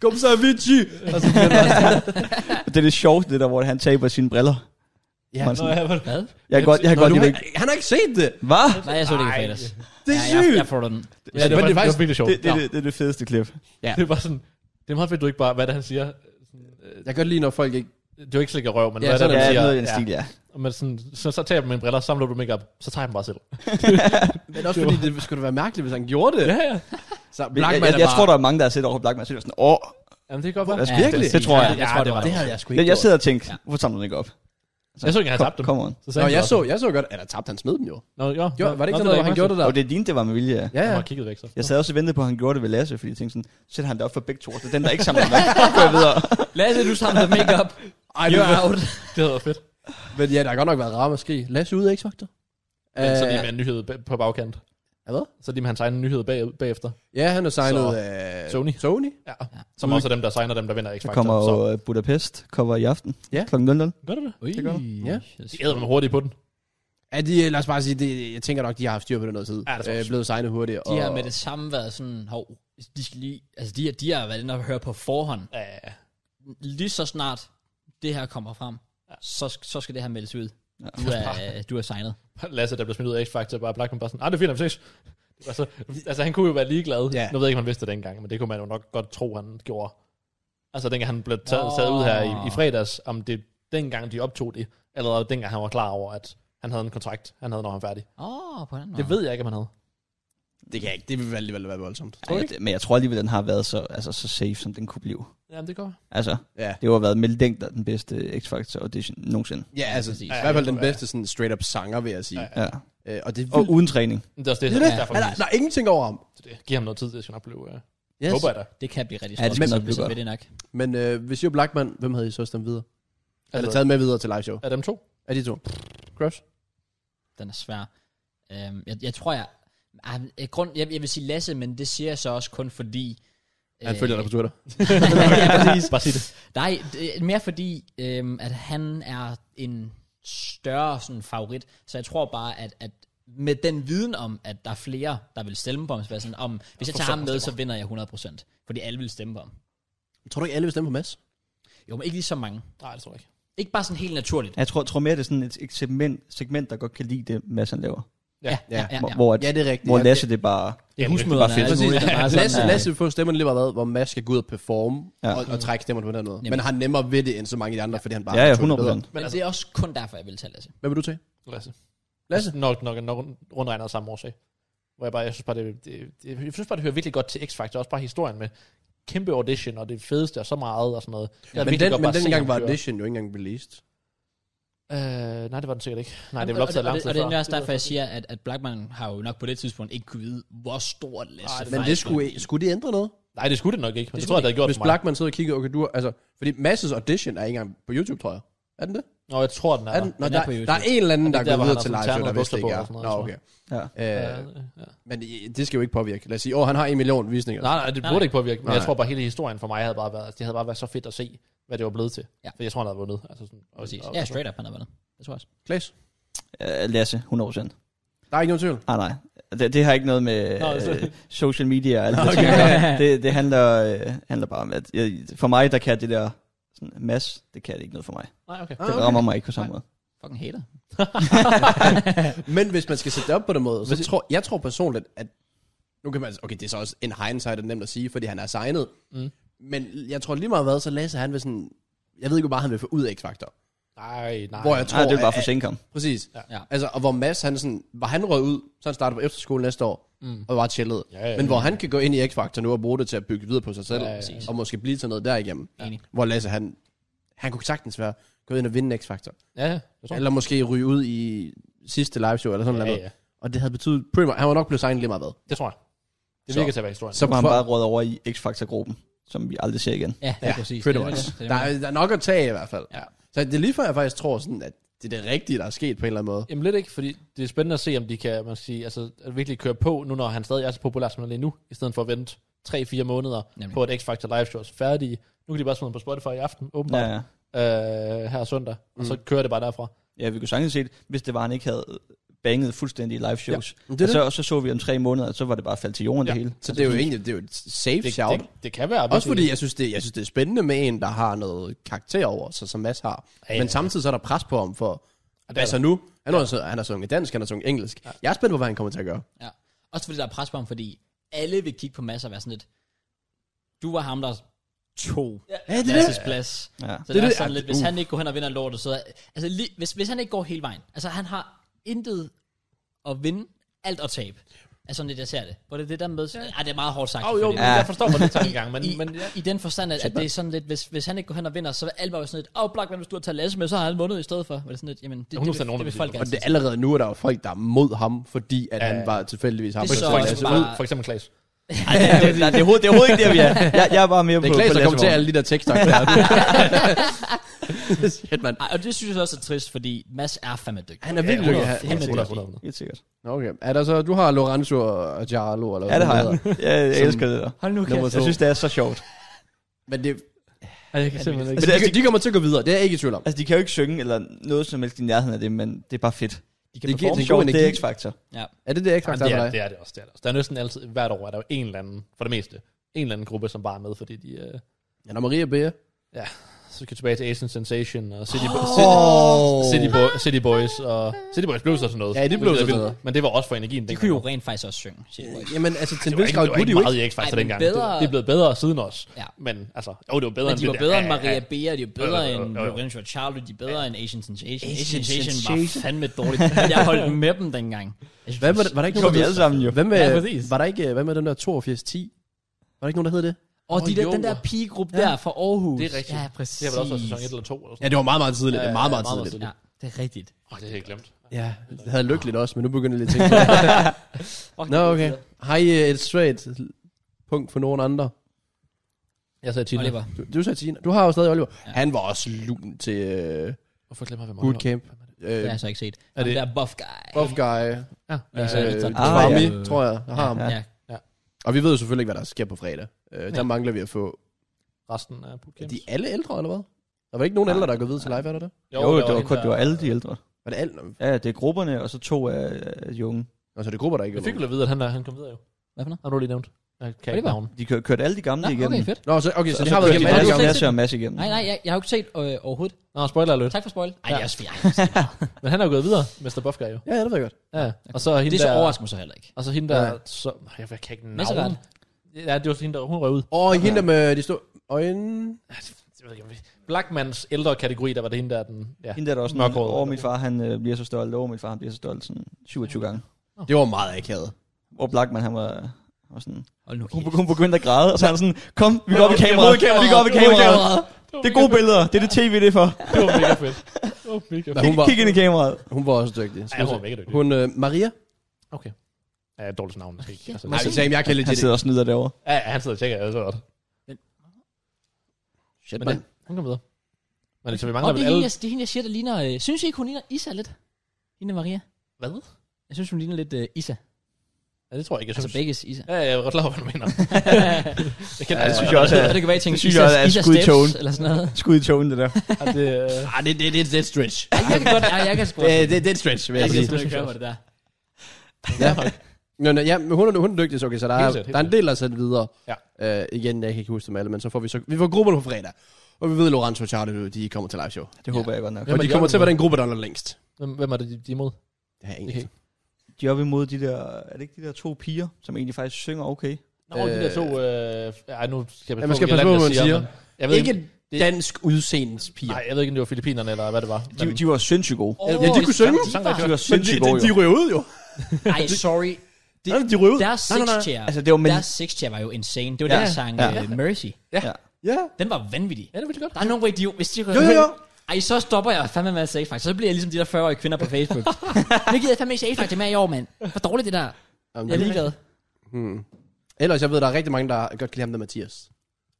Speaker 3: Kom så, Avicii! Og så bliver det bare sådan,
Speaker 4: Det er det sjovt, det der, hvor han taber sine briller. Ja,
Speaker 2: Nå,
Speaker 4: sådan,
Speaker 2: ja, vel.
Speaker 1: Hvad?
Speaker 4: jeg kan godt, jeg kan
Speaker 3: "Nå,
Speaker 4: godt
Speaker 3: du
Speaker 4: lide
Speaker 3: har,
Speaker 4: det.
Speaker 3: han har ikke set det.
Speaker 4: Hvad?
Speaker 1: Nej, jeg så det ikke i
Speaker 2: Ej.
Speaker 1: fredags.
Speaker 3: Det er
Speaker 1: Ja, jeg,
Speaker 3: sygt.
Speaker 1: jeg får den.
Speaker 2: Ja, det,
Speaker 3: Men
Speaker 2: var,
Speaker 3: det er
Speaker 2: det, var
Speaker 3: faktisk-
Speaker 2: virkelig sjovt.
Speaker 4: Det, det, det, det er det fedeste klip.
Speaker 3: Ja.
Speaker 2: Det var sådan, det er meget fedt, du ikke bare, hvad er det, han siger?
Speaker 3: Jeg kan godt lide, når folk ikke...
Speaker 2: Det er jo ikke slik og røv, men
Speaker 3: Ja,
Speaker 2: ja, hvad er
Speaker 3: sådan
Speaker 2: det,
Speaker 4: Ja,
Speaker 2: han siger?
Speaker 4: noget i den stil, ja.
Speaker 2: Og man sådan, så, så tager jeg dem mine briller, samler du dem ikke op, så tager jeg dem bare selv.
Speaker 3: Men også fordi, det skulle da være mærkeligt, hvis han gjorde det.
Speaker 2: Ja, ja.
Speaker 3: Så
Speaker 4: Jeg,
Speaker 3: Blackman
Speaker 4: jeg, jeg
Speaker 3: er
Speaker 4: tror,
Speaker 3: bare...
Speaker 4: der er mange, der har set over på Blackman, og siger sådan, åh,
Speaker 2: Jamen, det kan godt være.
Speaker 4: altså
Speaker 1: Ja,
Speaker 4: virkelig?
Speaker 1: det-
Speaker 4: Det tror jeg.
Speaker 1: jeg tror, det var
Speaker 3: det havde jeg sgu
Speaker 4: Jeg,
Speaker 3: ikke
Speaker 4: jeg
Speaker 3: gjort.
Speaker 4: sidder og tænker, hvorfor tager du den ikke op?
Speaker 2: Jeg så ikke, han havde tabt dem.
Speaker 4: Come on.
Speaker 2: Så sagde
Speaker 3: Nå,
Speaker 2: han
Speaker 3: jeg
Speaker 2: også-
Speaker 3: så, jeg så godt, at der tabte han smed dem jo.
Speaker 2: Nå, jo,
Speaker 3: jo var det ikke sådan noget, hvor han gjorde det der?
Speaker 4: Og det er din, det var med vilje. ja.
Speaker 3: Ja,
Speaker 2: Ja,
Speaker 3: ja.
Speaker 2: ja. kigget væk, så.
Speaker 4: Jeg sad også og ventede på, at han gjorde det ved Lasse, fordi jeg tænkte sådan, sætter han det op for begge to, så den, der ikke samler nok, går videre.
Speaker 1: Lasse, du samler make-up.
Speaker 3: Ej,
Speaker 1: You're
Speaker 3: men-
Speaker 1: out.
Speaker 2: Det havde været fedt.
Speaker 3: Men ja, der har godt nok været rart måske. Lasse ude af X-Factor.
Speaker 2: Men så
Speaker 3: Øh,
Speaker 2: lige med en nyhed bag- på bagkant.
Speaker 3: Ja, hvad?
Speaker 2: Så lige med hans egen nyhed bag, bagefter.
Speaker 3: Ja, han er signet
Speaker 2: Så-
Speaker 3: af...
Speaker 2: Sony.
Speaker 3: Sony.
Speaker 2: Ja.
Speaker 3: Mm.
Speaker 2: Som også er dem, der signer dem, der vinder
Speaker 4: Der
Speaker 2: X-Factor.
Speaker 4: kommer
Speaker 2: Så
Speaker 4: jo øh, Budapest cover i aften
Speaker 3: Ja.
Speaker 4: kl. 00.
Speaker 2: gør det det.
Speaker 1: Ui,
Speaker 3: Det gør du. Ja.
Speaker 2: De æder mig hurtigt på den.
Speaker 3: Ja, de, øh, lad os bare sige, det, jeg tænker nok, de har haft styr på det noget tid. Øh,
Speaker 2: Ja, det tror jeg også.
Speaker 3: blevet signet hurtigt. Og,
Speaker 1: De har med det samme været sådan, hov, de skal lige, altså de, de har været inde og høre på forhånd.
Speaker 2: Ja, ja, ja.
Speaker 1: Lige så snart det her kommer frem, så, så skal det her meldes ud. Du er, du er signet.
Speaker 2: Lasse, der blev smidt ud af X-Factor, bare Blackman bare sådan, ah, det finder vi ses. Altså, altså, han kunne jo være ligeglad.
Speaker 3: Ja.
Speaker 2: Nu ved jeg ikke, om han vidste det dengang, men det kunne man jo nok godt tro, han gjorde. Altså, dengang han blev taget,
Speaker 1: Åh.
Speaker 2: taget ud her i, i
Speaker 3: Ah.
Speaker 2: fredags, om det dengang, de optog det, eller dengang han var klar over, at han havde en kontrakt, han havde, når han var færdig.
Speaker 1: Åh, oh, på den måde.
Speaker 3: Ah.
Speaker 2: Det ved jeg ikke, om han havde.
Speaker 3: Det kan jeg ikke. Det vil alligevel være voldsomt.
Speaker 4: Ej, det- men jeg tror alligevel, den har været så, altså, så safe, som den kunne blive.
Speaker 2: Jamen, det går.
Speaker 4: Altså,
Speaker 3: Ja.
Speaker 4: det har været Mette Deng, der er den bedste X-Factor audition nogensinde.
Speaker 3: Ja, altså
Speaker 1: præcis.
Speaker 3: i hvert fald den bedste sådan, straight-up sanger, vil jeg sige.
Speaker 2: Ja.
Speaker 4: Ja.
Speaker 3: Øh, og det er
Speaker 4: Og
Speaker 3: vildt.
Speaker 4: uden træning.
Speaker 2: Men Det er også det,
Speaker 3: Det er
Speaker 2: det,
Speaker 3: det.
Speaker 2: derfor,
Speaker 3: Er der,
Speaker 2: vi-
Speaker 3: der er ingenting over ham.
Speaker 2: det, giver ham noget tid, det skal nok blive... Øh,
Speaker 3: Yes.
Speaker 2: Håber jeg da.
Speaker 1: Det kan blive rigtig
Speaker 4: Ja, det
Speaker 1: stort,
Speaker 4: skal
Speaker 1: hvis-
Speaker 4: nok blive
Speaker 1: hvis-
Speaker 4: godt.
Speaker 1: ved det nok.
Speaker 3: Men øh, hvis jeg Blackman, hvem havde I så stemt videre? Eller
Speaker 2: Altså-
Speaker 3: taget med videre til live show?
Speaker 2: Er dem to?
Speaker 3: Er de to? Crush?
Speaker 1: Den er svær. Øhm, jeg, jeg tror, jeg... Ah, eh, grund, jeg, jeg vil sige Lasse, men det siger jeg så også kun fordi... Øh,
Speaker 3: Han følger dig på Twitter.
Speaker 2: Bare sig det.
Speaker 1: Nej, det er mere fordi, øhm, at han er en større sådan, favorit, så jeg tror bare, at, at med den viden om, at der er flere, der vil stemme på ham, så vil jeg sådan, om hvis jeg tager ham med, så vinder jeg 100%, fordi alle vil stemme på ham.
Speaker 3: Tror du ikke, alle vil stemme på Mads?
Speaker 1: Jo, men ikke lige så mange.
Speaker 2: Nej, det tror jeg ikke.
Speaker 1: Ikke bare sådan helt naturligt.
Speaker 4: Jeg tror, tror mere, det er sådan et- et segment, segment, der godt kan lide det, Mads han laver.
Speaker 1: Ja, ja, ja.
Speaker 4: Ja,
Speaker 1: ja,
Speaker 4: hvor, hvor, at,
Speaker 3: Ja, det Ah, er rigtigt.
Speaker 4: hvor
Speaker 3: Ja,
Speaker 4: Lasse, det er bare...
Speaker 1: Det er
Speaker 2: husmøderne
Speaker 1: husmøderne.
Speaker 2: og alt Altså,
Speaker 1: Præcis.
Speaker 3: Præcis.
Speaker 1: Der bare
Speaker 3: Lasse,
Speaker 1: sådan,
Speaker 3: Lasse vil få stemmerne lige hvad, hvor Mads skal gå ud og performe
Speaker 4: Ja.
Speaker 3: ja. og, og, trække stemmerne på den måde.
Speaker 1: Nemlig.
Speaker 3: Men har nemmere ved det end så mange af de andre, fordi han bare
Speaker 4: Ja, ja,
Speaker 3: naturligt
Speaker 4: 100
Speaker 3: bedre.
Speaker 4: procent.
Speaker 1: Men altså- det er også kun derfor, jeg vil tage Lasse.
Speaker 3: Hvad vil du tage?
Speaker 2: Lasse. Altså,
Speaker 3: Lasse?
Speaker 2: Nok, nok, nok rundregnet af samme årsag. Hvor jeg bare, jeg synes bare, det, det, det, jeg synes bare, det hører virkelig godt til X-Factor. Også bare historien med kæmpe audition, og det fedeste, og så meget, og sådan noget. Jeg
Speaker 3: Men,
Speaker 2: virkelig
Speaker 3: den,
Speaker 2: godt
Speaker 3: men
Speaker 2: bare se
Speaker 3: dengang
Speaker 2: ham
Speaker 3: var
Speaker 2: køre.
Speaker 3: audition jo ikke engang released.
Speaker 2: Øh, nej, det var den sikkert ikke. Nej, det
Speaker 1: Og-
Speaker 2: var optaget
Speaker 3: altså,
Speaker 1: og
Speaker 2: lang tid
Speaker 1: Og det
Speaker 2: før.
Speaker 1: er også derfor, jeg siger, at, at Blackman har jo nok på det tidspunkt ikke kunne vide, hvor stort Lasse
Speaker 2: Nej,
Speaker 1: Ej,
Speaker 2: det-
Speaker 3: Men det skulle, skulle det ændre noget?
Speaker 2: Nej, det skulle det nok ikke. Men det,
Speaker 1: Det
Speaker 2: det tror jeg, det havde gjort
Speaker 3: Hvis
Speaker 2: for mig.
Speaker 3: Blackman sidder og kigger, okay, du har- altså, fordi Masses audition er ikke engang på YouTube, tror jeg. Er den det?
Speaker 2: Nå, jeg tror, den er
Speaker 3: Er den?
Speaker 2: der.
Speaker 3: Nå,
Speaker 1: den er
Speaker 3: der,
Speaker 1: på YouTube.
Speaker 3: der er en eller anden,
Speaker 2: Og det
Speaker 3: der
Speaker 2: er
Speaker 3: går
Speaker 2: der, hvor
Speaker 3: videre
Speaker 2: han
Speaker 3: til
Speaker 2: har
Speaker 3: live
Speaker 2: sådan
Speaker 3: show, der
Speaker 2: ternet
Speaker 3: vidste ikke
Speaker 2: bukser på
Speaker 3: er.
Speaker 2: og sådan
Speaker 3: Nå,
Speaker 2: noget,
Speaker 3: okay.
Speaker 4: Ja.
Speaker 3: Øh,
Speaker 2: Ja, ja.
Speaker 3: men i- det skal jo ikke påvirke. Lad os sige, åh, han har en million visninger.
Speaker 2: Nej, nej, det
Speaker 1: Nej.
Speaker 2: burde ikke påvirke, men jeg
Speaker 3: Nej.
Speaker 2: tror bare, hele historien for mig havde bare været, det havde bare været så fedt at se, hvad det var blevet til.
Speaker 1: Ja.
Speaker 2: For jeg tror, han havde vundet. Altså sådan, og,
Speaker 1: Præcis.
Speaker 2: og-
Speaker 1: Ja,
Speaker 2: og-
Speaker 1: straight up, han har vundet. Det tror jeg også.
Speaker 3: Klaas?
Speaker 4: Øh, Lasse, 100 procent.
Speaker 3: Der er ikke nogen tvivl.
Speaker 4: Ah, nej. Det, det har ikke noget med
Speaker 2: Nå, så-
Speaker 4: øh, social media og alt det,
Speaker 3: Okay.
Speaker 4: okay. det, det handler, øh, handler bare om, at jeg, for mig, der kan det der sådan, mass, det kan det ikke noget for mig.
Speaker 2: Nej, okay.
Speaker 3: Ah,
Speaker 4: Det rammer mig ikke på samme måde.
Speaker 1: Fucking hater.
Speaker 3: Men hvis man skal sætte det op på den måde, så tror jeg tror personligt, at... Nu kan man, okay, det er så også en hindsight, er nemt at sige, fordi han er signet.
Speaker 2: Mm.
Speaker 3: Men jeg tror lige meget hvad, så Lasse han vil sådan... Jeg ved ikke, hvor meget han vil få ud af X-Factor.
Speaker 2: Nej, nej.
Speaker 3: Hvor jeg tror,
Speaker 4: Nej, Ah, det vil bare
Speaker 3: at-
Speaker 4: forsinke ham.
Speaker 3: Præcis.
Speaker 1: Ja.
Speaker 3: Ja. Altså, og hvor Mads, han sådan, var han rød ud, så han startede på efterskole næste år, mm. og var chillet.
Speaker 2: Ja, ja,
Speaker 3: Men hvor
Speaker 2: ja.
Speaker 3: han kan gå ind i X-Factor nu og bruge det til at bygge videre på sig selv,
Speaker 2: Ja,
Speaker 3: ja,
Speaker 2: ja,
Speaker 3: ja,
Speaker 2: ja.
Speaker 3: og måske blive til noget derigennem.
Speaker 1: Enig.
Speaker 3: Hvor Lasse, han, han kunne sagtens være gået ind og vinde X-Factor.
Speaker 2: Ja, ja. Jeg tror.
Speaker 3: Eller måske ryge ud i sidste liveshow eller sådan
Speaker 2: Ja,
Speaker 3: noget.
Speaker 2: ja.
Speaker 3: Og det havde betydet, pretty much, han var nok blevet signet lige meget hvad.
Speaker 2: Det tror jeg. Det
Speaker 3: Så-
Speaker 2: virker til at være historien.
Speaker 3: Så
Speaker 4: Så var han
Speaker 3: for-
Speaker 4: bare råd over i X-Factor-gruppen, som vi aldrig ser igen.
Speaker 1: Ja, ja, præcis.
Speaker 3: Pretty
Speaker 1: Det er
Speaker 3: much.
Speaker 1: det, det er
Speaker 3: Der er, der er nok at tage i hvert fald.
Speaker 1: Ja.
Speaker 3: Så det er lige før, jeg faktisk tror sådan, at det er det rigtige, der er sket på en eller anden måde.
Speaker 2: Jamen lidt ikke, fordi det er spændende at se, om de kan, man kan sige, altså, at virkelig køre på, nu når han stadig er så populær, som han er lige nu, i stedet for at vente 3-4 måneder
Speaker 1: Nemlig.
Speaker 2: Jamen. på, at X-Factor live shows er færdige. Nu kan de bare smide den på Spotify i aften, åbenbart,
Speaker 4: Ja, ja.
Speaker 2: ja. øh, her søndag, og
Speaker 3: Mm.
Speaker 2: så kører det bare derfra.
Speaker 4: ja, vi kunne sagtens se, det, hvis det var, han ikke havde banget fuldstændig i live shows. Ja.
Speaker 3: Det
Speaker 4: Det og så, og så så vi om tre måneder, at så var det bare faldt til jorden ja. det hele. Altså,
Speaker 3: Så det er jo egentlig det er jo et safe
Speaker 2: Det,
Speaker 3: shout.
Speaker 2: det, det kan være.
Speaker 3: Også
Speaker 2: virkelig-
Speaker 3: fordi jeg synes, det, jeg synes, det er spændende med en, der har noget karakter over sig, som Mads har.
Speaker 2: Ja,
Speaker 3: Men
Speaker 2: ja.
Speaker 3: samtidig så er der pres på ham for...
Speaker 2: er
Speaker 3: Altså nu, han har, så, han har sunget dansk, han har sunget engelsk. Jeg er spændt på, hvad han kommer til at gøre.
Speaker 1: Ja. Også fordi der er pres på ham, fordi alle vil kigge på masser og være sådan lidt, du var ham, der to ja,
Speaker 3: det er
Speaker 1: det. plads. Ja.
Speaker 4: Ja.
Speaker 1: Så det,
Speaker 3: Det er
Speaker 1: er
Speaker 3: det.
Speaker 1: sådan lidt, hvis
Speaker 3: Uh.
Speaker 1: han ikke går hen og vinder lortet, så... Altså, lige, hvis, hvis han ikke går hele vejen, altså han har intet at vinde, alt at tabe. Altså sådan lidt, jeg ser det. Hvor det er det der med... Ja. Ej, det er meget hårdt sagt.
Speaker 2: Åh, jo,
Speaker 1: selvfølgelig.
Speaker 2: men jeg forstår mig lidt tankegang, men,
Speaker 1: I,
Speaker 2: men ja.
Speaker 1: I den forstand, at, at det er sådan lidt, hvis, hvis han ikke går hen og vinder, så vil alle bare være sådan lidt, åh, oh, Blackman, hvis du har taget Lasse med, så har han vundet i stedet for. Var det sådan lidt, jamen, det, det,
Speaker 2: 100%
Speaker 1: vil,
Speaker 2: nogen,
Speaker 1: det
Speaker 2: der
Speaker 1: vil
Speaker 2: vil
Speaker 1: folk
Speaker 2: sige
Speaker 3: Og det
Speaker 1: altid.
Speaker 3: er allerede nu, at der er folk, der er mod ham, fordi at
Speaker 2: Ja,
Speaker 3: ja,
Speaker 2: ja.
Speaker 3: han var tilfeldigvis ham.
Speaker 1: Det
Speaker 3: Det
Speaker 1: er
Speaker 2: For
Speaker 1: så også
Speaker 2: eksempel- for eksempel-
Speaker 1: bare-
Speaker 2: For eksempel Klaas.
Speaker 4: Ej, det, det, nej, det, er overhovedet- det er overhovedet ikke der, vi er. Jeg, jeg er bare mere
Speaker 3: det er
Speaker 4: på,
Speaker 3: Klaas,
Speaker 4: på
Speaker 3: der kommer til
Speaker 4: Lassevogne.
Speaker 3: alle de der TikTok. Shit, mand.
Speaker 1: Ej, og det synes jeg også er trist, fordi Mads er fandme dygtig.
Speaker 3: Han er virkelig
Speaker 2: Ja,
Speaker 3: dygtig. Han-
Speaker 1: Helt
Speaker 2: 100,
Speaker 1: vildt.
Speaker 2: 100, 100.
Speaker 4: Helt sikkert.
Speaker 3: Nå, Okay. Er der så, du har Lorenzo og Jarlo? Eller
Speaker 4: Ja, det
Speaker 3: hvad
Speaker 4: har jeg.
Speaker 3: hedder.
Speaker 4: Jeg, jeg
Speaker 3: Som-
Speaker 4: elsker det der.
Speaker 1: Hold nu
Speaker 3: Nummer
Speaker 1: kæft.
Speaker 3: to.
Speaker 4: Jeg synes, det er så sjovt.
Speaker 3: Men det,
Speaker 2: Jeg kan simpelthen ikke.
Speaker 3: altså, de, de kommer til at gå videre, det er jeg ikke i tvivl om.
Speaker 4: Altså, de kan jo ikke synge eller noget som helst i nærheden af det, men det er bare fedt.
Speaker 1: De kan
Speaker 3: Det giver-
Speaker 4: Det
Speaker 1: performe.
Speaker 4: er sjovt,
Speaker 3: god
Speaker 4: det er
Speaker 3: energi.
Speaker 4: X-Factor.
Speaker 3: altså, Er det det, jeg ikke
Speaker 2: Jamen,
Speaker 3: sagt for
Speaker 2: det, er,
Speaker 3: dig?
Speaker 2: det er det også, det er det også. Der er næsten altid, hvert år er der jo en eller anden, for det meste, en eller anden gruppe, som bare er med, fordi de, øh,
Speaker 3: Ja, når Maria Bea.
Speaker 2: så skal tilbage til Asian Sensation og City, oh.
Speaker 3: Åh.
Speaker 2: City, Boy, City Boys, og City Boys blev så sådan noget.
Speaker 3: Ja, det blev
Speaker 2: er
Speaker 3: så
Speaker 2: vildt,
Speaker 3: sådan noget.
Speaker 2: Men det var også for energien.
Speaker 1: De
Speaker 2: dengang.
Speaker 1: kunne jo rent faktisk også synge. City Boys.
Speaker 3: Jamen, altså, til
Speaker 2: det
Speaker 3: en
Speaker 2: var
Speaker 3: vis
Speaker 2: ikke,
Speaker 3: grad
Speaker 2: det var
Speaker 3: kunne de
Speaker 2: ikke
Speaker 3: jo
Speaker 2: meget
Speaker 3: ikke.
Speaker 2: i X-Factor
Speaker 1: Ej, men
Speaker 2: dengang.
Speaker 1: bedre-
Speaker 2: Det, det er blevet bedre siden også.
Speaker 1: Ja.
Speaker 2: Men altså, jo, det var bedre
Speaker 1: Men
Speaker 2: end
Speaker 1: de
Speaker 2: det
Speaker 1: var
Speaker 2: der.
Speaker 1: bedre
Speaker 2: Ja,
Speaker 1: end
Speaker 2: ja,
Speaker 1: Maria
Speaker 2: ja.
Speaker 1: Bea, de var
Speaker 2: Jo,
Speaker 1: bedre
Speaker 2: jo, jo,
Speaker 1: end
Speaker 2: jo, jo.
Speaker 1: Lorenzo Charlo, de er bedre end Asian Sensation. Asian,
Speaker 4: Asian
Speaker 1: Sensation,
Speaker 4: Sensation.
Speaker 1: var fandme dårligt. Men jeg holdt med dem dengang. Jeg synes,
Speaker 3: Hvad var, var der ikke
Speaker 4: Det kom
Speaker 3: nogen,
Speaker 4: vi
Speaker 3: der
Speaker 4: alle sammen jo.
Speaker 3: Hvad med,
Speaker 1: Ja, præcis.
Speaker 3: var der ikke, hvad med den der 8210? Var der ikke nogen, der hed det?
Speaker 1: Og de
Speaker 2: Åh,
Speaker 1: der,
Speaker 2: jo.
Speaker 1: den der pigegruppe der fra Aarhus.
Speaker 2: Det er rigtigt.
Speaker 1: Ja, præcis.
Speaker 2: Det har vel også været sæson 1 eller 2 eller sådan
Speaker 3: Ja, det var meget, meget tidligt. Ja, meget, meget,
Speaker 2: meget, meget
Speaker 3: tidligt.
Speaker 1: Ja, det er rigtigt.
Speaker 2: noget. Åh, det har jeg glemt.
Speaker 3: Ja, det havde lykkeligt også, men nu begynder jeg lidt at tænke på det.
Speaker 1: Fuck,
Speaker 3: Nå,
Speaker 1: det er
Speaker 3: okay.
Speaker 1: fedt.
Speaker 3: Har I øh, et straight punkt for nogen andre?
Speaker 2: Jeg sagde Tina.
Speaker 1: Oliver.
Speaker 3: Du, du sagde Tina. Du har jo stadig Oliver. Han var også lun til øh,
Speaker 2: Hvorfor glemmer jeg, hvem Oliver
Speaker 3: bootcamp. Øh,
Speaker 1: Det har jeg så ikke set. Er
Speaker 2: det-
Speaker 1: det der buff guy?
Speaker 3: buff guy.
Speaker 2: Ja. altså,
Speaker 1: Ja, så er det
Speaker 3: Øh,
Speaker 1: sådan-
Speaker 3: Kwame,
Speaker 1: Ah, ja.
Speaker 3: tror jeg, jeg har ham.
Speaker 1: Ja,
Speaker 3: Og vi ved jo selvfølgelig ikke, hvad der sker på fredag. Øh, der mangler vi at få...
Speaker 2: Resten af
Speaker 3: Er
Speaker 2: bootcamp.
Speaker 3: de alle ældre, eller hvad? Der var ikke nogen
Speaker 4: Nej.
Speaker 3: ældre, der er gået videre til live, er der det?
Speaker 4: Jo, det var,
Speaker 2: øh,
Speaker 4: kun, det var alle de ældre.
Speaker 3: Var det alle? Nå,
Speaker 4: Ja, det er grupperne, og så to af af de unge.
Speaker 3: Altså, det er grupper, der ikke
Speaker 2: Jeg
Speaker 3: er
Speaker 2: fik
Speaker 3: nogen.
Speaker 2: jo at vide, at han, er- han kom videre jo.
Speaker 1: hvad for noget?
Speaker 2: Har du lige nævnt? Jeg kan ikke
Speaker 1: Oliver.
Speaker 2: navne.
Speaker 4: De kør, kørte alle de gamle
Speaker 1: Nå,
Speaker 4: igennem.
Speaker 1: okay, fedt.
Speaker 3: Nå, så, okay, så,
Speaker 2: Så-
Speaker 3: det
Speaker 2: så
Speaker 3: har været
Speaker 2: kørte
Speaker 3: igennem
Speaker 1: de
Speaker 3: alle
Speaker 1: alle sammen.
Speaker 3: sammen.
Speaker 4: Masse og Mads igennem.
Speaker 1: Nej, nej, jeg, jeg har jo ikke set øh, overhovedet.
Speaker 2: Nå, spoiler alert.
Speaker 1: Tak for spoil. Ej,
Speaker 2: Ja.
Speaker 1: det er også fint.
Speaker 2: Men han er jo gået videre, Mr. Buff Guy jo.
Speaker 3: Ja, ja, det ved jeg godt.
Speaker 2: Ja, og så hende
Speaker 1: Det er så
Speaker 2: der,
Speaker 1: overrasker mig så heller ikke.
Speaker 2: Og så hende der,
Speaker 3: Ja.
Speaker 2: så, nej, jeg, jeg kan ikke
Speaker 1: Messerand.
Speaker 2: navne. Ja, det var så hende der, hun røg ud.
Speaker 3: Og hende der med de store øjne...
Speaker 2: Ja, det- det ved jeg ikke, om vi- Blackmans ældre kategori, der var det hende der, den... Ja.
Speaker 4: Hende der er der også sådan,
Speaker 2: Mørkhåret.
Speaker 4: over min far, han øh, bliver så stolt, over min far, han bliver så stolt sådan 27 gange.
Speaker 3: Det var meget akavet.
Speaker 4: Hvor Blackman, han var, han var sådan,
Speaker 1: Hold nu
Speaker 4: hun,
Speaker 1: kæft.
Speaker 4: hun begyndte at græde, og så er han sådan, kom, vi går op i kameraet, vi går op i kameraet. Det er gode billeder, det er det tv, det er for.
Speaker 2: Det var mega fedt. Det var mega fedt.
Speaker 3: Hun var,
Speaker 4: Kig ind i kameraet.
Speaker 3: hun var også dygtig.
Speaker 2: Ja, hun var mega dygtig.
Speaker 3: Hun, øh, Maria?
Speaker 2: Okay. Ja, dårligt navn. Måske. ikke. Altså,
Speaker 1: Nej,
Speaker 2: det-
Speaker 3: Sam, jeg kan lidt
Speaker 4: Han sidder og snyder derovre.
Speaker 2: ja, ja, han sidder og tjekker, jeg så godt.
Speaker 3: Shit,
Speaker 2: Men
Speaker 3: man.
Speaker 2: ja, hun kom videre. Men det, så vi
Speaker 1: Og
Speaker 2: mangler
Speaker 1: det
Speaker 2: vel
Speaker 1: er,
Speaker 2: alle...
Speaker 1: hende, jeg, det er hende, jeg siger, der ligner... Øh, synes I ikke, hun ligner Isa lidt? Hende Maria?
Speaker 2: Hvad?
Speaker 1: Jeg synes, hun ligner lidt øh, Isa.
Speaker 2: Ja, det tror jeg ikke, jeg
Speaker 1: Altså
Speaker 2: synes.
Speaker 1: begge Isa.
Speaker 2: Ja, ja, jeg er godt klar, over, hvad du mener. Jeg kan,
Speaker 4: Ja, det synes jeg også
Speaker 1: Og
Speaker 4: er
Speaker 1: det kan være, jeg tænker,
Speaker 4: Det synes
Speaker 1: Isa,
Speaker 4: jeg også er
Speaker 1: Isa
Speaker 4: skud i
Speaker 1: Steps,
Speaker 4: tone.
Speaker 1: eller sådan noget.
Speaker 4: skud i togen, det der.
Speaker 2: at det, øh,
Speaker 3: Ah, det, det, det, det er et stretch.
Speaker 1: Ej, jeg kan godt... Ej, jeg kan sgu
Speaker 3: Det,
Speaker 1: også...
Speaker 3: det, det er et stretch, vil
Speaker 1: Jeg
Speaker 3: jeg
Speaker 1: kan
Speaker 3: sige.
Speaker 1: sgu ikke gøre, hvad Altså, det der.
Speaker 3: Ja. Nå, nå, ja, men hun, er, hun er dygtig, så okay, så der
Speaker 2: Helt
Speaker 3: er,
Speaker 2: sikkert, helt
Speaker 3: der er en del, der er sat videre.
Speaker 2: Ja.
Speaker 3: Øh, igen, jeg kan ikke huske dem alle, men så får vi så, vi får grupperne på fredag. Og vi ved, at Lorenzo og Charlie, de kommer til live show.
Speaker 4: Det håber jeg godt nok.
Speaker 2: Hvem
Speaker 3: Og
Speaker 2: er
Speaker 3: de
Speaker 2: de
Speaker 3: kommer
Speaker 2: andre
Speaker 3: til at være den gruppe, der er længst.
Speaker 2: hvem, hvem er det, de- de er imod?
Speaker 3: Det har jeg
Speaker 2: Okay.
Speaker 3: ingen.
Speaker 4: De er op imod de der, er det ikke de der to piger, som egentlig faktisk synger okay?
Speaker 2: Nå, de der to... Øh, ej, nu skal jeg
Speaker 3: Ja, man
Speaker 2: hvilket
Speaker 3: skal passe på, hvad
Speaker 2: land,
Speaker 3: man
Speaker 2: jeg
Speaker 3: siger.
Speaker 2: men Jeg ved ikke...
Speaker 3: Ikke dansk udseendens piger.
Speaker 2: Nej, jeg ved ikke, om det var Filippinerne, eller hvad det var.
Speaker 4: De, de var sindssygt gode.
Speaker 1: Åh,
Speaker 3: ja, de kunne synge.
Speaker 1: sang- sang rigtig
Speaker 4: De
Speaker 1: godt.
Speaker 4: var sindssygt gode, jo.
Speaker 3: ryger ud jo.
Speaker 1: Ej, sorry.
Speaker 3: De, de ryger ud.
Speaker 1: Deres
Speaker 3: Nej, nej, nej.
Speaker 1: six-chair.
Speaker 4: Altså, det var, men,
Speaker 1: Deres six-chair var jo insane. Det var
Speaker 4: Ja.
Speaker 1: den, der sang
Speaker 4: Ja.
Speaker 1: øh, Mercy.
Speaker 3: Ja.
Speaker 1: Den var vanvittig.
Speaker 2: Ja, det er vildt godt.
Speaker 1: Der er nogen, hvor de, hvis de
Speaker 3: Jo, jo, jo.
Speaker 1: Ej, så stopper jeg fandme med at sige faktisk. Så bliver jeg ligesom de der 40-årige kvinder på Facebook. nu gider jeg fandme ikke sige faktisk med i år, mand. Hvor dårligt det der.
Speaker 3: Jamen,
Speaker 1: Jeg er ligeglad.
Speaker 3: Hmm. Ellers, jeg ved, der er rigtig mange, der godt kan lide ham der Mathias.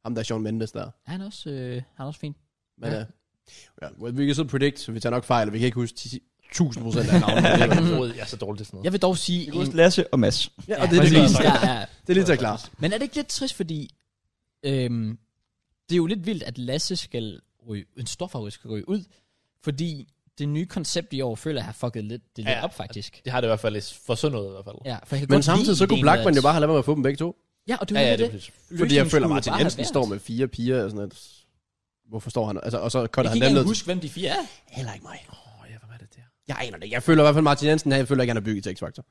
Speaker 3: Ham der Sean Mendes der.
Speaker 1: Han er også, øh, han er også fin.
Speaker 3: Men ja. øh, Ja, well, vi kan sidde og predict, så vi tager nok fejl, og vi kan ikke huske 10 1000 procent af navnet.
Speaker 2: Jeg kan ikke jeg er så dårlig til sådan noget.
Speaker 1: Jeg vil dog sige...
Speaker 4: Vi kan
Speaker 1: en-
Speaker 4: huske Lasse og Mads.
Speaker 3: ja, og det er lige
Speaker 1: præcis.
Speaker 3: klart.
Speaker 1: ja, ja.
Speaker 3: Det er lige til klart.
Speaker 1: Men er det ikke lidt trist, fordi... Øhm, det er jo lidt vildt, at Lasse skal ryge... En stofafryg skal ryge ud, fordi det nye koncept i år føler jeg har fucket lidt, det lidt
Speaker 2: Ja.
Speaker 1: ja. op, faktisk.
Speaker 2: Det har det i hvert fald lidt for sådan noget i hvert fald.
Speaker 1: Ja, for jeg kan
Speaker 3: Men
Speaker 1: godt
Speaker 3: samtidig
Speaker 1: lide
Speaker 3: så kunne
Speaker 1: ideen
Speaker 3: Blackman
Speaker 1: med,
Speaker 3: jo
Speaker 1: at-
Speaker 3: bare have lavet med at få dem begge to.
Speaker 1: Ja, og det er
Speaker 2: Ja,
Speaker 1: jo
Speaker 2: ja,
Speaker 1: lidt
Speaker 2: det er
Speaker 1: det.
Speaker 2: præcis.
Speaker 3: Fordi jeg
Speaker 1: Løsningen
Speaker 3: føler,
Speaker 1: skulle
Speaker 3: Martin
Speaker 1: bare
Speaker 3: Jensen
Speaker 1: være
Speaker 3: står
Speaker 1: værst.
Speaker 3: med fire piger og sådan noget. Hvorfor står han? Altså, og så cutter
Speaker 1: Jeg kan
Speaker 3: han dem
Speaker 1: ikke
Speaker 3: ned.
Speaker 1: engang huske, hvem de fire er.
Speaker 3: Heller ikke mig.
Speaker 2: Åh, ja, hvad var det der?
Speaker 3: Jeg aner det ikke. Jeg føler i hvert fald, Martin Jensen, her, jeg føler ikke, han er bygget til X-Factor.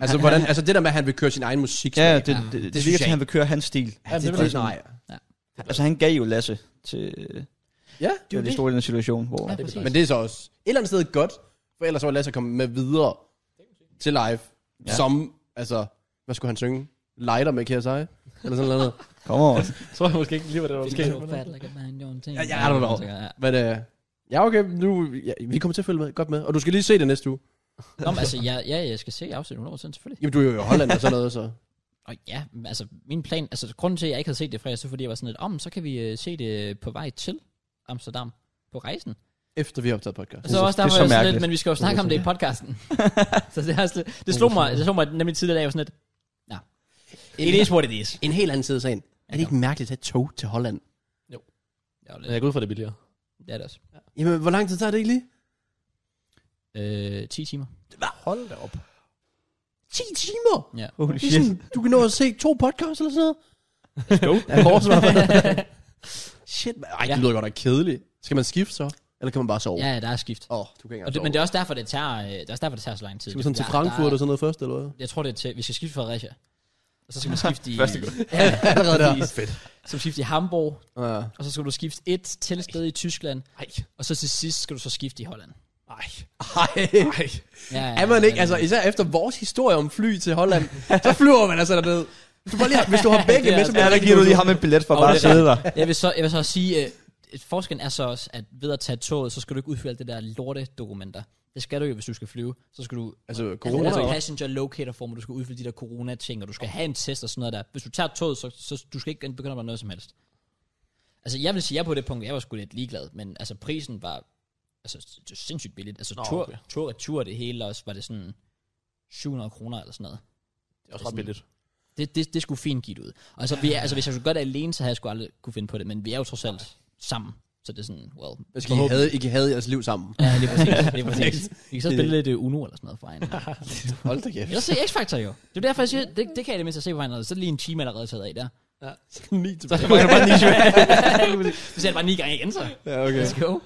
Speaker 3: Altså,
Speaker 1: Han-
Speaker 3: hvordan,
Speaker 1: han-
Speaker 3: altså det der med, at han vil køre sin egen musik.
Speaker 4: Ja,
Speaker 3: det,
Speaker 4: det, det,
Speaker 1: det
Speaker 4: det, det, det
Speaker 3: synes
Speaker 4: virker
Speaker 3: jeg
Speaker 4: til, at han vil køre hans stil.
Speaker 3: ja, det,
Speaker 2: det
Speaker 3: det,
Speaker 2: vil
Speaker 3: det,
Speaker 2: jeg
Speaker 3: nej.
Speaker 4: Altså, han gav jo Lasse til øh,
Speaker 3: Ja,
Speaker 1: Det er jo
Speaker 4: den
Speaker 1: det.
Speaker 4: store i den situation, hvor...
Speaker 1: Ja,
Speaker 4: Ja,
Speaker 1: præcis.
Speaker 3: men det er så også et eller andet sted godt, for ellers var Lasse kommet med videre til live, ja.
Speaker 4: Ja.
Speaker 3: som, altså, hvad skulle han synge? Lighter med KSI? Eller sådan noget.
Speaker 4: Kom over.
Speaker 2: Jeg tror jeg måske ikke lige, hvad det var.
Speaker 1: Det
Speaker 2: Måske.
Speaker 1: er jo fat, like a man, your own thing.
Speaker 3: Ja, ja, I don't know.
Speaker 1: Ja.
Speaker 3: Men øh, ja, okay, nu, ja, vi kommer til at følge med, godt med. Og du skal lige se det næste uge.
Speaker 1: Nå, men altså, ja, ja, jeg skal se afsnit 100 år siden, selvfølgelig.
Speaker 3: Jamen, du er jo i Holland og sådan noget, så.
Speaker 1: Og ja, men altså, min plan, altså, grunden til, at jeg ikke havde set det fra jer, så fordi jeg var sådan lidt, om, så kan vi øh, se det på vej til Amsterdam på rejsen.
Speaker 3: Efter vi har optaget podcast.
Speaker 1: Og så også
Speaker 4: det er
Speaker 1: der
Speaker 4: så
Speaker 1: var jeg sådan lidt,
Speaker 4: mærkeligt.
Speaker 1: men vi skal jo snakke om det i podcasten. så det, er også lidt, det slog mig, det slog mig nemlig tidligere, at jeg var sådan lidt, nej, it is what it is.
Speaker 3: En helt anden side af sagen. Er det ikke mærkeligt at tage tog til Holland?
Speaker 1: Ja,
Speaker 2: Men jeg
Speaker 1: det
Speaker 2: går ud fra det er billigere.
Speaker 1: det er det også.
Speaker 3: Jamen, hvor lang tid tager det ikke lige?
Speaker 1: Øh, 10 timer.
Speaker 2: Hold da op.
Speaker 3: 10 timer!
Speaker 1: Ja.
Speaker 4: Holy
Speaker 3: Det er
Speaker 4: shit.
Speaker 3: sådan, du kan nå at se to podcasts eller sådan noget.
Speaker 2: Let's
Speaker 3: Af vores i hvert fald. Shit, man. Ej, det lyder godt nok kedeligt. Skal man skifte så? Eller kan man bare sove?
Speaker 1: Ja, ja, der er skift.
Speaker 3: Åh, oh, du kan ikke
Speaker 1: Og det, men det er også derfor, det tager, øh, det er også derfor, det tager så lang tid.
Speaker 3: Skal man sådan til
Speaker 1: Der-
Speaker 3: Frankfurt og
Speaker 1: der,
Speaker 3: sådan noget først, eller hvad?
Speaker 1: Jeg tror, det er til, vi skal skifte fra Fredericia. Og så skal man skifte i...
Speaker 2: Første gang.
Speaker 3: Allerede der.
Speaker 1: Fedt. Så skal du skifte i Hamburg,
Speaker 3: Ja.
Speaker 1: og så skal du skifte et til sted i Tyskland,
Speaker 2: Ej.
Speaker 1: og så til sidst skal du så skifte i Holland.
Speaker 2: Ej.
Speaker 3: Ej.
Speaker 2: Ej.
Speaker 1: Ja, ja,
Speaker 3: Er man
Speaker 1: ja,
Speaker 3: ikke,
Speaker 1: ja.
Speaker 3: altså især efter vores historie om fly til Holland, så flyver man altså derned. Du bare lige, har- hvis du har begge
Speaker 1: Det er
Speaker 3: med, så
Speaker 1: altså-
Speaker 3: bliver det
Speaker 4: Ja, der
Speaker 3: rigtig
Speaker 4: giver du
Speaker 3: god
Speaker 4: lige
Speaker 3: tur.
Speaker 4: ham en billet for
Speaker 1: Og
Speaker 4: bare
Speaker 1: det
Speaker 4: at
Speaker 1: er
Speaker 4: sidde der.
Speaker 1: Jeg vil så, jeg vil så sige, øh, et forskellen er så også, at ved at tage toget, så skal du ikke udfylde alt det der lorte dokumenter. Det skal du jo, hvis du skal flyve. Så skal du...
Speaker 3: Altså,
Speaker 1: Corona,
Speaker 3: corona.
Speaker 1: altså, passenger locator form, du skal udfylde de der corona-ting, og du skal have en test og sådan noget der. Hvis du tager toget, så, så du skal ikke begynde med noget som helst. Altså, jeg vil sige, at jeg på det punkt, jeg var sgu lidt ligeglad, men altså, prisen var altså, det var sindssygt billigt. Altså,
Speaker 2: Nå,
Speaker 1: tur,
Speaker 2: okay.
Speaker 1: tur, retur det hele, også var det sådan 700 kroner eller sådan noget.
Speaker 2: Det er også ret billigt.
Speaker 1: Det, det, det skulle fint give det ud. Og altså, vi er, altså, hvis jeg skulle gøre det alene, så havde jeg sgu aldrig kunne finde på det, men vi er jo trods alt sammen. Så det er sådan, well,
Speaker 3: Jeg skal I havde, ikke havde jeres liv sammen.
Speaker 1: Ja, lige præcis. Lige præcis. Vi kan så spille lidt øh, Uno eller sådan noget for hende.
Speaker 3: Hold da kæft.
Speaker 1: Ellers se X-Factor jo. Det er derfor, jeg siger, det, det kan jeg det mindste se på hende. Så er det lige en time allerede taget af der.
Speaker 3: Ni tilbage.
Speaker 2: Man kan bare niche
Speaker 1: Så ser det bare ni gange igen, så.
Speaker 3: Ja, okay.
Speaker 1: Let's go.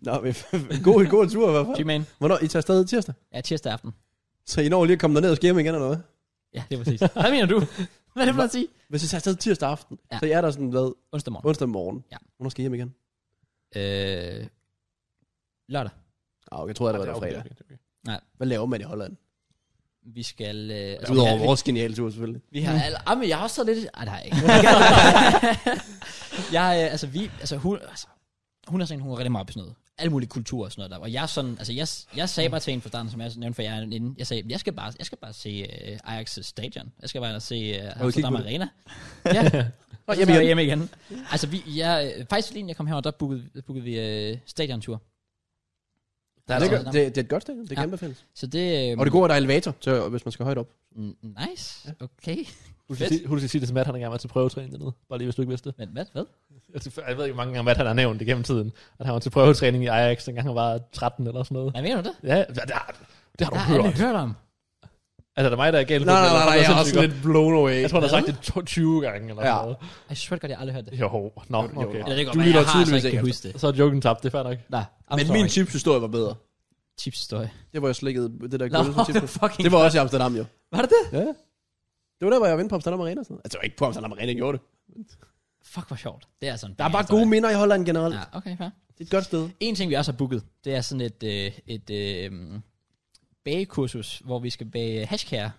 Speaker 3: Nå, men god, god tur i hvert fald.
Speaker 1: G-Man.
Speaker 3: Hvornår? I tager afsted tirsdag?
Speaker 1: Ja, tirsdag aften.
Speaker 3: Så I når lige at komme derned og skære igen, eller hvad?
Speaker 1: Ja, det er præcis. Hvad mener du? Hvad er det for at sige?
Speaker 3: Hvis I tager afsted tirsdag aften,
Speaker 1: Ja.
Speaker 3: ja. så I er der sådan, hvad,
Speaker 1: Onsdag morgen.
Speaker 3: onsdag morgen.
Speaker 1: Ja.
Speaker 3: Hvornår skal I hjem igen?
Speaker 1: Øh, lørdag.
Speaker 3: Ah, okay, jeg troede, det var der fredag. Hvad laver man i Holland?
Speaker 1: Vi skal... Øh, altså,
Speaker 3: Udover
Speaker 1: vi, har,
Speaker 3: vores geniale tur, selvfølgelig.
Speaker 1: vi har alle... Ah, men jeg har også taget lidt... Ej, det har jeg ikke. jeg, øh, altså, vi... Altså, hun... Altså, hun er sådan, en, hun er rigtig meget på sådan noget. Alle mulige kulturer og sådan noget der. Og jeg er sådan, altså jeg, jeg sagde bare til en fra starten, som jeg nævnte for jer inden, jeg sagde, jeg skal bare, jeg skal bare se uh, Ajax Stadion. Jeg skal bare ind og se uh, Amsterdam
Speaker 3: på det?
Speaker 1: Arena. ja. Og
Speaker 3: hjem
Speaker 1: hjemme igen.
Speaker 3: igen.
Speaker 1: Hjemme igen. Altså vi, jeg, øh, faktisk lige inden jeg kom herover, der bookede, bookede vi uh, stadiontur.
Speaker 3: Der er det, gør, det, det, er et godt sted. Det er
Speaker 1: Ja.
Speaker 3: kæmpe fælles.
Speaker 1: Så det...
Speaker 3: Øhm. Og det gode er, at der er elevator, så, hvis man skal højt op.
Speaker 1: går. Nice. Okay.
Speaker 2: Hun
Speaker 1: Fedt.
Speaker 2: skal, sige, hun skal sige det til Matt, han engang var til prøvetræning dernede. Bare lige, hvis du ikke vidste det.
Speaker 1: Men hvad? Hvad?
Speaker 2: Jeg- Jeg ved ikke, hvor mange gange Matt han har nævnt det gennem tiden. At han var til prøvetræning i Ajax, dengang han var 13 eller sådan noget.
Speaker 1: Hvad mener du det?
Speaker 2: Ja, det har, det har du
Speaker 1: Der har alle
Speaker 2: hørt.
Speaker 1: hørt om.
Speaker 2: Altså, det er mig, der er galt.
Speaker 3: Nej,
Speaker 2: på
Speaker 3: nej,
Speaker 2: det.
Speaker 3: nej, nej,
Speaker 2: Det
Speaker 3: jeg er
Speaker 2: sindssygt
Speaker 3: også lidt blown away.
Speaker 2: godt. Jeg tror, han har sagt det to- 20 gange eller
Speaker 3: Ja.
Speaker 2: sådan noget.
Speaker 1: Jeg swear godt, jeg har aldrig hørt det.
Speaker 2: Jo, nå, okay.
Speaker 3: okay.
Speaker 1: Eller det går,
Speaker 3: Du
Speaker 1: jeg har
Speaker 3: lytter
Speaker 1: altså
Speaker 3: tydeligvis
Speaker 1: ikke
Speaker 3: ikke
Speaker 1: kan huske det.
Speaker 2: Så er joken tabt, det er fair nok.
Speaker 1: Nej,
Speaker 3: Men min chipshistorie var bedre.
Speaker 1: chipshistorie.
Speaker 3: Det var jeg slikket det der
Speaker 1: Nå,
Speaker 3: gulv som
Speaker 1: det
Speaker 3: chips.
Speaker 1: fucking...
Speaker 3: Det var også i Amsterdam, jo.
Speaker 1: Var det det?
Speaker 3: Ja. Det var der, hvor jeg var inde på Amsterdam Arena. og Sådan. noget. Altså, det var ikke på Amsterdam Arena, jeg gjorde det.
Speaker 1: Fuck, hvor sjovt. Det er sådan.
Speaker 3: Der er bare gode minder i Holland generelt.
Speaker 1: Ja, okay, fair.
Speaker 3: Det er et godt sted.
Speaker 1: En ting, vi også har booket, det er sådan et, øh, et øh, mm, bagekursus, hvor vi skal bage hashkager.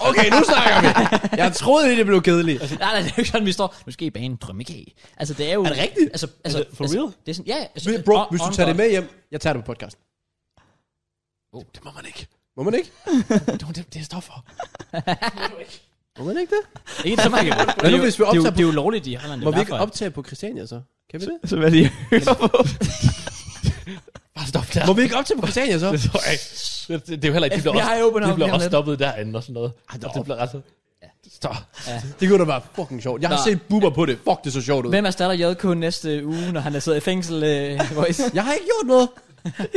Speaker 3: Okay, nu snakker vi. Jeg troede lige, det blev kedeligt.
Speaker 1: nej, nej, det er jo ikke sådan, vi står, nu skal I bage en drømmekage. Altså, det er jo...
Speaker 3: Er det rigtigt?
Speaker 1: Altså, altså,
Speaker 2: det for
Speaker 1: altså,
Speaker 2: real?
Speaker 1: Det er sådan, ja, altså,
Speaker 3: Bro,
Speaker 1: on-
Speaker 3: hvis du
Speaker 1: on
Speaker 3: tager det
Speaker 1: God.
Speaker 3: med hjem, jeg tager det på podcasten.
Speaker 2: Oh, det må man ikke.
Speaker 3: Må man ikke?
Speaker 2: Det, det, det er stoffer.
Speaker 3: Må man ikke det?
Speaker 1: Ikke så meget. Det er jo-
Speaker 3: hvis vi
Speaker 1: det er jo-
Speaker 3: optager på-
Speaker 1: Det er jo lovligt i Holland, det
Speaker 3: Må
Speaker 1: er
Speaker 3: vi ikke
Speaker 1: derfor.
Speaker 3: optage på Christiania så? Kan vi
Speaker 4: Så,
Speaker 3: det?
Speaker 4: så hvad de hører på.
Speaker 2: Bare stop der.
Speaker 3: Må vi ikke op til på Christiania så?
Speaker 2: Det tror jeg ikke. Det, det, det er jo heller ikke, de bliver
Speaker 1: FBI
Speaker 2: også,
Speaker 1: opener
Speaker 2: de
Speaker 1: op
Speaker 2: bliver
Speaker 1: lige om
Speaker 2: også
Speaker 1: lidt.
Speaker 2: stoppet derinde og sådan noget. Ej,
Speaker 3: nå.
Speaker 2: det bliver ret så... Stop.
Speaker 3: Det kunne da være fucking sjovt. Jeg har
Speaker 1: Nå.
Speaker 3: set buber på det. Fuck, det så sjovt ud.
Speaker 1: Hvem erstatter JK næste uge, når han er siddet i fængsel, øh, Voice?
Speaker 3: Jeg har ikke gjort noget.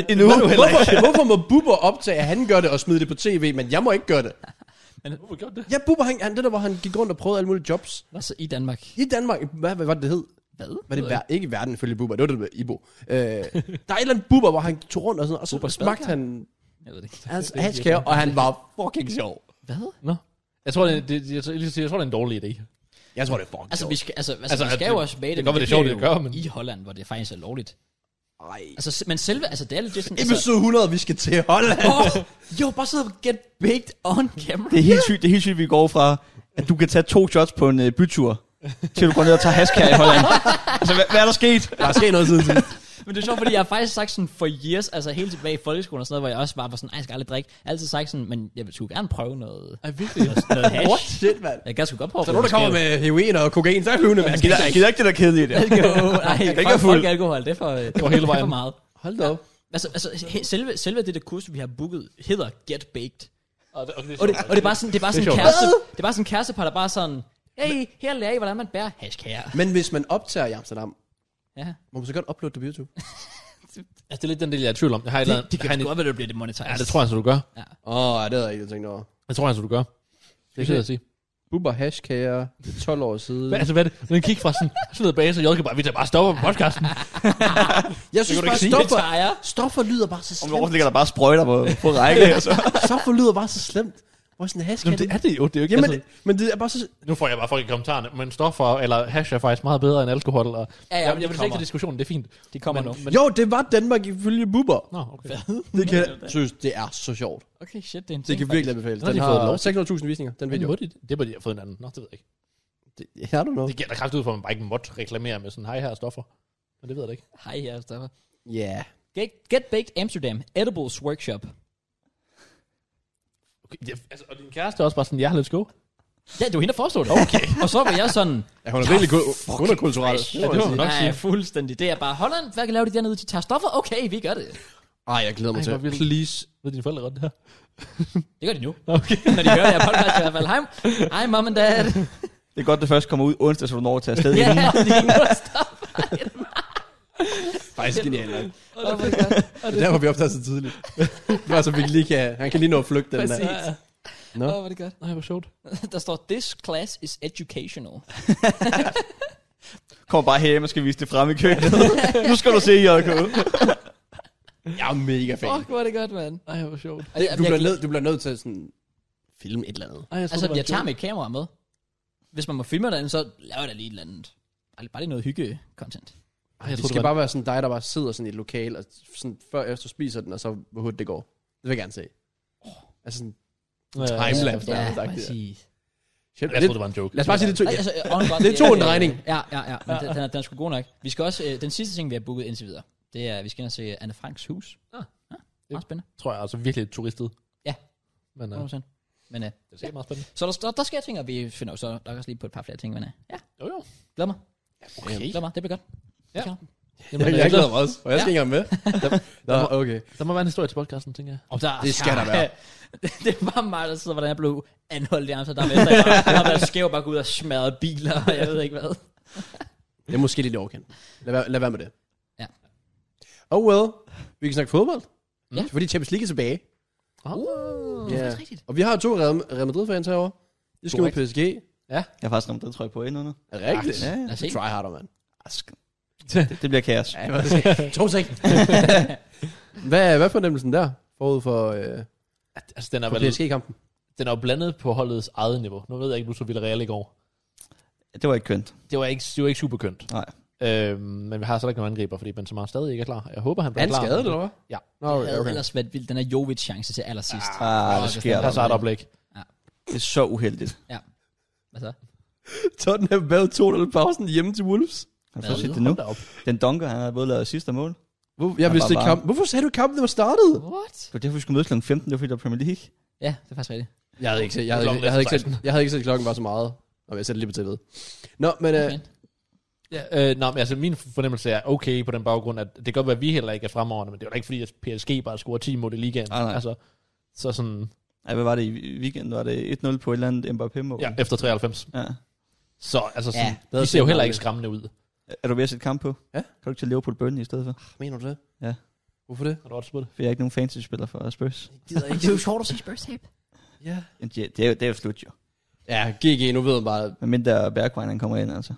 Speaker 4: Endnu.
Speaker 3: Hvorfor, hvorfor må Bubber optage, at han gør det og smide det på tv, men jeg må ikke gøre det?
Speaker 2: Hvorfor gjorde det?
Speaker 3: Ja, Bubber, han, han, det der, hvor han gik rundt og prøvede alle mulige jobs.
Speaker 1: Altså i Danmark.
Speaker 3: I Danmark, hvad, hvad var det, det hed?
Speaker 1: Hvad?
Speaker 3: Var det ver- ikke verden ifølge Bubber, det var det med Ibo. Øh, der er et eller andet Bubber, hvor han tog rundt og sådan, og så
Speaker 1: Bubber
Speaker 3: smagte
Speaker 1: Spadkær?
Speaker 3: han
Speaker 1: Jeg ved det ikke.
Speaker 3: hans hatskære, og han var fucking sjov.
Speaker 1: Hvad?
Speaker 2: Nå. Jeg tror, det, er- det, jeg, tror- jeg, jeg, jeg tror, det er en dårlig idé.
Speaker 3: Jeg tror, det er fucking
Speaker 1: Altså,
Speaker 3: sjovt.
Speaker 1: vi skal, altså, altså,
Speaker 2: Altså,
Speaker 1: altså vi skal
Speaker 2: at-
Speaker 1: jo også bage det.
Speaker 2: det kan godt
Speaker 1: men
Speaker 2: være, det er sjovt,
Speaker 1: bliver
Speaker 2: det gør,
Speaker 1: jo
Speaker 2: men-
Speaker 1: I Holland, hvor det faktisk er lovligt.
Speaker 3: Ej.
Speaker 1: Altså, se- men selve, altså det er lidt sådan... Altså,
Speaker 3: Episode 100, vi skal til Holland.
Speaker 1: oh, jo, bare sidde og get baked on camera.
Speaker 4: Det er helt sygt, det er helt sygt, vi går fra, at du kan tage to shots på en øh, bytur, til du går ned og tager hask her i Holland. altså, hvad, hvad er der sket?
Speaker 3: Der er sket noget siden sidst.
Speaker 1: Men det er sjovt, fordi jeg har faktisk sagt sådan for years, altså helt tilbage i folkeskolen og sådan noget, hvor jeg også bare var sådan, ej, jeg skal aldrig drikke. Jeg har altid sagt sådan, men jeg vil sgu gerne prøve noget,
Speaker 3: Er virkelig også.
Speaker 1: noget hash.
Speaker 3: What shit, mand.
Speaker 1: Jeg kan sgu godt prøve
Speaker 3: Så nu der kommer med heroin og kokain, så er jeg flyvende, mand.
Speaker 4: Jeg gider, jeg gider ikke det der kedelige der.
Speaker 1: Nej,
Speaker 4: kan ikke
Speaker 1: ikke
Speaker 4: være fuld.
Speaker 1: Folk alkohol, det er for, det
Speaker 2: Går
Speaker 1: er
Speaker 2: hele
Speaker 1: for
Speaker 2: vejen.
Speaker 1: meget.
Speaker 3: Hold da op.
Speaker 1: Altså, altså he- selve, selve det der kursus, vi har booket, hedder Get Baked.
Speaker 2: Og det, og det,
Speaker 1: Og det, og det er bare sådan, det er bare
Speaker 2: Det er
Speaker 1: sådan en
Speaker 2: sjovt.
Speaker 1: kæreste, det er bare sådan en kærestepar, der bare sådan, hey, her lærer I, hvordan man bærer hashkære.
Speaker 3: Men hvis man optager i Amsterdam,
Speaker 1: Ja.
Speaker 3: må man så godt uploade det på YouTube.
Speaker 2: altså, det er lidt den del, jeg er i tvivl om. Jeg har et eller andet,
Speaker 1: Det, det
Speaker 2: jeg har
Speaker 1: kan
Speaker 2: en-
Speaker 1: godt være, det bliver det monetized.
Speaker 2: Ja, det tror jeg, så du gør.
Speaker 3: Åh, oh, det havde jeg ikke tænkt over.
Speaker 2: Jeg tror altså, du gør. Det kan jeg sige.
Speaker 3: Bubber hashkager, 12 år siden.
Speaker 2: Hvad, altså, hvad er det? Den gik fra sådan, sådan noget base, og jeg kan bare, vi tager bare stopper på podcasten.
Speaker 3: Jeg
Speaker 2: kan
Speaker 3: synes
Speaker 2: du
Speaker 3: bare,
Speaker 2: ikke sige.
Speaker 3: stoffer,
Speaker 1: tager jeg.
Speaker 3: stoffer lyder bare så
Speaker 4: Om et
Speaker 3: slemt.
Speaker 4: år ligger der bare sprøjter på, på række. altså. Og så.
Speaker 3: Stoffer lyder bare så slemt. Hvor sådan en hashkager.
Speaker 2: er det jo. Det er jo ikke,
Speaker 3: Jamen,
Speaker 2: altså,
Speaker 3: det- men det er bare så...
Speaker 2: Nu får jeg bare folk i kommentarerne, men stoffer eller hash er faktisk meget bedre end alkohol. Og,
Speaker 1: ja,
Speaker 2: jeg,
Speaker 1: men det
Speaker 2: jeg vil slet ikke
Speaker 1: kommer.
Speaker 2: til diskussionen, det er fint.
Speaker 1: Det kommer
Speaker 2: men,
Speaker 1: nu.
Speaker 2: Men,
Speaker 3: Jo, det var Danmark ifølge Bubber.
Speaker 2: nå, okay.
Speaker 3: Det kan... Seriøst, det er så sjovt.
Speaker 1: Okay, shit, det er en
Speaker 3: Det
Speaker 1: ting,
Speaker 3: kan virkelig anbefales.
Speaker 2: Nå, de
Speaker 3: Den
Speaker 2: har fået
Speaker 3: har
Speaker 2: lov.
Speaker 3: 600.000 visninger, den
Speaker 2: Men
Speaker 3: video.
Speaker 2: må de det? Det er fordi, jeg har fået en anden. Nå, det ved jeg ikke.
Speaker 3: Det er du noget.
Speaker 2: Det giver da kraftigt ud for, at man bare ikke måtte reklamere med sådan, hej her er stoffer. Men det ved jeg da ikke.
Speaker 1: faktisk. Hej, her Stoffer.
Speaker 3: Ja.
Speaker 1: Get, Get Baked Amsterdam, Edibles Workshop.
Speaker 2: Okay, det, altså, og din kæreste er også bare sådan, ja, let's go.
Speaker 1: Ja, det var hende, der foreslog det. Okay. og så var jeg sådan,
Speaker 3: Ja, hun er virkelig underkulturel.
Speaker 2: Ja, det må man nok
Speaker 1: nej,
Speaker 2: sige.
Speaker 1: fuldstændig. Det er bare, Holland, hvad kan lave de dernede? De tager stoffer? Okay, vi gør det.
Speaker 3: Ej, jeg glæder mig
Speaker 2: Ej,
Speaker 3: til.
Speaker 2: hvor vildt.
Speaker 3: Please.
Speaker 2: Ved dine forældre godt det her?
Speaker 1: Det gør de nu.
Speaker 2: Okay.
Speaker 1: Når de hører det her podcast i hvert fald. Hej, hej mom and dad.
Speaker 4: Det er godt, det først kommer ud onsdag, så du når at tage afsted.
Speaker 1: ja,
Speaker 4: inden.
Speaker 1: de er nu at stoppe.
Speaker 3: Faktisk genialt. nok.
Speaker 1: Oh my God.
Speaker 3: Det er derfor, vi optager så tidligt. Bare så vi lige kan... Han kan lige nå at flygte den der. Nå.
Speaker 1: Åh, hvor er det godt.
Speaker 2: Nej, hvor sjovt.
Speaker 1: Der står, this class is educational.
Speaker 4: Kommer bare hjem og skal vise det frem i køkkenet. nu skal du se, JK.
Speaker 3: Jeg er mega fan.
Speaker 1: Fuck, hvor er det godt, mand.
Speaker 2: Nej, hvor sjovt.
Speaker 3: Du bliver, nødt, du bliver nødt til at sådan filme et eller andet.
Speaker 2: Ej, jeg
Speaker 1: Altså, jeg tager mit kamera med. Hvis man må filme derinde, så laver jeg da lige et eller andet. Bare, bare lige noget hygge-content.
Speaker 2: Ej, jeg
Speaker 3: det
Speaker 2: troede,
Speaker 3: skal
Speaker 2: det var...
Speaker 3: bare være sådan dig, der bare sidder sådan i et lokal, og sådan før og efter spiser den, og så hvor hurtigt det går. Det vil jeg gerne se. Altså sådan,
Speaker 2: Nå, ja, ja.
Speaker 3: Timelapse.
Speaker 1: Ja,
Speaker 3: Ja, tak,
Speaker 1: må jeg
Speaker 3: ja.
Speaker 1: sige.
Speaker 3: shit,
Speaker 2: Jeg
Speaker 3: lidt,
Speaker 2: troede, det var en joke.
Speaker 3: lad os bare sige det to.
Speaker 1: Ej,
Speaker 3: Ja.
Speaker 1: altså, øh, on God,
Speaker 3: Det tog en
Speaker 1: øh,
Speaker 3: regning.
Speaker 1: Ja, ja, ja. Men den, den, er, den er sgu god nok. Vi skal også, øh, den sidste ting, vi har booket indtil videre, det er, at vi skal ind og se Anne Franks hus.
Speaker 2: Ah.
Speaker 1: Ah. Ja, meget spændende.
Speaker 2: tror jeg altså virkelig turistet.
Speaker 1: Ja.
Speaker 2: Men uh,
Speaker 1: 100%. Men, øh,
Speaker 2: det ser meget spændende.
Speaker 1: så der, der, der sker ting, og vi finder jo så nok også lige på et par flere ting. Men, øh, ja,
Speaker 2: Jo, jo.
Speaker 1: glæder mig.
Speaker 2: Okay.
Speaker 1: Glæder mig. Det bliver godt.
Speaker 2: Ja.
Speaker 1: Ja.
Speaker 2: Jamen, øh,
Speaker 3: Jeg, jeg glæder mig også, og jeg skal ikke engang med. Nå, okay.
Speaker 2: Der må være en historie til podcasten, tænker jeg.
Speaker 1: Og der,
Speaker 3: Det skal der være.
Speaker 1: det var mig, der sidder, hvordan jeg blev anholdt i Amsterdam. Efter jeg var- jeg har været skæv bare gå ud og smadret biler, og jeg ved ikke hvad.
Speaker 3: Det er måske lidt overkendt. Lad være, lad være med det.
Speaker 1: Ja.
Speaker 3: Oh well. Vi kan snakke fodbold.
Speaker 1: Ja.
Speaker 3: Mm. Fordi Champions League er tilbage. Ah.
Speaker 2: Uh,
Speaker 1: Uh, det er faktisk rigtigt.
Speaker 3: Og vi har to Real Real Madrid-fans herovre. De skal ud
Speaker 2: Korrekt.
Speaker 3: PSG.
Speaker 4: Jeg har faktisk ramt den trøje på endnu nu.
Speaker 3: Er Ah, det rigtigt?
Speaker 4: Ja, ja.
Speaker 1: Lad os se.
Speaker 3: Try harder, mand.
Speaker 4: Ask. Det, det bliver kaos.
Speaker 3: Ja, hvad to ting. hvad, hvad er fornemmelsen der? Forud for, øh,
Speaker 2: altså, den er,
Speaker 3: for
Speaker 2: vel,
Speaker 3: PSG-kampen?
Speaker 2: den er jo blandet på holdets eget niveau. Nu ved jeg ikke, nu så Villarreal i går.
Speaker 4: Det var ikke kønt.
Speaker 2: Det var ikke, det var ikke super kønt.
Speaker 4: Nej.
Speaker 2: Øhm, men vi har så ikke nogen angriber, fordi Benzema stadig ikke er klar. Jeg håber, han
Speaker 3: Er
Speaker 2: bliver
Speaker 3: han
Speaker 2: klar.
Speaker 3: skadet, eller hvad?
Speaker 2: Ja.
Speaker 3: Nå,
Speaker 1: Det
Speaker 3: okay.
Speaker 1: havde
Speaker 3: okay.
Speaker 1: ellers været vildt. Den er Jovic chance til allersidst.
Speaker 4: Ah,
Speaker 1: Nå,
Speaker 4: det
Speaker 1: det
Speaker 4: sker
Speaker 2: Der
Speaker 4: der.
Speaker 2: er så et oplæg.
Speaker 4: Det er så uheldigt.
Speaker 1: Hvad så?
Speaker 3: Tottenham bad 2-0 pausen hjemme til Wolves.
Speaker 4: Har du
Speaker 1: Hvad?
Speaker 4: fået set det nu?
Speaker 2: Hold da op.
Speaker 4: Den dunker, han har både lavet sidste mål.
Speaker 3: Hvor, jeg
Speaker 4: Han
Speaker 3: vidste
Speaker 4: var
Speaker 3: ikke
Speaker 4: bare-
Speaker 3: kampen. Hvorfor sagde du kampen, var startet?
Speaker 1: What?
Speaker 4: Det var derfor, vi skulle mødes kl. 15, det var fordi, der var Premier League.
Speaker 1: Ja, det er faktisk rigtigt.
Speaker 3: Jeg havde ikke set, jeg havde, jeg havde, ikke set, jeg havde ikke set, klokken var så meget. Nå, men jeg sætter lige på tv'et. Nå, men øh,
Speaker 1: Okay.
Speaker 2: Ja, øh, nå, men altså min fornemmelse er okay på den baggrund, at det kan godt være, at vi heller ikke er fremover, men det er jo da ikke fordi, at PSG bare scorer 10 mål i ligaen.
Speaker 4: Nej, nej.
Speaker 2: Altså, så sådan,
Speaker 4: Ej, hvad var det i weekenden? Var det 1-0 på et eller andet Mbappé-mål?
Speaker 2: ja, efter 93.
Speaker 4: ja.
Speaker 2: Så altså,
Speaker 1: Ja,
Speaker 2: sådan,
Speaker 3: det
Speaker 2: ja,
Speaker 3: er
Speaker 2: de ser jo
Speaker 3: sådan,
Speaker 2: heller
Speaker 3: det er.
Speaker 2: ikke skræmmende ud.
Speaker 4: Er du ved at sætte kamp på?
Speaker 3: Ja.
Speaker 4: Kan du ikke til Liverpool Burnley i stedet for?
Speaker 3: Mener du det?
Speaker 4: Ja.
Speaker 3: Hvorfor det?
Speaker 2: Har du også spurgt?
Speaker 4: For jeg er ikke nogen fantasy-spiller for Spurs.
Speaker 1: Det er jo sjovt at se Spurs tabe.
Speaker 3: Ja.
Speaker 4: Men Det det er, jo, det er jo slut jo.
Speaker 3: Ja, GG, nu ved man bare,
Speaker 4: Men mindre Bergwijn, han kommer ind, altså.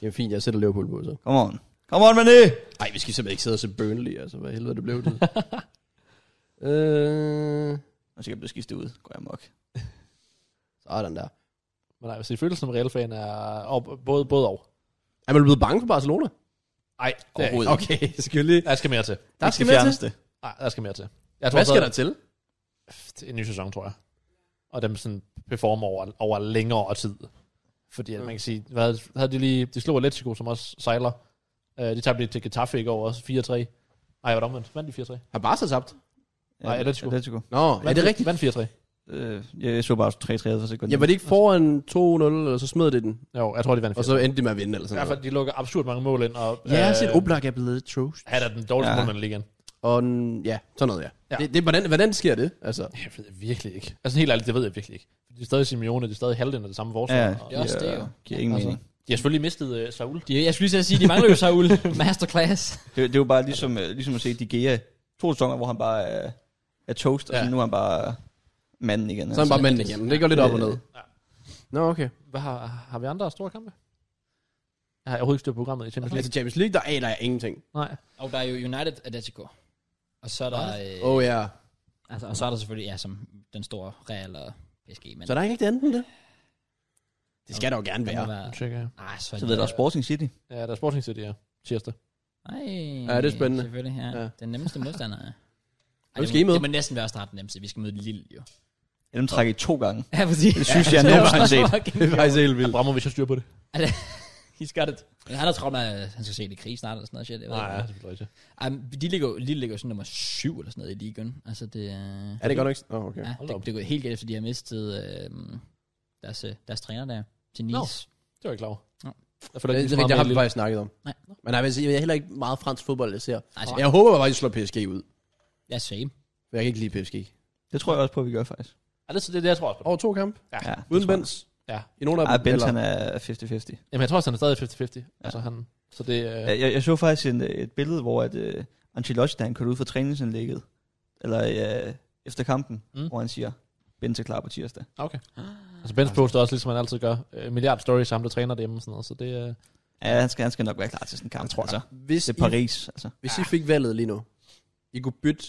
Speaker 3: det er fint, jeg sætter Liverpool på, så.
Speaker 4: Come on. Come on, Mané!
Speaker 3: Ej, vi skal simpelthen ikke sidde og se Burnley, altså. Hvad helvede det blev det? øh,
Speaker 4: Og så kan jeg blive skiftet ud. Går jeg mok.
Speaker 3: sådan der.
Speaker 2: Men nej, altså, følelsen som Real-fan er op, både, både og.
Speaker 3: Er man blevet bange for Barcelona?
Speaker 2: Nej, det er ikke.
Speaker 3: Overhovedet.
Speaker 2: Okay.
Speaker 3: Okay, skal vi lige...
Speaker 2: Der skal mere til.
Speaker 3: Der
Speaker 4: Ikke
Speaker 3: skal
Speaker 4: det
Speaker 3: mere til.
Speaker 4: fjerneste.
Speaker 2: Nej, der skal mere til. Jeg tror,
Speaker 3: Hvad skal
Speaker 2: så-
Speaker 3: der til?
Speaker 2: en ny sæson, tror jeg. Og dem sådan performer over, over længere tid. Fordi at man kan sige, hvad, havde de lige, de slog Atletico, som også sejler. Uh, de tabte lige til Getafe i går også, 4-3. Nej, var det omvendt? Vandt de 4-3?
Speaker 3: Har Barca tabt?
Speaker 4: Ja,
Speaker 2: Nej, Atletico.
Speaker 4: Atletico.
Speaker 3: Nå, er det rigtigt?
Speaker 2: Vandt 4-3.
Speaker 4: Øh, jeg så bare 3-3 for sekunder.
Speaker 3: Ja, var det ikke foran 2-0, eller så smed det den?
Speaker 2: Jo, jeg tror, de vandt 4-3.
Speaker 3: Og så endte de med at vinde, eller
Speaker 2: I
Speaker 3: sådan
Speaker 2: hvert
Speaker 3: noget.
Speaker 2: fald, de lukker absurd mange mål ind. Og, øh,
Speaker 3: Ja, jeg har set Oblak er blevet trost.
Speaker 2: Han er den dårligste
Speaker 4: Ja.
Speaker 2: ja. målmand i ligaen.
Speaker 3: Og mm, ja, sådan noget, ja.
Speaker 2: Ja.
Speaker 3: ja. Det, det, hvordan, hvordan sker det? Altså,
Speaker 2: Jeg ved det virkelig ikke. Altså helt ærligt, det ved jeg virkelig ikke. De er stadig Simeone, de er stadig halvdelen af det samme
Speaker 4: Ja,
Speaker 2: forsvar.
Speaker 4: ja.
Speaker 2: og
Speaker 1: Det er også det, jo.
Speaker 4: Giver ingen
Speaker 2: Altså.
Speaker 4: mening.
Speaker 2: De har selvfølgelig mistet uh, Saul.
Speaker 1: De, jeg skulle lige til at sige, de mangler jo Saul. Masterclass.
Speaker 4: Det, det er jo bare ligesom, øh, ligesom at se De Gea. To sæsoner, hvor han bare er, er toast, og
Speaker 2: Ja.
Speaker 4: ja. nu er han bare manden igen. altså.
Speaker 3: så er han bare manden igen. Det går lidt op og ned.
Speaker 2: Ja.
Speaker 3: Nå, okay.
Speaker 2: Hvad har, har vi andre store kampe? Jeg har overhovedet ikke styr på programmet i Champions League.
Speaker 3: Altså Champions League, der aner jeg ingenting.
Speaker 2: Nej.
Speaker 1: Og der er jo United Atletico. Og så er der... Øh,
Speaker 3: Åh oh, ja.
Speaker 1: altså, og så er der selvfølgelig, ja, som den store Real og PSG. Men
Speaker 3: Så der er ikke det andet, det? Det skal der jo gerne
Speaker 1: der
Speaker 3: være.
Speaker 1: må være...
Speaker 2: Nu tjekker jeg.
Speaker 1: Ej, så,
Speaker 4: Så ved der er Sporting City.
Speaker 2: Ja, der er Sporting City her. Tirsdag.
Speaker 1: Nej,
Speaker 3: Ja, det er spændende.
Speaker 1: Selvfølgelig, ja.
Speaker 3: Ja.
Speaker 1: ja. Den nemmeste modstander er... Ej,
Speaker 3: Nu
Speaker 1: det,
Speaker 3: skal I
Speaker 1: må,
Speaker 3: med.
Speaker 1: det må næsten være snart den nemmeste. Vi skal møde Lille, jo.
Speaker 4: Ja, dem trækker i to gange.
Speaker 1: Ja, fordi...
Speaker 4: Det synes jeg never har set.
Speaker 3: Det er faktisk helt vildt.
Speaker 2: Abramovic har styr på det.
Speaker 1: He's got it. Men han har travlt med, at han skal se det i krig snart, eller sådan noget shit. Jeg ved
Speaker 2: Nej, ja,
Speaker 1: ikke.
Speaker 2: selvfølgelig rigtigt.
Speaker 1: Ej, men de ligger jo, Lille ligger jo sådan nummer syv, eller sådan noget i ligaen. Altså, det... er-
Speaker 3: Er det godt nok? Åh, oh, okay.
Speaker 1: Ja,
Speaker 2: Hold
Speaker 1: det,
Speaker 2: op.
Speaker 1: det er gået helt galt, efter de har mistet øh, deres, øh, deres træner der til Nice.
Speaker 2: Nå.
Speaker 1: No.
Speaker 2: Det var jeg ikke klar over.
Speaker 1: Nå.
Speaker 2: Jeg
Speaker 3: Det,
Speaker 2: føler ikke,
Speaker 3: det,
Speaker 2: det,
Speaker 3: det, det har
Speaker 2: det,
Speaker 3: vi faktisk snakket om.
Speaker 1: Nej.
Speaker 3: Men nej, jeg, jeg er heller ikke meget fransk fodbold, jeg ser.
Speaker 1: Altså,
Speaker 3: Og Jeg håber faktisk, at slår PSG ud.
Speaker 1: ja, same.
Speaker 3: For jeg kan ikke lide PSG.
Speaker 4: Det tror jeg også på, at vi gør faktisk.
Speaker 2: ja, det, det, det, jeg tror også på.
Speaker 3: Over to kamp.
Speaker 4: Ja,
Speaker 3: Uden
Speaker 4: det tror jeg.
Speaker 3: Benz.
Speaker 2: Ja.
Speaker 3: I nogen af dem.
Speaker 4: Ej, Benz
Speaker 3: eller-
Speaker 4: han er 50-50.
Speaker 2: Jamen, jeg tror også, han er stadig 50-50. Altså, han, så det... Øh,
Speaker 4: Jeg, jeg, jeg så faktisk en, øh, et billede, hvor at, uh, Ancelotti, da han kørte ud fra træningsanlægget, eller uh, efter kampen,
Speaker 2: Mm.
Speaker 4: mm. hvor han siger, Benz er klar på tirsdag.
Speaker 2: okay. Altså, Benz poster også, ligesom han altid gør. øh, milliard stories sammen, der træner dem og sådan noget. Så det... Øh,
Speaker 4: Ja, han skal, han skal nok være klar til sådan en kamp. tror altså.
Speaker 3: Hvis,
Speaker 4: Det er
Speaker 3: I,
Speaker 4: Paris, altså.
Speaker 3: hvis I fik valget lige nu, I kunne bytte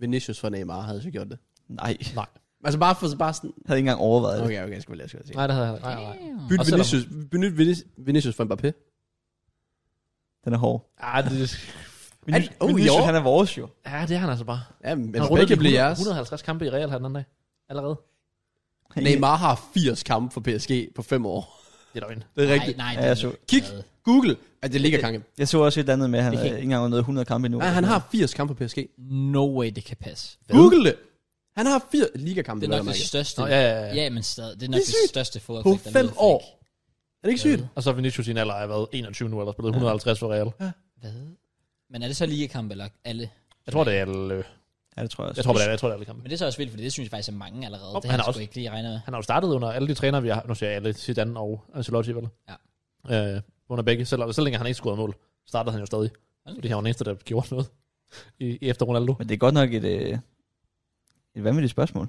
Speaker 3: Vinicius for Neymar, havde I så gjort det.
Speaker 4: Nej,
Speaker 3: Altså bare for bare sådan...
Speaker 4: jeg havde ikke engang overvejet det.
Speaker 3: Okay, okay, jeg skal vi lade, skal vi lade.
Speaker 2: nej, det havde han nej, nej.
Speaker 1: Damn.
Speaker 3: Byt
Speaker 2: Og selvom-
Speaker 3: Vinicius, byt Vini- Vinicius for Mbappé.
Speaker 4: Den er hård.
Speaker 2: Ah, det,
Speaker 4: Men,
Speaker 3: oh, i
Speaker 4: men Vinicius,
Speaker 3: år?
Speaker 4: han er vores jo.
Speaker 2: ja, det er han altså bare.
Speaker 3: Ja, men
Speaker 2: Han
Speaker 3: Mbappé kan
Speaker 2: de
Speaker 3: blive
Speaker 2: 100
Speaker 3: jeres.
Speaker 2: 150 kampe i Real her den anden dag. Allerede.
Speaker 3: Neymar har 80 kampe for PSG på 5 år.
Speaker 2: Det er løgn.
Speaker 3: Det er rigtigt.
Speaker 1: Nej, nej,
Speaker 4: Ja,
Speaker 1: det er
Speaker 4: jeg så-
Speaker 1: ikke
Speaker 3: Kig.
Speaker 1: noget.
Speaker 3: Google, at det ligger kange.
Speaker 4: Jeg så også et eller andet med, at han
Speaker 1: Det
Speaker 4: er
Speaker 1: kan-
Speaker 4: ikke engang nået 100 kampe endnu.
Speaker 3: Nej, han har 80 kampe for PSG.
Speaker 1: No way, det kan passe.
Speaker 3: Google det! Han har 4 ligakampe.
Speaker 1: Det er
Speaker 3: vel
Speaker 1: nok
Speaker 3: at
Speaker 1: det
Speaker 3: mærke.
Speaker 1: største.
Speaker 2: Nå, ja, ja, ja.
Speaker 1: ja, men stadig. Det er nok
Speaker 3: Det er
Speaker 1: det,
Speaker 3: sygt.
Speaker 1: største
Speaker 3: På
Speaker 1: fodboldfag,
Speaker 3: 5 år. Er det ikke sygt?
Speaker 2: Og så er Vinicius i en alder af, hvad, 21 nu, eller spillet 150 for Real.
Speaker 1: Hvad? Men er det så ligekamp eller alle?
Speaker 2: Jeg tror, det er alle... øh,
Speaker 4: Ja, det tror jeg også.
Speaker 2: Jeg tror, det er, jeg tror, det er alle kampe.
Speaker 1: Men det er så også vildt, fordi det synes jeg faktisk er mange allerede.
Speaker 2: Hop,
Speaker 1: det har
Speaker 2: han er
Speaker 1: jeg sgu
Speaker 2: også-
Speaker 1: ikke lige regnet med.
Speaker 2: Han har jo startet under alle de trænere, vi har. Nu siger jeg alle, Zidane og Ancelotti, vel?
Speaker 1: Ja.
Speaker 2: Øh, under begge. Selv, selv længe han ikke scorede mål, startede han jo stadig.
Speaker 1: Hold
Speaker 2: Fordi han var den eneste, der gjorde noget i, i efter Ronaldo.
Speaker 4: Men det er godt nok et, øh, et vanvittigt spørgsmål.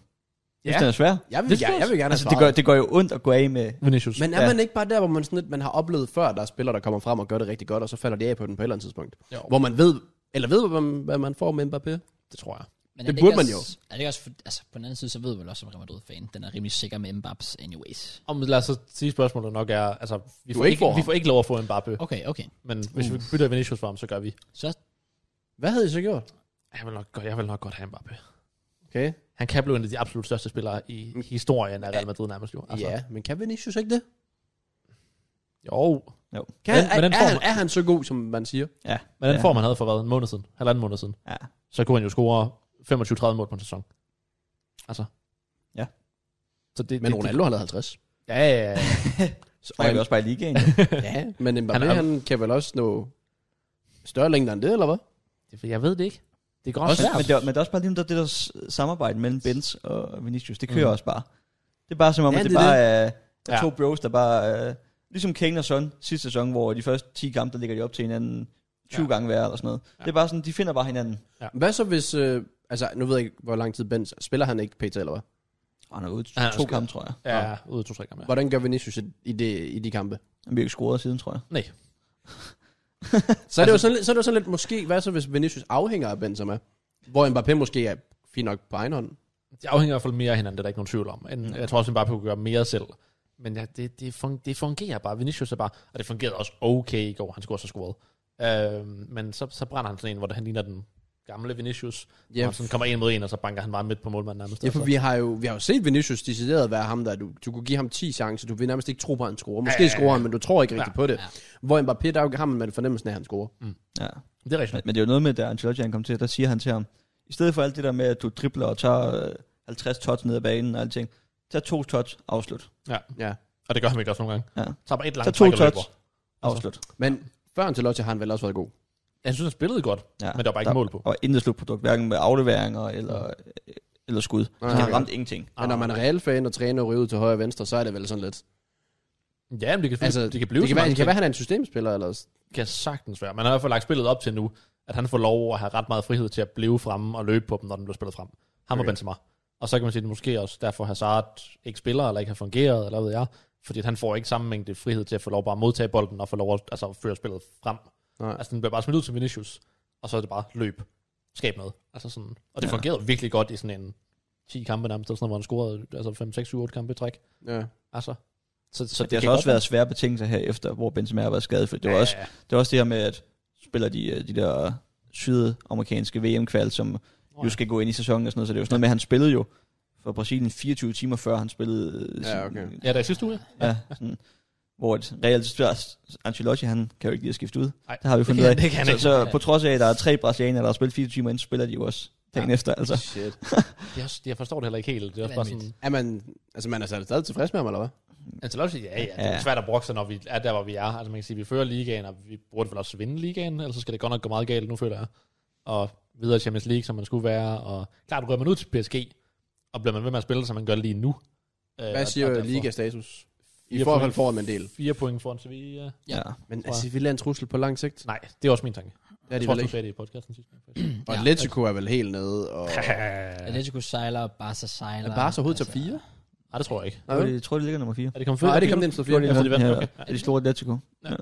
Speaker 4: Ja.
Speaker 3: Ja.
Speaker 4: Det er svært.
Speaker 3: Jeg vil,
Speaker 2: Det
Speaker 3: jeg,
Speaker 2: synes-
Speaker 3: jeg vil gerne have
Speaker 4: Altså, det, gør,
Speaker 3: svaret.
Speaker 4: det gør jo ondt at gå af med...
Speaker 2: Vinicius.
Speaker 3: Men er
Speaker 4: Ja.
Speaker 3: man ikke bare der, hvor man, sådan lidt, man har oplevet før, at der er spillere, der kommer frem og gør det rigtig godt, og så falder de af på den på et eller andet tidspunkt?
Speaker 2: Jo.
Speaker 3: Hvor man ved, eller ved, hvad man, hvad man får med Mbappé?
Speaker 2: det tror jeg.
Speaker 1: Men
Speaker 3: Det
Speaker 1: er
Speaker 3: burde
Speaker 1: ikke
Speaker 3: man
Speaker 1: også- Er det ikke også, for, altså på den anden side, så ved man vel også, som Real Madrid-fan, den er rimelig sikker med Mbappes anyways.
Speaker 2: Og lad os så sige spørgsmålet nok er, altså, vi
Speaker 3: Du
Speaker 2: får,
Speaker 3: ikke
Speaker 2: ikke,
Speaker 3: får
Speaker 2: vi
Speaker 3: ham.
Speaker 2: får ikke lov at få Mbappé, okay.
Speaker 1: Okay, okay.
Speaker 2: men hvis vi bytter Vinicius for ham, så gør vi.
Speaker 1: Så
Speaker 3: Hvad havde I så gjort?
Speaker 2: Jeg vil nok godt, jeg vil nok godt have Mbappé.
Speaker 3: Okay.
Speaker 2: Han kan blive en af de absolut største spillere i historien af Real Madrid nærmest jo.
Speaker 3: Altså. Ja, men kan Vinicius ikke det?
Speaker 2: Jo,
Speaker 4: Jo.
Speaker 3: Kan,
Speaker 2: Men-
Speaker 3: er,
Speaker 2: men den
Speaker 3: er,
Speaker 2: får
Speaker 3: han,
Speaker 2: man-
Speaker 3: er han så god, som man siger?
Speaker 4: Ja.
Speaker 2: men den
Speaker 4: ja.
Speaker 2: form, han havde for hvad, en måned siden, halvanden måned siden,
Speaker 4: Ja.
Speaker 2: så kunne han jo score 25-30 mål på en sæson. Altså.
Speaker 4: Ja.
Speaker 2: Så det,
Speaker 3: Men
Speaker 2: det,
Speaker 3: Ronaldo har lavet 50.
Speaker 2: Ja, ja, ja.
Speaker 4: Så er vi også bare i ligaen. jo.
Speaker 3: Ja, men Mbappé, han,
Speaker 2: Han er-
Speaker 3: han kan vel også nå større længder end det, eller hvad?
Speaker 2: Det, jeg ved det ikke. Det går
Speaker 3: Også-
Speaker 2: også
Speaker 4: men,
Speaker 2: svært.
Speaker 4: det, er- men det er også bare lige det der s- samarbejde mellem Benz og Vinicius. Det kører mm. også bare. Det er bare som om,
Speaker 3: Ja,
Speaker 4: ja, at
Speaker 3: det
Speaker 4: det, det
Speaker 3: er
Speaker 4: bare er, er
Speaker 2: Ja.
Speaker 4: to bros, der bare... Øh, ligesom Kane og Son sidste sæson, hvor de første 10 kampe, der ligger de op til hinanden
Speaker 2: Ja.
Speaker 4: 20 ja. gange hver eller sådan noget. Ja. Det er bare sådan, de finder bare hinanden.
Speaker 3: Hvad så hvis... Øh, altså, nu ved jeg ikke, hvor lang tid Benz... Spiller han ikke PT, eller hvad?
Speaker 4: Og han er ude
Speaker 2: Han er
Speaker 4: to
Speaker 2: skadet.
Speaker 4: kampe, tror jeg.
Speaker 2: Ja, ja, ude af to-tre kampe. Ja.
Speaker 3: Hvordan gør Vinicius i- i, det, i de kampe?
Speaker 4: Han bliver ikke scoret siden, tror jeg.
Speaker 2: Nej.
Speaker 3: Så er,
Speaker 2: Altså-
Speaker 3: det jo sådan, lidt- så er det jo sådan lidt måske... Hvad så hvis Vinicius afhænger af Benzema? Hvor Mbappé måske er fint nok på egen hånd.
Speaker 2: Det afhænger i hvert fald mere af hinanden, det er der ikke nogen tvivl om. En, jeg tror også, at Mbappé kunne gøre mere selv. Men ja, det, det, fun, det fungerer bare. Vinicius er bare... Og det fungerede også okay i går. Han skulle også have scoret. Øh, men så, så brænder han sådan en, hvor han ligner den gamle Vinicius. Yep.
Speaker 3: Ja,
Speaker 2: Og han sådan kommer en mod en, og så banker han bare midt på målmanden nærmest.
Speaker 3: Ja, for
Speaker 2: Altså.
Speaker 3: vi har jo, vi har jo set Vinicius decideret være ham, der du, du kunne give ham 10 chancer, du vil nærmest ikke tro på, at han scorer. Måske
Speaker 2: Ja, ja, ja.
Speaker 3: scorer han, men du tror ikke
Speaker 2: Ja,
Speaker 3: rigtig på det. Hvor Mbappé, der er jo ham med fornemmelsen af, at han scorer.
Speaker 4: Ja.
Speaker 2: Det er rigtigt.
Speaker 4: Men, men det er jo noget med, da Ancelotti han kom til, der siger han til ham, i stedet for alt det der med, at du dribler og tager øh, 50 touch ned ad banen og alting, tag to touch, afslut.
Speaker 2: Og det gør han ikke også nogle gange.
Speaker 4: Ja.
Speaker 2: Så bare et langt træk
Speaker 4: Tag to
Speaker 2: og
Speaker 4: touch,
Speaker 2: løber.
Speaker 4: afslut.
Speaker 3: Men før Ancelotti har han vel også været god.
Speaker 2: Jeg synes, han spillede godt,
Speaker 4: Ja.
Speaker 2: men der var bare ikke mål på.
Speaker 4: Og intet slutprodukt, hverken med afleveringer eller, øh, eller skud. Så
Speaker 3: Nej,
Speaker 4: han
Speaker 3: nej.
Speaker 4: ramte ingenting.
Speaker 3: Men når
Speaker 2: Ah,
Speaker 3: man er Real-fan og træner og ryger ud til højre og venstre, så er det vel sådan lidt.
Speaker 2: Ja, men det kan,
Speaker 3: Altså,
Speaker 2: altså, det kan blive
Speaker 3: det kan,
Speaker 2: så
Speaker 3: være,
Speaker 2: mange
Speaker 3: det kan være,
Speaker 2: ting.
Speaker 3: han er en systemspiller eller s-
Speaker 2: Det kan sagtens være. Man har i hvert fald lagt spillet op til nu, at han får lov at have ret meget frihed til at blive fremme og løbe på dem, når den bliver spillet frem. Ham okay. og
Speaker 3: Okay.
Speaker 2: Benzema. Og så kan man sige, at det måske også derfor Hazard ikke spiller, eller ikke har fungeret, eller hvad ved jeg. Fordi at han får ikke samme mængde frihed til at få lov bare at modtage bolden, og få lov at altså, at føre spillet frem.
Speaker 3: Nej.
Speaker 2: Altså den bliver bare smidt ud til Vinicius, og så er det bare løb. Skab noget. Altså sådan. Og det
Speaker 4: Ja.
Speaker 2: ja. fungerede virkelig godt i sådan en 10 kampe nærmest, eller sådan, noget, hvor han scorede altså 5, 6, 7, 8 kampe i træk.
Speaker 3: Ja.
Speaker 2: Altså. Så, så
Speaker 4: Så det, det har
Speaker 2: kan
Speaker 4: så også
Speaker 2: godt
Speaker 4: været svære betingelser her efter, hvor Benzema har været skadet, for det var, også,
Speaker 2: Ja,
Speaker 4: det var også det her med, at spiller de, øh, de der sydamerikanske VM-kval, som jo skal gå ind i sæsonen og sådan noget, så det er jo sådan noget med, at han spillede jo for Brasilien 24 timer før han spillede øh,
Speaker 3: Ja,
Speaker 4: sin-
Speaker 3: okay.
Speaker 2: Ja, der i sidste uge.
Speaker 4: Ja, sådan, hvor et reelt spørger, Ancelotti, han kan jo ikke lide at skifte ud.
Speaker 2: Nej,
Speaker 4: det har vi
Speaker 2: det
Speaker 4: fundet
Speaker 2: kan-
Speaker 4: ud af.
Speaker 2: det kan han
Speaker 4: så,
Speaker 2: ikke.
Speaker 4: så på trods af, at der er tre brasilianere, der har spillet fire timer, inden spiller de jo også dagen ja. efter. Altså.
Speaker 3: Shit.
Speaker 2: Det er også, jeg forstår det heller ikke helt. Det er også bare sådan,
Speaker 3: Er man, altså man er stadig stadig tilfreds med ham, eller hvad?
Speaker 2: Ancelotti, ja, ja, det er
Speaker 4: Ja.
Speaker 2: jo svært at brokke sig, når vi er der, hvor vi er. Altså man kan sige, vi fører ligaen, og vi burde vel også vinde ligaen, ellers så skal det godt nok gå meget galt, nu føler jeg. Og videre i Champions League, som man skulle være. Og klart, rører man ud til PSG, og bliver man ved med at spille, som man gør lige nu. Øh,
Speaker 3: Hvad siger liga-status? I
Speaker 2: Fire
Speaker 3: forhold
Speaker 2: point.
Speaker 3: får man en del.
Speaker 2: Fire point foran Sevilla.
Speaker 4: Ja.
Speaker 3: Men altså,
Speaker 2: er
Speaker 3: er Sevilla en trussel på lang sigt?
Speaker 2: Nej, det er også min tanke.
Speaker 3: Det er
Speaker 2: Jeg
Speaker 3: de
Speaker 2: tror også, du
Speaker 3: vel ikke.
Speaker 2: sagde det i podcasten sidste gang.
Speaker 3: Og
Speaker 1: Ja.
Speaker 3: Atletico er vel helt nede. Og...
Speaker 2: Ja,
Speaker 1: Atletico sejler, Barca sejler.
Speaker 3: Er Barca overhovedet top 4?
Speaker 2: det tror jeg ikke.
Speaker 3: Nej,
Speaker 4: Jeg tror, de- tror, de ligger nummer 4.
Speaker 2: Er det kommet
Speaker 3: Nej,
Speaker 2: før?
Speaker 3: det kom den slå
Speaker 4: Det
Speaker 3: 4.
Speaker 2: Ja, for de vandt,
Speaker 4: er
Speaker 2: okay.
Speaker 4: det er de store Atletico.
Speaker 2: Ja.
Speaker 4: Ja.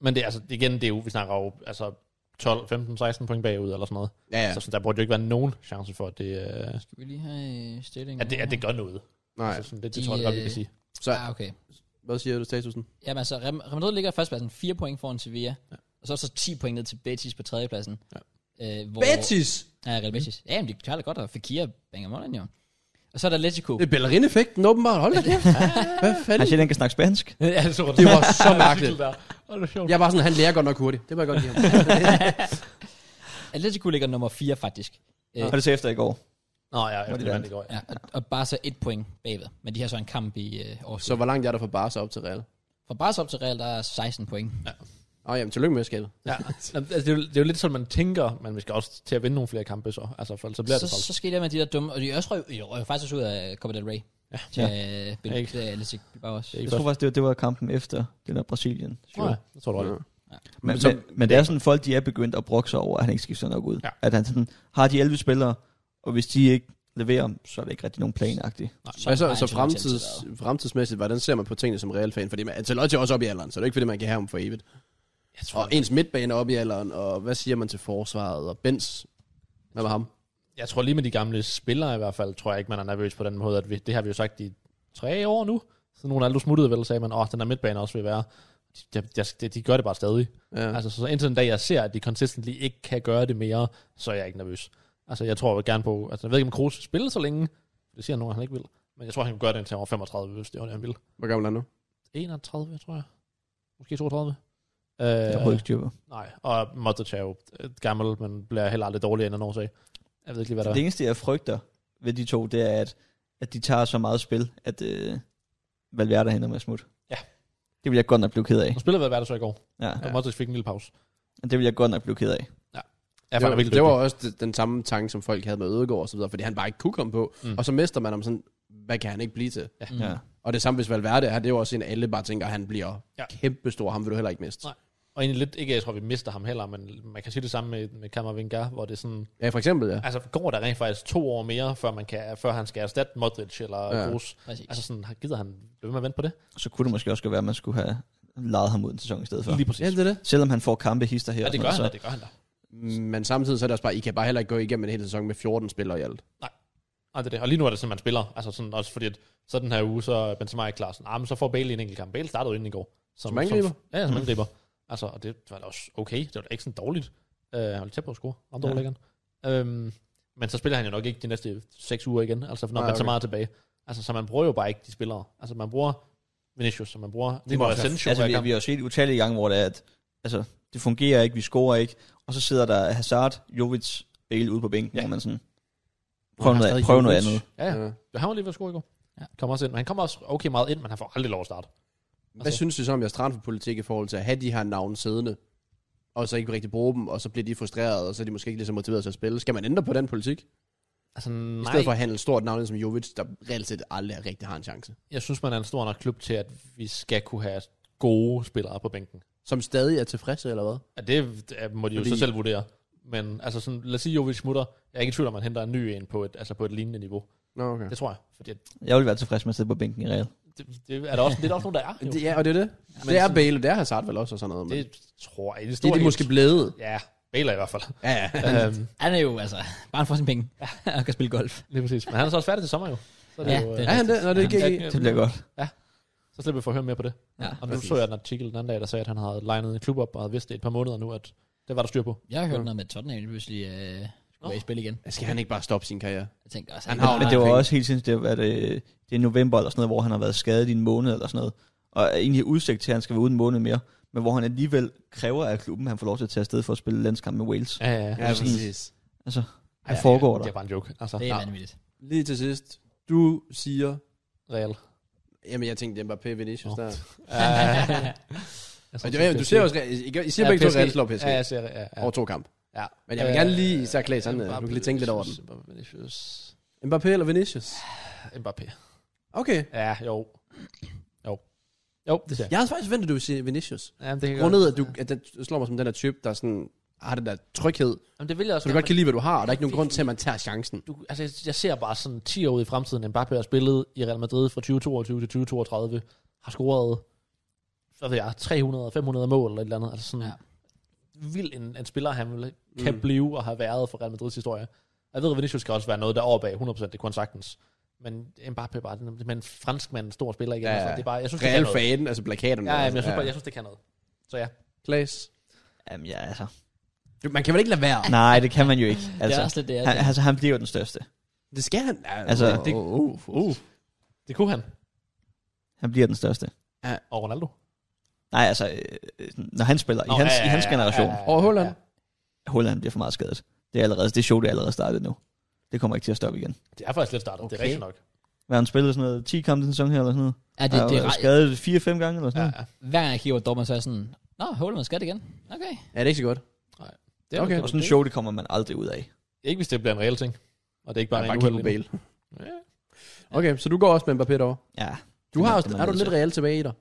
Speaker 2: Men det er altså, igen, det er jo, vi snakker jo altså 12, 15, 16 point bagud eller sådan noget.
Speaker 3: Ja, ja.
Speaker 2: Ja. Så sådan, der burde jo ikke være nogen chance for, at det, øh,
Speaker 1: Skal vi lige have øh, stillingen?
Speaker 2: at det, at det gør noget.
Speaker 3: Nej.
Speaker 2: Altså, sådan, det, det
Speaker 1: De,
Speaker 2: tror jeg godt, vi
Speaker 1: øh,
Speaker 2: kan sige.
Speaker 3: Så
Speaker 1: Ah, okay.
Speaker 3: hvad siger du statusen?
Speaker 1: Jamen altså, Real Real Madrid ligger førstpladsen, 4 point foran Sevilla. Ja. Og så er der så 10 point ned til Betis på tredjepladsen.
Speaker 2: Ja.
Speaker 1: Øh, hvor,
Speaker 3: Betis!
Speaker 1: Ja, Real Betis. Ja, men de klarer det godt, og Fekir banger målen jo. Og så er der Atletico.
Speaker 3: Det er ballerineffekten åbenbart. Hold da kæft. Hvad
Speaker 4: Han
Speaker 2: Altså-
Speaker 3: fanden?
Speaker 4: siger, at han kan snakke spansk.
Speaker 2: ja, det,
Speaker 3: Det var så mærkeligt.
Speaker 2: det var sjovt.
Speaker 3: Jeg var sådan, han lærer godt nok hurtigt. Det må jeg godt lide ham.
Speaker 1: Atletico ligger nummer 4 faktisk. Øh,
Speaker 4: Og det ser efter i går.
Speaker 2: Nå, ja,
Speaker 4: Hvor
Speaker 2: jeg
Speaker 4: de
Speaker 2: det
Speaker 4: vandt.
Speaker 2: i går. Ja.
Speaker 1: ja, og, og bare så et point bagved. Men de har så en kamp i øh,
Speaker 3: Så
Speaker 1: overskud.
Speaker 3: hvor langt er der fra Barca op til Real?
Speaker 1: Fra Barca op til Real, der er 16 point.
Speaker 3: Åh, jamen, tillykke med skabet.
Speaker 2: ja. Jamen, Altså, det, er jo, det er jo lidt sådan, man tænker, men vi skal også til at vinde nogle flere kampe, så, altså, for, ellers så bliver
Speaker 1: Så,
Speaker 2: det træls.
Speaker 1: så skete det med de der dumme... Og de også røg, de røg faktisk også ud af Copa del Rey. Ja. Til ja. Bil,
Speaker 2: Ikke.
Speaker 1: til Atletico Bilbao også.
Speaker 2: Det er
Speaker 4: Jeg
Speaker 2: ikke
Speaker 4: tror
Speaker 2: godt.
Speaker 4: faktisk, det var, det var kampen efter den der Brasilien.
Speaker 2: Tror jeg. Det tror du
Speaker 3: Ja.
Speaker 2: også.
Speaker 4: Men,
Speaker 3: Så-
Speaker 4: men, men det er sådan, folk de er begyndt at brokke sig over, at han ikke skifter nok ud.
Speaker 2: Ja.
Speaker 4: Ja. At han sådan, har de 11 spillere, og hvis de ikke leverer, så er det ikke rigtig nogen planagtigt.
Speaker 3: Hvad så,
Speaker 1: har
Speaker 3: så
Speaker 1: Ancelotti
Speaker 3: fremtids,
Speaker 1: altid været.
Speaker 3: fremtidsmæssigt, hvordan ser man på tingene som Real-fan? Fordi man, Ancelotti er også op i alderen, så det er ikke fordi, man kan have ham for evigt.
Speaker 2: Jeg tror,
Speaker 3: Og ens midtbane er op i alderen, og hvad siger man til forsvaret? Og Benz, hvad var ham?
Speaker 2: jeg tror lige med de gamle spillere i hvert fald, tror jeg ikke, man er nervøs på den måde, at vi, det har vi jo sagt i tre år nu. Så nogle af alle smuttede vel, sagde man, åh, den der midtbane også vil være. De, de, de, de gør det bare stadig.
Speaker 3: Ja.
Speaker 2: Ja. Altså, så, så indtil den dag, jeg ser, at de consistently ikke kan gøre det mere, så er jeg ikke nervøs. Altså, jeg tror jeg gerne på... Altså, jeg ved ikke, om Kroos vil spille så længe. Det siger nogen, han ikke vil. Men jeg tror, han kan gøre det indtil han var 35, hvis det var det, han ville.
Speaker 3: Hvor gammel er han nu?
Speaker 2: 31, tror jeg. Måske 32. Øh,
Speaker 4: Det er overhovedet ikke styr på.
Speaker 2: nej, og Modric er jo øh, gammel, men bliver heller aldrig dårligere end en årsag. Jeg ved ikke lige, hvad der
Speaker 4: Så
Speaker 2: er.
Speaker 4: det eneste, jeg frygter ved de to, det er, at, at de tager så meget spil, at øh, Valverde hænder med smut. Det vil jeg godt nok blive ked af.
Speaker 2: Og spillet hvad var det så i går?
Speaker 4: Ja.
Speaker 2: Og Modric fik en lille pause.
Speaker 4: Det vil jeg godt nok blive ked af.
Speaker 2: Ja,
Speaker 3: det, var, det var også det, den samme tanke, som folk havde med Ødegaard og så videre, fordi han bare ikke kunne komme på.
Speaker 2: Mm.
Speaker 3: Mm. Og så mister man om sådan, hvad kan han ikke blive til?
Speaker 2: Ja.
Speaker 1: Mm.
Speaker 4: Ja.
Speaker 3: Og det samme hvis Valverde er, det er jo også en, alle bare tænker, at han bliver
Speaker 2: Ja.
Speaker 3: ja. kæmpestor, ham vil du heller ikke miste.
Speaker 2: Nej. Og egentlig lidt, ikke jeg tror, vi mister ham heller, men man kan sige det samme med, med Kammervinger, hvor det er sådan,
Speaker 3: Ja, for eksempel, ja.
Speaker 2: altså går der rent faktisk to år mere, før, man kan, før han skal erstatte Modric eller ja.
Speaker 3: Ja.
Speaker 2: Kroos.
Speaker 1: Præcis.
Speaker 2: Altså sådan, har- gider han blive ved med at vente på det?
Speaker 4: Så kunne det måske også godt være, at man skulle have lejet ham ud en sæson i stedet for.
Speaker 2: Lige præcis.
Speaker 3: Ja, det er det.
Speaker 4: Selvom han får kampe hister her.
Speaker 2: Ja,
Speaker 4: og
Speaker 2: det
Speaker 4: sådan
Speaker 2: gør han
Speaker 4: noget,
Speaker 2: da, det gør han da.
Speaker 3: Men samtidig så er det også bare, I kan bare heller ikke gå igennem en hel sæson med 14 spillere i alt.
Speaker 2: Nej, det er det. Og lige nu er det sådan, man spiller. Altså sådan, også fordi, at, så den her uge, så er Benzema ikke klar. Sådan, ah, men så får Bale en enkelt kamp. Bale startede jo inden i går.
Speaker 3: Som angriber?
Speaker 2: ja, som angriber. Altså, og det var da også okay. Det var da ikke sådan dårligt. Uh, han var tæt på at score. Andre
Speaker 4: Ja.
Speaker 2: ja. øhm, men så spiller han jo nok ikke de næste seks uger igen. Altså, når
Speaker 3: Nej,
Speaker 2: man tager
Speaker 3: okay.
Speaker 2: meget tilbage. Altså, så man bruger jo bare ikke de spillere. Altså, man bruger Vinicius, som man bruger... Det
Speaker 4: må også være-
Speaker 2: Asensio,
Speaker 4: Altså,
Speaker 2: hver
Speaker 4: vi,
Speaker 2: kamp.
Speaker 4: vi har jo set utallige gange, hvor det er, at altså, det fungerer ikke, vi scorer ikke, og så sidder der Hazard, Jovic, Bale ude på bænken,
Speaker 2: Ja.
Speaker 4: ja. hvor man sådan,
Speaker 3: han
Speaker 4: prøv noget,
Speaker 3: stadig
Speaker 4: andet, prøv noget
Speaker 3: Jovic.
Speaker 4: andet.
Speaker 2: Ja, ja. Han var lige ved at score i går. Ja.
Speaker 1: Ja.
Speaker 2: Kommer også ind. Men han kommer også okay meget ind, men han får aldrig lov at starte.
Speaker 3: Hvad
Speaker 2: Altså-
Speaker 3: altså, synes du så om jeres transferpolitik i forhold til at have de her navne siddende, og så ikke rigtig bruge dem, og så bliver de frustrerede, og så er de måske ikke lige så motiveret til at spille? Skal man ændre på den politik? Nej.
Speaker 2: Altså,
Speaker 3: I
Speaker 2: nej.
Speaker 3: stedet for at handle stort navn som Jovic, der reelt set aldrig rigtig har en chance.
Speaker 2: jeg synes, man er en stor nok klub til, at vi skal kunne have gode spillere på bænken.
Speaker 3: Som stadig er tilfredse, eller hvad?
Speaker 2: Og det øh, må de jo
Speaker 3: Fordi-
Speaker 2: så selv vurdere. Men altså sådan, lad os sige, Jovic smutter. Jeg er ikke i tvivl om, at man henter en ny en på et, altså på et lignende niveau.
Speaker 3: Nå, okay.
Speaker 2: Det tror jeg. Fordi at
Speaker 4: Jeg vil være tilfreds med at sidde på bænken i Real.
Speaker 2: det, det, er der også, det er der også nogen, der er. Jo.
Speaker 3: Det, ja, og det er det.
Speaker 2: Men
Speaker 3: Det er
Speaker 2: sådan-
Speaker 3: Bale, og det er Hazard vel også, og sådan noget. Men det,
Speaker 2: det tror jeg. Det,
Speaker 3: det er de måske blevet.
Speaker 2: Ja, Bale i hvert fald.
Speaker 3: Ja, ja.
Speaker 2: øhm,
Speaker 1: Han er jo, altså, bare han får sine penge, og kan spille golf.
Speaker 2: lige præcis. Men han er så også færdig til sommer jo. Så, er det
Speaker 1: Ja,
Speaker 2: jo, øh,
Speaker 1: det
Speaker 3: Er han det? Nå, det er GG.
Speaker 4: Det bliver godt.
Speaker 2: så slipper vi for at høre mere på det.
Speaker 1: Ja,
Speaker 2: Og nu så jeg en artikel den anden dag, der sagde, at han havde legnet en klub op, og havde vidst det et par måneder nu, at det var der styr på.
Speaker 1: Jeg har hørt noget med at Tottenham, lige pludselig øh, skulle
Speaker 2: Nå.
Speaker 1: være i spil igen.
Speaker 3: Skal han ikke bare stoppe sin karriere?
Speaker 1: Jeg tænkte også,
Speaker 3: Han
Speaker 1: han
Speaker 3: har
Speaker 1: har
Speaker 4: Men
Speaker 3: jo-
Speaker 4: det var
Speaker 3: penge.
Speaker 4: også helt sindssygt, det var, at øh, det er november eller sådan noget, hvor han har været skadet i en måned eller sådan noget, og er egentlig udsigt til, at han skal være ude en måned mere, men hvor han alligevel kræver af klubben, at han får lov til at tage afsted for at spille landskamp med Wales. Ja.
Speaker 2: Ja, ja,
Speaker 4: præcis. Altså,
Speaker 2: Ej,
Speaker 4: hvad foregår
Speaker 2: Det
Speaker 4: der?
Speaker 2: er bare en joke. Altså,
Speaker 1: det
Speaker 2: ja.
Speaker 1: er vanvittigt.
Speaker 3: Lige til sidst. Du siger...
Speaker 2: Real.
Speaker 3: Jamen, jeg tænkte, det var P. Vinicius
Speaker 2: Nå.
Speaker 3: der.
Speaker 2: Jeg tror,
Speaker 3: Og
Speaker 2: det
Speaker 3: det,
Speaker 2: er
Speaker 3: du
Speaker 2: PSG.
Speaker 3: ser også... I, I siger begge to,
Speaker 2: PSG.
Speaker 3: at Real slår PSG.
Speaker 2: Ja, jeg ser ja, ja.
Speaker 3: Over to kamp.
Speaker 2: ja. Øh,
Speaker 3: Men jeg vil gerne lige især klæde sådan noget. Du kan lige tænke lidt over den. Mbappé eller Vinicius?
Speaker 2: Mbappé.
Speaker 3: Okay.
Speaker 2: Ja, jo. Jo. Jo, det ser jeg.
Speaker 3: Jeg havde faktisk ventet, at du ville sige Vinicius.
Speaker 2: Ja, men det kan jeg
Speaker 3: Grundet,
Speaker 2: godt.
Speaker 3: at du at den slår mig som den der type, der sådan har den der tryghed,
Speaker 2: Jamen, det vil jeg også
Speaker 3: så du godt kan lide, hvad du har, og der er ikke nogen grund til, at man tager chancen.
Speaker 2: du, altså, jeg- jeg ser bare sådan 10 år ud i fremtiden, Mbappé har spillet i Real Madrid fra 2022 til 2032, har scoret, hvad ved jeg, 300-500 mål eller et eller andet. Altså sådan, ja.
Speaker 1: Ja.
Speaker 2: vild en, en spiller, han vil, kan mm.
Speaker 3: Mm.
Speaker 2: blive og har været for Real Madrids historie. Jeg ved, at Vinicius skal også være noget der er over bag 100%, det kunne han sagtens. Men Mbappé er bare, den- men en fransk mand, en stor spiller igen. Ja,
Speaker 3: Ja,
Speaker 2: altså,
Speaker 3: ja.
Speaker 2: det er bare, jeg synes, det kan
Speaker 3: Real
Speaker 2: noget.
Speaker 3: faden, altså plakaterne.
Speaker 2: Ja, ja, men
Speaker 3: altså.
Speaker 2: jeg synes, bare, jeg synes, det kan noget. Så ja.
Speaker 3: Klaas.
Speaker 4: Jamen ja, altså.
Speaker 3: Du, man kan vel ikke lade være?
Speaker 4: Nej, det kan man jo ikke.
Speaker 1: Altså, det
Speaker 4: Altså,
Speaker 1: er også lidt det, jeg
Speaker 4: han, altså, han bliver jo den største.
Speaker 3: Det skal han. Ja,
Speaker 4: Altså,
Speaker 3: det, uh, uh, uh.
Speaker 2: Det kunne han.
Speaker 4: Han bliver den største.
Speaker 2: Og Ronaldo.
Speaker 4: Nej, altså, øh, øh, når han spiller,
Speaker 2: Nå,
Speaker 4: i, hans,
Speaker 2: ja, ja,
Speaker 4: i hans
Speaker 2: ja,
Speaker 4: generation,
Speaker 2: ja, ja, ja.
Speaker 3: Over Holland.
Speaker 4: Holland bliver for meget skadet. Det er allerede, det show, det er allerede startet nu. Det kommer ikke til at stoppe igen.
Speaker 2: Det er faktisk lidt startet, okay. det er
Speaker 3: Okay.
Speaker 2: rigtigt nok.
Speaker 4: Hvad har han spillet sådan noget, 10 kampe i den sæson her, eller sådan noget?
Speaker 1: Ja, det, det,
Speaker 4: er
Speaker 1: er ret-
Speaker 4: skadet 4-5 gange, eller sådan
Speaker 2: Ja,
Speaker 4: noget?
Speaker 2: ja.
Speaker 1: Hver gang jeg kigger på dommer, så er jeg sådan, Nå, Holland skal det igen. Okay.
Speaker 3: Ja, det er ikke så godt.
Speaker 2: Det er
Speaker 3: Okay.
Speaker 2: nok-
Speaker 4: Og sådan en show, det kommer man aldrig ud af.
Speaker 2: Ikke hvis det bliver en reel ting. Og det er ikke
Speaker 3: Bare,
Speaker 2: bare,
Speaker 3: ja,
Speaker 2: en
Speaker 3: bare
Speaker 2: uheld
Speaker 3: kigge på
Speaker 2: endnu.
Speaker 3: Bale. Okay, så du går også med Mbappé derovre.
Speaker 4: Ja.
Speaker 3: Du
Speaker 4: Det
Speaker 3: har
Speaker 4: må-
Speaker 3: også,
Speaker 4: det må
Speaker 3: er du
Speaker 4: man
Speaker 3: lidt
Speaker 4: altså.
Speaker 3: reelt tilbage i dig,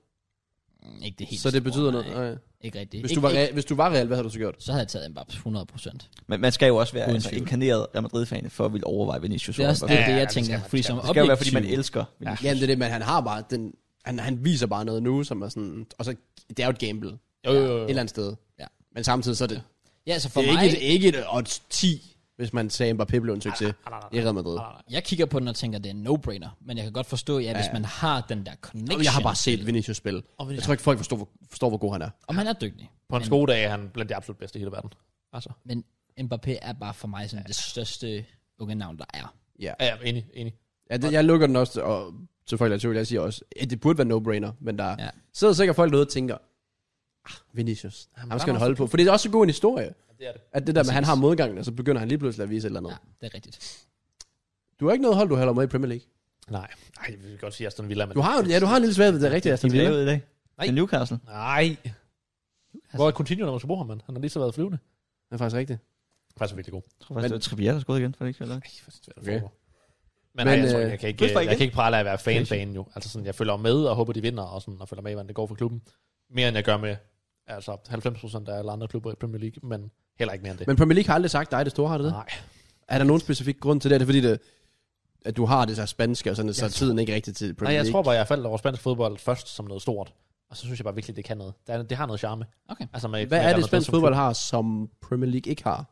Speaker 1: Mm, Ikke det helt
Speaker 3: så det
Speaker 1: store,
Speaker 3: betyder
Speaker 1: nej.
Speaker 3: noget. Nej.
Speaker 1: Ikke rigtigt.
Speaker 3: Hvis,
Speaker 1: Ikke-
Speaker 3: du var
Speaker 1: ikke-
Speaker 3: real, hvis du var real, hvad havde du så gjort?
Speaker 1: Så havde jeg taget Mbappé 100%.
Speaker 4: Men man skal jo også være
Speaker 1: Uden
Speaker 4: altså,
Speaker 1: tvivl.
Speaker 4: inkarneret Real Madrid-fan, for at ville overveje Vinicius.
Speaker 1: Det er også
Speaker 4: Mbappé.
Speaker 1: det,
Speaker 2: Ja,
Speaker 1: det
Speaker 2: ja,
Speaker 1: jeg
Speaker 2: det
Speaker 1: tænker.
Speaker 2: skal man-
Speaker 1: Fordi
Speaker 2: det
Speaker 1: som
Speaker 2: skal
Speaker 4: Det skal jo være, fordi man
Speaker 1: objektiv-
Speaker 4: elsker Vinicius.
Speaker 3: Jamen det er det, men han har bare den, han, han viser bare noget nu, som er sådan, og så, det er jo et gamble, et
Speaker 2: Jo, jo, jo. jo.
Speaker 3: eller andet sted.
Speaker 1: Ja.
Speaker 3: Men samtidig så er det,
Speaker 1: Ja, altså for
Speaker 3: det er
Speaker 1: mig...
Speaker 3: ikke et, ikke et odds 10, hvis man sagde, at Mbappé blev en succes
Speaker 2: Nej, nej, nej,
Speaker 3: i Real Madrid.
Speaker 2: nej, nej.
Speaker 1: Jeg kigger på den og tænker, det er en no-brainer. Men jeg kan godt forstå, ja, hvis
Speaker 3: Ja.
Speaker 1: man har den der connection.
Speaker 3: Og jeg har bare set Vinicius spille.
Speaker 2: Og
Speaker 3: Jeg
Speaker 2: Vinicius-
Speaker 3: tror ikke, folk forstår, hvor, forstår, hvor god han er.
Speaker 1: Om han er dygtig.
Speaker 2: På en skoledag er han blandt de absolut bedste i hele verden. Altså,
Speaker 1: Men Mbappé er bare for mig sådan det største unge navn, der er.
Speaker 2: ja, ja, enig, enig.
Speaker 3: Ja, det, jeg lukker den også, og til folk, der er i tvivl, jeg siger også, at det burde være no-brainer, men der
Speaker 1: Ja.
Speaker 3: ja. sidder sikkert folk derude og tænker, ah, Vinicius,
Speaker 2: Jamen,
Speaker 3: ham
Speaker 2: der
Speaker 3: skal
Speaker 2: er
Speaker 3: han
Speaker 2: også-
Speaker 3: holde på. For det er også så god en historie,
Speaker 2: Det er det.
Speaker 3: at det der med, at han har modgangen, og så begynder han lige pludselig at vise et eller andet.
Speaker 1: Ja, det er rigtigt.
Speaker 3: Du har ikke noget hold, du holder med i Premier League.
Speaker 2: Nej, Ej, vi kan godt sige Aston Villa, men...
Speaker 3: Du har, jo- ja, du har en lille svært ved det rigtige,
Speaker 4: De
Speaker 3: Aston
Speaker 4: bliver
Speaker 3: Villa.
Speaker 4: ud i dag.
Speaker 2: Nej.
Speaker 4: Til Newcastle.
Speaker 2: Nej. Altså- Hvor er Coutinho, når man skal bruge ham, mand? Han har lige så været flyvende.
Speaker 3: Det er faktisk rigtigt.
Speaker 2: Han er faktisk virkelig god.
Speaker 4: Jeg tror faktisk, det var Trippier, der skød igen, for det ikke så langt.
Speaker 2: Ej, hvor svært at
Speaker 3: Okay.
Speaker 2: forstå. Men,
Speaker 3: Men,
Speaker 2: nej, jeg, tror,
Speaker 3: øh,
Speaker 2: jeg, kan ikke,
Speaker 4: plus bare
Speaker 2: jeg
Speaker 4: igen.
Speaker 2: kan ikke prale af at være fanfan jo. Altså sådan, jeg følger med og håber, de vinder, og, sådan, og følger med, hvordan det går for klubben. Mere end jeg gør med altså 90% af alle andre klubber i Premier League, men heller ikke mere end det.
Speaker 3: Men Premier League har aldrig sagt dig det store, har det det?
Speaker 2: nej.
Speaker 3: Er der nogen specifik grund til det? Er det fordi, det, at du har det så spanske, og sådan, så er tiden ikke rigtig til Premier
Speaker 2: nej, jeg
Speaker 3: League?
Speaker 2: tror bare, jeg faldt over spansk fodbold først som noget stort. Og så synes jeg bare virkelig, det kan noget. Det, er, det har noget charme.
Speaker 1: Okay.
Speaker 2: Altså, med,
Speaker 3: Hvad
Speaker 2: med
Speaker 3: er
Speaker 2: Real
Speaker 3: det,
Speaker 2: Madrid
Speaker 3: spansk
Speaker 2: som
Speaker 3: fodbold
Speaker 2: klub.
Speaker 3: har, som Premier League ikke har?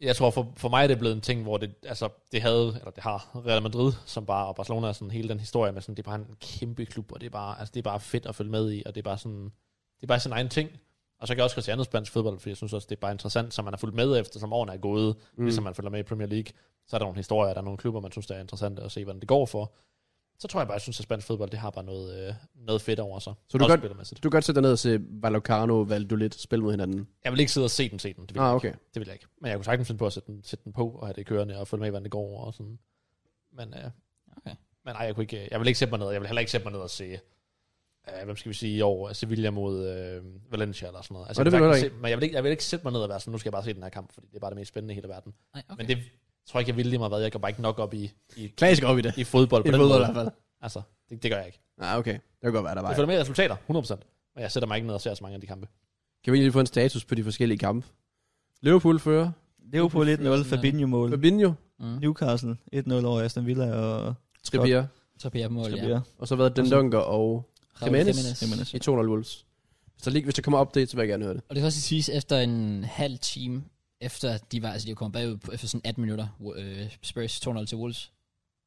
Speaker 2: Jeg tror, for, for mig er det blevet en ting, hvor det, altså, det havde, eller det har Real Madrid, som bare, og Barcelona, sådan hele den historie med sådan, det er bare en kæmpe klub, og det er bare, altså, det er bare fedt at følge med i, og det er bare sådan, det er bare sin egen ting. Og så kan jeg også godt se andet spansk fodbold, fordi jeg synes også, det er bare interessant, så man har fulgt med efter, som årene er gået, mm. ligesom man følger med i Premier League. Så er der nogle historier, der er nogle klubber, man synes, der er interessante at se, hvordan det går for. Så tror jeg bare, jeg synes, at spansk fodbold, det har bare noget, øh, noget fedt over sig.
Speaker 3: Så du
Speaker 2: Også
Speaker 3: kan-
Speaker 2: spillermæssigt.
Speaker 3: Du kan godt sætte dig ned og se Valocano og Valdolit spille mod hinanden.
Speaker 2: Jeg vil ikke sidde og se den, se den. Det vil
Speaker 3: Ah,
Speaker 2: jeg
Speaker 3: okay.
Speaker 2: ikke. Det vil jeg ikke. Men jeg kunne sagtens finde på at sætte den, sætte den på, og have det kørende, og følge med, hvordan det går, og sådan. Men, øh,
Speaker 1: Okay.
Speaker 2: men nej, jeg, kunne ikke, øh, jeg vil ikke sætte mig ned. Jeg vil heller ikke sætte mig ned og se, øh, hvem skal vi sige i år, Sevilla mod øh, Valencia eller sådan noget.
Speaker 3: Nå,
Speaker 2: jeg
Speaker 3: det vil
Speaker 2: kunne
Speaker 3: du
Speaker 2: sagtens Se, men jeg vil, ikke, jeg vil ikke sætte mig ned og være sådan, nu skal jeg bare se den her kamp, fordi det er bare det mest spændende i hele verden. Okay.
Speaker 1: Nej, okay.
Speaker 2: Men det tror jeg ikke, jeg vil lige meget hvad. Jeg går bare ikke nok op i, i,
Speaker 3: Klassisk op i det.
Speaker 2: i fodbold på
Speaker 3: I
Speaker 2: den
Speaker 3: fodbold i
Speaker 2: måde.
Speaker 3: hvert fald.
Speaker 2: Altså, det, det gør jeg ikke.
Speaker 3: Nej, ah, okay. Det kan godt være, der var.
Speaker 2: Jeg følger med i resultater, 100%. Men jeg sætter mig ikke ned og ser så mange af de kampe.
Speaker 3: Kan vi lige få en status på de forskellige kampe? Liverpool fører.
Speaker 4: Liverpool 1-0, Fabinho-mål.
Speaker 3: Fabinho.
Speaker 1: Mm.
Speaker 4: Newcastle 1-0 over Aston Villa og
Speaker 3: Trippier.
Speaker 1: Trippier mål, ja.
Speaker 4: Trippier.
Speaker 3: Og så har været Den Dunker og
Speaker 1: Raul
Speaker 3: Jimenez.
Speaker 4: Jimenez.
Speaker 3: i 200 Wolves. Hvis der, lige, hvis der kommer update, så vil jeg gerne høre det.
Speaker 1: Og det kan også siges, efter en halv time, efter de var, altså de var kommet bagud på, efter sådan 18 minutter, wo- øh, Spurs 2-0 til Wolves,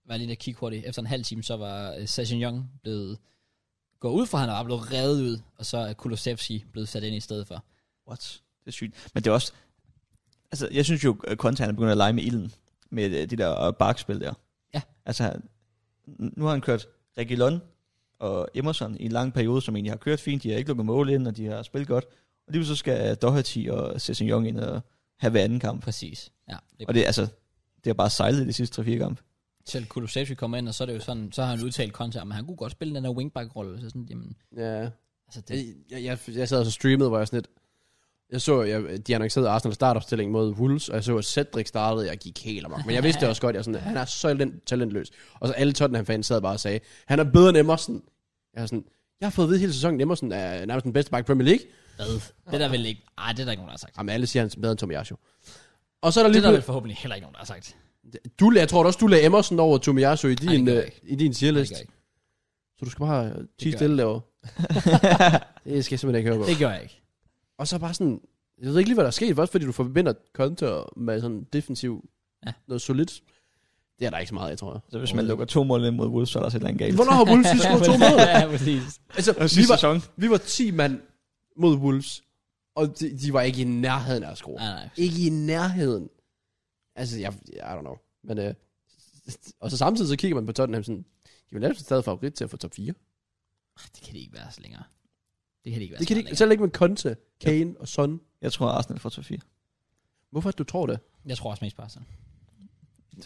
Speaker 1: var jeg lige der kigge hurtigt. Efter en halv time, så var øh, Sashin Young blevet gået ud fra, han var blevet revet ud, og så er Kulusevski blevet sat ind i stedet for.
Speaker 4: What? Det er sygt. Men det er også... Altså, jeg synes jo, at Konta han er begyndt at lege med ilden. Med øh, de der øh, barkspil der.
Speaker 1: Ja.
Speaker 4: Altså, han- n- nu har han kørt Reguilon og Emerson i en lang periode, som egentlig har kørt fint. De har ikke lukket mål ind, og de har spillet godt. Og lige så skal øh, Doherty og Cezanne Young ind og have hver anden kamp.
Speaker 1: Præcis. Ja, det
Speaker 4: Og det, er altså, det har bare sejlet i de sidste 3-4 kampe.
Speaker 1: Selv Kulusevski kommer ind, og så er det jo sådan, så har han udtalt kontra, men han kunne godt spille den der wingback-rolle. Så sådan, jamen,
Speaker 3: Ja.
Speaker 1: altså det,
Speaker 3: Jeg, jeg, jeg, jeg sad og så streamede, hvor jeg sådan lidt... Jeg så, jeg, de annoncerede Arsenal startopstilling mod Wolves, og jeg så, at Cedric startede, og jeg gik helt amok. Men jeg vidste det også godt, jeg var sådan, han er så talent- talentløs. Og så alle Tottenham-fans sad bare og sagde, han er bedre end Emerson. Jeg er sådan, jeg har fået at vide hele sæsonen, at Emerson er nærmest den bedste back i Premier League.
Speaker 1: hvad? Det er der vel ikke, ej, det er der ikke nogen, der har sagt.
Speaker 3: Jamen alle siger, han er bedre end Tomiyasu. Og så er der
Speaker 1: Det
Speaker 3: lige...
Speaker 1: er der
Speaker 3: blevet-
Speaker 1: vel forhåbentlig heller ikke nogen, der har sagt.
Speaker 3: Du, jeg tror da også, du lagde Emerson over Tomiyasu i
Speaker 1: Nej, det
Speaker 3: din,
Speaker 1: gør
Speaker 3: Ej,
Speaker 1: jeg
Speaker 3: øh, i din
Speaker 1: Det
Speaker 3: tierlist.
Speaker 1: gør jeg ikke.
Speaker 3: Så du skal bare øh,
Speaker 1: gør
Speaker 3: tige
Speaker 1: jeg
Speaker 3: stille derovre. det skal jeg simpelthen ikke høre på.
Speaker 1: Det gør jeg ikke.
Speaker 3: Og så bare sådan, jeg ved ikke lige, hvad der er sket, også fordi du forbinder Conte med sådan defensiv
Speaker 1: Ja.
Speaker 3: ja. noget solidt. Det er der ikke så meget, jeg tror. Jeg.
Speaker 4: Så Altså, hvis man lukker to mål ind mod Wolves, så er der også et eller andet galt.
Speaker 3: Hvornår har Wolves lige scoret to mål?
Speaker 1: ja, præcis.
Speaker 3: Altså, vi
Speaker 4: Sidste
Speaker 3: var,
Speaker 4: sæson.
Speaker 3: vi var 10 mand mod Wolves, og de, de var ikke i nærheden af at score. Ja.
Speaker 1: Nej, nej.
Speaker 3: Ikke i nærheden. Altså, jeg, I don't know. Men, øh, og så samtidig så kigger man på Tottenham sådan, de var nærmest stadig favorit til at få top 4.
Speaker 1: Det kan det ikke være så længere. Det kan det ikke være så
Speaker 3: Det kan de
Speaker 1: meget
Speaker 3: ikke, selv ikke med Conte, Kane og Son.
Speaker 4: Jeg tror, Arsenal får top 4.
Speaker 3: Hvorfor er det, du tror det?
Speaker 1: længere. Jeg tror også mest på Arsenal.
Speaker 4: Men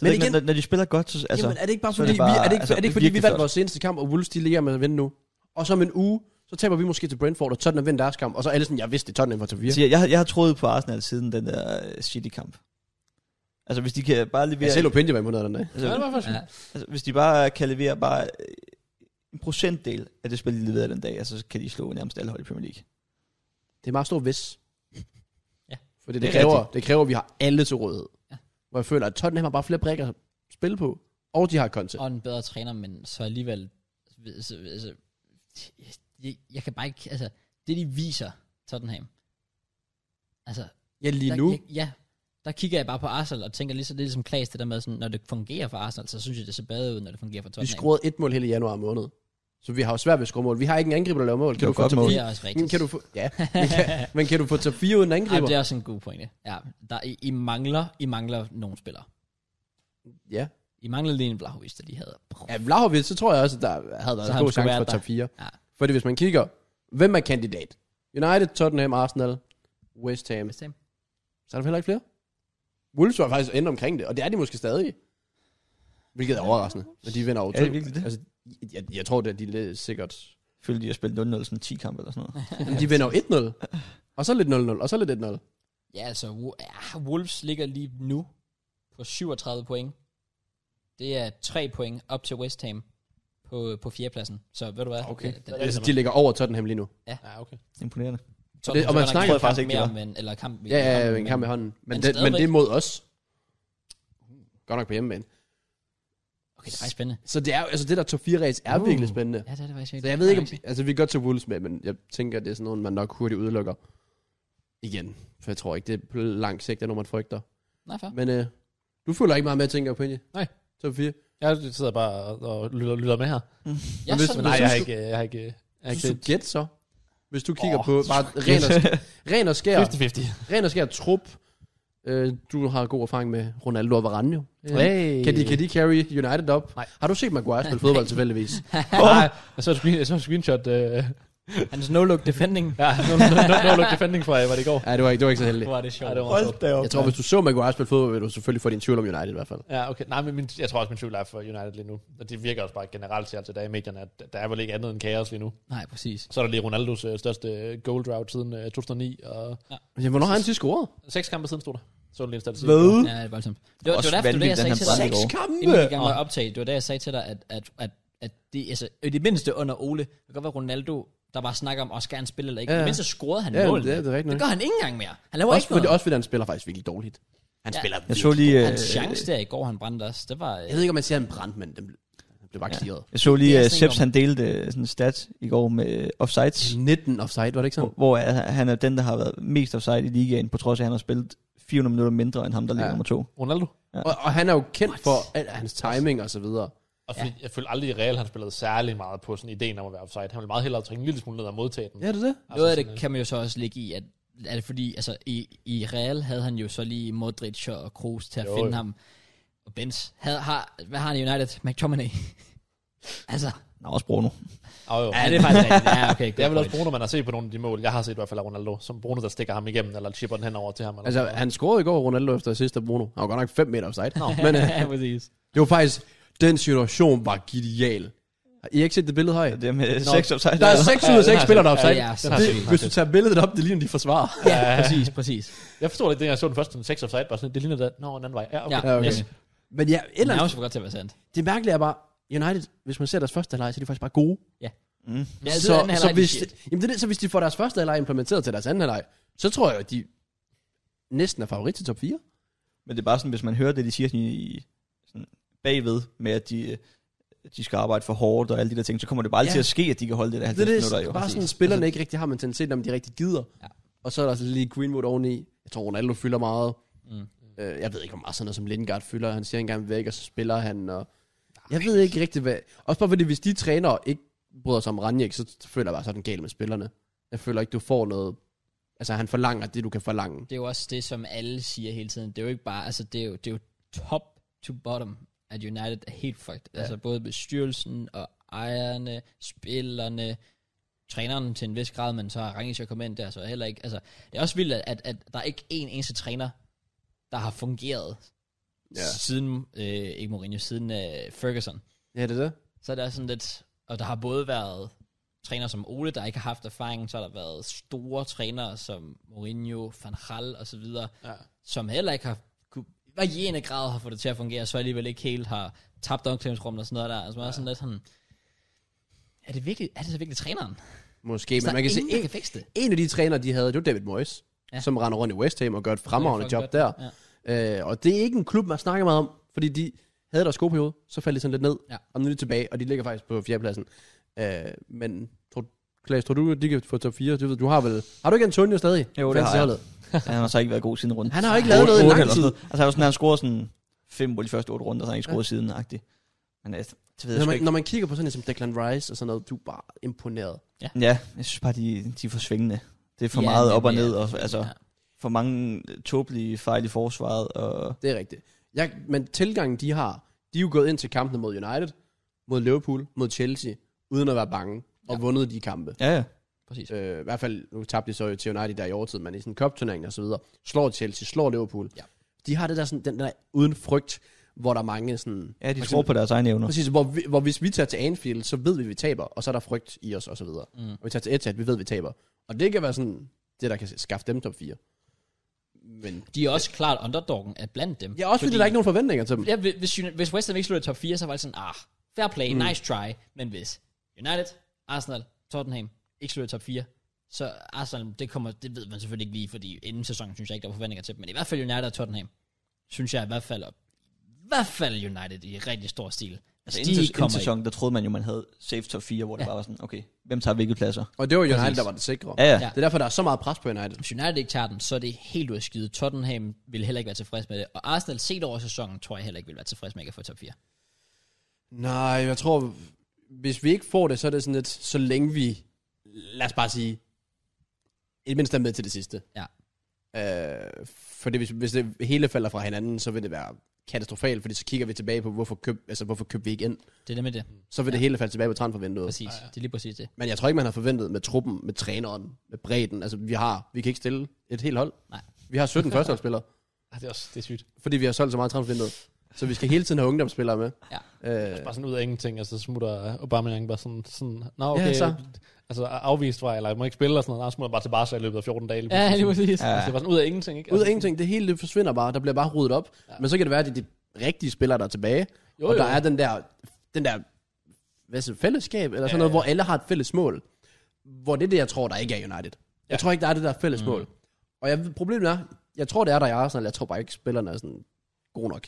Speaker 3: Men
Speaker 4: igen,
Speaker 3: igen-
Speaker 4: når, når de spiller godt, så... Altså,
Speaker 3: Altså, Jamen er det ikke bare
Speaker 4: så er
Speaker 3: fordi,
Speaker 4: det bare-
Speaker 3: vi, er det ikke,
Speaker 4: altså,
Speaker 3: altså, er det ikke fordi vi
Speaker 4: virkelig
Speaker 3: vandt
Speaker 4: flot.
Speaker 3: vores seneste kamp, og Wolves de ligger med at vinde nu? Og så om en uge, så taber vi måske til Brentford, og Tottenham vinder deres kamp, og så er alle sådan, jeg vidste det, Tottenham var top 4.
Speaker 4: Så jeg, jeg, har- jeg har troet på Arsenal siden den der øh, City-kamp. Altså hvis de kan bare levere...
Speaker 3: Jeg selv Opinje var imod den dag.
Speaker 4: altså,
Speaker 2: Ja, det var faktisk
Speaker 1: Ja.
Speaker 4: altså, hvis de bare kan levere bare øh, en procentdel af det spil, de leverede den dag, altså, så kan de slå nærmest alle hold i Premier League.
Speaker 3: Det er meget stor vis.
Speaker 1: Ja.
Speaker 3: Fordi det,
Speaker 4: Det
Speaker 3: det,
Speaker 4: er
Speaker 3: kræver,
Speaker 4: rigtigt.
Speaker 3: det kræver, at vi har alle til rådighed.
Speaker 1: Ja.
Speaker 3: Ja. Hvor jeg føler, at Tottenham har bare flere brækker at spille på, og de har content.
Speaker 1: Og en bedre træner, men så alligevel... Altså, altså, jeg, jeg kan bare ikke... Altså, det de viser Tottenham... Altså,
Speaker 3: Ja, lige nu.
Speaker 1: Der, jeg, ja, der kigger jeg bare på Arsenal og tænker lige så lidt som Klaas, det der med, sådan, når det fungerer for Arsenal, så synes jeg, det ser bedre ud, når det fungerer for
Speaker 3: Vi
Speaker 1: Tottenham.
Speaker 3: scorede et mål hele januar måned. Så vi har jo svært ved at score mål. Vi har ikke en angriber, der laver mål. Kan
Speaker 4: Det
Speaker 3: du
Speaker 4: var
Speaker 3: få
Speaker 4: godt
Speaker 3: top
Speaker 4: mål.
Speaker 1: Det
Speaker 3: 4?
Speaker 1: er også rigtigt.
Speaker 3: Men kan du få, ja. men, kan, men kan du få top 4 uden
Speaker 1: Ej,
Speaker 3: angriber?
Speaker 1: det er også en god pointe. Ja, der, I, I, mangler, I mangler nogle spillere.
Speaker 3: Ja.
Speaker 1: I mangler lige en Blahovic, der de havde.
Speaker 3: Ja, Vlahovic, så tror jeg også, at der havde været
Speaker 1: Så
Speaker 3: en
Speaker 1: han skulle
Speaker 3: god chance
Speaker 1: være
Speaker 3: for
Speaker 1: der.
Speaker 3: top 4.
Speaker 1: Ja.
Speaker 3: Ja. Fordi hvis man kigger, hvem er kandidat? United, Tottenham, Arsenal, West Ham.
Speaker 1: Bestemt.
Speaker 3: Så er der heller ikke flere. Wolves var faktisk inde omkring det, og det er de måske stadig. Hvilket er overraskende, når de vinder over
Speaker 4: Er det virkelig det?
Speaker 3: Altså, jeg, jeg tror, at de er sikkert
Speaker 4: følte de har spillet 0-0 sådan 10 kampe eller sådan noget.
Speaker 3: Jamen, de vinder jo 1-0. Og så lidt 0-0, og så lidt 1-0.
Speaker 1: Ja, altså, Wo- ja, Wolves ligger lige nu på 37 point. Det er 3 point op til West Ham på, på fjerdepladsen. Så ved du hvad?
Speaker 3: Okay.
Speaker 1: Den,
Speaker 2: er
Speaker 3: Altså,
Speaker 2: det,
Speaker 3: de ligger over Tottenham lige nu.
Speaker 2: Ja, okay.
Speaker 4: Imponerende.
Speaker 1: så,
Speaker 3: det- og man snakker
Speaker 4: faktisk ikke,
Speaker 1: mere
Speaker 4: de
Speaker 1: om en, eller kamp,
Speaker 3: Ja, ja, ja, en kamp i hånden. Men,
Speaker 1: Men
Speaker 3: men, det, men
Speaker 1: stadigvæk-
Speaker 3: det er mod os. Godt nok på hjemmebane.
Speaker 1: Okay, det er faktisk spændende.
Speaker 3: Så det er jo- altså det der top 4 race er
Speaker 1: Uh.
Speaker 3: virkelig spændende.
Speaker 1: Ja, det er det faktisk
Speaker 3: Så jeg ved ikke, om, altså vi kan godt til Wolves med, men jeg tænker, at det er sådan nogen, man nok hurtigt udelukker. Igen, for jeg tror ikke, det er på lang sigt, er noget, man frygter.
Speaker 1: Nej, fair.
Speaker 3: Men øh, du føler ikke meget med at tænke på,
Speaker 2: Nej.
Speaker 3: Top 4.
Speaker 2: Jeg sidder bare og- og lytter, lytter med her.
Speaker 1: Jeg
Speaker 3: hvis-
Speaker 1: sådan,
Speaker 2: Men nej, jeg har
Speaker 1: synes,
Speaker 2: ikke... Jeg har ikke jeg har
Speaker 3: Jeg
Speaker 2: ikke
Speaker 3: kan
Speaker 2: set
Speaker 3: gætte så. Hvis du kigger
Speaker 2: Åh,
Speaker 3: oh, på bare ren og, ren og skær,
Speaker 2: 50-50.
Speaker 3: ren og skær trup. Øh, du har god erfaring med Ronaldo og Varane jo. Øh,
Speaker 2: Hey.
Speaker 3: Kan de, kan de carry United op?
Speaker 2: Nej.
Speaker 3: Har du set Maguire spille fodbold tilfældigvis?
Speaker 2: Nej, jeg så et, screen, jeg så et screenshot. Øh,
Speaker 1: Hans no-look defending.
Speaker 2: ja, no, no, no, no look defending fra, var det i går?
Speaker 3: Ja, det var ikke, det var ikke så heldigt.
Speaker 1: Hvor er det sjovt.
Speaker 2: Ja, det var meget sjovt.
Speaker 4: da op.
Speaker 3: Jeg tror, hvis du så Maguire spille fodbold, vil du selvfølgelig få din tvivl om United i hvert fald.
Speaker 2: Ja, okay. Nej, men min, jeg tror også, min tvivl er for United lige nu. Og det virker også bare generelt til altså, der er i medierne, at der er vel ikke andet end kaos lige nu.
Speaker 1: Nej, præcis.
Speaker 2: Så er der lige Ronaldos øh, største øh, goal drought siden øh, 2009, og
Speaker 3: Ja, hvornår har han sidst scoret?
Speaker 2: seks kampe siden stod der. Så er det lige en statistik.
Speaker 1: Ja, det er voldsomt. Det var,
Speaker 4: Mm. Også
Speaker 1: det var derfor, det var det, jeg
Speaker 4: vanvittigt,
Speaker 1: sagde
Speaker 4: den
Speaker 1: til dig.
Speaker 4: her brand i går.
Speaker 3: kampe!
Speaker 1: Inden vi gik i gang med at optage, det var da jeg sagde til dig, at, at, at, at det, altså, i det mindste under Ole, det kan godt være Ronaldo, der bare snakker om, også skal han spille eller ikke.
Speaker 3: Ja,
Speaker 1: Ja. I
Speaker 3: ja.
Speaker 1: det mindste scorede han
Speaker 3: Ja,
Speaker 1: mål.
Speaker 3: det er- det er rigtigt
Speaker 1: det
Speaker 3: nok.
Speaker 1: gør han ikke engang mere. Han laver
Speaker 3: Også
Speaker 1: ikke
Speaker 3: fordi,
Speaker 1: noget.
Speaker 3: også fordi han spiller faktisk virkelig dårligt. Han
Speaker 1: Ja.
Speaker 3: spiller
Speaker 4: Jeg
Speaker 3: virkelig.
Speaker 4: så lige... øh,
Speaker 1: Hans chance der i går, han brændte os. Det var...
Speaker 3: Jeg ved ikke, om man siger, han brændte, men den blev, den blev bare
Speaker 4: Ja.
Speaker 3: clearet.
Speaker 4: Jeg så lige,
Speaker 1: Det er
Speaker 4: at
Speaker 1: sådan
Speaker 4: Seps
Speaker 1: en
Speaker 4: han delte øh, sådan en stat i går med øh, offsides,
Speaker 3: 19 offside, var det ikke
Speaker 4: hvor,
Speaker 3: sådan?
Speaker 4: hvor er- han er den, der har været mest offside i ligaen, på trods af, at han har spillet 400 minutter mindre end ham, der ligger
Speaker 3: Ja.
Speaker 4: nummer to.
Speaker 2: Ronaldo.
Speaker 3: Og, og han er jo kendt for al hans timing og så videre.
Speaker 2: Og fordi, jeg følte aldrig i Real, han spillede særlig meget på sådan ideen om at være offside. Han ville meget hellere trænge en lille smule ned og modtage den.
Speaker 3: Ja, det er det.
Speaker 1: Noget af
Speaker 2: sådan
Speaker 1: det
Speaker 2: lidt.
Speaker 1: kan man jo så også ligge i, at er det fordi, altså i, i Real havde han jo så lige Modric og Kroos til at
Speaker 2: Jo,
Speaker 1: jo, finde
Speaker 2: jo.
Speaker 1: ham. Og Benz, havde, har, hvad har han i United? McTominay. altså,
Speaker 4: Nå, også Bruno.
Speaker 2: Oh, jo.
Speaker 1: ja, det er faktisk rigtigt. Ja, okay,
Speaker 2: Det er vel også Bruno, man har set på nogle af de mål. Jeg har set i hvert fald af Ronaldo, som Bruno, der stikker ham igennem, eller chipper den henover til ham. Eller
Speaker 3: Altså, han scorede i går Ronaldo efter assist af Bruno. Han var godt nok 5 meter offside. No. Men øh,
Speaker 1: ja, præcis.
Speaker 3: det var faktisk, den situation var genial. Har I ikke set det billede her?
Speaker 4: Det er med seks offside.
Speaker 3: Der er 6 ud af 6 spillere, der er offside.
Speaker 1: Ja, ja,
Speaker 3: Det- Hvis du tager billedet op, det ligner, de forsvarer.
Speaker 1: Ja, præcis, præcis.
Speaker 2: Jeg forstod ikke, dengang jeg så den første den 6 offside, bare sådan, det ligner der, nå, en anden vej. Ja, okay.
Speaker 1: Ja,
Speaker 2: Ja.
Speaker 3: Ja, okay.
Speaker 1: Yes.
Speaker 3: Men ja, et
Speaker 1: Det
Speaker 3: eller
Speaker 1: er
Speaker 3: andet,
Speaker 1: også for godt til at være sandt.
Speaker 3: det mærkelige er bare, United, hvis man ser deres første halvleg, så er de faktisk bare gode.
Speaker 4: Mm.
Speaker 1: Ja,
Speaker 3: så,
Speaker 1: så, den her
Speaker 3: så,
Speaker 1: leg,
Speaker 3: hvis,
Speaker 1: shit.
Speaker 3: jamen det er det, så hvis de får deres første halvleg implementeret til deres anden halvleg, så tror jeg, at de næsten er favorit til top 4.
Speaker 4: Men det er bare sådan, hvis man hører det, de siger sådan, i, sådan bagved, med at de, øh, de skal arbejde for hårdt og alle de der ting, så kommer det bare aldrig
Speaker 3: Ja.
Speaker 4: til at ske, at de kan holde det
Speaker 3: Det
Speaker 4: der
Speaker 3: er
Speaker 4: 90
Speaker 3: det,
Speaker 4: minutter jo.
Speaker 3: bare sådan, at spillerne ikke rigtig har mentaliteten, om de rigtig gider. Ja. Og så er der altså lige Greenwood oveni. Jeg tror, Ronaldo fylder meget.
Speaker 1: Mm.
Speaker 3: Øh, jeg ved ikke, hvor meget sådan noget som Lindgaard fylder. Han siger engang væk, og så spiller han. Og jeg ved ikke rigtig, hvad... Også bare fordi, hvis de trænere ikke bryder sig om Ranjek, så føler jeg bare sådan galt med spillerne. Jeg føler ikke, du får noget... Altså, han forlanger det, du kan forlange.
Speaker 1: Det er jo også det, som alle siger hele tiden. Det er jo ikke bare, altså det er jo, det er jo top to bottom, at United er helt fucked. Ja. Altså både bestyrelsen og ejerne, spillerne, træneren til en vis grad, men så har Rangis jo kommet ind der, så heller ikke. Altså, det er også vildt, at, at, at der er ikke en eneste træner, der har fungeret ja. siden, øh, ikke Mourinho, siden øh, Ferguson.
Speaker 3: Ja, det er det.
Speaker 1: Så er det også sådan lidt, og der har både været træner som Ole, der ikke har haft erfaring, så har der været store trænere som Mourinho, Van Gaal og så videre,
Speaker 2: Ja.
Speaker 1: som heller ikke har kunne, i varierende grad har fået det til at fungere, så alligevel ikke helt har tabt omklædningsrummet og sådan noget der. Altså man er sådan lidt sådan, er det virkelig, er det så virkelig træneren?
Speaker 3: Måske,
Speaker 1: Så
Speaker 3: men man kan se,
Speaker 1: ingen, der
Speaker 3: en,
Speaker 1: kan fikse det.
Speaker 3: en af de trænere, de havde, det var David Moyes,
Speaker 1: Ja.
Speaker 3: ja. som render rundt i West Ham og gør et
Speaker 1: Det
Speaker 3: fremragende
Speaker 1: er
Speaker 3: job
Speaker 1: fucking
Speaker 3: der.
Speaker 1: godt. Ja.
Speaker 3: Øh, og det er ikke en klub, man snakker meget om, fordi de havde deres gode periode, så faldt de sådan lidt ned,
Speaker 1: Ja.
Speaker 3: og nu er de tilbage, og de ligger faktisk på fjerdepladsen. Øh, men, tror, Klaas, tror du, at de kan få top 4? Du, ved, du har vel... Har du ikke Antonio stadig?
Speaker 4: Jo, det har jeg. han har så ikke været god siden runden.
Speaker 3: Han har jo ikke lavet noget i
Speaker 4: Otte
Speaker 3: lang
Speaker 4: eller
Speaker 3: tid.
Speaker 4: sådan noget. Altså, han, var sådan, han scorede sådan fem mål i de første otte runder, så han har ikke scoret siden, agtigt. Men jeg, det ved jeg
Speaker 3: Når
Speaker 4: sgu
Speaker 3: man,
Speaker 4: ikke.
Speaker 3: når man kigger på sådan en som Declan Rice og sådan noget, du er bare imponeret.
Speaker 4: Ja, jeg synes bare, de, de er for svingende. Det er for
Speaker 1: Ja,
Speaker 4: ja, meget op og
Speaker 1: nemlig,
Speaker 4: ned,
Speaker 1: ja.
Speaker 4: og altså,
Speaker 1: Ja.
Speaker 4: for mange tåbelige fejl i forsvaret, og
Speaker 3: Det er rigtigt. Jeg, men tilgangen, de har, de er jo gået ind til kampene mod United, mod Liverpool, mod Chelsea, uden at være bange, og
Speaker 1: Ja.
Speaker 3: vundet de kampe.
Speaker 4: ja, ja.
Speaker 1: Præcis.
Speaker 3: øh, i hvert fald, nu tabte de så jo til United der i overtid, men i sådan en cup og så videre, slår Chelsea, slår Liverpool.
Speaker 1: Ja.
Speaker 3: De har det der sådan, den der uden frygt, hvor der er mange sådan...
Speaker 4: Ja, de
Speaker 3: for
Speaker 4: tror på deres egne evner.
Speaker 3: Præcis, hvor, vi, hvor hvis vi tager til Anfield, så ved vi, at vi taber, og så er der frygt i os, og så videre. Mm. Og vi tager til Etihad, vi ved, at vi taber. Og det kan være sådan, det der kan skaffe dem top 4. Men
Speaker 1: De er også klart underdoggen at blandt dem.
Speaker 3: ja, også fordi, fordi der er ikke nogen forventninger til dem.
Speaker 1: Ja, hvis- hvis, Uni- hvis West Ham ikke slutter i top 4, så var det sådan, ah, fair play, mm. nice try. Men hvis United, Arsenal, Tottenham ikke slutter i top 4, så Arsenal, det kommer, det ved man selvfølgelig ikke lige, fordi inden sæsonen synes jeg ikke, der var forventninger til dem, men i hvert fald United og Tottenham, synes jeg i hvert fald, og i hvert fald United i rigtig stor stil. Altså,
Speaker 4: Inden,
Speaker 1: de
Speaker 4: sæs- inden
Speaker 1: kommer ikke.
Speaker 4: sæson, der troede man jo, man havde safe top 4, hvor det bare var sådan, okay, hvem tager hvilke pladser?
Speaker 3: Og det var United,
Speaker 1: Præcis.
Speaker 3: der var det sikre.
Speaker 4: Ja,
Speaker 1: Ja.
Speaker 4: ja.
Speaker 3: Det er derfor, der er så meget pres på United.
Speaker 1: Hvis United ikke tager den, så er det helt ud af skyde. Tottenham vil heller ikke være tilfreds med det, og Arsenal set over sæsonen, tror jeg heller ikke vil være tilfreds med ikke at få top 4.
Speaker 3: Nej, jeg tror, hvis vi ikke får det, så er det sådan lidt, så længe vi, lad os bare sige, i det mindste er med til det sidste.
Speaker 1: Ja.
Speaker 3: Øh, fordi hvis, hvis det hele falder fra hinanden, så vil det være katastrofalt, fordi så kigger vi tilbage på, hvorfor køb, altså, hvorfor køb vi ikke ind.
Speaker 1: Det er det med det.
Speaker 3: Så vil ja. det hele falde tilbage på transfervinduet.
Speaker 1: Præcis. Ja, ja. Det er lige præcis det.
Speaker 3: Men jeg tror ikke, man har forventet med truppen, med træneren, med bredden. Altså, vi har, vi kan ikke stille et helt hold.
Speaker 1: Nej.
Speaker 3: Vi har 17 førsteholdsspillere,
Speaker 2: Ah, det er også det er sygt.
Speaker 3: fordi vi har solgt så meget i transfervinduet. Så vi skal hele tiden have ungdomsspillere med.
Speaker 1: Ja.
Speaker 3: Øh,
Speaker 2: Bare sådan ud af ingenting, og så smutter Aubameyang bare sådan, sådan Nå, okay,
Speaker 3: Ja,
Speaker 2: ja,
Speaker 3: så.
Speaker 2: så. altså afvist var, jeg, eller jeg må ikke spille, og sådan noget. Nå, smutter bare til Barca i løbet af 14 dage.
Speaker 1: Ja, lige
Speaker 2: sådan.
Speaker 1: præcis.
Speaker 2: Altså, det var sådan ud af ingenting, ikke?
Speaker 3: Ud af
Speaker 2: Altså,
Speaker 3: ingenting, det hele det forsvinder bare, der bliver bare ryddet op. Ja. Men så kan det være, at det er de rigtige spillere, der er tilbage. Jo,
Speaker 2: Jo,
Speaker 3: og der
Speaker 2: jo.
Speaker 3: er den der, den der hvad siger, fællesskab, eller sådan ja, noget, hvor alle har et fælles mål. Hvor det er det, jeg tror, der ikke er United. Jeg tror ikke, der er det der fælles mm. mål. Og jeg, ved- problemet er, jeg tror, det er der i Arsenal, jeg tror bare ikke, spillerne er sådan gode nok.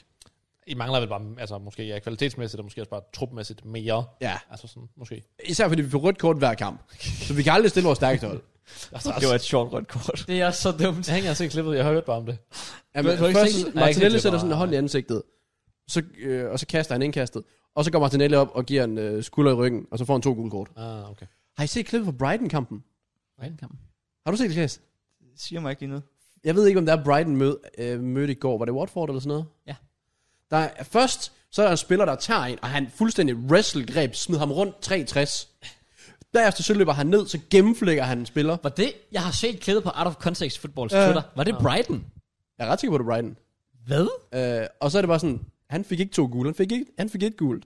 Speaker 2: I mangler vel bare, altså måske ja, kvalitetsmæssigt, og måske også bare trupmæssigt mere.
Speaker 3: Ja,
Speaker 2: Altså sådan, måske.
Speaker 3: især fordi vi får rødt kort hver kamp. Så vi kan aldrig stille vores stærkeste hold.
Speaker 2: Altså,
Speaker 4: Det var et sjovt rødt kort.
Speaker 1: Det er også så dumt.
Speaker 2: Jeg har ikke engang set klippet, jeg har hørt bare om det.
Speaker 3: Jamen,
Speaker 2: Du- du har ikke
Speaker 3: først,
Speaker 2: set- Nej, jeg kan ikke
Speaker 3: Martinelli
Speaker 2: se
Speaker 3: sætter
Speaker 2: det
Speaker 3: sådan en
Speaker 2: bare.
Speaker 3: hånd i ansigtet, så, øh, og så kaster han indkastet. Og så går Martinelli op og giver en øh, skulder i ryggen, og så får han to gule kort.
Speaker 2: Ah, okay.
Speaker 3: Har I set klippet fra Brighton-kampen? Har du set det, Klaas?
Speaker 4: Det siger mig ikke lige noget.
Speaker 3: Jeg ved ikke, om der er Brighton mød, øh, mødte i går. Var det Watford eller sådan noget?
Speaker 1: Ja.
Speaker 3: Der er, først, så er der en spiller, der tager en, og han fuldstændig wrestlegreb, smider ham rundt 360. Derefter så løber han ned, så gennemflækker han en spiller.
Speaker 1: Var det, jeg har set klippet på Out of Context Footballs uh, Twitter, var det Brighton?
Speaker 3: Jeg er ret sikker på, det er Brighton.
Speaker 1: Hvad?
Speaker 3: Øh, og så er det bare sådan, han fik ikke to gule, han fik, ikke, han fik et gult.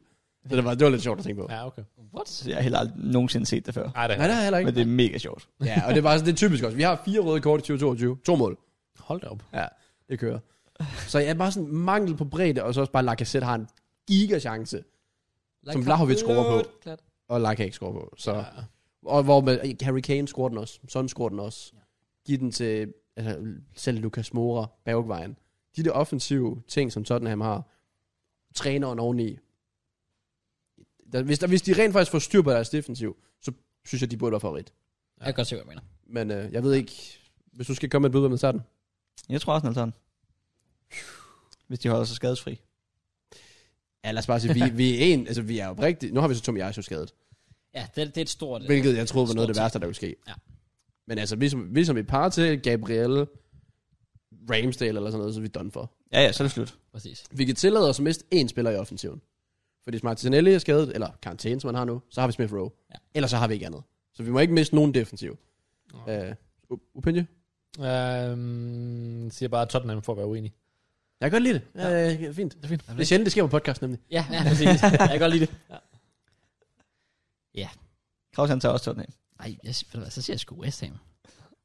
Speaker 3: Så det var, det var lidt sjovt at tænke på.
Speaker 2: Ja, okay.
Speaker 1: What?
Speaker 4: Så Altså, jeg har heller aldrig nogensinde set det før.
Speaker 2: Ej, det
Speaker 3: Nej,
Speaker 2: er
Speaker 3: det har jeg heller
Speaker 4: Men
Speaker 3: ikke.
Speaker 4: det er mega sjovt.
Speaker 3: Ja, og det er, bare, det er typisk også. Vi har fire røde kort i 2022. To mål.
Speaker 2: Hold da op.
Speaker 3: Ja, det kører. Så jeg er bare sådan mangel på bredde, og så også bare Lacazette har en gigachance, som Vlahovic scorer på. og Lacazette ikke scorer på. Så. Ja. Og hvor med, Harry Kane scorer den også, Son scorer den også. Ja. Giv den til altså, selv Lucas Moura, bagvejen. De der offensive ting, som Tottenham har, træneren oveni. Der, hvis, der, hvis de rent faktisk får styr på deres defensiv, så synes jeg, de burde være favorit.
Speaker 1: Jeg kan godt se, hvad jeg mener.
Speaker 3: Men øh, jeg ved ikke, hvis du skal komme med et bud, hvem der tager den?
Speaker 4: Jeg tror Arsenal tager den. Hvis de holder sig skadesfri.
Speaker 3: Ja, lad os bare sige, vi, vi er en, altså vi er jo rigtigt, nu har vi så Tom Jajo skadet,
Speaker 1: Ja, det, det er et stort... øh,
Speaker 3: hvilket jeg troede var noget af det
Speaker 1: Stort
Speaker 3: værste, der ville ske.
Speaker 1: Ja.
Speaker 3: Men altså, vi som, vi som et par til Gabrielle, Ramsdale eller sådan noget, så er vi done for.
Speaker 4: Ja, ja, så er det slut.
Speaker 1: Præcis.
Speaker 3: Vi kan tillade os at miste én spiller i offensiven. Fordi hvis Martinelli er skadet, eller karantæne, som han har nu, så har vi Smith Rowe.
Speaker 1: Ja.
Speaker 3: Ellers så har vi ikke andet. Så vi må ikke miste nogen defensiv. Øh, U- Upinje?
Speaker 2: Øhm, siger bare Tottenham for at være uenig.
Speaker 3: Jeg kan godt lide det. Ja. Øh, fint. Det er fint. Det er sjældent, det sker på podcast nemlig.
Speaker 1: Ja, ja præcis. jeg kan godt lide det.
Speaker 4: Kraus han tager også Tottenham.
Speaker 1: Ej, jeg, ved du hvad, så siger jeg sgu West Ham.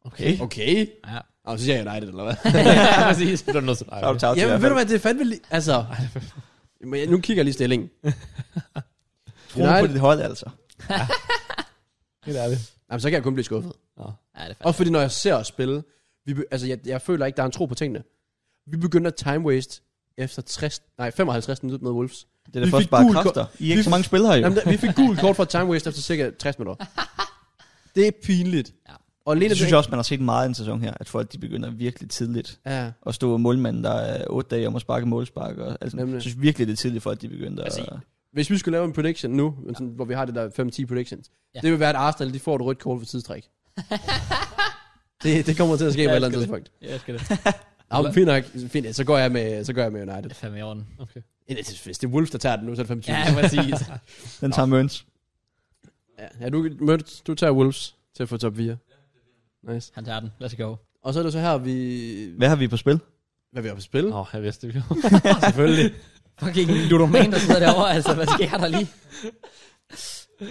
Speaker 2: Okay.
Speaker 3: Okay.
Speaker 1: Ja.
Speaker 3: Og så siger jeg United, eller hvad?
Speaker 1: ja, præcis.
Speaker 2: Det er nødt til. Ej,
Speaker 4: Så er du
Speaker 2: okay.
Speaker 4: tager til i
Speaker 3: Jamen,
Speaker 4: hvert
Speaker 3: ved du hvad,
Speaker 4: fald.
Speaker 3: det er fandme lige... Altså... Men jeg- Nu kigger jeg lige stillingen.
Speaker 4: Tro på
Speaker 3: United-
Speaker 4: dit hold, altså.
Speaker 2: Helt ærligt.
Speaker 3: Jamen, så kan jeg kun blive skuffet.
Speaker 1: Ja, det er
Speaker 3: Også fordi, når jeg ser os spille, vi, be- altså, jeg, jeg føler ikke, der er en tro på tingene. Vi begynder at time waste efter 60, nej, 55 minutter med Wolves.
Speaker 4: Det er da
Speaker 3: Vi
Speaker 4: for at
Speaker 3: fik
Speaker 4: spare
Speaker 3: gul ko-
Speaker 4: kræfter. I er ikke
Speaker 3: Vi-
Speaker 4: så mange spillere, jo.
Speaker 3: Jamen, der, vi fik gul kort for time waste efter cirka 60 minutter. Det er pinligt.
Speaker 1: Ja.
Speaker 3: Og alene
Speaker 4: Det synes jeg også, man har set meget i en sæson her, at folk de begynder virkelig tidligt
Speaker 3: Ja,
Speaker 4: at stå målmanden, der er otte dage om at sparke målspark. Og, altså,
Speaker 3: Nemlig.
Speaker 4: jeg synes virkelig, det er tidligt for, at de begynder
Speaker 1: Altså,
Speaker 4: altså,
Speaker 1: I-
Speaker 4: at...
Speaker 3: hvis vi skulle lave en prediction nu, men sådan, hvor vi har det der 5-10 predictions,
Speaker 1: Ja.
Speaker 3: ja. det vil være, at Arsenal de får et rødt kort for tidstræk. det, det kommer til at ske på et eller andet tidspunkt.
Speaker 1: Jeg elsker det.
Speaker 3: Ja, men fint nok, fint, så går jeg med, så går jeg med United.
Speaker 1: Det er fandme i orden.
Speaker 2: okay.
Speaker 3: Ja, det er- Hvis det er Wolves, der tager den nu, så er det 25.
Speaker 1: Ja,
Speaker 3: Ja,
Speaker 1: præcis.
Speaker 4: Den tager Møns.
Speaker 3: ja du, Mørt, du tager Wolves til at få top 4. Nice.
Speaker 1: Han tager den. Let's go.
Speaker 3: Og så er det så her, vi...
Speaker 4: Hvad har vi på spil?
Speaker 3: Hvad vi har på spil?
Speaker 2: Nå, jeg vidste det.
Speaker 3: Selvfølgelig.
Speaker 1: fucking ludoman, der sidder derovre. Altså, hvad sker der lige?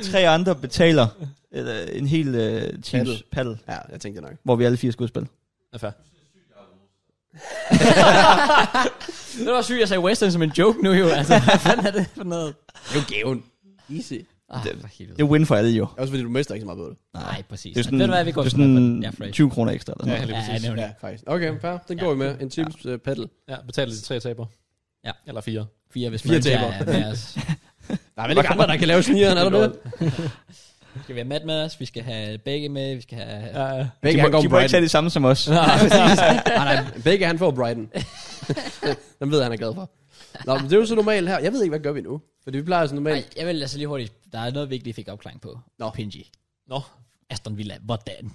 Speaker 4: Tre andre betaler øh, en hel øh, teams
Speaker 3: Paddle.
Speaker 4: paddle,
Speaker 3: Ja, jeg tænkte nok.
Speaker 4: hvor vi alle fire skal udspille.
Speaker 2: Det er fair.
Speaker 1: det var sygt, jeg sagde Western som en joke nu jo. Altså, hvad fanden er det for noget?
Speaker 3: Det er jo gaven. Easy.
Speaker 1: Ah, for
Speaker 4: Det er win for alle jo.
Speaker 3: Også fordi du mister ikke så meget på det.
Speaker 1: Nej, præcis.
Speaker 4: Det er sådan,
Speaker 1: Ved du hvad, vi går
Speaker 4: det er
Speaker 1: sådan, ja,
Speaker 4: sådan
Speaker 1: Fraser.
Speaker 4: 20 kroner ekstra. Eller sådan.
Speaker 2: Ja, lige
Speaker 1: Ja,
Speaker 2: præcis.
Speaker 1: nemlig.
Speaker 3: Ja, faktisk. Okay, fair. Den
Speaker 1: Ja.
Speaker 3: går vi med. En teams ja. paddle.
Speaker 2: Ja, betaler de tre taber.
Speaker 1: Ja.
Speaker 2: Eller fire.
Speaker 1: Fire, hvis
Speaker 3: Fire
Speaker 1: man ikke
Speaker 3: tabere.
Speaker 1: er med os.
Speaker 3: Der er vel ikke andre, der kan lave snigeren, er der det?
Speaker 1: Skal vi have Matt med os? Vi skal have begge med. Vi skal have... Ja.
Speaker 2: Ja,
Speaker 4: De,
Speaker 3: Begge, han
Speaker 4: må,
Speaker 3: går
Speaker 4: de
Speaker 3: på
Speaker 4: må ikke tage
Speaker 3: Brighton.
Speaker 4: det samme som os.
Speaker 3: Nej, nej, begge, han får Brighton. Den ved jeg, han er glad for. Nå, men det er jo så normalt her. Jeg ved ikke, hvad gør vi nu? Fordi vi plejer så
Speaker 1: Ej,
Speaker 3: normalt...
Speaker 1: jeg vil altså lige hurtigt... Der er noget, vi ikke lige fik opklaring på. Nå. Pinji.
Speaker 2: Nå.
Speaker 1: Aston Villa. Hvordan?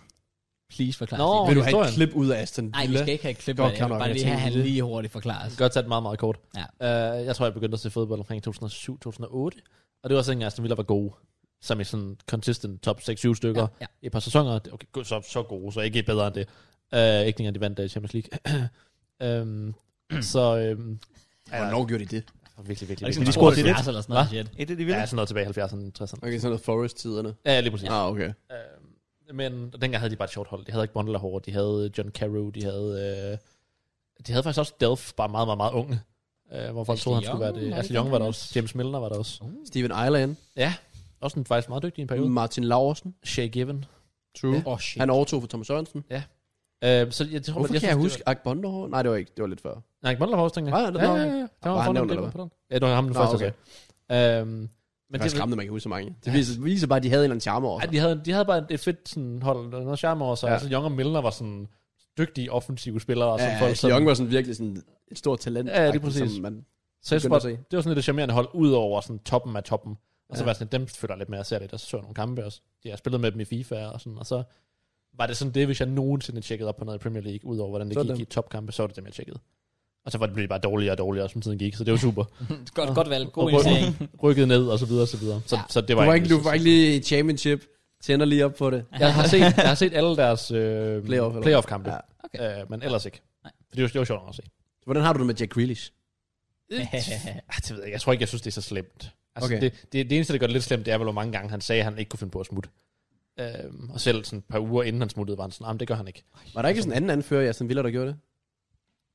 Speaker 1: Please forklare
Speaker 2: Nå.
Speaker 1: os
Speaker 3: Vil
Speaker 1: det.
Speaker 3: du have et
Speaker 2: historien.
Speaker 3: klip ud af Aston
Speaker 1: Nej, vi
Speaker 3: Villa?
Speaker 1: skal ikke have et klip
Speaker 3: Godt,
Speaker 1: af det. Jeg
Speaker 3: klar
Speaker 1: vil
Speaker 3: nok,
Speaker 1: bare
Speaker 3: jeg
Speaker 1: lige have,
Speaker 3: tænkte
Speaker 1: han
Speaker 3: lige.
Speaker 1: lige hurtigt forklarer os.
Speaker 2: Godt tage det meget, meget kort.
Speaker 1: Ja.
Speaker 2: Uh, jeg tror, jeg begyndte at se fodbold omkring 2007-2008, og det var også dengang, Aston Villa var gode, som i sådan consistent top 6-7 stykker
Speaker 1: Ja,
Speaker 2: ja,
Speaker 1: ja.
Speaker 2: ja. i et par sæsoner. Okay, god, så, så gode, så ikke bedre end det. Uh, ikke dengang, de vandt øh, Champions League. um, så øhm,
Speaker 3: Hvornår gjorde de det?
Speaker 2: virkelig,
Speaker 1: Er det
Speaker 2: virkelig, virkelig.
Speaker 1: ikke
Speaker 4: scorer
Speaker 1: sådan
Speaker 4: til lidt?
Speaker 1: 72 eller sådan noget shit?
Speaker 4: Et af de
Speaker 2: Ja,
Speaker 4: vilde.
Speaker 2: sådan noget tilbage i 70'erne, 60'erne.
Speaker 3: Okay, sådan noget Forest-tiderne.
Speaker 2: Ja, lige præcis.
Speaker 3: Ah, okay.
Speaker 2: Øhm, men og dengang havde de bare et sjovt hold. De havde ikke Bondel Hård, de havde John Carew, de havde... Øh, de havde faktisk også Delph, bare meget, meget, meget unge. Øh, hvor folk
Speaker 1: Ashley
Speaker 2: troede, han skulle
Speaker 1: Young
Speaker 2: være
Speaker 1: var
Speaker 2: det.
Speaker 1: det
Speaker 2: Ashley
Speaker 1: ikke
Speaker 2: Young var der
Speaker 1: dengang
Speaker 2: også. James Milner var der også.
Speaker 3: Steven Island.
Speaker 2: Ja,
Speaker 3: Mm.
Speaker 2: også en faktisk meget dygtig i en periode.
Speaker 3: Martin Laursen.
Speaker 2: Shay Given.
Speaker 3: Mm. True.
Speaker 1: Åh, oh, shit.
Speaker 3: Han overtog for Thomas Sørensen.
Speaker 2: Øh, så jeg, tror,
Speaker 3: Hvorfor
Speaker 2: jeg,
Speaker 3: kan jeg
Speaker 2: synes,
Speaker 3: huske Ak Bonderhår? Nej, det var ikke. Det var lidt før.
Speaker 2: Det var, nej, Bondel Hård, tænker
Speaker 3: Nej,
Speaker 2: jeg.
Speaker 3: ja, det
Speaker 2: ja,
Speaker 3: var
Speaker 2: ja,
Speaker 3: han.
Speaker 2: ja. Der
Speaker 3: Var
Speaker 2: var
Speaker 3: han
Speaker 2: fornemt,
Speaker 3: nævnt,
Speaker 2: det
Speaker 3: eller
Speaker 2: var på den. Ja, det var ham den
Speaker 3: Nå,
Speaker 2: første,
Speaker 3: okay.
Speaker 2: okay. Øhm, men
Speaker 3: Men det
Speaker 2: det,
Speaker 3: er skræmmende, man kan huske så mange. Det viser, viser bare, at de havde en eller anden charme over
Speaker 2: ej,
Speaker 3: sig.
Speaker 2: de, havde, de havde bare et fedt sådan, hold, der var noget charme over sig.
Speaker 3: Ja.
Speaker 2: Ja. Altså, Young og Milner var sådan dygtige offensive spillere. Og
Speaker 3: Ja,
Speaker 2: sådan
Speaker 3: ja,
Speaker 2: folk,
Speaker 3: altså, Young var sådan virkelig sådan et stort talent.
Speaker 2: Ja, det er præcis.
Speaker 3: Som man,
Speaker 2: Så jeg synes
Speaker 3: Begynder
Speaker 2: bare,
Speaker 3: at se.
Speaker 2: det var sådan lidt et charmerende hold, ud over sådan toppen af toppen. Og så
Speaker 3: Ja.
Speaker 2: ja. var jeg sådan, dem følger jeg lidt mere og ser lidt, og så så jeg nogle kampe også. Jeg har spillet med dem i FIFA og sådan, og så var det sådan det, hvis jeg nogensinde tjekkede op på noget i Premier League, ud over hvordan det
Speaker 3: Så er
Speaker 2: gik
Speaker 3: det
Speaker 2: i topkampe, så var det dem, jeg tjekkede. Og så var det blevet bare dårligere og dårligere, som tiden gik, så det var super.
Speaker 1: Godt, godt valg. God
Speaker 2: Og
Speaker 1: investering.
Speaker 2: ryk, rykket ned, og så videre, og så videre. Så,
Speaker 1: Ja.
Speaker 2: ja. så det
Speaker 3: du
Speaker 2: var,
Speaker 3: var ikke, du var ikke lige i championship. Tænder lige op på det.
Speaker 2: Jeg har set, jeg har set alle deres øh,
Speaker 3: Playoff, eller?
Speaker 2: playoff-kampe,
Speaker 3: Ja.
Speaker 2: ja.
Speaker 1: Okay.
Speaker 2: okay. øh, men ellers ikke.
Speaker 1: Nej.
Speaker 2: For det var, det var sjovt nok at se.
Speaker 3: Hvordan har du det med Jack Grealish?
Speaker 2: Ah, det ved jeg ikke. Jeg tror ikke, jeg synes, det er så slemt. Altså,
Speaker 3: Okay.
Speaker 2: okay. det, det, det eneste, der gør det lidt slemt, det er vel, hvor mange gange han sagde, at han ikke kunne finde på at smutte. Øhm, og selv sådan et par uger inden han smuttede, var han sådan, "Ah, men det gør han ikke.
Speaker 3: Var der ikke sådan en anden anfører, jeg sådan Villa, der gjorde det?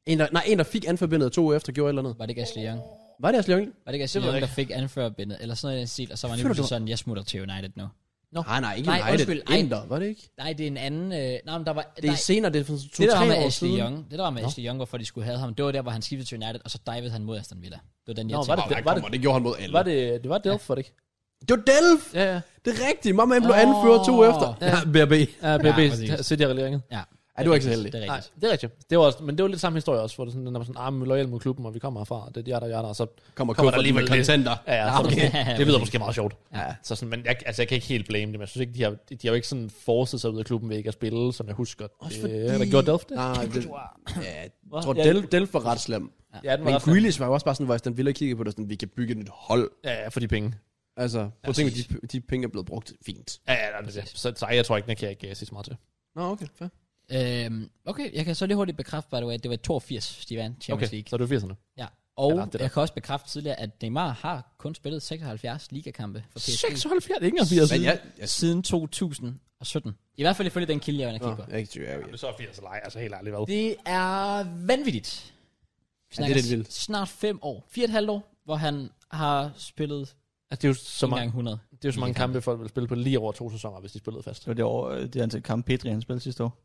Speaker 3: En, der, nej, en, der fik anforbindet to uger efter, gjorde et eller andet.
Speaker 1: Var det ikke Ashley Young?
Speaker 3: Var det Ashley Young?
Speaker 1: Var det ikke Ashley
Speaker 2: Det ved
Speaker 1: Young,
Speaker 2: jeg
Speaker 1: der fik anførerbindet? Eller sådan noget i den stil, og så var han lige
Speaker 3: Føler du-
Speaker 1: pludselig sådan, jeg smutter til United nu.
Speaker 3: Nej, nej, ikke
Speaker 1: Nej,
Speaker 3: United.
Speaker 1: undskyld, ej.
Speaker 3: Inter, var det ikke?
Speaker 1: Nej, det er en anden... Øh, nej, men der var...
Speaker 3: Det er
Speaker 1: nej,
Speaker 3: senere, det er sådan to,
Speaker 1: det, der
Speaker 3: tre
Speaker 1: var med
Speaker 3: år
Speaker 1: Ashley
Speaker 3: siden.
Speaker 1: Young, det der var med Ashley Young, hvorfor de skulle have ham, det var der, hvor han skiftede til United, og så divede han mod Aston Villa. Det var den, jeg
Speaker 2: Nå,
Speaker 1: tænkte.
Speaker 2: var
Speaker 1: på.
Speaker 2: det-
Speaker 3: Ej, kom on, det gjorde han mod alle.
Speaker 2: Var det, det var Delf, var det ikke?
Speaker 3: Det var Delf!
Speaker 2: Ja, ja.
Speaker 3: Det er rigtigt. Mamma blev
Speaker 1: Åh.
Speaker 3: anfører to uger efter.
Speaker 2: Ja.
Speaker 3: Ja, BRB.
Speaker 2: Ja, BB,
Speaker 1: præcis.
Speaker 2: ja, City regleringen.
Speaker 1: Ja.
Speaker 3: Ej, det var ikke så heldigt.
Speaker 1: Det er
Speaker 2: Nej,
Speaker 1: rigtigt.
Speaker 2: det er rigtigt. Det var også, men det var lidt samme historie også, hvor det sådan, den er sådan, ah, men loyal mod klubben, og vi kommer herfra, og det er de der, der, og så...
Speaker 3: Kommer,
Speaker 2: Kommer
Speaker 3: kommer
Speaker 2: der
Speaker 3: der lige med
Speaker 2: alligevel lidt.
Speaker 3: contenter.
Speaker 2: Ja, ja, så, Ah, okay. det lyder måske meget sjovt.
Speaker 1: Ja.
Speaker 2: Så sådan, men jeg, altså, jeg kan ikke helt blame dem. Jeg synes ikke, de har, de har jo ikke sådan forset sig ud af klubben ved ikke at spille, som jeg husker. Også
Speaker 3: fordi-
Speaker 2: Der gjorde Delf det?
Speaker 3: Nej, det, ja, jeg tror,
Speaker 2: Ja.
Speaker 3: Delf, Delf var ret slem.
Speaker 2: Ja, den var
Speaker 3: Men
Speaker 2: ret-
Speaker 3: Grealish var jo også bare sådan, hvor Aston Villa kiggede på det, sådan, vi kan bygge et nyt hold.
Speaker 2: Ja, ja, for de penge.
Speaker 3: Altså, prøv at tænke, de, de penge er blevet brugt fint.
Speaker 2: Ja, ja, nej, det er det. Så, så ej, jeg tror ikke, den kan jeg ikke øh, sige så meget til.
Speaker 3: Nå, okay, fair.
Speaker 1: Øhm, okay, jeg kan så lige hurtigt bekræfte, by the way, at det var i 82, de vandt Champions
Speaker 2: Okay,
Speaker 1: League.
Speaker 2: så er det 80'erne.
Speaker 1: Ja. Og
Speaker 2: Eller det der.
Speaker 1: jeg kan også bekræfte tidligere, at Neymar har kun spillet 76 ligakampe for PSG
Speaker 2: 76, ikke engang 80.
Speaker 3: Men jeg, jeg,
Speaker 1: siden 2017. I hvert fald ifølge den kilde, jeg var inde og
Speaker 3: nå,
Speaker 1: kigge på.
Speaker 3: jeg er ikke i tvivl, jeg er
Speaker 2: Det er så 80 eller ej, altså helt ærligt, hvad?
Speaker 1: Det er vanvittigt. Vi
Speaker 3: Ja, det er
Speaker 1: snakker
Speaker 3: lidt vildt.
Speaker 1: snart fem år. Fire og et halvt år, hvor han har spillet
Speaker 2: Altså, det er jo så
Speaker 1: en gang
Speaker 2: mange,
Speaker 1: 100.
Speaker 2: det er jo så mange kampe, folk vil spille på lige over to sæsoner, hvis de spillede fast.
Speaker 4: Det var det, år, øh, det antal kamp Petri, han spillede sidste år.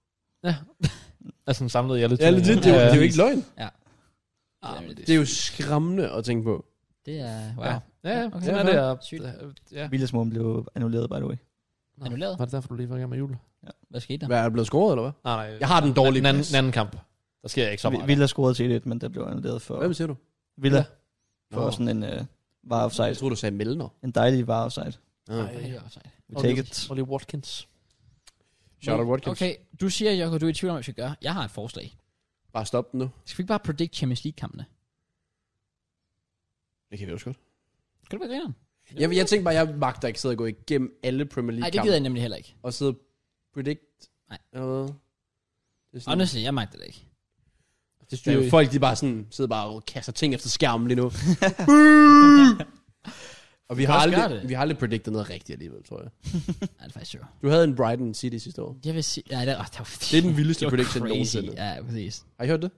Speaker 2: Altså, sådan samlet i alle
Speaker 3: Ja, legit, det er, jo, det er jo ikke løgn.
Speaker 1: Ah,
Speaker 2: men
Speaker 3: Det er jo skræmmende at tænke på.
Speaker 1: Det er, wow.
Speaker 2: Ja,
Speaker 1: Ja.
Speaker 2: ja, ja
Speaker 1: Okay,
Speaker 2: sådan er
Speaker 1: fair.
Speaker 2: det. og-
Speaker 1: Sygt.
Speaker 2: Ja.
Speaker 4: Villasmålen blev annulleret, by the way.
Speaker 2: Nå,
Speaker 1: Annulleret?
Speaker 2: Var det derfor, du lige var i gang med jul?
Speaker 1: Hvad skete der?
Speaker 3: Hvad er der blevet scoret, eller hvad?
Speaker 2: Nej, nej.
Speaker 3: Jeg har den dårlige
Speaker 2: den anden,
Speaker 3: plads.
Speaker 2: den anden kamp. Der sker ikke så
Speaker 4: Vi-
Speaker 2: meget.
Speaker 4: Villa scorede til 1-1, men der blev annulleret for
Speaker 3: Hvem siger du?
Speaker 4: Villa.
Speaker 3: Nå.
Speaker 4: For sådan en øh, var
Speaker 3: Jeg
Speaker 4: offside.
Speaker 3: troede, du sagde Melner.
Speaker 4: En dejlig var offside.
Speaker 3: Ah.
Speaker 1: Ej, det er offside.
Speaker 4: We
Speaker 2: Og
Speaker 4: take
Speaker 2: lige-
Speaker 4: it.
Speaker 2: Og lige Watkins.
Speaker 3: Shout out Watkins.
Speaker 1: Okay, du siger, Jokko, du er i tvivl om, hvad vi skal gøre. Jeg har et forslag.
Speaker 3: Bare stop den nu.
Speaker 1: Skal vi ikke bare predict Champions League-kampene?
Speaker 3: Det kan vi også godt.
Speaker 1: Skal du bare grineren?
Speaker 3: Jeg, jeg tænkte bare, jeg magter ikke sidde og gå igennem alle Premier
Speaker 1: Nej,
Speaker 3: League
Speaker 1: det
Speaker 3: kampe
Speaker 1: gider jeg nemlig heller ikke.
Speaker 3: og sidde og predict.
Speaker 1: Nej.
Speaker 3: Eller hvad? Det er sådan,
Speaker 1: Honestly, jeg magter det ikke.
Speaker 2: Det
Speaker 3: Det
Speaker 2: styrer
Speaker 3: er
Speaker 2: vi.
Speaker 3: jo folk, de bare sådan, sidder bare og kaster ting efter skærmen lige nu. og vi har,
Speaker 1: Folk gør
Speaker 3: aldrig,
Speaker 1: det.
Speaker 3: vi har aldrig predicted noget rigtigt alligevel, tror jeg.
Speaker 1: Ja, det er faktisk sjovt.
Speaker 3: Du havde en Brighton City sidste år.
Speaker 1: Jeg vil sige... Ja, det, oh, det, var,
Speaker 3: Det er den vildeste
Speaker 1: det var
Speaker 3: prediction
Speaker 1: crazy.
Speaker 3: nogensinde.
Speaker 1: Ja, præcis.
Speaker 3: Har I hørt det?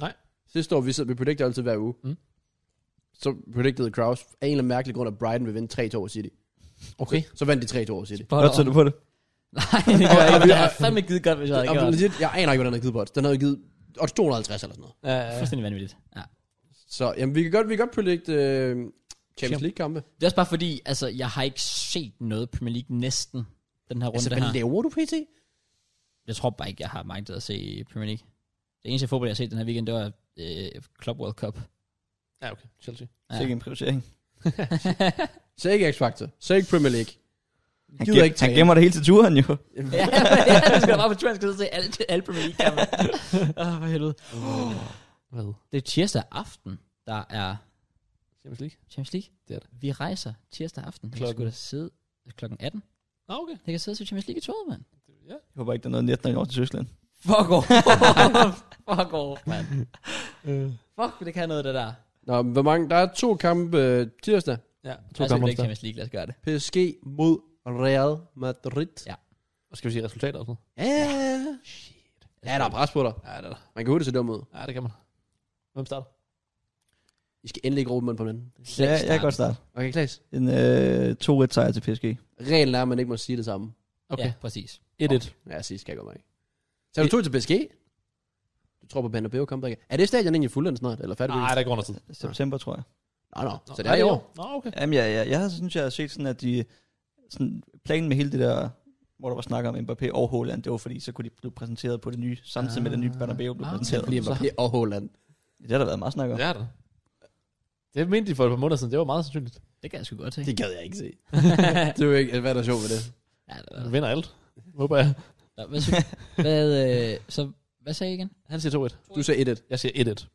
Speaker 2: Nej.
Speaker 3: Sidste år, vi, sidder- vi predicted altid hver uge.
Speaker 2: Mm.
Speaker 3: Så predicted Kraus af en eller anden mærkelig grund, at Brighton vil vinde 3-2 over City.
Speaker 2: Okay.
Speaker 3: Så, så vandt de 3-2 over City.
Speaker 4: Godt så du på det.
Speaker 1: Nej, det gør jeg ikke. Det er fandme givet godt, hvis jeg havde
Speaker 3: Og
Speaker 1: gjort.
Speaker 3: legit, jeg aner ikke, hvordan den havde givet på odds. Den havde givet odds 250 eller sådan noget.
Speaker 2: Ja, ja, ja.
Speaker 1: Fuldstændig vanvittigt. Ja.
Speaker 3: Så jamen, vi kan godt, vi kan godt predict øh, Champions
Speaker 2: Champ-
Speaker 3: League-kampe.
Speaker 1: Det er også bare fordi, altså, jeg har ikke set noget Premier League næsten den her runde
Speaker 3: Altså,
Speaker 1: her.
Speaker 3: hvad laver du, PT?
Speaker 1: Jeg tror bare ikke, jeg har magtet at se Premier League. Det eneste fodbold, jeg har set den her weekend, det var øh, Club World Cup.
Speaker 2: ja okay. Chelsea.
Speaker 4: Ja. Sikke en prioritering.
Speaker 3: Så ikke X-Factor. Så ikke Premier League.
Speaker 4: Han,
Speaker 3: Gider
Speaker 4: gem,
Speaker 3: ikke
Speaker 4: han
Speaker 3: træne.
Speaker 4: gemmer det hele til turen jo.
Speaker 1: ja, ja, du skal da bare på tur, jeg skal sidde og se alle, alle Premier League-kampe. Åh, oh, for helvede.
Speaker 2: Hvad?
Speaker 1: Det er tirsdag aften, der er
Speaker 2: Champions League?
Speaker 1: Champions League.
Speaker 2: Det er det.
Speaker 1: Vi rejser tirsdag aften. Klokken. Jeg
Speaker 2: Klokken?
Speaker 1: skulle da sidde klokken 18.
Speaker 2: Nå, okay.
Speaker 1: Jeg kan sidde og se Champions League i toget, mand.
Speaker 4: Jeg håber ikke, der er noget net, når jeg når til Tyskland.
Speaker 1: Fuck off. Fuck off, mand. Fuck, det kan noget, det der.
Speaker 3: Nå, men hvor mange? Der er to kampe øh, tirsdag.
Speaker 2: Ja,
Speaker 1: To
Speaker 2: to
Speaker 1: altså, det er
Speaker 2: kampe om
Speaker 1: ikke Champions League, lad os gøre det.
Speaker 3: PSG mod Real Madrid.
Speaker 1: Ja.
Speaker 2: Skal vi sige resultater og sådan noget?
Speaker 3: Ja, ja. ja der er pres på dig.
Speaker 2: Ja, det er der.
Speaker 3: Man kan hurtigt se dum ud.
Speaker 2: Ja, det kan man. Hvem starter?
Speaker 3: I skal endelig ikke råbe munden på hinanden.
Speaker 4: Ja, jeg kan godt starte.
Speaker 3: Okay, Klaas.
Speaker 4: En øh, 2-1 sejr til PSG.
Speaker 3: Reglen er, at man ikke må sige det samme.
Speaker 1: Okay.
Speaker 2: Okay.
Speaker 1: Ja, præcis.
Speaker 2: 1-1.
Speaker 3: Ja, sidst kan jeg godt mærke. Så er du to til PSG? Du tror på Bernabeu kamp ikke? Er det stadion egentlig fuldendt snart? Eller færdig?
Speaker 2: Nej, der går noget tid.
Speaker 4: September, tror jeg.
Speaker 3: Nå, nå. Så det
Speaker 2: Nå,
Speaker 3: er i år.
Speaker 2: Nå, okay.
Speaker 4: Jamen, jeg, jeg, jeg har, synes, jeg har set sådan, at de, sådan, planen med hele det der, hvor der var snak om Mbappé og Haaland, det var fordi, så kunne de blive præsenteret på det nye, samtidig med det nye
Speaker 1: Ah.
Speaker 4: Bernabeu blev
Speaker 1: Ah,
Speaker 4: præsenteret.
Speaker 3: Fordi Mbappé og Haaland.
Speaker 4: Det har der været meget snak om.
Speaker 2: Det er der. Det mente de for et par måneder siden. Det var meget sandsynligt.
Speaker 1: Det kan jeg sgu godt se.
Speaker 3: Det gad jeg ikke se. det er jo ikke, hvad er der sjovt ved det?
Speaker 1: Ja, det var
Speaker 2: Han vinder alt. Håber jeg.
Speaker 1: Nå, hvad, sy- hvad, øh, så, hvad sagde I igen?
Speaker 2: Han siger 2-1.
Speaker 3: Du sagde 1-1.
Speaker 2: Jeg siger 1-1.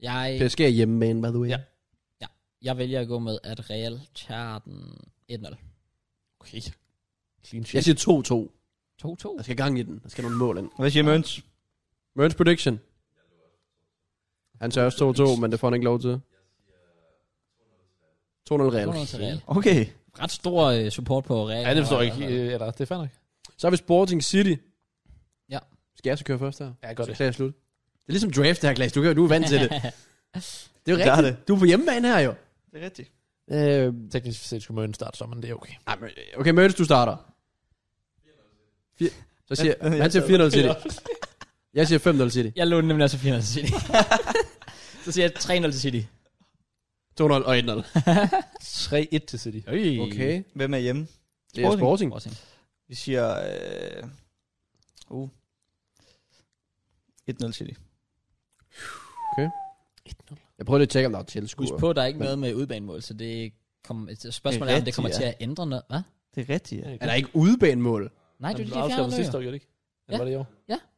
Speaker 1: Jeg,
Speaker 3: PSG er hjemmebane, by the way.
Speaker 2: Ja.
Speaker 1: jeg vælger at gå med, at Real tager den 1-0.
Speaker 2: Okay. Clean
Speaker 3: Jeg
Speaker 2: sheet. Altså,
Speaker 3: siger 2-2.
Speaker 1: 2-2.
Speaker 3: Der skal gang i den. Der skal nogle mål ind.
Speaker 4: Hvad siger Møns?
Speaker 3: Merns prediction. Han sagde også 2-2, men det får han ikke lov til. 2-0 Real.
Speaker 1: 2-0 til Real.
Speaker 4: Okay.
Speaker 1: Ret stor øh, support på Real.
Speaker 2: Ja, det forstår jeg ikke. Øh, Eller, det er fair nok.
Speaker 3: Så er vi Sporting City.
Speaker 1: Ja.
Speaker 3: Skal jeg så køre først her?
Speaker 2: Ja, godt
Speaker 3: Så
Speaker 2: det.
Speaker 3: klager jeg slut. Det er ligesom draft her, Klaas. Du, kan, du er vant til det. Det er jo
Speaker 4: Der er
Speaker 3: rigtigt. Du er på hjemmebane her jo.
Speaker 4: Det er rigtigt.
Speaker 3: Øh,
Speaker 2: Teknisk set skulle Møn starte, så men det er okay.
Speaker 3: nej, men, okay, Mertens, du starter. Fire- Så siger,
Speaker 4: Ja, ja,
Speaker 3: han siger 4-0 City. Jeg siger 5-0 City.
Speaker 1: Jeg lånte nemlig også 4-0 til City. så siger jeg 3-0 til City.
Speaker 3: 2-0 og 1-0.
Speaker 2: 3-1 til City.
Speaker 1: Øj.
Speaker 3: Okay.
Speaker 4: Hvem er hjemme?
Speaker 3: Det er Sporting.
Speaker 4: Sporting.
Speaker 1: Sporting.
Speaker 4: Vi siger... Øh, uh. 1-0 City.
Speaker 3: Jeg prøver lige at tjekke, om der er
Speaker 1: Husk
Speaker 3: tilskuer.
Speaker 1: på, der er ikke
Speaker 3: Men-
Speaker 1: noget med udbanemål, så det kom, et spørgsmål er, om det kommer
Speaker 4: Rigtigt,
Speaker 1: til at ændre noget. Hvad?
Speaker 4: Det er rigtigt, ja.
Speaker 3: Er der ikke udebanemål?
Speaker 1: Nej, det er jo
Speaker 2: det, det
Speaker 1: de
Speaker 2: afskaffet
Speaker 1: fjerde
Speaker 2: sidste
Speaker 1: løg.
Speaker 2: år, gjorde det ikke?
Speaker 1: Ja.
Speaker 2: Ja. Var det i år?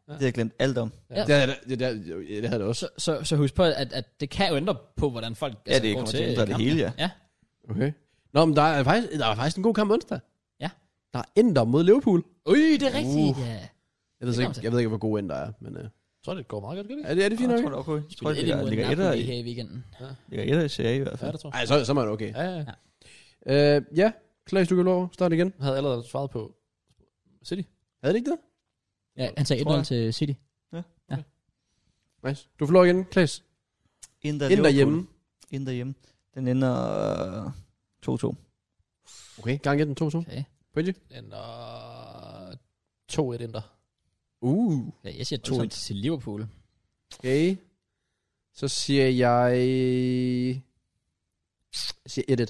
Speaker 4: Det har jeg glemt alt om.
Speaker 1: Ja.
Speaker 3: Det, det, det, det, det havde det også.
Speaker 1: Så, så, så husk på, at, at det kan jo ændre på, hvordan folk altså
Speaker 4: Ja, det kommer til at ændre det
Speaker 1: øh, kampen.
Speaker 4: hele, ja.
Speaker 3: Okay. Nå, men der er faktisk, der er faktisk en god kamp onsdag.
Speaker 1: Ja.
Speaker 3: Der er Ender mod Liverpool.
Speaker 1: Øj, det er rigtigt. Uh. Ja.
Speaker 3: Jeg ved,
Speaker 1: Det
Speaker 3: så
Speaker 1: kommer
Speaker 3: ikke,
Speaker 1: til.
Speaker 3: jeg ved ikke, hvor god Ender er, men øh,
Speaker 2: Jeg tror, det går meget godt, gør det ikke?
Speaker 3: er det, er det fint
Speaker 4: Jeg
Speaker 3: nok?
Speaker 4: tror, det er okay. Jeg tror,
Speaker 1: Spillede et
Speaker 4: det ligger,
Speaker 1: imod
Speaker 4: ligger etter
Speaker 1: Napoli
Speaker 4: i,
Speaker 1: her i weekenden.
Speaker 4: ligger etter i Serie A i hvert
Speaker 2: Ja,
Speaker 4: fald.
Speaker 2: det tror jeg.
Speaker 3: Ej, så, så er det okay.
Speaker 2: Ja, ja. ja.
Speaker 3: Øh, ja, Klaas, du kan lov at starte igen.
Speaker 2: Jeg havde allerede svaret på City.
Speaker 3: Havde det ikke det?
Speaker 1: Ja, han sagde
Speaker 4: Tror
Speaker 1: 1-0 til City.
Speaker 3: Nice. Du får lov igen, Klaas.
Speaker 4: Inter,
Speaker 3: Ind derhjemme.
Speaker 4: Ind derhjemme. Den ender øh, 2-2.
Speaker 3: Okay, gang 1, 2, 2.
Speaker 1: Okay.
Speaker 2: Den og 2-1 øh, Inter.
Speaker 3: Uh.
Speaker 1: Ja, jeg siger 2-1 til Liverpool.
Speaker 3: Okay. Så siger jeg... Jeg siger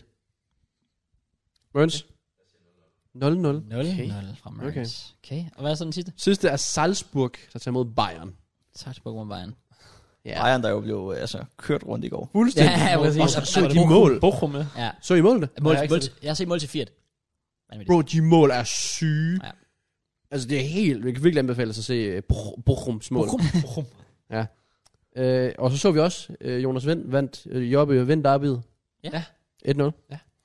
Speaker 3: 1-1. Møns. 0-0.
Speaker 1: 0-0 okay. fra Mertens.
Speaker 3: Okay.
Speaker 1: Okay. okay. Og hvad er så den sidste?
Speaker 3: Sidste er Salzburg, der tager mod Bayern.
Speaker 1: Sarpsborg mod Bayern.
Speaker 3: Ja.
Speaker 4: Bayern, der jo blev øh, altså, kørt rundt i går.
Speaker 3: Fuldstændig.
Speaker 1: Ja, præcis.
Speaker 3: Og så, så
Speaker 1: Og
Speaker 3: de mål.
Speaker 2: Bochum, ja.
Speaker 1: Ja.
Speaker 3: Så I målene?
Speaker 1: Mål,
Speaker 2: jeg
Speaker 1: jeg,
Speaker 2: har ikke
Speaker 1: mål,
Speaker 2: set
Speaker 1: jeg har set mål til 4
Speaker 3: Bro, de mål er syge.
Speaker 1: Ja.
Speaker 3: Ja. Altså, det er helt... Vi kan virkelig anbefale os at se øh, Bro- Bochums mål.
Speaker 2: Bochum. Bochum.
Speaker 3: Øh, og så så vi også, øh, Jonas Vind vandt øh, Jobbe Vind derbyet.
Speaker 1: Ja.
Speaker 3: 1-0.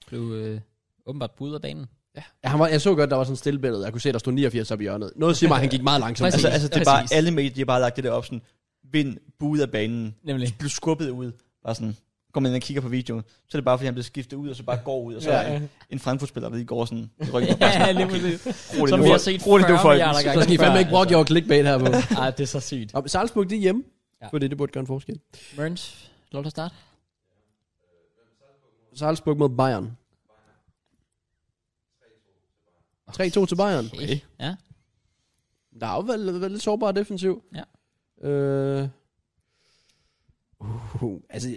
Speaker 1: Blev øh, åbenbart budet af banen.
Speaker 3: Ja, han var, jeg så godt, der var sådan et stille billede. Jeg kunne se, der stod 89 op i hjørnet. Noget siger mig, at han gik meget langsomt.
Speaker 1: Præcis.
Speaker 4: Altså,
Speaker 3: altså,
Speaker 4: altså det er
Speaker 1: præcis.
Speaker 4: bare, alle medier de har bare lagt det der op sådan, vind buet af banen,
Speaker 1: Nemlig.
Speaker 4: blev skubbet ud, bare sådan, går man ind og kigger på videoen, så er det bare, fordi han blev skiftet ud, og så bare går ud, og så er en, en Frankfurt-spiller, der lige går sådan, i ryggen og bare
Speaker 1: ja,
Speaker 4: sådan,
Speaker 1: lige præcis.
Speaker 4: roligt
Speaker 1: Som
Speaker 4: nu,
Speaker 1: vi har
Speaker 4: folk.
Speaker 1: set
Speaker 4: roligt nu,
Speaker 1: 40
Speaker 4: folk.
Speaker 1: milliarder gange
Speaker 3: Så skal I fandme
Speaker 1: før,
Speaker 3: ikke brokke
Speaker 1: altså.
Speaker 3: jer over clickbait her på.
Speaker 1: Ej, det er så sygt.
Speaker 3: Nå, men Salzburg, det er hjemme.
Speaker 1: Ja.
Speaker 3: Ja. For det, det burde gøre en forskel.
Speaker 1: Merns, lov til at starte?
Speaker 3: Salzburg mod Bayern. 3-2 til Bayern.
Speaker 1: Okay. Ja.
Speaker 3: Der er jo været, været lidt sårbar defensiv.
Speaker 1: Ja.
Speaker 3: Øh, uh, altså,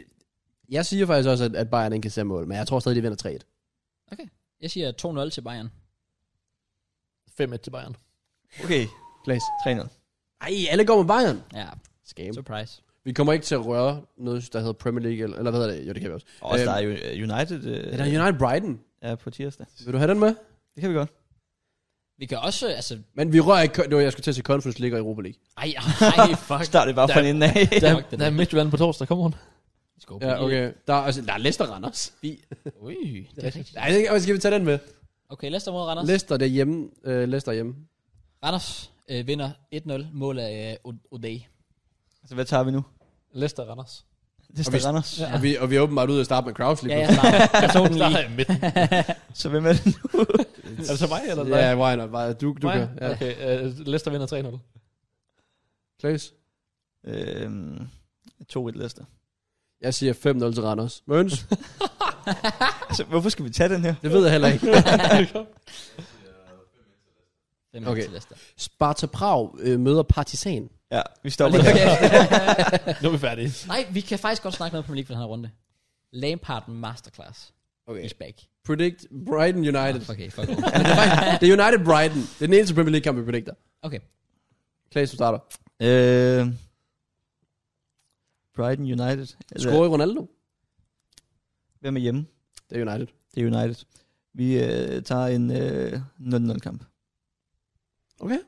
Speaker 3: jeg siger faktisk også, at, at Bayern ikke kan sætte mål, men jeg tror stadig, de vinder 3-1.
Speaker 1: Jeg siger 2-0 til Bayern.
Speaker 2: 5-1 til Bayern.
Speaker 4: Okay,
Speaker 3: Klaas.
Speaker 4: 3-0.
Speaker 3: Ej, alle går med Bayern.
Speaker 1: Ja,
Speaker 3: Skam.
Speaker 1: surprise.
Speaker 3: Vi kommer ikke til at røre noget, der hedder Premier League, eller, eller hvad hedder det? Jo, det kan vi også.
Speaker 4: Og også
Speaker 3: Øhm.
Speaker 4: der er jo øh, United øh,
Speaker 3: Er der United Brighton?
Speaker 4: ja, på tirsdag.
Speaker 3: Vil du have den med?
Speaker 4: Det kan vi godt.
Speaker 1: Vi kan også, altså...
Speaker 3: Men vi rører ikke, det var, jeg skulle til at sige Conference League og Europa League.
Speaker 1: Ej, ej, fuck.
Speaker 4: Start det bare fra den ende af.
Speaker 2: Der,
Speaker 1: fuck det
Speaker 2: der er
Speaker 1: der.
Speaker 2: Midtjylland på torsdag, kom on.
Speaker 1: Let's go.
Speaker 3: Ja, okay. Der er, altså, der er Leicester Randers. Vi,
Speaker 1: Ui, det er rigtigt.
Speaker 3: nej, jeg tænker, skal vi tage den med?
Speaker 1: Okay, Leicester mod Randers.
Speaker 3: Leicester derhjemme. Øh, Leicester hjemme.
Speaker 1: Randers øh, vinder 1-0 mål af øh, O- O'Day.
Speaker 4: Så Altså, hvad tager vi nu?
Speaker 2: Leicester Randers.
Speaker 4: Det
Speaker 3: Og
Speaker 4: står
Speaker 3: vi-
Speaker 4: Randers.
Speaker 1: Ja.
Speaker 3: Ja. Og, vi, og vi er åbenbart ude at starte med Kraus lige
Speaker 1: Ja,
Speaker 3: ja,
Speaker 1: jeg starter. Jeg tog den lige.
Speaker 2: i midten.
Speaker 4: Så hvem er det nu?
Speaker 2: er det så mig, eller
Speaker 3: Ja, why not? Bare, du, du
Speaker 2: Mig?
Speaker 3: kan. Ja.
Speaker 2: Okay, uh, Leicester vinder 3-0.
Speaker 3: Klaas?
Speaker 4: Øhm, 2-1 Leicester.
Speaker 3: Jeg siger 5-0 til Randers. Møns?
Speaker 4: Altså, hvorfor skal vi tage den her?
Speaker 3: det ved jeg heller ikke.
Speaker 1: Den okay.
Speaker 3: Okay.
Speaker 1: til Leicester.
Speaker 3: Sparta Prag øh, møder Partizan.
Speaker 4: Ja, vi stopper der.
Speaker 2: nu er vi færdige.
Speaker 1: Nej, vi kan faktisk godt snakke noget Premier League for den her runde. Lampard Masterclass. Okay. Is back.
Speaker 3: Predict Brighton United.
Speaker 1: Fuck, Okay, fuck
Speaker 3: Ja, det, er faktisk, det er United Brighton. Det er den eneste Premier League-kamp, vi predicter.
Speaker 1: Okay.
Speaker 3: Klaas, du starter.
Speaker 4: øh, Brighton United. Eller,
Speaker 3: Scorer i Ronaldo.
Speaker 4: Hvem er hjemme?
Speaker 3: Det er United.
Speaker 4: Det er United. Vi øh, tager en øh, 0-0 kamp.
Speaker 3: Okay.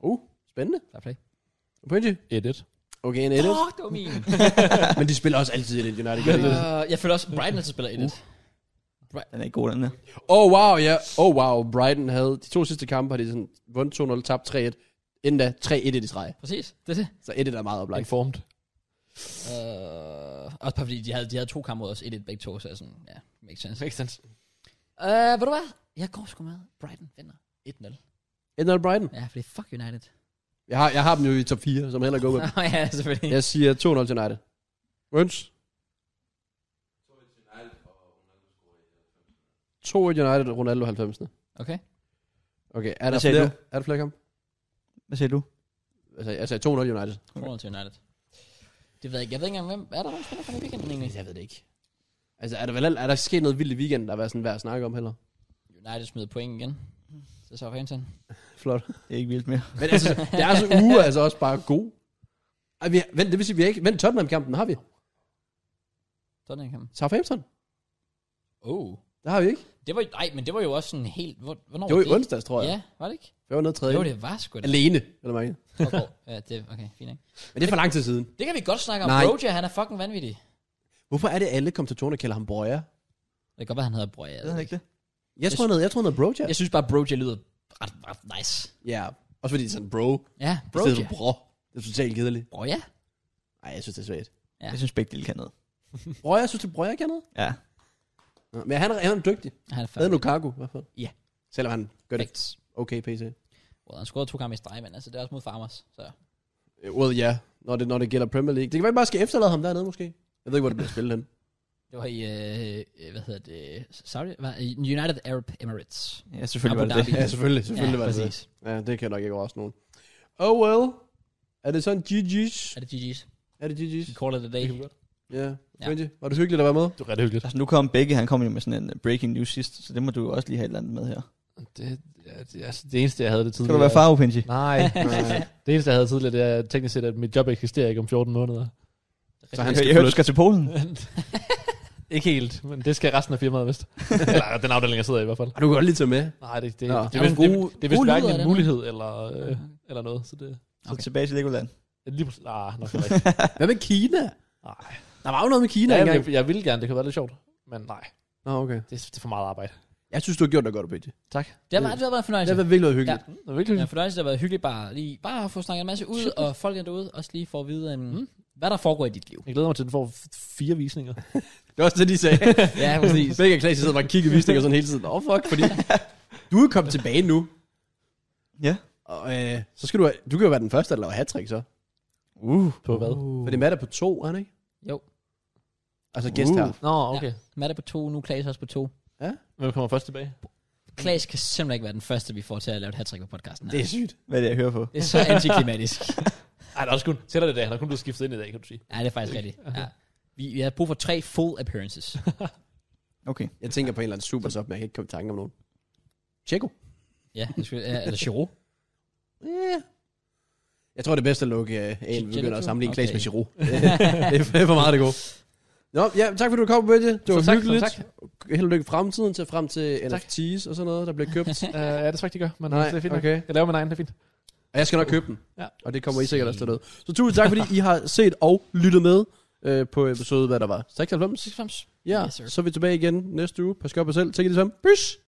Speaker 3: Uh, spændende.
Speaker 1: Fair play.
Speaker 3: Pønji.
Speaker 2: 1-1.
Speaker 3: Okay, en edit.
Speaker 1: Åh, det var min.
Speaker 3: Men de spiller også altid edit United. gør de ikke?
Speaker 1: Øh, jeg føler også, Brighton altid spiller 1
Speaker 4: Den er ikke god, den her.
Speaker 3: Åh, oh, wow, ja. Åh, oh, wow. Brighton havde de to sidste kampe, har de sådan vundet 2-0, tabt 3-1. Inden da 3-1 i de streg.
Speaker 1: Præcis, det er det.
Speaker 3: Så 1 er meget oplagt.
Speaker 2: Informed.
Speaker 1: Øh, også bare fordi, de havde, de havde to kampe mod os, 1-1 begge to, så jeg er sådan, ja, makes sense.
Speaker 2: Makes sense.
Speaker 1: Øh, ved du hvad? Jeg går sgu med. Brighton vinder 1-0.
Speaker 3: 1-0 Brighton.
Speaker 1: Ja, fordi fuck United.
Speaker 3: Jeg har, jeg har dem jo i top 4, som heller går med.
Speaker 1: Nå, ja, selvfølgelig.
Speaker 3: Jeg siger 2-0 til United. Wins. 2-1 United og Ronaldo 90.
Speaker 1: Okay.
Speaker 3: Okay, er der,
Speaker 4: Hvad sagde
Speaker 3: flere,
Speaker 4: du?
Speaker 3: er der flere kampe?
Speaker 4: Hvad siger du?
Speaker 3: Altså, jeg sagde 2-0 United.
Speaker 1: 2-0 til United. Det ved jeg ikke. Jeg ved ikke engang, hvem... Er der nogen spiller fra i weekenden egentlig?
Speaker 3: Jeg ved det ikke. Altså, er der, vel, er der sket noget vildt i weekenden, der er sådan værd at snakke om heller?
Speaker 1: United smider point igen. Så så Hansen.
Speaker 3: Flot.
Speaker 4: Det er ikke vildt mere.
Speaker 3: Men altså, deres uge er altså også bare god. Ej, vi, vent, det vil sige, vi har ikke... Vent, Tottenham-kampen har vi.
Speaker 1: Tottenham.
Speaker 3: Southampton,
Speaker 1: Oh.
Speaker 3: der har vi ikke.
Speaker 1: Det var, nej, men det var jo også sådan helt... Hvor, hvornår
Speaker 3: Det var i
Speaker 1: det?
Speaker 3: onsdags, tror jeg.
Speaker 1: Ja, var det ikke?
Speaker 3: Det var noget tredje.
Speaker 1: Jo, det var sgu da.
Speaker 3: Alene, eller mange.
Speaker 1: Okay. ja, det, okay, fint ikke?
Speaker 3: Men det er for lang tid siden.
Speaker 1: Det kan vi godt snakke om.
Speaker 3: Nej.
Speaker 1: Roger, han er fucking vanvittig.
Speaker 3: Hvorfor er det alle kommentatorerne kalder ham Brøja?
Speaker 1: Det kan godt være, han hedder Broja.
Speaker 4: Ved han ikke det?
Speaker 3: Jeg tror, han hedder, jeg tror, han hedder Broja.
Speaker 1: Jeg synes bare, Broja lyder ret, ret nice.
Speaker 3: Ja, også fordi det er sådan bro.
Speaker 1: Ja,
Speaker 3: Broja. Det
Speaker 1: Broja.
Speaker 3: bro. Det er totalt kedeligt.
Speaker 1: Broja?
Speaker 3: Nej, jeg synes, det er svært.
Speaker 1: Ja.
Speaker 4: Jeg synes begge dele kan noget.
Speaker 3: Brøja, synes du, Brøja kan noget?
Speaker 4: Ja.
Speaker 3: Nå, Men han er, han er dygtig.
Speaker 1: Han er
Speaker 3: Hvad er
Speaker 1: fandme
Speaker 3: Lukaku, i hvert fald.
Speaker 1: Ja.
Speaker 3: Selvom han gør det
Speaker 1: perfekt.
Speaker 3: okay, PC.
Speaker 1: Well, han scorede to kampe i streg, men altså, det er også mod Farmers. Så.
Speaker 3: Øh, Well, ja, når det, når det gælder Premier League. Det kan være, at bare skal efterlade ham dernede, måske. Jeg ved ikke, hvor det bliver spillet hen.
Speaker 1: Det var i, øh, øh, hvad hedder det, Saudi? Hvad, i United Arab Emirates.
Speaker 4: Ja, selvfølgelig var
Speaker 1: Abu
Speaker 4: det det.
Speaker 1: Dhabi.
Speaker 3: Ja, selvfølgelig.
Speaker 1: ja,
Speaker 3: Selvfølgelig var det
Speaker 1: præcis.
Speaker 3: det. Ja, det kan nok ikke overraske nogen. Oh well. Er det sådan GG's?
Speaker 1: Er det GG's?
Speaker 3: Er det GG's?
Speaker 1: We call it a day.
Speaker 3: Ja. Quincy, Var det hyggeligt at være med?
Speaker 2: Det er ret hyggeligt.
Speaker 4: Altså, nu kom begge, han kom jo med sådan en øh, breaking news sidst, så det må du jo også lige have et eller andet med her.
Speaker 2: Det, ja, det, altså, det eneste, jeg havde det
Speaker 4: Skal
Speaker 2: tidligere...
Speaker 4: du være farve, Pinji?
Speaker 2: Nej. det eneste, jeg havde tidligere, det er teknisk set, at mit job eksisterer ikke om 14 måneder.
Speaker 4: Så han skal jeg hørte, du skal til Polen.
Speaker 2: ikke helt, men det skal resten af firmaet vist. Eller den afdeling, jeg sidder i i hvert fald.
Speaker 3: Har du kan godt lige tage med?
Speaker 2: Nej, det, det,
Speaker 3: Nå.
Speaker 2: det, det,
Speaker 1: Jamen,
Speaker 2: det, det,
Speaker 1: gode-
Speaker 2: det er vist
Speaker 1: gode
Speaker 2: hverken
Speaker 1: nyheder,
Speaker 2: en
Speaker 1: det
Speaker 2: mulighed eller, øh, eller noget. Så det
Speaker 4: Så tilbage til Legoland.
Speaker 2: er lige pludselig... Ah, nok heller ikke.
Speaker 3: Hvad med Kina?
Speaker 2: Nej.
Speaker 3: Der var jo noget med Kina
Speaker 2: Ja,
Speaker 3: engang.
Speaker 2: jeg, jeg vil gerne, det kan være lidt sjovt. Men nej,
Speaker 3: Nå, okay.
Speaker 2: det, er- det er for meget arbejde.
Speaker 3: Jeg synes, du har gjort dig godt, Peter.
Speaker 2: Tak.
Speaker 1: Det har, været- det har været en fornøjelse.
Speaker 3: Det har virkelig været hyggeligt.
Speaker 1: Ja.
Speaker 2: Det er virkelig.
Speaker 1: Ja, fornøjelse, det har været hyggeligt bare, lige, bare at få snakket en masse ud, og folk er derude også lige får at vide, um, mm. hvad der foregår i dit liv.
Speaker 2: Jeg glæder mig til, at den får f- fire visninger.
Speaker 3: Det var også det, de sagde.
Speaker 1: ja, præcis.
Speaker 3: Begge klasse sidder bare og kigger i visninger sådan hele tiden. Åh, oh, fuck, fordi du er kommet tilbage nu.
Speaker 4: Ja.
Speaker 3: Og øh, så skal du, have- du kan jo være den første, der laver hat så.
Speaker 4: Uh.
Speaker 2: På hvad?
Speaker 3: For det er Matt er på to, er han ikke?
Speaker 1: Jo,
Speaker 3: Altså gæst her.
Speaker 4: Uh.
Speaker 2: Nå, okay.
Speaker 1: Matt er på to, nu Klaas også på to.
Speaker 2: Hvem kommer først tilbage?
Speaker 1: Klaas kan simpelthen ikke være den første, vi får til at lave et hattrick på podcasten. her.
Speaker 3: Det er sygt.
Speaker 4: Hvad er det, jeg hører på?
Speaker 1: det er så antiklimatisk.
Speaker 2: Ej, der er også kun, tæller det i dag. Han er kun blevet skiftet ind i dag, kan du sige.
Speaker 1: Ja, det er faktisk rigtigt. Ja. Vi, vi havde brug for tre full appearances.
Speaker 4: Okay.
Speaker 3: Jeg tænker på en eller anden super sub, men jeg kan ikke komme i tanke om nogen. Tjekko.
Speaker 1: Ja, jeg skulle, ja, eller Chiro.
Speaker 3: Jeg tror, det er bedst at lukke uh, af, vi
Speaker 1: Gelato?
Speaker 3: begynder at sammenligne Klaas
Speaker 1: Okay.
Speaker 3: med Giroud. det er- det er for meget, det går. Nå, ja, tak fordi du kom, Bødje. Det
Speaker 2: Så
Speaker 3: var
Speaker 2: tak, så
Speaker 3: hyggeligt.
Speaker 2: tak.
Speaker 3: Held og lykke i fremtiden til frem til
Speaker 2: Tak.
Speaker 3: NFT's og sådan noget, der bliver købt.
Speaker 2: Uh, ja, det tror jeg ikke, de gør. Men
Speaker 3: Nej,
Speaker 2: det er fint. nok.
Speaker 3: okay.
Speaker 2: Jeg laver min egen, det er fint.
Speaker 3: Og jeg skal nok købe den.
Speaker 2: Ja.
Speaker 3: Og det kommer I sikkert også til at vide. Så tusind tak, fordi I har set og lyttet med øh, på episode, hvad der var. 96?
Speaker 1: 96.
Speaker 3: Ja,
Speaker 1: Yes, sir.
Speaker 3: så er vi tilbage igen næste uge. Pas godt på jer selv. Tænk i det samme. Peace!